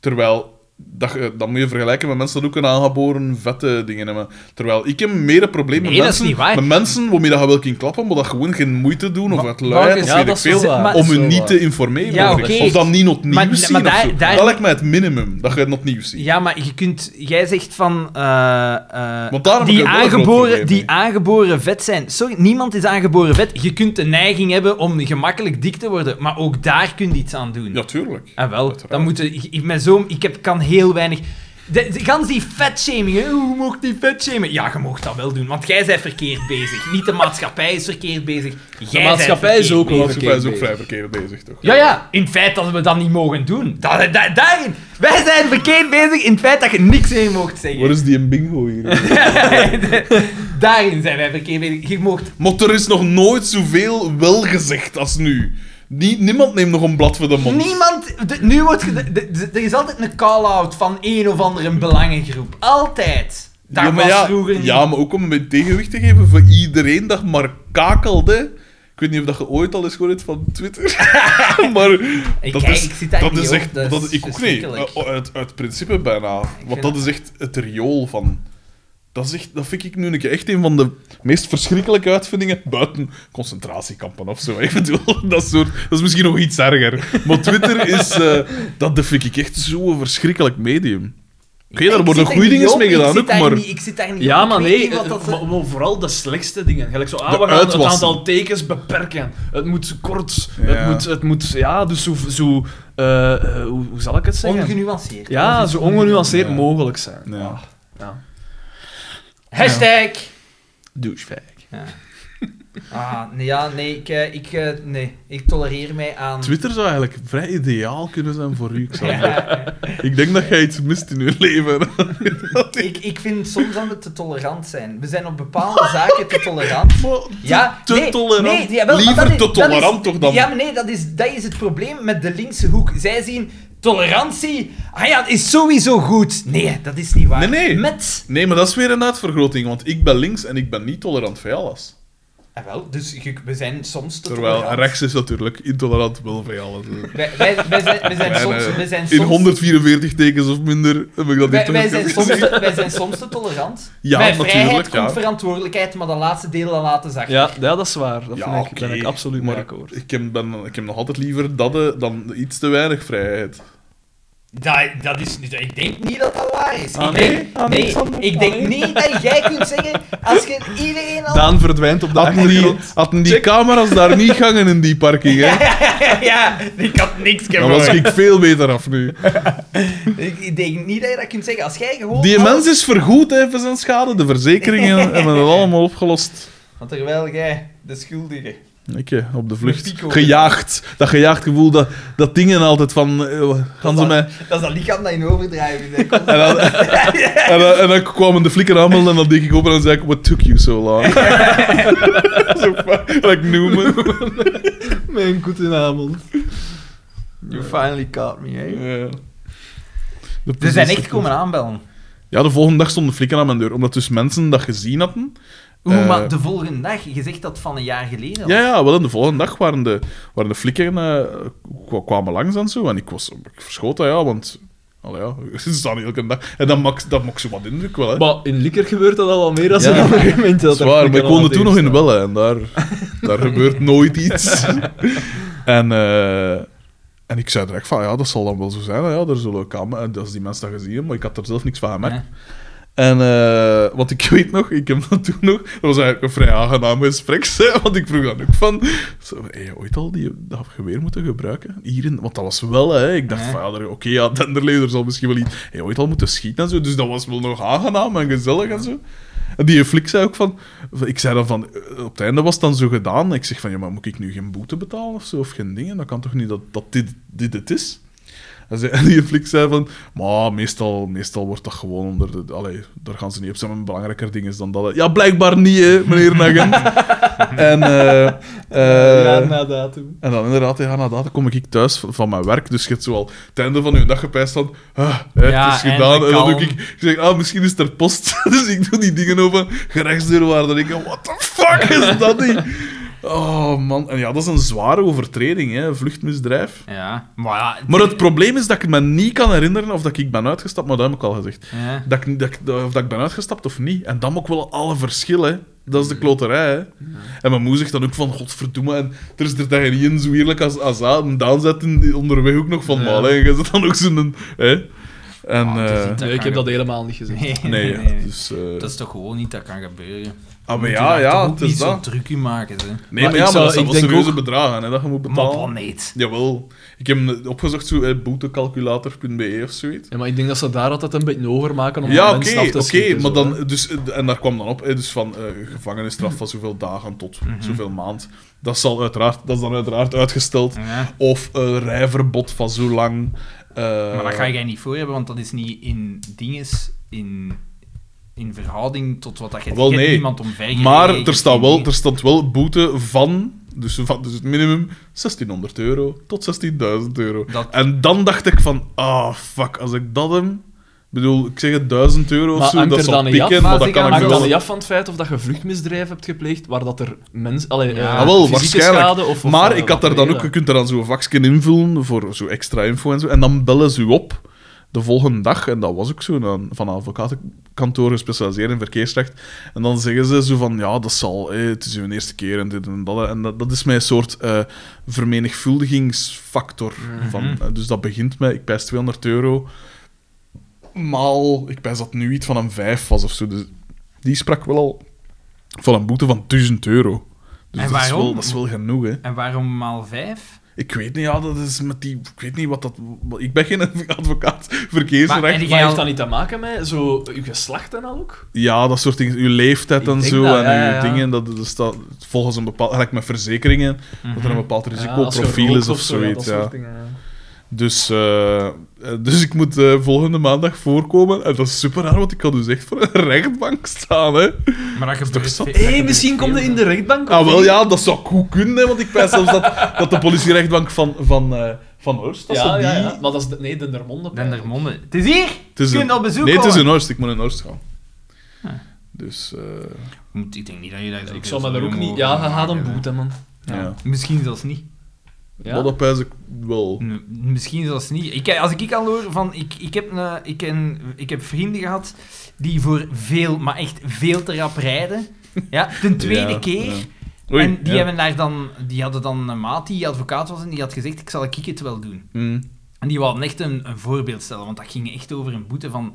Terwijl... Dat, je- dat moet je vergelijken met mensen dat ook een aangeboren vette dingen hebben. Terwijl ik heb meer een probleem Nee, met, dat is mensen, niet waar. met mensen waarmee dat je wel kan klappen, maar dat gewoon geen moeite doen of uit luiheid of Ja, weet ik dat is wel veel. waar. Maar- om hun niet te informeren. Ja, over oké. iets. Of dan niet nog nieuws Maar- maar zien. of daar- zo. daar- Dat lijkt mij het minimum, dat je het nog nieuws ziet. Ja, maar je kunt... Jij zegt van... eh, eh, Want daarom heb die, ik wel een groot aangeboren, probleem die mee. aangeboren vet zijn. Sorry, niemand is aangeboren vet. Je kunt de neiging hebben om gemakkelijk dik te worden. Maar ook daar kun je iets aan doen. Ja, tuurlijk. Ah, wel. Uiteraard. Dan moeten, ik, ik, met zo'n- ik heb, kan heel weinig. De, de, gans die vetshaming, hè. hoe mocht die vetshamen? Ja, je mocht dat wel doen, want jij bent verkeerd bezig. Niet de maatschappij is verkeerd bezig. Jij De bent maatschappij is verkeerd ook De wel bezig. maatschappij is ook verkeerd vrij verkeerd bezig, toch? Ja, ja, in het feit dat we dat niet mogen doen. Da- da- daarin. Wij zijn verkeerd bezig in het feit dat je niks meer mocht Waar zeggen. is die een bingo hier? daarin zijn wij verkeerd bezig. Je mocht... maar er is nog nooit zoveel wel gezegd als nu. Nie- niemand neemt nog een blad voor de mond. Niemand... de- nu wordt... ge- de- de- de- er is altijd een call-out van een of andere belangengroep. Altijd. Dat ja, maar was ja, vroeger niet. ja, maar ook om een tegenwicht te geven voor iedereen dat maar kakelde. Ik weet niet of dat je ooit al eens gehoord hebt van Twitter. maar dat kijk, is, ik zit daar dat niet is op, echt, dat is dat, ik ook niet. verschrikkelijk. Eh, Uit, uit principe bijna. Want dat vind dat- is echt het riool van. Dat, is echt, dat vind ik nu een keer echt een van de meest verschrikkelijke uitvindingen. Buiten concentratiekampen of zo. Ik bedoel, dat, soort, dat is misschien nog iets erger. Maar Twitter is. eh, dat dat vind ik echt zo'n verschrikkelijk medium. Oké, daar Ik worden zit goede er niet dingen op, mee gedaan ik zit ook, daar maar. niet- ik zit daar niet Ja, op, maar ik weet nee, niet wat eh, dat ze- maar- maar vooral de slechtste dingen. Gelijk zo, ah, De we gaan het uitwassen. aantal tekens beperken. Het moet kort, het, Ja. moet, het moet, ja, dus zo, zo eh, eh, hoe, hoe zal ik het zeggen? ongenuanceerd. ja, zo ongenuanceerd Ja. mogelijk zijn. Ah, Ja. Hashtag! Douchebag. Ah, nee, ja, nee, ik, eh, ik, eh, nee, ik tolereer mij aan... Twitter zou eigenlijk vrij ideaal kunnen zijn voor u. Xander. Ja, Ik denk dat jij iets mist in je leven. ik, ik vind soms dat we te tolerant zijn. We zijn op bepaalde zaken te tolerant. Ja, te nee, tolerant. nee, jawel, maar Liever dat is- te dat is- tolerant toch dan- Ja, maar nee, dat is, dat is het probleem met de linkse hoek. Zij zien tolerantie. Ah ja, het is sowieso goed. Nee, dat is niet waar. Nee, nee. Met... Nee, maar dat is weer een uitvergroting, want ik ben links en ik ben niet tolerant voor alles. Ah, wel, dus je- we zijn soms te Terwijl tolerant. rechts is natuurlijk intolerant wel van alles. Wij, wij, wij zijn, wij zijn Wij, soms... eh, Wij zijn In soms 144 tekens of minder heb ik dat wij, niet wij zijn soms teruggezien. te, wij zijn soms te tolerant. Ja, Bij natuurlijk, vrijheid ja. komt verantwoordelijkheid, maar de laatste delen laten zacht. Ja, ja, dat is waar. Dat Ja, vind ik, oké, ben ik absoluut maar mee akkoord. Ik heb, ben, ik heb nog altijd liever dat eh, dan iets te weinig vrijheid. Dat, dat is niet... Ik denk niet dat dat waar is. Ah, ik nee? denk, Ah, nee, nee, Sander? ik denk niet dat jij kunt zeggen, als je iedereen al... Daan verdwijnt op de Hadden die, achtergrond. hadden die camera's daar niet gangen in die parking, hè? ja, ik had niks Dan was ik veel beter af nu. Ik ik denk niet dat je dat kunt zeggen. Als jij gewoon... Die alles- mens is vergoed hè, voor zijn schade. De verzekeringen hebben het allemaal opgelost. Want terwijl jij de schuldige... Ik hè, op de vlucht. Met Pico. Gejaagd. Dat gejaagd gevoel, dat, dat dingen altijd van... eh, Gaan ze dat, mij... dat is dat lichaam dat in overdrijven is. hè. En dan, en dan, en dan kwamen de flikken allemaal en dan deed ik open en dan zei ik... What took you so long? Zo fuck, like Newman. Mijn goedenavond. You finally caught me, eh? hè. Ja. Dus De Ze zijn echt politie- komen aanbellen. Ja, de volgende dag stonden flikken aan mijn deur. Omdat dus mensen dat gezien hadden. Oeh, Eh, maar de volgende dag. Je zegt dat van een jaar geleden. al. Ja, ja, wel. En de volgende dag waren de, waren de flikken eh, kwa- kwamen langs en zo. En ik was ik verschoot dat, ja, want... Allee, ja, ze staan elke dag. En dat maakt, dat maakt zo wat indruk wel, hè. Maar in Likker gebeurt dat al wel meer als Ja. in argument. dat is waar, maar ik woonde toen nog in Welle. En daar, daar gebeurt nooit iets. en, eh, en ik zei direct van, ja, dat zal dan wel zo zijn. hè, Ja, er zullen kamer... En dat is die mensen dat gezien hebben, maar ik had er zelf niks van gemerkt. Ja. En eh want ik weet nog, ik heb dat toen nog, dat was eigenlijk een vrij aangenaam gesprek, hè, want ik vroeg dan ook van, zo, heb je ooit al die, dat geweer moeten gebruiken? Hier in, want dat was wel, hè, ik dacht Ja. van, ja, er- oké, ja, Denderlee, er zal misschien wel iets, heb je ooit al moeten schieten en zo, dus dat was wel nog aangenaam en gezellig en zo. En die flik zei ook van, ik zei dan van, eh, op het einde was het dan zo gedaan, ik zeg van, ja, maar moet ik nu geen boete betalen of zo, of geen dingen, dat kan toch niet dat, dat dit, dit het is? En zei- En die flik zei van, maar meestal, meestal wordt dat gewoon onder de... Allee, daar gaan ze niet op zijn, maar belangrijker ding is dan dat. hè. Ja, blijkbaar niet, hè, meneer Nagent. en, eh, eh, na datum. en dan inderdaad, ja, na dat kom ik thuis van, van mijn werk, dus je hebt zo al het einde van je dag gepijst van, ah, hè, Ja, het is gedaan. en En dan doe ik, kalm. ik zeg, ah, misschien is het er post. dus ik doe die dingen open, gerechtsdeur waar, dan denk ik, what the fuck is dat niet? Oh man, en ja, dat is een zware overtreding, hè, vluchtmisdrijf. Ja. Maar ja... Maar het probleem is dat ik me niet kan herinneren of dat ik ben uitgestapt, maar dat heb ik al gezegd. Ja. Dat ik, dat ik- dat- of dat ik ben uitgestapt of niet. En dan ook wel alle verschillen. Dat is de kloterij, hè. En mijn moe zegt dan ook van, godverdomme, en er is er tegen in zo eerlijk als, als dat. En Daan zet in, onderweg ook nog van, maar hè, je zit dan ook zo'n... Hè. En... Ah, het is eh, niet- Nee, ik heb dat helemaal niet gezien. Nee, nee, ja, dus... eh, Dat is toch gewoon niet dat kan gebeuren. ah, maar Moet je ja, daar toch ja, ook het is niet zo'n dat. trucje maken, hè. Nee, maar, Maar ik ja, maar zou- dat zijn ik wel denk serieuze ook- bedragen, hè, dat je moet Maar betalen. planeet. Jawel. Ik heb hem opgezocht, zo, eh, boetecalculator.be E of zoiets. Ja, maar ik denk dat ze daar altijd een beetje hoger maken om de Ja, mensen oké, af oké, te schrikken, maar zo, dan, hè. dus, eh, en daar kwam dan op, eh, dus van eh, gevangenisstraf van zoveel dagen tot Mhm. zoveel maand. Dat, zal uiteraard, dat is dan uiteraard uitgesteld. Ja. Of eh, rijverbod van zo lang. eh, Maar dat ga jij niet voor hebben, want dat is niet in dinges, in, in verhouding tot wat dat je, Wel, je hebt nee. niemand omver. maar er, staat wel, er staat wel boete van, dus, van, dus het minimum 1600 euro tot 16.000 euro. Dat- En dan dacht ik van, ah fuck, als ik dat hem. Ik bedoel, ik zeg het 1000 euro of Maar zo, hangt dat er zal dan niet af? pikken, Maar maar als dat ik kan aan ik Hangt Maar dan wel. niet af van het feit of dat je vluchtmisdrijf hebt gepleegd, waar dat er mensen... Ja. Allee, eh, Ah, wel, fysieke waarschijnlijk. schade of, of, maar eh, ik had daar dan ook, je materiële. kunt er dan zo'n vakje invullen voor zo extra info en zo. En dan bellen ze u op de volgende dag. En dat was ook zo, dan, van een advocatenkantoor gespecialiseerd in verkeersrecht. En dan zeggen ze zo van, ja, dat zal, eh, het is uw eerste keer en dit en dat. En dat, dat is mijn soort eh, vermenigvuldigingsfactor. Mhm. van, eh, dus dat begint met, ik pijs 200 euro, maal, ik pijs dat nu iets van een 5 was of zo. Dus die sprak wel al van een boete van 1000 euro. Dus En dat is, waarom? wel, dat is wel genoeg, hè. En waarom maal vijf? Ik weet niet, ja, dat is met die... Ik weet niet wat dat... Ik ben geen advocaat Maar- en verkeersrecht. die- Maar Jij heeft al- dat niet te maken met zo, je geslacht en al ook? Ja, dat soort dingen. Uw leeftijd Ik en denk zo, dat, en ja, ja, uw ja. dingen, dat, dat staat volgens een bepaald... Gelijk met verzekeringen, dat er een bepaald risicoprofiel is of zoiets, ja. Dus, eh, eh, dus ik moet eh, volgende maandag voorkomen. En dat is super raar, want ik kan dus echt voor een rechtbank staan, hè. Maar dat gebeurt zot? veel- Hé, dat gebeurt misschien veel, komt het in de rechtbank. Ah, of wel niet? ja, dat zou goed kunnen, hè, want ik pijs zelfs dat, dat de politierechtbank van, van, eh, van Horst, dat ze Ja, die... ja, ja. Maar dat is... de- Nee, Dendermonde. Dendermonde. Het is hier! Het is Je kunt een- op bezoek Nee, het is komen. Ah. in Horst. Ik moet in Horst gaan. Dus eh, Moet- Ik denk niet dat je daar zo Ik zal veel me daar ook zorgen niet... over Ja, je gaat maken, een hè. boete, man. ja. Misschien zelfs niet. Ja. Maar dat pijs ik wel. Nee, Misschien zelfs niet. Ik, als ik kan hoor van, ik, ik, heb een, eh, ik, ken- ik heb vrienden gehad die voor veel, maar echt veel te rap rijden. Ja, de tweede Ja, keer. ja. Oei, en die, ja. hebben daar dan, die hadden dan een maat die advocaat was en die had gezegd, ik zal ik het wel doen. Mm. En die wilden echt een, een voorbeeld stellen, want dat ging echt over een boete van...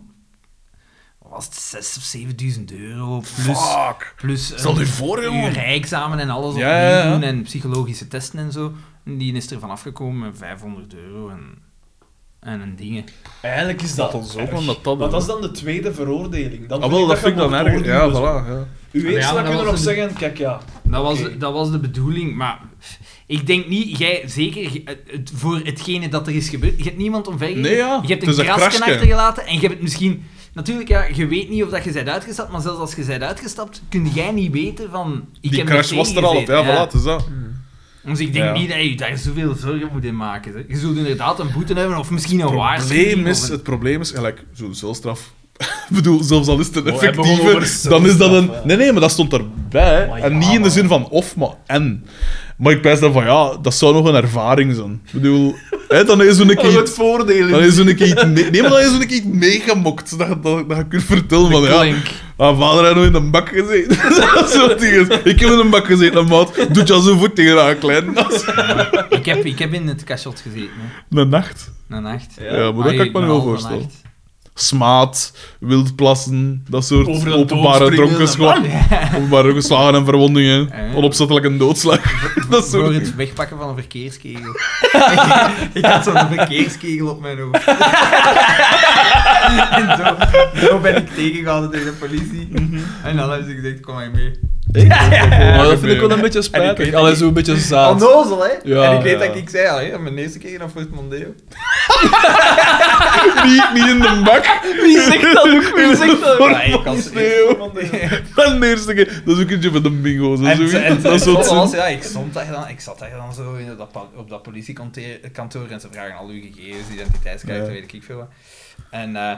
wat Was het 6 of 7000 euro? Plus, Fuck. plus een- Stel je voor, uw jongen. rijexamen en alles Ja, opnieuw ja, ja. doen en psychologische testen en zo. En Die is er van afgekomen met 500 euro en, en een dingen. Eigenlijk is dat... Dat is ook erg. wel dat dat- Want dat is dan de tweede veroordeling. Dan Ah, wel, dat je vind ik dan moet erg. Ja, oordelen. voilà. Ja. Uw Ja, eerste maar dat dat kunnen nog was een- zeggen, kijk ja. Dat was, Oké. dat was de bedoeling, maar ik denk niet, jij zeker, eh, het, voor hetgene dat er is gebeurd, je hebt niemand omver Nee, ja. je hebt Het is een een krasken krasje. achtergelaten en je hebt het misschien... Natuurlijk, ja, je weet niet of dat je bent uitgestapt, maar zelfs als je bent uitgestapt, kun jij niet weten van... Ik Die heb crash was er al. op, tegengezeten. Ja, voilà, het is dat. Dus ik denk Ja. niet dat je daar zoveel zorgen moet in maken. Hè. Je zult inderdaad een boete hebben, of misschien een Het probleem waarschuwing. is, of een- het probleem is, gelijk, zo'n celstraf. Ik bedoel, zelfs al is het een hebben gewoon over effectieve, dan is dat celstraf, een... ja. Nee, nee, maar dat stond erbij. Maar en ja, niet in de maar- zin van of, maar en. Maar ik pijs dan van, ja, dat zou nog een ervaring zijn. Ik bedoel, hè, dan is zo'n Oh, keer... het voordeel Dan is zo'n keer iets... me- Nee, maar dan is zo'n keer iets meegemokt. Dat, dat, dat je kunt vertellen van, ja... Mijn vader heeft nog in een bak gezeten. dat soort dingen. Ik heb in een bak gezeten, maat. Doet je als een voet tegen haar klein. Dat is ik, heb, ik heb in het cachot gezeten, hè. Een nacht. Een nacht. Ja, maar dat kan ik me nou, niet nu wel voorstellen. smaad, wildplassen, dat soort Over een openbare dood springen, dronkenschap. Openbare geslagen en verwondingen. Eh. Onopzettelijk een doodslag. dat Voor soort het wegpakken van een verkeerskegel. ik had zo'n verkeerskegel op mijn hoofd. en zo, zo ben ik tegengehouden door de politie. Mhm. En dan hebben ze gezegd, kom maar mee. Maar dat dat vind ik wel een beetje spijtig. Allee, zo'n beetje zaad. Onnozel, hè? Ja, en ik weet ja. dat ik zei al, hè, mijn eerste keer naar Fort Mondeo. niet, niet in de bak. Wie zegt dat ook? Wie zegt dat Dat eerste keer. Dat is ook eentje met een bingo. Zo, zoiets. dat soort Zoals, zin. ja, ik, stond daar dan, ik zat daar dan zo in dat, pa- op dat politiekantoor en ze vragen al uw gegevens, identiteitskaart, Ja. weet ik veel wat. En eh,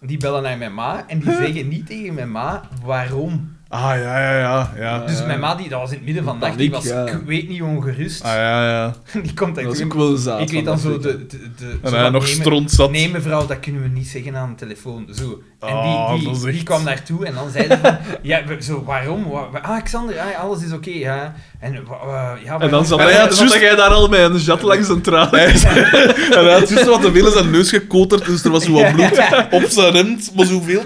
die bellen naar mijn ma en die zeggen niet tegen mijn ma waarom. Ah, ja, ja, ja. ja Dus ja. mijn ma, die, dat was in het midden van de nacht, die was, Paniek, ja. ik weet niet, ongerust. Ah, ja, ja. Die komt daar Dat is toen- ook wel zaad. Ik weet dan van zo Afrika. de... de, de zo En hij van, nog nee, me- stront zat. Nee, mevrouw, dat kunnen we niet zeggen aan de telefoon. Zo. En Ah, die, die, dat is die echt- kwam naartoe en dan zei ze van... Ja, we- zo, waarom? Wa- wa- ah, Xander, ah, alles is oké, ja. En, wa- wa- ja, En dan zat En hij jij- had zat juist- jij daar al met een jat langs een traan. En hij had juist wat te veel in zijn neus gekoterd, dus er was zo wat bloed op zijn hemd, maar zoveel.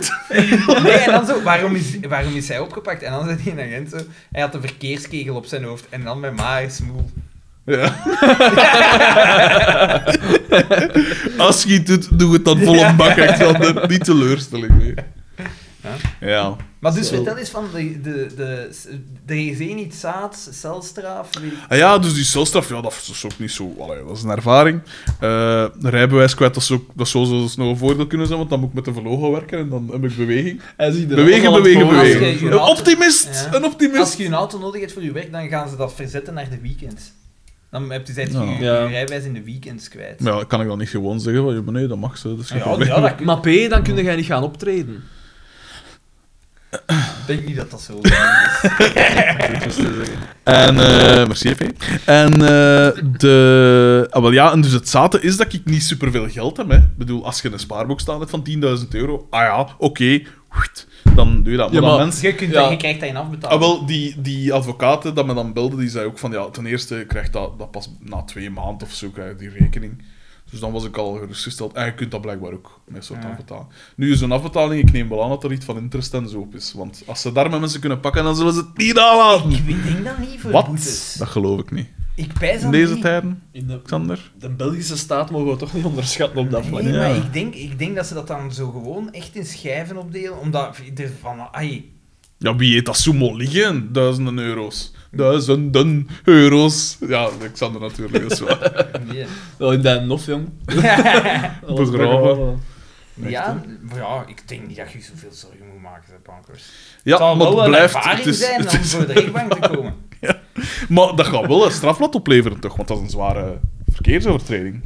Nee, en dan zo, waarom is, waarom is hij opgepakt? En dan zei die agent zo... Hij had een verkeerskegel op zijn hoofd en dan mijn ma is moe. Ja. Als je het doet, doe het dan vol op bak, Alexander. Niet teleurstelling. Nee. Ja. Maar dus, Zo. vertel eens van de... de, de, de, is één iets zaad, celstraaf, weet ik... Ah ja, dus die celstraf, ja, dat is ook niet zo... Allee, dat is een ervaring. Eh, rijbewijs kwijt, dat, is ook, dat zou zo nog een voordeel kunnen zijn, want dan moet ik met de verlogen werken en dan heb ik beweging. Hij ziet er Bewegen, allemaal bewegen, voor. Als je- bewegen. Een je- optimist! Ja. Een Als optimist! je een auto nodig hebt voor je werk, dan gaan ze dat verzetten naar de weekends. Dan heb je zijn je, Ja. je Ja. rijwijs in de weekends kwijt. Maar ja, kan ik dan niet gewoon zeggen van, ja, nee, dat mag ze, dat is geen Ja, probleem. ja, dat kun- Maar P, dan kun jij niet gaan optreden. ik denk niet dat dat zo En, eh merci, F. En, eh, de... Ah, wel ja, en dus het zaten is dat ik niet superveel geld heb, hè. Ik bedoel, als je een spaarboek staan hebt van 10.000 euro, ah ja, oké, goed, dan doe je dat. Maar, Ja, dan maar- mensen... Je, kunt Ja. dat, je krijgt dat in afbetaald. Ah, wel, die, die advocaten dat me dan belden, die zei ook van, ja, ten eerste krijgt dat, dat pas na twee maanden of zo, krijg je die rekening. Dus dan was ik al gerustgesteld. En je kunt dat blijkbaar ook, met soort Ja. afbetaling. Nu, zo'n afbetaling, ik neem wel aan dat er iets van interest en zo op is. Want als ze daar met mensen kunnen pakken, dan zullen ze het niet aanlaten. Ik weet- denk dat niet voor Wat? boetes. Dat geloof ik niet. Ik pijs In dat deze niet. tijden, In de, Xander? de Belgische staat mogen we toch niet onderschatten op dat vlak. Nee, Ja. maar ik denk, ik denk dat ze dat dan zo gewoon echt in schijven opdelen. Omdat er van... Ai, Ja, wie eet dat sumo liggen? Duizenden euro's. Duizenden euro's. Ja, Xander natuurlijk, dat is waar. nee. Wel in Den Nof, jong. Begraven. ja, maar ja, ik denk niet dat je zoveel zorgen moet maken, zei bankers. Ja, het zal maar wel het een blijft... ervaring het is- zijn het om is- voor de rechtbank te komen. Maar dat gaat wel een strafblad opleveren, toch? Want dat is een zware verkeersovertreding.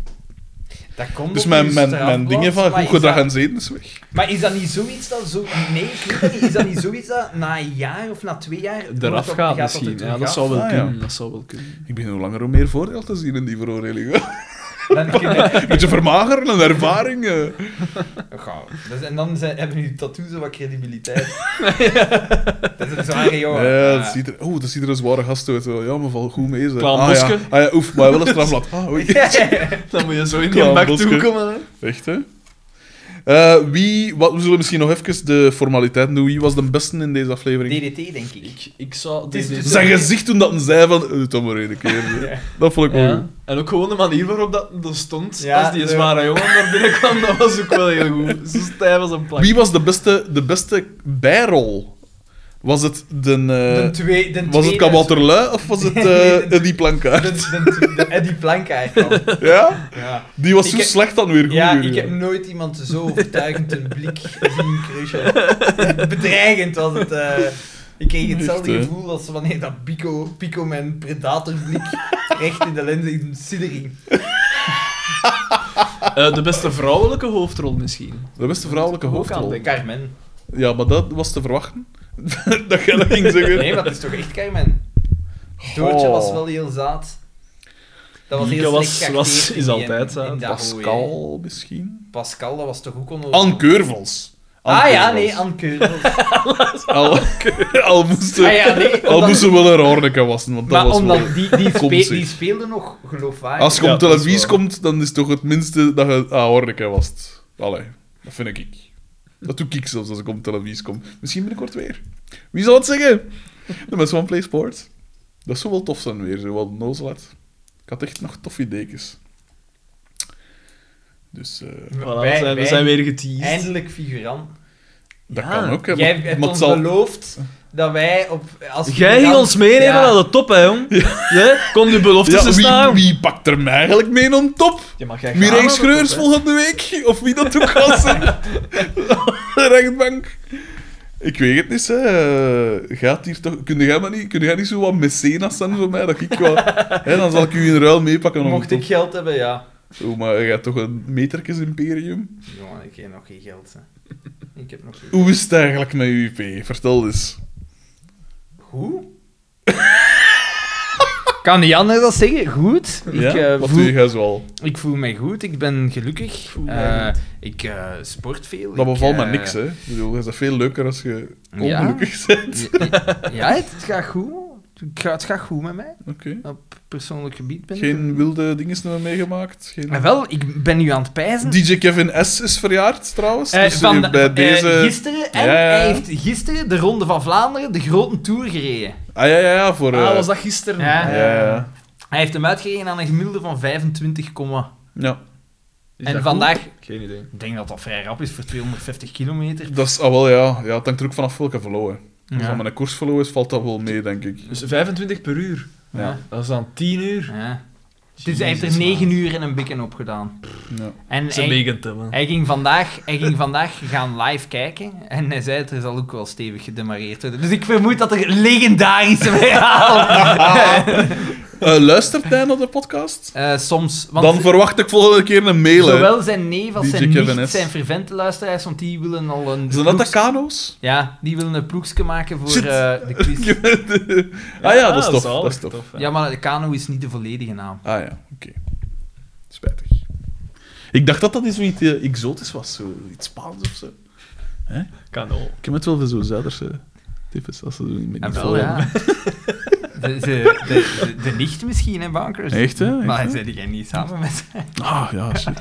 Dat komt Dus op uw mijn, mijn, mijn strafblad, dingen van maar goed is gedrag dat- en zeden is weg. Maar is dat niet zoiets dat zo... Nee, ik weet dat niet. Is dat niet zoiets dat na een jaar of na twee jaar... het Eraf wordt op- gaat op de misschien. Ja, terug dat af? zou wel Ah, ja. kunnen. Dat zou wel kunnen. Ik begin hoe langer hoe meer voordeel te zien in die veroordeling. Dan kunnen... Beetje vermageren en ervaring. eh. Gauw. Dus, en dan zijn, hebben jullie tattoos zo wat credibiliteit. dat is een zware jongen. Ja, dat Ah. ziet er, oh, dat ziet er een zware gast uit. wel. Ja, maar val goed mee. Ze. Klaar, ah, ja. Boske. ah ja, oef, maar wel een strafblad. Ah, oei. Dan moet je zo in Klaar, bak Boske. Toekomen, hè. Echt, hè? Eh, wie, wat, we zullen misschien nog even de formaliteiten doen. Wie was de beste in deze aflevering? DDT, denk ik. Ik, ik zou... is dit- dit- dus- Zijn gezicht toen dat een zei van... eh, Doe dat maar één keer. hè. Dat vond ik wel Ja. goed. En ook gewoon de manier waarop dat, dat stond, Ja, als die zo. zware jongen naar binnen kwam, dat was ook wel heel goed. Zo stijf als een plank. Wie was de beste, de beste bijrol? Was het de... eh, De twee, de was het tweede- Kabouterlui of was het Nee, eh de- Eddie Plankaart? De, de, de Eddie Plankaart dan. Ja? Ja, Die was Ik zo heb- slecht dan weer goed. ja jullie. ik heb nooit iemand zo overtuigend een blik zien crushen. Bedreigend was het. eh. ik kreeg hetzelfde Echt, hè? gevoel als wanneer dat Pico, Pico mijn predatorblik recht in de lens in een siddering. Eh, de beste vrouwelijke hoofdrol misschien. De beste vrouwelijke Ook aan hoofdrol. denken. Carmen. Ja, maar dat was te verwachten. dat jij dat ging zeggen. Nee, maar het is toch echt Carmen? Doortje Goh. was wel heel zaad. Dat was Mieke heel was- slecht was- geacteerd is in die- in altijd zaad. dat hooi, Pascal misschien? hè. Pascal, dat was toch ook onnodig? Anne Keurvels. Anne Ah ja, Keurvels. nee, Anne Keurvels. Al, al moest ze, Ah ja, nee, al omdat- moest ze wel een Rorneke wassen, want Oh, dat maar was omdat wel... die, die, Kom, speel- zeg. die speelde nog geloofwaardig. Als je Ah, Ja, op dat is televisie waar. komt, dan is het toch het minste dat je ah, Horneke wast. Allee, dat vind ik. Dat doe ik zelfs als ik op televisie kom. Misschien binnenkort weer. Wie zal het zeggen? De mensen van Play Sport. Dat zou wel tof zijn weer, zo wat nozelat. Ik had echt nog toffe dekens. Dus eh, Voilà, Wij- we, zijn, we wij- zijn weer geteased. Eindelijk figurant. dat Ja, kan ook. Hè, Jij maar- hebt maar ons het zal- beloofd dat wij op... Als Jij ging figurant- ons meenemen Ja. naar de top, hè, jong. Ja, Kom nu beloftes te ja, staan. wie, wie pakt er mij eigenlijk mee om top? Ja, maar jij gaat Mireille naar de Schreurs top, hè. volgende week? Of wie dat ook gaat zijn? De rechtbank. Ik weet het niet, hè. Eh, Gaat hier toch... Kun jij, maar niet, kun jij niet zo wat mecenas zijn voor mij? Dat ik wat... hè, dan zal ik u in ruil meepakken. Om... Mocht ik geld hebben, ja. Oh, maar jij hebt toch een metertjes imperium? Jongen, ik heb nog geen geld. Hè. Ik heb nog geen... Hoe is het eigenlijk met UP? Vertel eens. Hoe? Kan niet anders dan zeggen, goed. Ja? Ik, eh, wat voel- doe jij zoal? Ik voel mij goed, ik ben gelukkig. mij Eh, ik eh, sport veel. Dat ik, bevalt me eh, niks, hè. Ik bedoel, is dat veel leuker als je Ja. ongelukkig bent. Ja, het gaat goed. Het gaat, het gaat goed met mij. Oké. Op persoonlijk gebied ben ik... Geen wilde dingen hebben meegemaakt? Geen... Ah, wel, ik ben nu aan het pijzen. DJ Kevin S. is verjaard, trouwens. Eh, dus van eh, de- bij eh, deze... gisteren, en Ja, ja. hij heeft gisteren de Ronde van Vlaanderen, de grote Tour, gereden. Ah ja, ja, ja, voor. eh, Ah, was dat gisteren? Ja. Ja, ja, ja. Hij heeft hem uitgereden aan een gemiddelde van 25, komma. Ja, Is dat en goed? vandaag... Geen idee. Ik denk dat dat vrij rap is voor 250 kilometer. dat is al wel, ja. ja. Het hangt er ook vanaf welke verloren. Als Ja. dat met een koers verloren is, valt dat wel mee, denk ik. Dus 25 per uur. Ja. Dat is dan 10 uur. Ja. Dus hij heeft er 9 uur en een bikken op gedaan. Ja. En Ze hij- megent hem. hè. Hij ging, vandaag, hij ging vandaag gaan live kijken en hij zei het er zal ook wel stevig gedemareerd worden. Dus ik vermoed dat er legendarische verhalen... Eh, luistert hij naar de podcast? Eh soms, want Dan verwacht ik volgende keer een mail. hè. zowel zijn neef als DJ zijn Kevin nicht S. zijn fervente luisteraars, want die willen al een... Zijn dat de ploegs- kano's? Ja, die willen een ploegske maken voor Shit. eh, de quiz. ah ja, dat is tof. zalig, Dat is tof. hè. Ja, maar de kano is niet de volledige naam. Ah ja, oké. Spijtig. Ik dacht dat dat iets zoiets eh, exotisch was, zo, iets Spaans of zo. Kan ook. Ik heb het wel van zo'n Zuiderse types, als ze doen niet En niet Ah, wel, ja. volgen. De, de, de, de, de nicht misschien, hè, Bankers? Echt, hè? Echt, Maar hè? zijn jij niet samen met... Ah, ja, shit.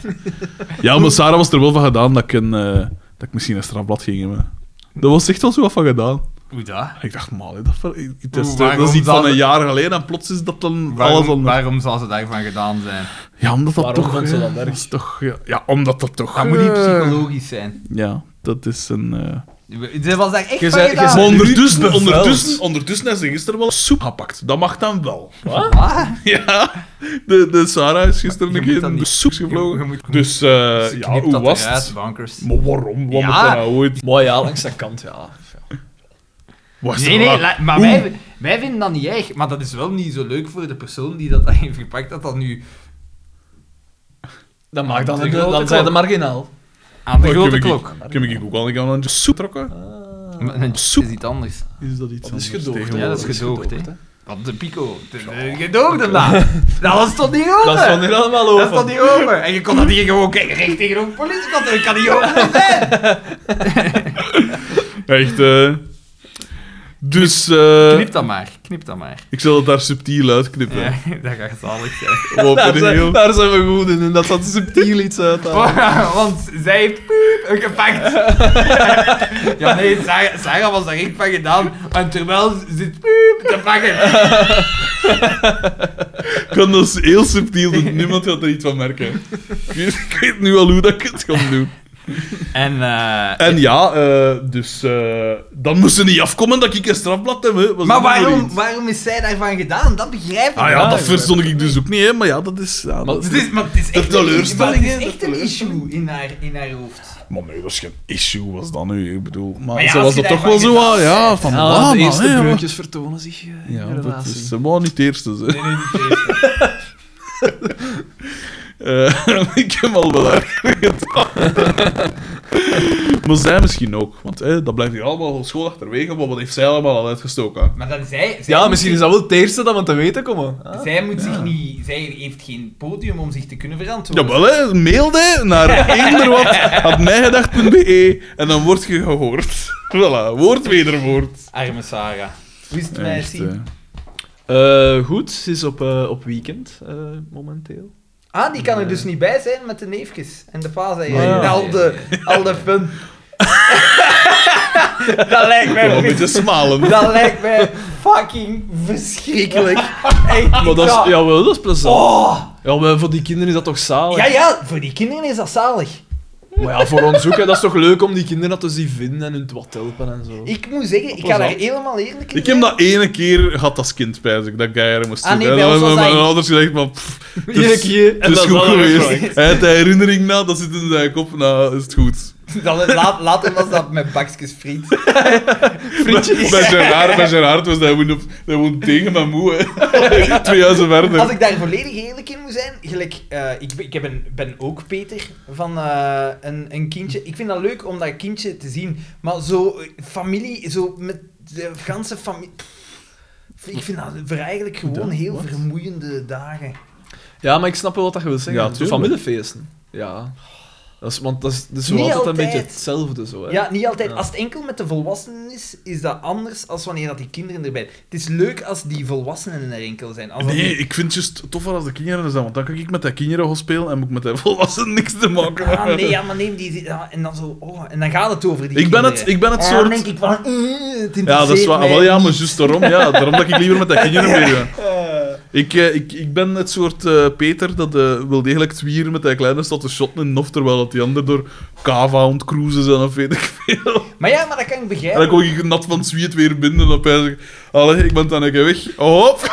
Ja, maar Sarah was er wel van gedaan dat ik, een, eh, dat ik misschien een strafblad ging hebben. Daar was echt wel zo wat van gedaan. Hoe dat? Ik dacht, man, hè, dat, ver- het is, dat Hoe, waarom is iets van zou een ze- jaar geleden en plots is dat dan alles Waarom, anders. waarom zou ze daarvan gedaan zijn? Ja, omdat dat Waarom toch... vond ze eh, dat erg? is toch ja, ja, omdat dat toch... Dat moet niet eh, psychologisch zijn. Ja, dat is een... eh, Ze was daar echt Je van zei- je gedaan. Maar zei- ondertussen, beveld. ondertussen, ondertussen is ze gisteren wel soep gepakt. Dat mag dan wel. Ah, Ja, de, de Sarah is gisteren Je een moet keer dat in de niet- soep je gevlogen. moet- Dus eh, ze ja, knipt hoe dat was eruit, het? bankers. Maar waarom? Wat Ja. moet dat nou ooit? Mooi, ja, langs zijn kant, ja. Was Nee, er nee, wel- la- maar wij, wij vinden dat niet erg. Maar dat is wel niet zo leuk voor de persoon die dat heeft gepakt, dat dat nu Dan maakt dat de een- grote dan zijn de klok. marginaal. Aan de Maar grote Oh, ik- klok. Ik heb ik ook al een keer aan een soep trokken. Een Soep. Ah. is iets anders. Is dat iets Dat is anders gedoogd. tegenwoordig? Ja, dat is gedoogd, hè. Dat Op de pico. Je doogde hem daar. Dat was toch niet open? is dan hier allemaal Dat is over. toch niet open? En je kon dat hier gewoon kijken, recht tegen een politiekantoor. Ik kan niet open. Echt, eh. Dus, eh Knip dat maar. Knip dat maar. ik zal het daar subtiel uitknippen. Ja, dat gaat zalig zijn. Wat Daar ben ik heel- zijn, daar zijn we goed in, en dat zat subtiel iets uit. aan. Want zij heeft piep, een gepakt. ja, nee, Sarah, Sarah was daar echt van gedaan. En terwijl zit piep te pakken. Ik kan dat heel subtiel doen. Niemand gaat er iets van merken. Ik weet, ik weet nu al hoe dat ik het ga doen. En, eh, En ja, eh, dus eh, dan moest ze niet afkomen dat ik een strafblad heb. Hè. Was dat nog maar maar waarom, iets? waarom is zij daarvan gedaan? Dat begrijp ik Ah ja, niet. dat verstond ik dus ook niet, hè. maar ja, dat is... Ja, dat Het is, maar het is De echt, teleurstelling, maar het hè, is de echt een issue in haar, in haar hoofd. Maar nee, dat is geen issue, was dat nu? Ik bedoel, maar, ja, ze als was je dat toch daarvan wel zo gedaan aan, ja, van Ja, ah, de maar, eerste hè, ja, breukjes vertonen zich eh, in Ja, de dat relatie. is ze wou niet de eerste. Ze. Eh, ik heb al wel erger gedaan. maar zij misschien ook, want eh, dat blijft hier allemaal op school achterwege, maar wat heeft zij allemaal al uitgestoken? Maar dan zij... zij Ja, moet misschien is zich- dat wel het eerste dat we te weten komen. Ah. Zij, moet zich niet, zij heeft geen podium om zich te kunnen verantwoorden. Jawel, hè, mail hè, naar eenderwat.mijgedacht.be en dan word je gehoord. voilà, woord wederwoord. Arme Sarah. Wist het Echt, meisje. eh. Eh, goed, ze is op, eh, op weekend eh, momenteel. Ah, die kan er dus niet bij zijn met de neefjes en de paas en Ah, ja. al, de, al de fun. dat lijkt Ik kan wel mij... een beetje smalen. Dat lijkt mij fucking verschrikkelijk. Echt, Maar dat is, ja. jawel, dat is plezant. Oh. Ja, maar voor die kinderen is dat toch zalig? ja, ja, voor die kinderen is dat zalig. Maar ja, voor ons ook, hè, dat is toch leuk om die kinderen dat te zien vinden en hun te wat helpen en zo. Ik moet zeggen, ik was ga daar dat? helemaal eerlijk in Ik heb zijn. dat ene keer gehad als kind, spijs ik, dat ik daar moest Ah, nee, doen. bij En ons dan was hebben dat- mijn ouders gezegd, maar pff, het is- Eén keer, en het is dat is goed wel een geweest. reflex. Hij heeft de herinnering na, dat zit in zijn kop, nou is het goed. Dat- laat, later was dat met bakjes friet. Bij, bij, Gerard, bij Gerard was dat gewoon, op, dat gewoon tegen mijn moe, hè. twee huizen verder. Als ik daar volledig eerlijk in moet zijn, gelijk, eh, ik, ben- ik heb een, ben ook Peter van eh, een, een kindje. Ik vind dat leuk om dat kindje te zien, maar zo eh, familie, zo met de ganse familie. Ik vind dat voor eigenlijk gewoon Ja, heel wat? vermoeiende dagen. Ja, maar ik snap wel wat dat je wil zeggen. Ja, Zo tuurlijk. familiefeesten. Ja. Dat is, want dat is, dus dat is zo Niet altijd, een altijd. beetje hetzelfde. Zo, hè. Ja, niet altijd. Ja. Als het enkel met de volwassenen is, is dat anders dan wanneer dat die kinderen erbij zijn. Het is leuk als die volwassenen er enkel zijn. Als dat Nee, niet- ik vind het juist toffer als de kinderen er zijn, want dan kan ik met de kinderen gaan spelen en moet ik met de volwassenen niks te maken Ah, hebben. nee, ja, maar neem die... ja, en dan zo... Oh, en dan gaat het over die Ik ben kinderen. het, ik ben het En soort... dan denk ik van... eh, het Ja, dat is interesseert waar. Ah, mij Wel, ja, niet. maar juist daarom. Ja, daarom dat ik liever met dat kindje mee ben. Ik, eh, ik, ik ben het soort eh, Peter dat eh, wil degelijk zwieren met dat kleine stad te shotten in Nof, terwijl dat die ander door Kava ontkruisen zijn of weet ik veel. Maar ja, maar dat kan ik En dan begrijpen. kom ik nat van zwiet weer binnen en dan pijs ik... Allee, ik ben dan een keer weg. Oh, Hop!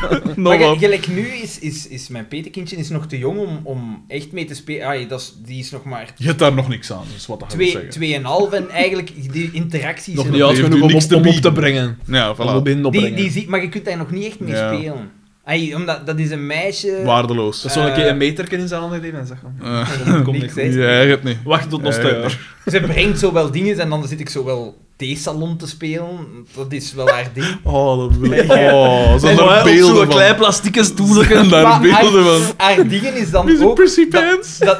Nou, Nog Maar ge- wat. gelijk nu is, is, is mijn petekindje is nog te jong om, om echt mee te spelen. Ah, dat is, die is nog maar Je hebt daar nog niks aan, dus wat dat wil twee, zeggen. tweeënhalf en eigenlijk die interacties... Nog en- niet dat oud heeft genoeg u om, niks op- te om op bieden. te brengen. Ja, Om op voilà. in te die, brengen. die zie, maar je kunt daar nog niet echt mee Ja. spelen. Ai, omdat dat is een meisje... Waardeloos. Dat is eh, wel een keer een meterken in zijn handen geven en zeggen... Eh, Kom, kom, Niks, kom. hè. ja, je hebt niet. Wacht tot nog Ja, sterker. Ze brengt zo wel dingen en dan zit ik zo wel theesalon te spelen. Dat is wel haar ding. Oh, dat wil ik. Oh, zijn daar beelden van. plastieke stoel. Zijn daar Maar beelden haar, van. haar dingen is dan Is een ook... pussy dat- pants? Dat,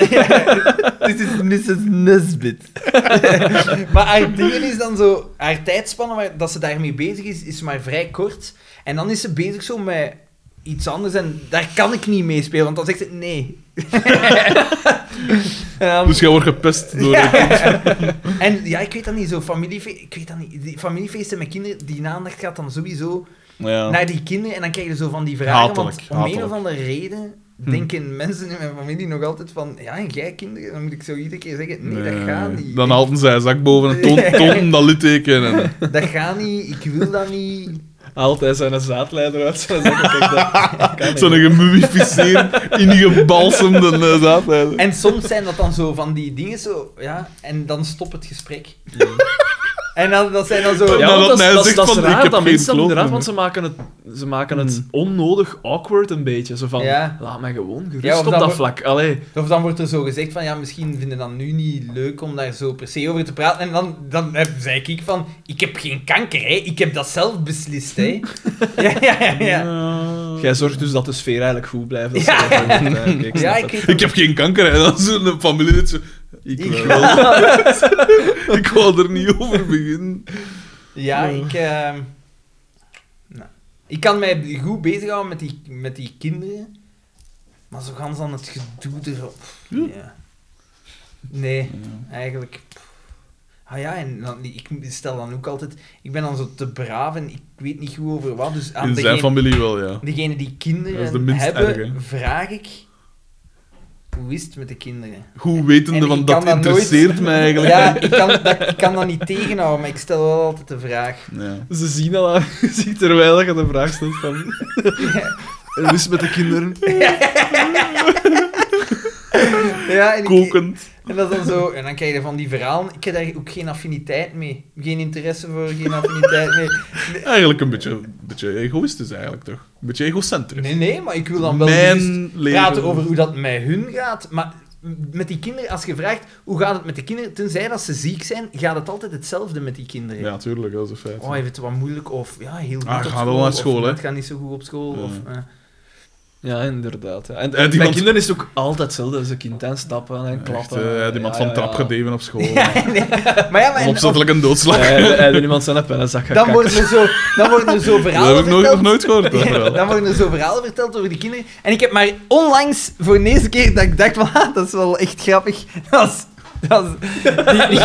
dit is Mrs. Nesbit. maar haar dingen is dan zo... Haar tijdspannen waar, dat ze daarmee bezig is, is maar vrij kort. En dan is ze bezig zo met iets anders en daar kan ik niet mee spelen, want dan zegt ze nee. En dan- Dus jij wordt gepest door... En ja, ik weet dat niet, zo familiefeesten, ik weet dat niet, die familiefeesten met kinderen, die aandacht gaat dan sowieso Ja. naar die kinderen en dan krijg je zo van die vragen, Hatelijk, want om hatelijk. een of andere reden denken mensen in mijn familie nog altijd van, ja, en jij kinderen, dan moet ik zo iedere keer zeggen, nee, dat gaat niet. Dan haalden zij een zak boven en ton, ton dat litteken. En... Dat gaat niet, ik wil dat niet. Altijd zijn een zaadleider uit zijn zakken. Kijk, dat kan niet. Zo'n gemummificeerd, ingebalsemde eh, zaadleider. En soms zijn dat dan zo van die dingen zo, ja, en dan stopt het gesprek. En dan, dat zijn dan zo... Ja, want dat dat, is- hij dat, is- zegt dat is van, ik raar heb dat geen mensen dat kloof doen, raar, meer. want ze maken het, ze maken het onnodig awkward een beetje. Zo van, Hmm. Ja. laat mij gewoon gerust Ja, of op dat dat we- vlak. Allee, Of dan wordt er zo gezegd van, ja, misschien vinden dat nu niet leuk om daar zo per se over te praten. En dan, dan heb- zei ik van, ik heb geen kanker, hè. Ik heb dat zelf beslist, hè. ja, ja, ja, ja. jij zorgt dus dat de sfeer eigenlijk goed blijft. Dat Ja. ze dat doen. Ja, oké, ik snap Ja, het. ik weet Ik heb geen kanker. En dan zo'n familielid zo... Ik, wil. ik wou er niet over beginnen. Ja, ik... ehm, nou. Ik kan mij goed bezighouden met die, met die kinderen. Maar zo gaan ze dan het gedoe erop. Ja. Nee, eigenlijk... pff. Ah ja, en dan, ik stel dan ook altijd... Ik ben dan zo te braaf en ik weet niet goed over wat. Dus aan In degene- zijn familie wel, ja. Degene die Dat is de kinderen minst hebben, erg, hè. vraag ik... Hoe is het met de kinderen? Hoe En wetende ik van kan dat dat nooit- interesseert mij eigenlijk. Ja, ik kan, dat, ik kan dat niet tegenhouden, maar ik stel wel altijd de vraag. Ja. Ze zien al aan, je ziet terwijl je de vraag stelt van... En hoe is het met de kinderen? Ja, en, ik, Kokend. en dat is dan zo. En dan krijg je van die verhalen. Ik heb daar ook geen affiniteit mee. Geen interesse voor, geen affiniteit mee. Eigenlijk een beetje, beetje egoïstisch, eigenlijk toch? Een beetje egocentrisch. Nee, nee, maar ik wil dan wel gerust Mijn leven. praten over hoe dat met hun gaat. Maar met die kinderen, als je vraagt hoe gaat het met de kinderen, tenzij dat ze ziek zijn, gaat het altijd hetzelfde met die kinderen. Ja, tuurlijk, dat is een feit. Oh, hij vindt het wat moeilijk of ja, heel goed Ah, op ga school. wel naar of school, hè. Het gaat niet zo goed op school. Ja. Of, eh. Ja, inderdaad. ja. En, Ja, die bij man- kinderen is het ook altijd hetzelfde. Ze kind aan stappen en Echt, klappen. eh, hij had iemand Ja, van ja, trap ja. gedeven op school. Maar ja, maar Of en- of- opzettelijk een doodslag. Ja, hij- hij had iemand zijn app en zak dan, worden er zo, dan worden er zo dat heb verhalen ik nog, nog verteld. nooit gehoord. dat verhaal. Dan worden er zo verhalen verteld over die kinderen. En ik heb maar onlangs voor de eerste keer dat ik dacht van, ah, dat is wel echt grappig. Dat is... Dat is die,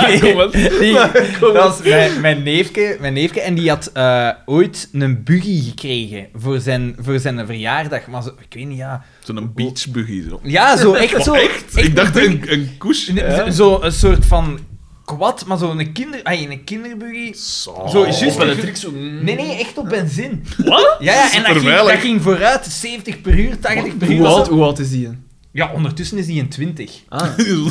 die, die- dat is mijn, mijn, neefje, mijn neefje. En die had eh, ooit een buggy gekregen voor zijn, voor zijn verjaardag. Maar zo, ik weet niet, ja... Zo'n beachbuggy. Zo. Ja, zo, echt zo. Ik dacht een, een koes. Een- zo- Zo'n soort van kwad, maar zo'n kinder, ay, een kinderbuggy. Zo. Zo, juist. Met een trick zo... Nee, nee, echt op benzine. Wat? Ja, ja, en dat ging, Superveilig. dat ging vooruit, 70 per uur, 80 per uur. Hoe was oud, dat- hoe oud is die? Ja, ondertussen is hij een 20. Ah,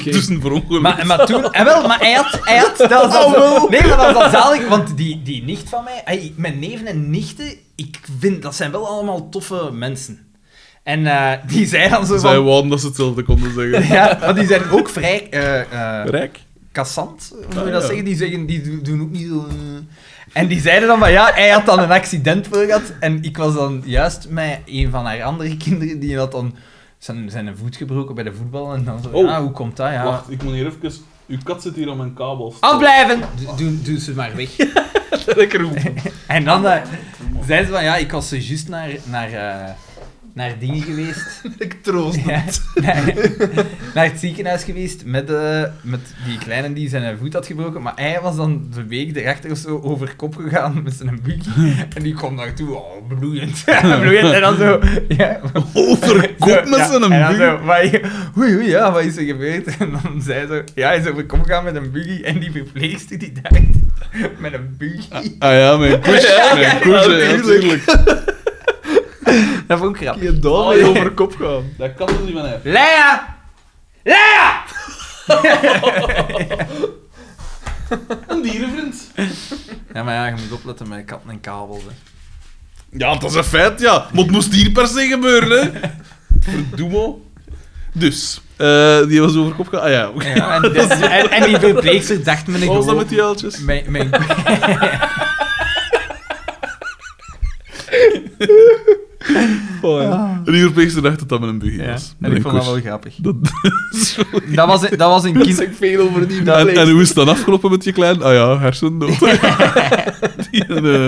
Tussen verongelukt. Maar, maar toen, en wel, maar hij had, hij had dat was Ah, dat, nee, maar dat was dat zalig, want die, die nicht van mij, ay, mijn neven en nichten, ik vind, dat zijn wel allemaal toffe mensen. En eh, die zei dan zo Zij van... wouden dat ze hetzelfde konden zeggen. Ja, maar die zijn ook vrij... eh, eh, Rijk. kassant, hoe moet Ah, je dat ja. zeggen? Die, zeggen, die do- doen ook niet zo... eh. En die zeiden dan van, ja, hij had dan een accident voor gehad. En ik was dan juist met een van haar andere kinderen, die had dan zijn, zijn voet gebroken bij de voetbal. En dan zo, Oh. ah, hoe komt dat? Ja. Wacht, ik moet hier even... Uw kat zit hier aan mijn kabels. Afblijven! Do- Doe, doe ze maar weg. Lekker goed. En dan eh, zei ze van, ja, ik was zojuist naar, naar, eh, naar dingen geweest. Ik troost. Ja, naar, naar het ziekenhuis geweest met, eh, met die kleine die zijn voet had gebroken. Maar hij was dan de week erachter of zo over kop gegaan met zijn buggy. En die kwam naartoe, oh, bloeiend. bloeiend. En dan zo... Ja, Overkop met ja, zijn en dan buggy. zo, "Wat- oei, oei, ja, wat is er gebeurd? En dan zei ze, ja, hij is over kop gegaan met een buggy. En die verpleegster die dacht, met een buggy. Ah ja, mijn koes. Mijn koes, ja, natuurlijk. Dat vond ik grappig. je dom Oh, ja. over kop gaan. Dat kan dus niet van mij. Lea! Lea! Een dierenvriend. Ja, maar ja, je moet opletten met katten en kabels. hè. Ja, dat is een feit, ja. Maar het moest hier per se gebeuren, hè. Verdoemo. Dus, eh, die was over kop gegaan. Ah ja, Ja, en, dus- en, en die verpleegster dacht me wat was dat gewoon... met die uiltjes? Mijn, mijn... Oh, ja. En die verpleegster dacht dat dat met een buggy Ah. Ja, was. Met en ik een vond dat koes. wel grappig. Dat- Dat was, dat was een kind... veel over die Dat- en, en hoe is het dan afgelopen met je klein? Ah ja, hersendood. die, eh,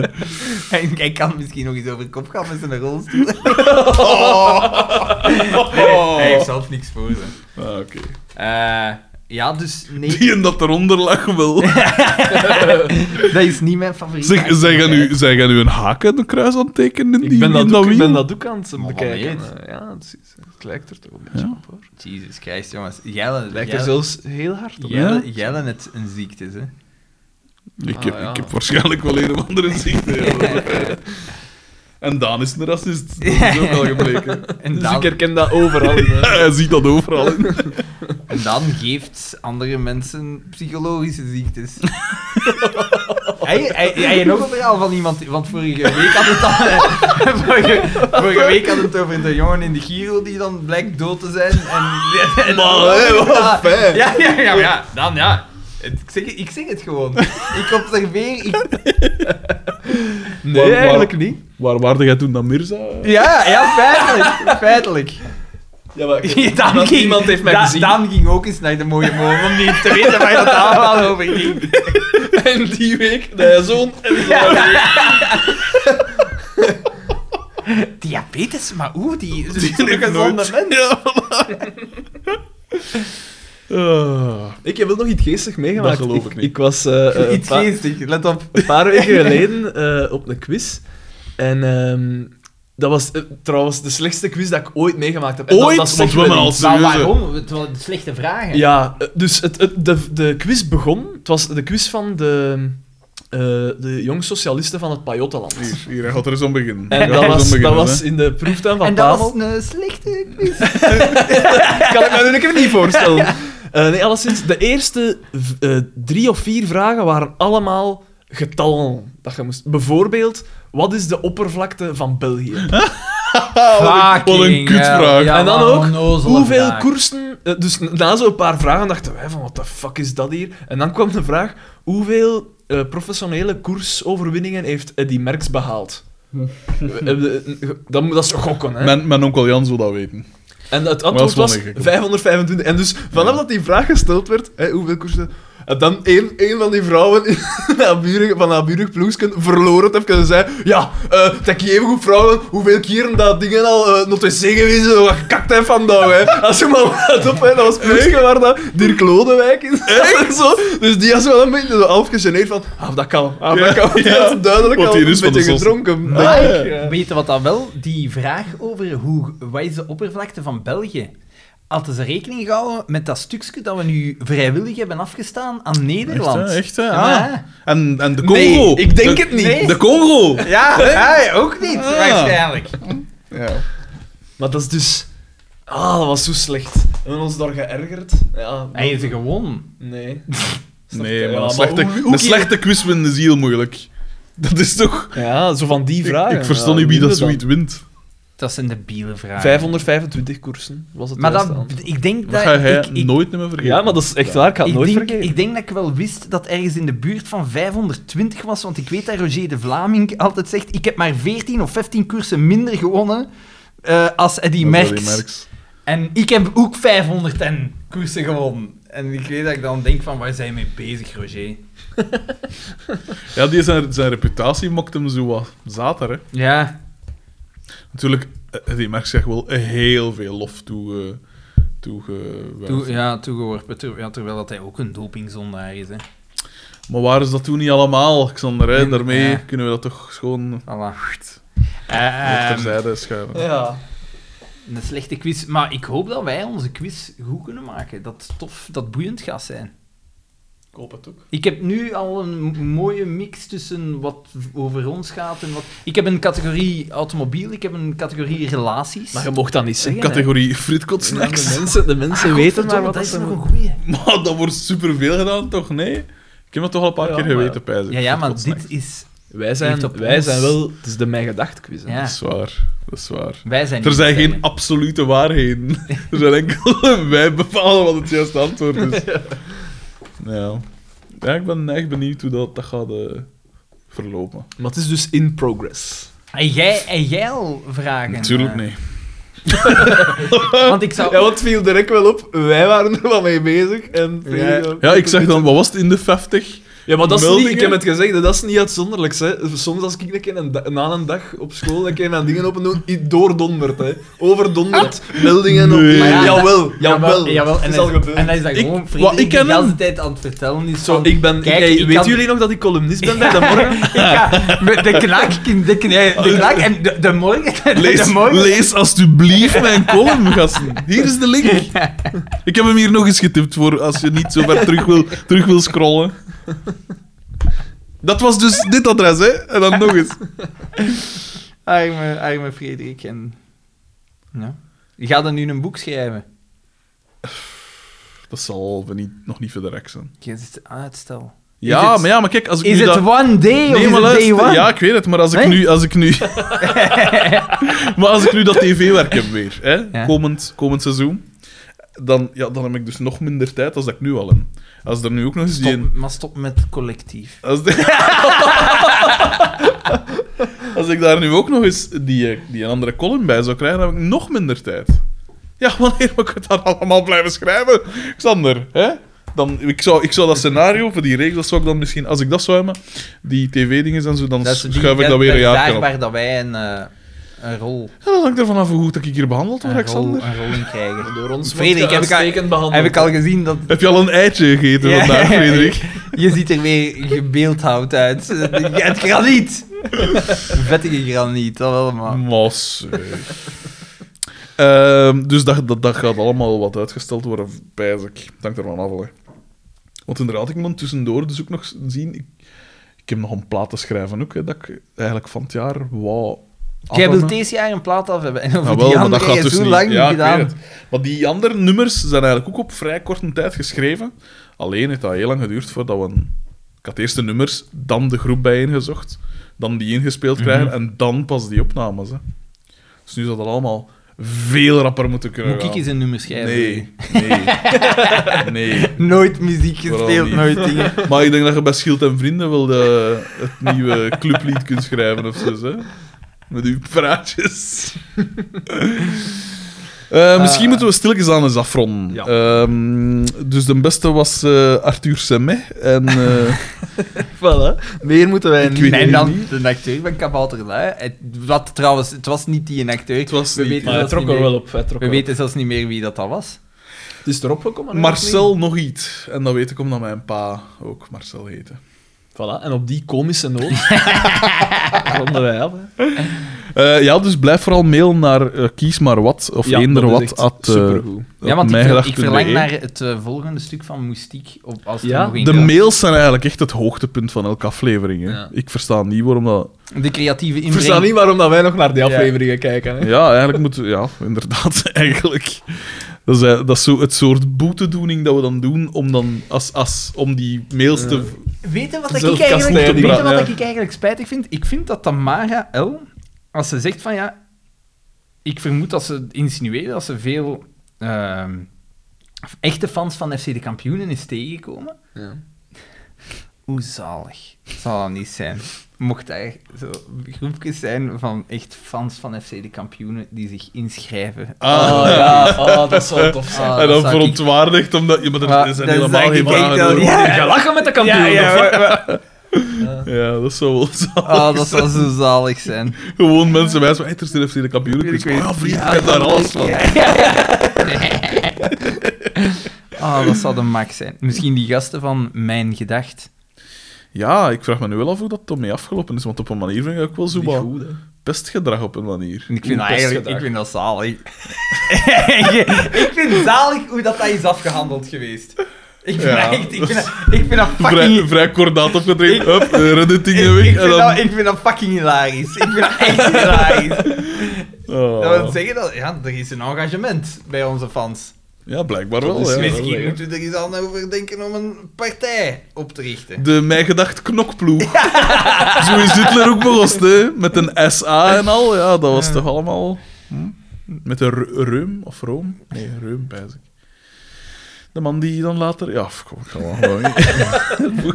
En Hij kan misschien nog eens over kop gaan met zijn rolstoel. Oh. Hij heeft zelf niks voor ze. Ah, oké. Eh, ja, dus nee, Die en dat eronder lag wel. dat is niet mijn favoriet. Zeg, zij, gaan nu, zij gaan nu een haak en een kruis aan tekenen in die Ik in ben dat, ook, ik wiel? ben dat ook aan het bekijken. weet. Eh, Ja, het, is- het lijkt er toch een beetje Ja. op, hoor. Het Jesus Christ, jongens. Jelle, lijkt Jelle, er zelfs heel hard op. Jelle, Jelle het een ziekte, hè. Ik heb, Ah, ja. ik heb waarschijnlijk wel een of andere ziekte. ja, dat is waar. En Daan is een racist. Dat is ook al gebleken. En Dus ik dan, herken dat overal. Hij ziet dat overal. in. en dan geeft andere mensen psychologische ziektes. Hij, hij, hij had nog een verhaal van iemand, want vorige week had het al- vorige, vorige week had het over de jongen in de Giro die dan blijkt dood te zijn. En, en- wat fijn. ja, ja, ja, maar ja, dan ja. Het- Ik zeg, het- ik zeg het gewoon. Ik observeer. Ik... Nee, Waar- waar- eigenlijk niet. Waar waarde jij toen dan Mirza? Ja, ja, feitelijk. feitelijk. Ja, maar... Daan Want niemand heeft mij Da- gezien. Daan ging ook eens naar de mooie molen om niet te weten waar dat allemaal over ging. En die week, dat hij zo'n... Diabetes, maar oeh, die is Die heeft nooit- Ja, voilà. Ah. Ik heb wel nog iets geestig meegemaakt. Dat geloof ik niet. Ik was eh, eh, Iets een paar- geestig, let op. een paar weken geleden eh, op een quiz. En ehm, dat was eh, trouwens de slechtste quiz dat ik ooit meegemaakt heb. En dat- Ooit? dat zegt Want we wel hebben al iets. Maar serieuze... waarom? Het waren slechte vragen. Ja, eh, dus het, het- de, de quiz begon. Het was de quiz van de, eh, de jong socialisten van het Pajottenland. Hier, hier, hij gaat er eens aan beginnen. Hij En gaat dat er eens was, aan dat beginnen, was in de proeftuin van En dat Pavel. was een slechte quiz. kan ik me natuurlijk even niet voorstellen. Eh, nee, alleszins, de eerste v- eh, drie of vier vragen waren allemaal getallen. Dat je moest. Bijvoorbeeld, wat is de oppervlakte van België? Dus hè. Wat een kutvraag. en dan ook, hoeveel koersen... eh, dus na zo'n paar vragen dachten wij van, wat de fuck is dat hier? En dan kwam de vraag, hoeveel eh, professionele koersoverwinningen heeft Eddy Merckx behaald? Eh, eh, dat, moet- dat is toch gokken, hè? Mijn, mijn onkel Jan zou dat weten. En het Maar dat antwoord is wel was ingewikkeld. 525. En dus vanaf dat die vraag gesteld werd, hè, hoeveel koersen... En dan een, een van die vrouwen in naburig, van naburig ploegsken verloren het even en zei... Ja, eh dat ik even goed vrouwen, hoeveel keren dat dingen al eh nog te zeggen is, eh, wat gekakt hè, vandaag. Hè. Als je maar let op, hè, dat was ploegsken waar dat Dirk Lodewijk in zat en zo. Dus die was wel een beetje zo half gegeneerd van... Ah, dat kan. Ah, dat Ja, kan. Die ja. had duidelijk Want al die een is van de beetje zot. gedronken. Ah, denk ik. ja. Weet je wat dan wel? Die vraag over hoe, wat is de oppervlakte van België? Hadden ze rekening gehouden met dat stukje dat we nu vrijwillig hebben afgestaan aan Echt, Nederland? hè? Echt, hè? Ja, Ah. En, en de Congo. Nee, ik denk De- het niet. De Congo. Ja, hij ook niet, Ah. waarschijnlijk. Ja. Maar dat is dus... Ah, dat was zo slecht. We hebben ons daar geërgerd. Ja, En je ze gewonnen. nee. Nee, Ja, maar een maar slechte, hoe- hoe- een slechte quiz winnen is heel moeilijk. Dat is toch... Ja, zo van die Ik, vragen. ik versta Ja, niet wie dat minder zoiets wint. Dat zijn de biele dan. 525 koersen was het Maar dan dat, ik denk Dat dat... ga jij ik, ik- nooit meer vergeten. Ja, maar dat is echt waar. Ik ga het ik nooit denk, vergeten. ik denk dat ik wel wist dat ergens in de buurt van 520 was, want ik weet dat Roger de Vlaming altijd zegt ik heb maar 14 of 15 koersen minder gewonnen eh, als Eddy Dat is wel Merckx. die merks. En ik heb ook 500 en koersen gewonnen. En ik weet dat ik dan denk van, waar zijn we mee bezig, Roger? Ja, die zijn, zijn reputatie mokt hem zo wat zater, hè. Ja. Natuurlijk, eh, die merks zegt wel heel veel lof toe... eh, toe eh, Toe, ja, toegeworpen. Ter, ja, terwijl dat hij ook een dopingzondaar is, hè. Maar waar is dat toen niet allemaal, Xander? Hè? Nee, Daarmee ja. kunnen we dat toch gewoon Voilà. nog Ehm, terzijde schuiven. Ja. een slechte quiz. Maar ik hoop dat wij onze quiz goed kunnen maken. Dat het tof, dat het boeiend gaat zijn. Ik hoop het ook. Ik heb nu al een m- mooie mix tussen wat v- over ons gaat en wat... Ik heb een categorie automobiel, ik heb een categorie relaties. Ah, Maar je mocht dat niet zeggen. Categorie fritkotssnacks. De mensen, de mensen Ah, weten maar wat dat is ze nog een moeten- goeie. Maar dat wordt superveel gedaan, toch? Nee? Ik heb dat toch al een paar Ja, keer maar- geweten, pijs ik. Ja, ja, maar Fritkotssnacks. dit is... Wij Heeft zijn, op wij ons- zijn wel... Het is de Mijn Gedacht quiz. hè. Ja. Dat is waar. Dat is waar. Wij zijn Er niet zijn te geen zeggen. absolute waarheden. Er zijn enkel wij bepalen wat het juiste antwoord is. Ja. Ja, ik ben echt benieuwd hoe dat, dat gaat eh, verlopen. Maar het is dus in progress. En jij, en jij al vragen? Natuurlijk eh? niet. Want ik zou... Ja, want het viel direct wel op. Wij waren er wel mee bezig. En Ja, ik zeg dan, wat was het in de 50? Ja, maar dat is niet, Meldingen? ik heb het gezegd, dat is niet uitzonderlijks. Hè. Soms als ik een keer een da- na een dag op school een keer mijn dingen open doe, i- doordonderd. Hè. Overdonderd. Meldingen Nee. op. Maar ja, jawel, Jawel, jawel. jawel. En, is hij- al gebeurd. en hij is dat Ik- gewoon wat ik Frederik die ken de hele hem- tijd aan het vertellen is Zo, van, ik ben, kijk, jij- ik weten kan- jullie nog dat ik columnist ben bij de morgen? Ik ga met de knak, de, kn- eh, de knak en de, de morgen. Lees, de morgen. lees alstublieft mijn column, gasten. Hier is de link. Ik heb hem hier nog eens getipt voor als je niet zo ver terug wil, terug wil scrollen. Dat was dus dit adres, hè? En dan nog eens. Ah, Arme, arme Frederik. En... Ja. Je gaat dan nu een boek schrijven. Dat zal wel niet, nog niet verder rek zijn. Je zit uitstel. Ja, het- maar ja, maar kijk, als ik Is nu het dat... one day of Nee, is maar het day luister, one? ja, ik weet het, maar als ik Nee? nu... Als ik nu... maar als ik nu dat tv-werk heb weer, hè, komend, komend seizoen, dan, ja, dan heb ik dus nog minder tijd als dat ik nu al heb. Als er nu ook nog eens die... maar stop met collectief. Als, de- Als ik daar nu ook nog eens die, eh, die een andere column bij zou krijgen, dan heb ik nog minder tijd. Ja, wanneer moet ik het dan allemaal blijven schrijven? Xander, hè? Dan, ik, zou, ik zou dat scenario voor die reeks, dat zou ik dan misschien, als ik dat zou hebben, die tv-dingen en zo, dan Dat is die- schuif ik dat- dat weer een dat is jaar daar op. waar dat wij een, eh, een rol, Ja, dat hangt ervan af hoe goed dat ik hier behandeld word, een rol, Xander. een rol in krijgen. Door ons Frederik, wordt je heb ik al- uitstekend behandeld. Heb ik al gezien dat... Heb je al een eitje gegeten Ja. vandaag, Frederik? Je ziet er weer gebeeldhouwd uit. Het graniet. Vettige graniet, dat wel, man. Mas. Ehm, dus dat, dat, dat gaat allemaal wat uitgesteld worden, pijs ik. Het hangt ervan af, hè. Want inderdaad, ik moet tussendoor dus ook nog s- zien... Ik, ik heb nog een plaat te schrijven ook, hè, dat ik eigenlijk van het jaar wou... Jij afremmen. wilt deze jaar een plaat af hebben. En over Nou die wel, maar dat andere gaat is dus zo niet. lang ja, niet ik weet gedaan. het. Maar die andere nummers zijn eigenlijk ook op vrij korte tijd geschreven. Alleen heeft dat heel lang geduurd voordat we... Een... Ik had eerst de nummers, dan de groep bijeengezocht, dan die ingespeeld krijgen Mhm. en dan pas die opnames. Hè. Dus nu zou dat allemaal veel rapper moeten kunnen Moet ik gaan. eens een nummer schrijven? Nee, nee, nee. Nooit muziek Vooral gespeeld, niet. nooit dingen. Maar ik denk dat je bij Schild en Vrienden wel de, het nieuwe clublied kunt schrijven of zo, hè? Met uw praatjes. Eh, misschien moeten we stilletjes aan eens afronden. Ja. Ehm, dus de beste was eh, Arthur Semet. En eh, Voilà. Meer moeten wij Ik niet. weet En het dan niet. de acteur van Kabouterlui. Het- Wat trouwens, het was niet die acteur. Het was we niet- weten Maar hij zelfs trok niet er meer, wel op. Hij trok we er wel op. weten zelfs niet meer wie dat, dat was. Het is erop gekomen. Marcel nog iets. En dat weet ik omdat mijn pa ook Marcel heette. Voilà, en op die komische noot ronden wij af. hè. Eh, ja, dus blijf vooral mailen naar eh, kies maar wat of Ja, eender dat is wat. echt At, eh, supergoed. Ja, want ik, ver- ik mijgedacht.be. verlang naar het eh, volgende stuk van Moestiek. Op, als er Ja, nog één De komt. mails zijn eigenlijk echt het hoogtepunt van elke aflevering. Hè. Ja. Ik versta niet waarom dat. de creatieve Ik versta inbreng. niet waarom dat wij nog naar die afleveringen kijken. Hè. Ja, eigenlijk moeten. Ja, inderdaad, eigenlijk. Dat is, eh, dat is zo het soort boetedoening dat we dan doen om, dan, als, als, om die mails te. Weet je wat, Zelf ik eigenlijk, kastijden, weet je wat ja. ik eigenlijk spijtig vind? Ik vind dat Tamara L, als ze zegt van ja, ik vermoed dat ze insinueert dat ze veel ehm, echte fans van FC de Kampioenen is tegengekomen. Ja. Hoe zalig zal dat niet zijn? Mocht daar zo groepjes zijn van echt fans van FC de Kampioenen die zich inschrijven. Oh ja, oh, dat zou tof zijn. Ah, en dat dan zou ik- verontwaardigd, omdat. Ja, maar er Maar zijn Ah, dat helemaal zou geen ik vragen echt wel- over. Ja. Ga lachen met de kampioen. Ja, ja, maar- Ja, dat zou wel zo. Ah, dat zou zo zalig zijn. Gewoon mensen wijs van. Hey, er is de FC de kampioen. Ik weet ja, vriend, ik heb daar alles van. Ah, dat zou de max zijn. Misschien die gasten van Mijn Gedacht. Ja, ik vraag me nu wel af hoe dat ermee afgelopen is. Want op een manier vind ik ook wel zo wat pestgedrag op een manier. En ik vind, dat best eigenlijk, gedaan. ik vind dat zalig. ik vind zalig hoe dat, dat is afgehandeld geweest. Ik vind, Ja, dat, echt, ik dat vind, dat, ik vind dat Vrij, fucking... vrij kordaat opgetreden. Hup, eh, de Ik, redditingen weg. ik, en vind dan... dat, ik vind dat fucking hilarisch. Ik vind dat echt hilarisch. Oh. Dat wil zeggen dat ja, er is een engagement bij onze fans. Dus Ja, blijkbaar wel. is ja. mis. Misschien leuk. moeten we er eens aan over denken om een partij op te richten. De Mijn Gedacht knokploeg. Zo is Hitler ook begost, hè. Met een SA en al. Ja, dat was toch allemaal... Hm? Met een Ru- Reum of Room? Nee, Reum, pijs ik. De man die dan later... Ja, kom, ik ga maar gewoon...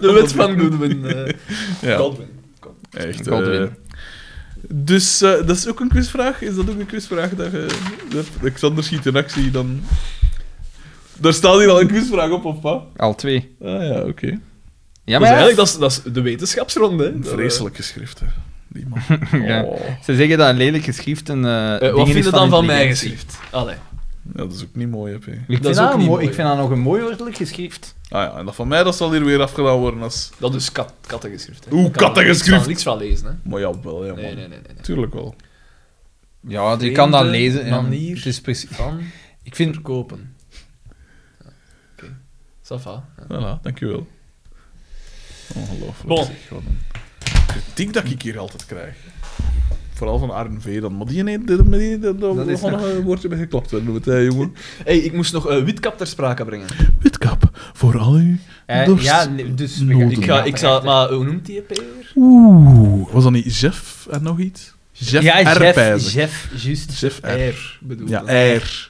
De wet van Goodwin. eh, Ja, Godwin. echt. Godwin. eh. dus eh, dat is ook een quizvraag. Is dat ook een quizvraag? Dat je, dat Xander schiet in actie, dan... Daar staat hier al een quizvraag op, of wat? Al twee. Ah ja, oké. Ja, Dus eigenlijk, dat is, dat is de wetenschapsronde. hè. Een Dat, eh, Vreselijke schrift, hè. Die man. Ja. Oh. Ze zeggen dat een lelijk geschrift een. eh, eh, ding wat is vind je dan van mijn intelligentie. geschrift? Ah, Allee. Ja, dat is ook niet mooi, heb je. Ik Dat vind, is dat ook een niet mooi, mooi. ik vind dat nog een mooi woordelijk geschrift. Ah ja, en dat van mij dat zal hier weer afgedaan worden als... Dat is kat, kattengeschrift. Hè. Oeh, Ik kan er kattengeschrift. niks van- niks van lezen. Hè. Maar ja, wel, ja, man. Nee, nee, nee. nee, nee. Tuurlijk wel. Ja, je Vreemde kan dat lezen. ja. manier. Het is precies... Van Ik vind... verkopen. Ja, Oké. Safa. Voilà, dankjewel. Ongelooflijk. Bon. zeg, wat een kritiek dat ik hier altijd krijg. Vooral van Arn V dan. Maar die nee, die, die, die, die, daar is begon nog een woordje bij geklapt worden, met hè, jongen. Hey, ik moest nog eh, Witkap ter sprake brengen. Witkap. voor al uw Eh, dorst. ja, nee, dus we noden. gaan- Ik ga, ik zal, maar hoe noemt die EP weer? Oeh, was dat niet Jeff en nog iets? Jeff Ja, R. Jeff, pijs ik. Jeff, juist. Jeff R. R, bedoel Ja, eh. ik. R.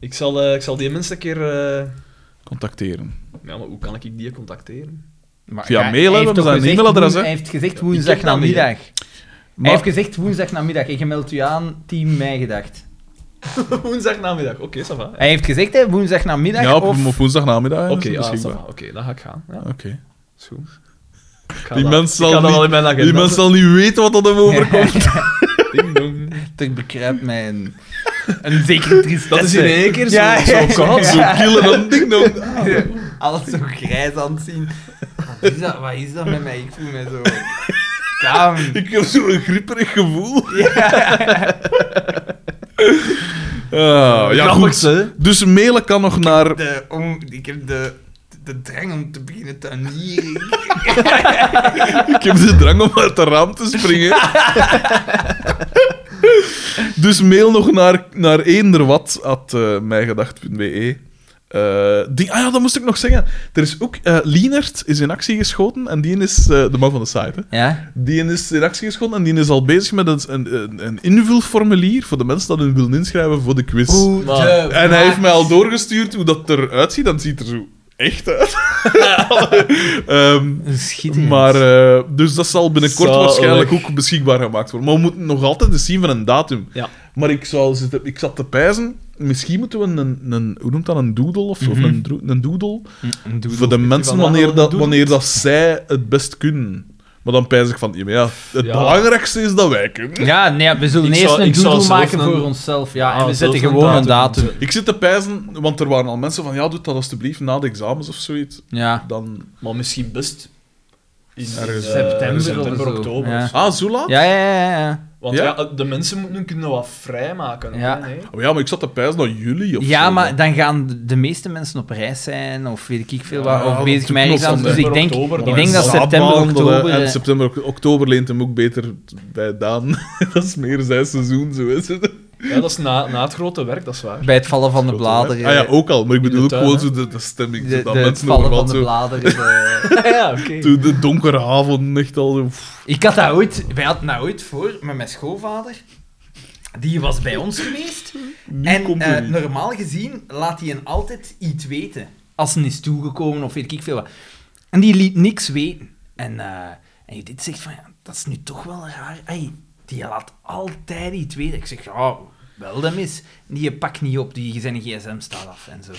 Ik zal, eh, ik zal die mensen een keer... eh, Contacteren. Ja, maar hoe kan ik die contacteren? Maar Via ja, mail, hè, hij heeft want toch dat is een gezegd e-mailadres, woen- hè. Hij heeft gezegd ik heb dat niet, woensdagnamiddag. Hij Maar heeft gezegd woensdagnamiddag en je meldt u aan, team mij gedacht. Woensdagnamiddag, oké, ça va. Hij heeft gezegd hè, woensdagnamiddag ja, op, of... ah, op woensdagnamiddag. Oké, Oké, ja, ça beschikbaar. va. Oké, dan ga ik gaan. Ja, Oké. is goed. Ik ga Die dat- mens zal ik ga dat niet- wel in mijn agenda. Die mensen zal niet weten wat dat hem overkomt. Ding dong. Er bekruipt mij een, een zekere tristesse. Dat is in één keer zo, Ja, ja, zo ja. koud. Zo killen dan ding dong. Oh. Alles zo grijs aan het zien. Wat is dat, wat is dat met mij? Ik voel me zo... Damn. Ik heb zo'n grieperig gevoel. Ah, ja, Grappig, goed. hè? Dus mailen kan nog naar De, om, ik heb de, de drang om te beginnen te tuinieren. Ik heb de drang om uit de raam te springen. dus mail nog naar, naar eenderwat at eh, mijgedacht.be. Eh, die, ah ja, dat moest ik nog zeggen. Er is ook... eh Lienert is in actie geschoten en die is... eh, de man van de site, hè. Ja? Die is in actie geschoten en die is al bezig met een, een, een invulformulier voor de mensen dat hun willen inschrijven voor de quiz. Maar- En hij heeft mij al doorgestuurd hoe dat eruit ziet. Dan ziet er zo echt uit. Ehm, maar, eh, dus dat zal binnenkort Zalig. waarschijnlijk ook beschikbaar gemaakt worden. Maar we moeten nog altijd eens zien van een datum. Ja. Maar ik, zou, zitten- ik zat te pijzen. Misschien moeten we een, een hoe noemt dat, een doodle of, Mhm. of een, dro- een doodle voor de mensen vandaag al wanneer een dat, doodle? wanneer dat zij het best kunnen. Maar dan pijs ik van, ja, maar ja het Ja. belangrijkste is dat wij kunnen. Ja, nee, we zullen Ik eerst zou- een ik zou doodle zelf maken een- voor onszelf. Ja, en Ah, we zelf zetten een gewoon een datum. datum. Ik zit te pijzen, want er waren al mensen van, ja, doe dat alstublieft na de examens of zoiets. Ja. Dan... Maar misschien best in Ergens eh, september of september, zo. oktober. Ja. of zo. Ah, zo laat? Ja, ja, ja, ja. Want Ja? ja? eh, de mensen moeten kunnen wat vrijmaken. Ja. hè, nee? Oh ja, maar ik zat te pijzen naar juli of Ja, zo. maar dan gaan de- de meeste mensen op reis zijn, of weet ik veel wat, Ja, of dat bezig met klopt, examens. Dus ik september, denk, oktober, ik dan denk is dat het september, Zaadmaanden, oktober... En eh, september, oktober leent hem ook beter bij Daan. dat is meer zijn seizoen, zo is het. Ja, dat is na, na het grote werk, dat is waar. Bij het vallen van de bladeren. Ah ja, ook al. Maar ik in bedoel ook de gewoon tuin, zo de, de stemming. zo de, dat de- het mensen vallen van overal de zo... bladeren. eh. ja, oké. Toen de donkere avond echt al... zo, pff, ik had dat ooit, wij hadden dat ooit voor met mijn schoolvader. Die was bij ons geweest. Nu En komt er eh, niet. normaal gezien laat hij een altijd iets weten. Als een is toegekomen of weet ik veel wat. En die liet niks weten. En, eh en je dit zegt van, ja, dat is nu toch wel raar. Ai, die laat altijd iets weten. Ik zeg, ja, wel dat mis. Die pakt niet op, die zijn gsm staat af en zo.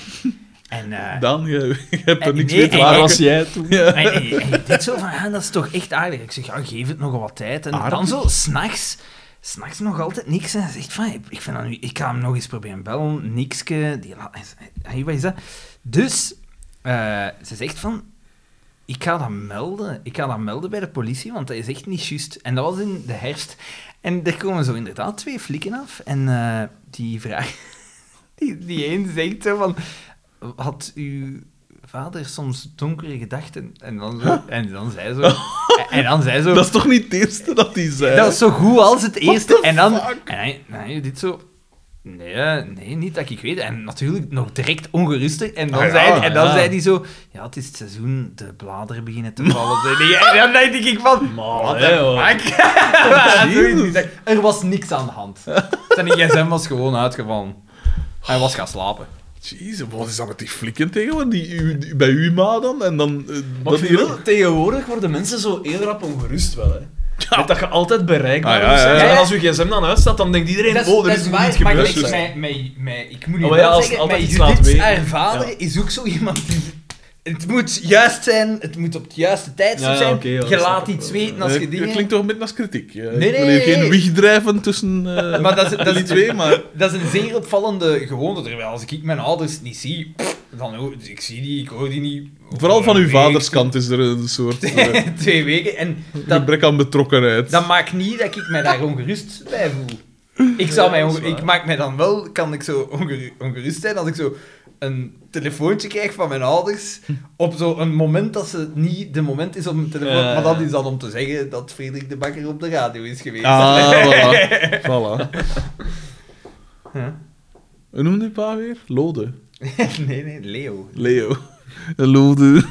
En, eh, Daan, je, je hebt er eh, niks nee, mee te en- maken. en- jij toen? Ja. en, en- en je dit zo van, ja, dat is toch echt aardig. Ik zeg, ja, geef het nog wat tijd. En dan Aardig? zo, s'nachts, s'nachts nog altijd niks. En hij zegt van, ik vind dat nu, ik ga hem nog eens proberen bellen, nikske. Die la- hij zegt, hey, wat is dat? Dus, eh, ze zegt van, ik ga dat melden. Ik ga dat melden bij de politie, want dat is echt niet juist. En dat was in de herfst. En er komen zo inderdaad twee flikken af. En eh, die vraag... Die, die een zegt zo van... Had uw vader soms donkere gedachten? En dan, zo, en dan zei zo... En dan zei zo... Dat is toch niet het eerste dat hij zei? Dat is zo goed als het eerste. En dan, en hij, en hij dit zo. Nee, eh, nee, niet dat ik weet. En natuurlijk nog direct ongeruster. En dan, Ah ja, zei, en dan ja. zei hij zo... Ja, het is het seizoen, de bladeren beginnen te vallen. zei hij. En dan denk ik van... Oh, Wat hè, de hoor. fuck? Ja, zoiets. Die zegt, Er was niks aan de hand. Zijn gsm was gewoon uitgevallen. Hij was gaan slapen. Jezus, wat is dat met die flikken tegenwoordig? Die, u- die- bij uw ma dan? En dan... eh, Maar dat ik vind hier- wel, tegenwoordig worden mensen zo heel rap ongerust wel, hè. Met Dat je altijd bereikbaar Ah, ja, moet zijn. ja, ja. En als je gsm dan uitstaat, dan denkt iedereen... Dat is- oh, er dat is is nu waar, iets maar gebeurd. ik- zeg. mij- mij- mij- ik moet nu Oh, wel ja, als- zeggen, altijd mijn iets laten Judith's weten. haar vader Ja. is ook zo iemand die... Het moet juist zijn, het moet op het juiste tijdstip Ja, ja, zijn. oké, ja, je dat snap laat ik iets wel, ja. weten als je Eh, dingen... klinkt toch een beetje als kritiek. eh. ik nee, wil hier nee, nee. geen wieg drijven tussen eh Maar dat is, dat, die is, twee, maar... dat is een zeer opvallende gewoonte. Terwijl als ik mijn ouders niet zie, pff, dan hoor ik zie die, ik hoor die niet. Vooral van Over uw een vaders kant is er een soort eh, week, Twee weken. En dat, gebrek aan betrokkenheid. dat maakt niet dat ik mij daar ongerust bij voel. Ik, zou Ja, mij dat is onge- waar. ik maak mij dan wel, kan ik zo ongeru- ongerust zijn als ik zo een telefoontje krijg van mijn ouders op zo'n moment dat ze niet de moment is om een telefoon... Ja. Maar dat is dan om te zeggen dat Frederik de Bakker op de radio is geweest. Ah, voilà. voilà. Ja. Hoe noemde je pa weer? Lode. nee, nee, Leo. Leo. Hallo, dude.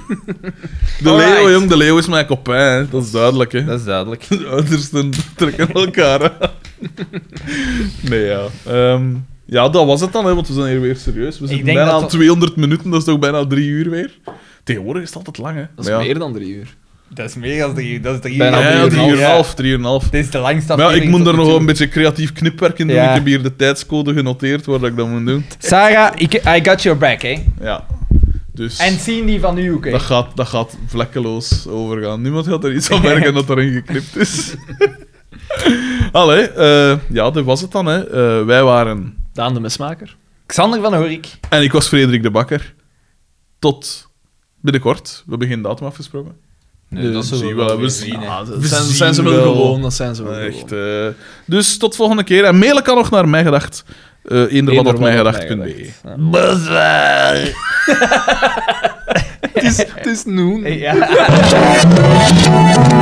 De Alright. leeuw, jong. De leeuw is mijn copain, hè. Dat is duidelijk, hè. Dat is duidelijk. De uitersten trekken elkaar aan. Nee, ja. Ehm, ja, dat was het dan, hè, want we zijn hier weer serieus. We zitten denk bijna dat aan dat- 200 minuten, dat is toch bijna drie uur weer? Tegenwoordig is het altijd lang, hè. Dat is Maar ja. meer dan drie uur. Dat is meer dan drie uur. Dat is drie Ja, uur. ja, drie uur en Ja. een half, drie uur en een half. Dit is de langste Maar ja, ik aflevering moet tot er nu nog wel toe. een beetje creatief knipwerk in doen. Ja. Ik heb hier de tijdscode genoteerd waar dat ik dat moet doen. Sarah, ik, I got your back, hè. Ja. Dus En Cindy van u ook, hè. dat, gaat, dat gaat vlekkeloos overgaan. Niemand gaat er iets aan merken dat erin geknipt is. Allee, eh, ja, dat was het dan. Hè. Eh, wij waren... Daan de Mesmaker. Xander van Horik. En ik was Frederik de Bakker. Tot binnenkort. We hebben geen datum afgesproken. Dus Nee, dat zullen we wel weer zien, hè. Ah, dat We zijn, zien zijn ze wel, wel. gewoon, dat zijn ze wel Echt, gewoon. eh, dus tot volgende keer. En mailen kan nog naar mijgedacht. eh eender wat op mijgedacht.be. Het is, het is noen. Ja.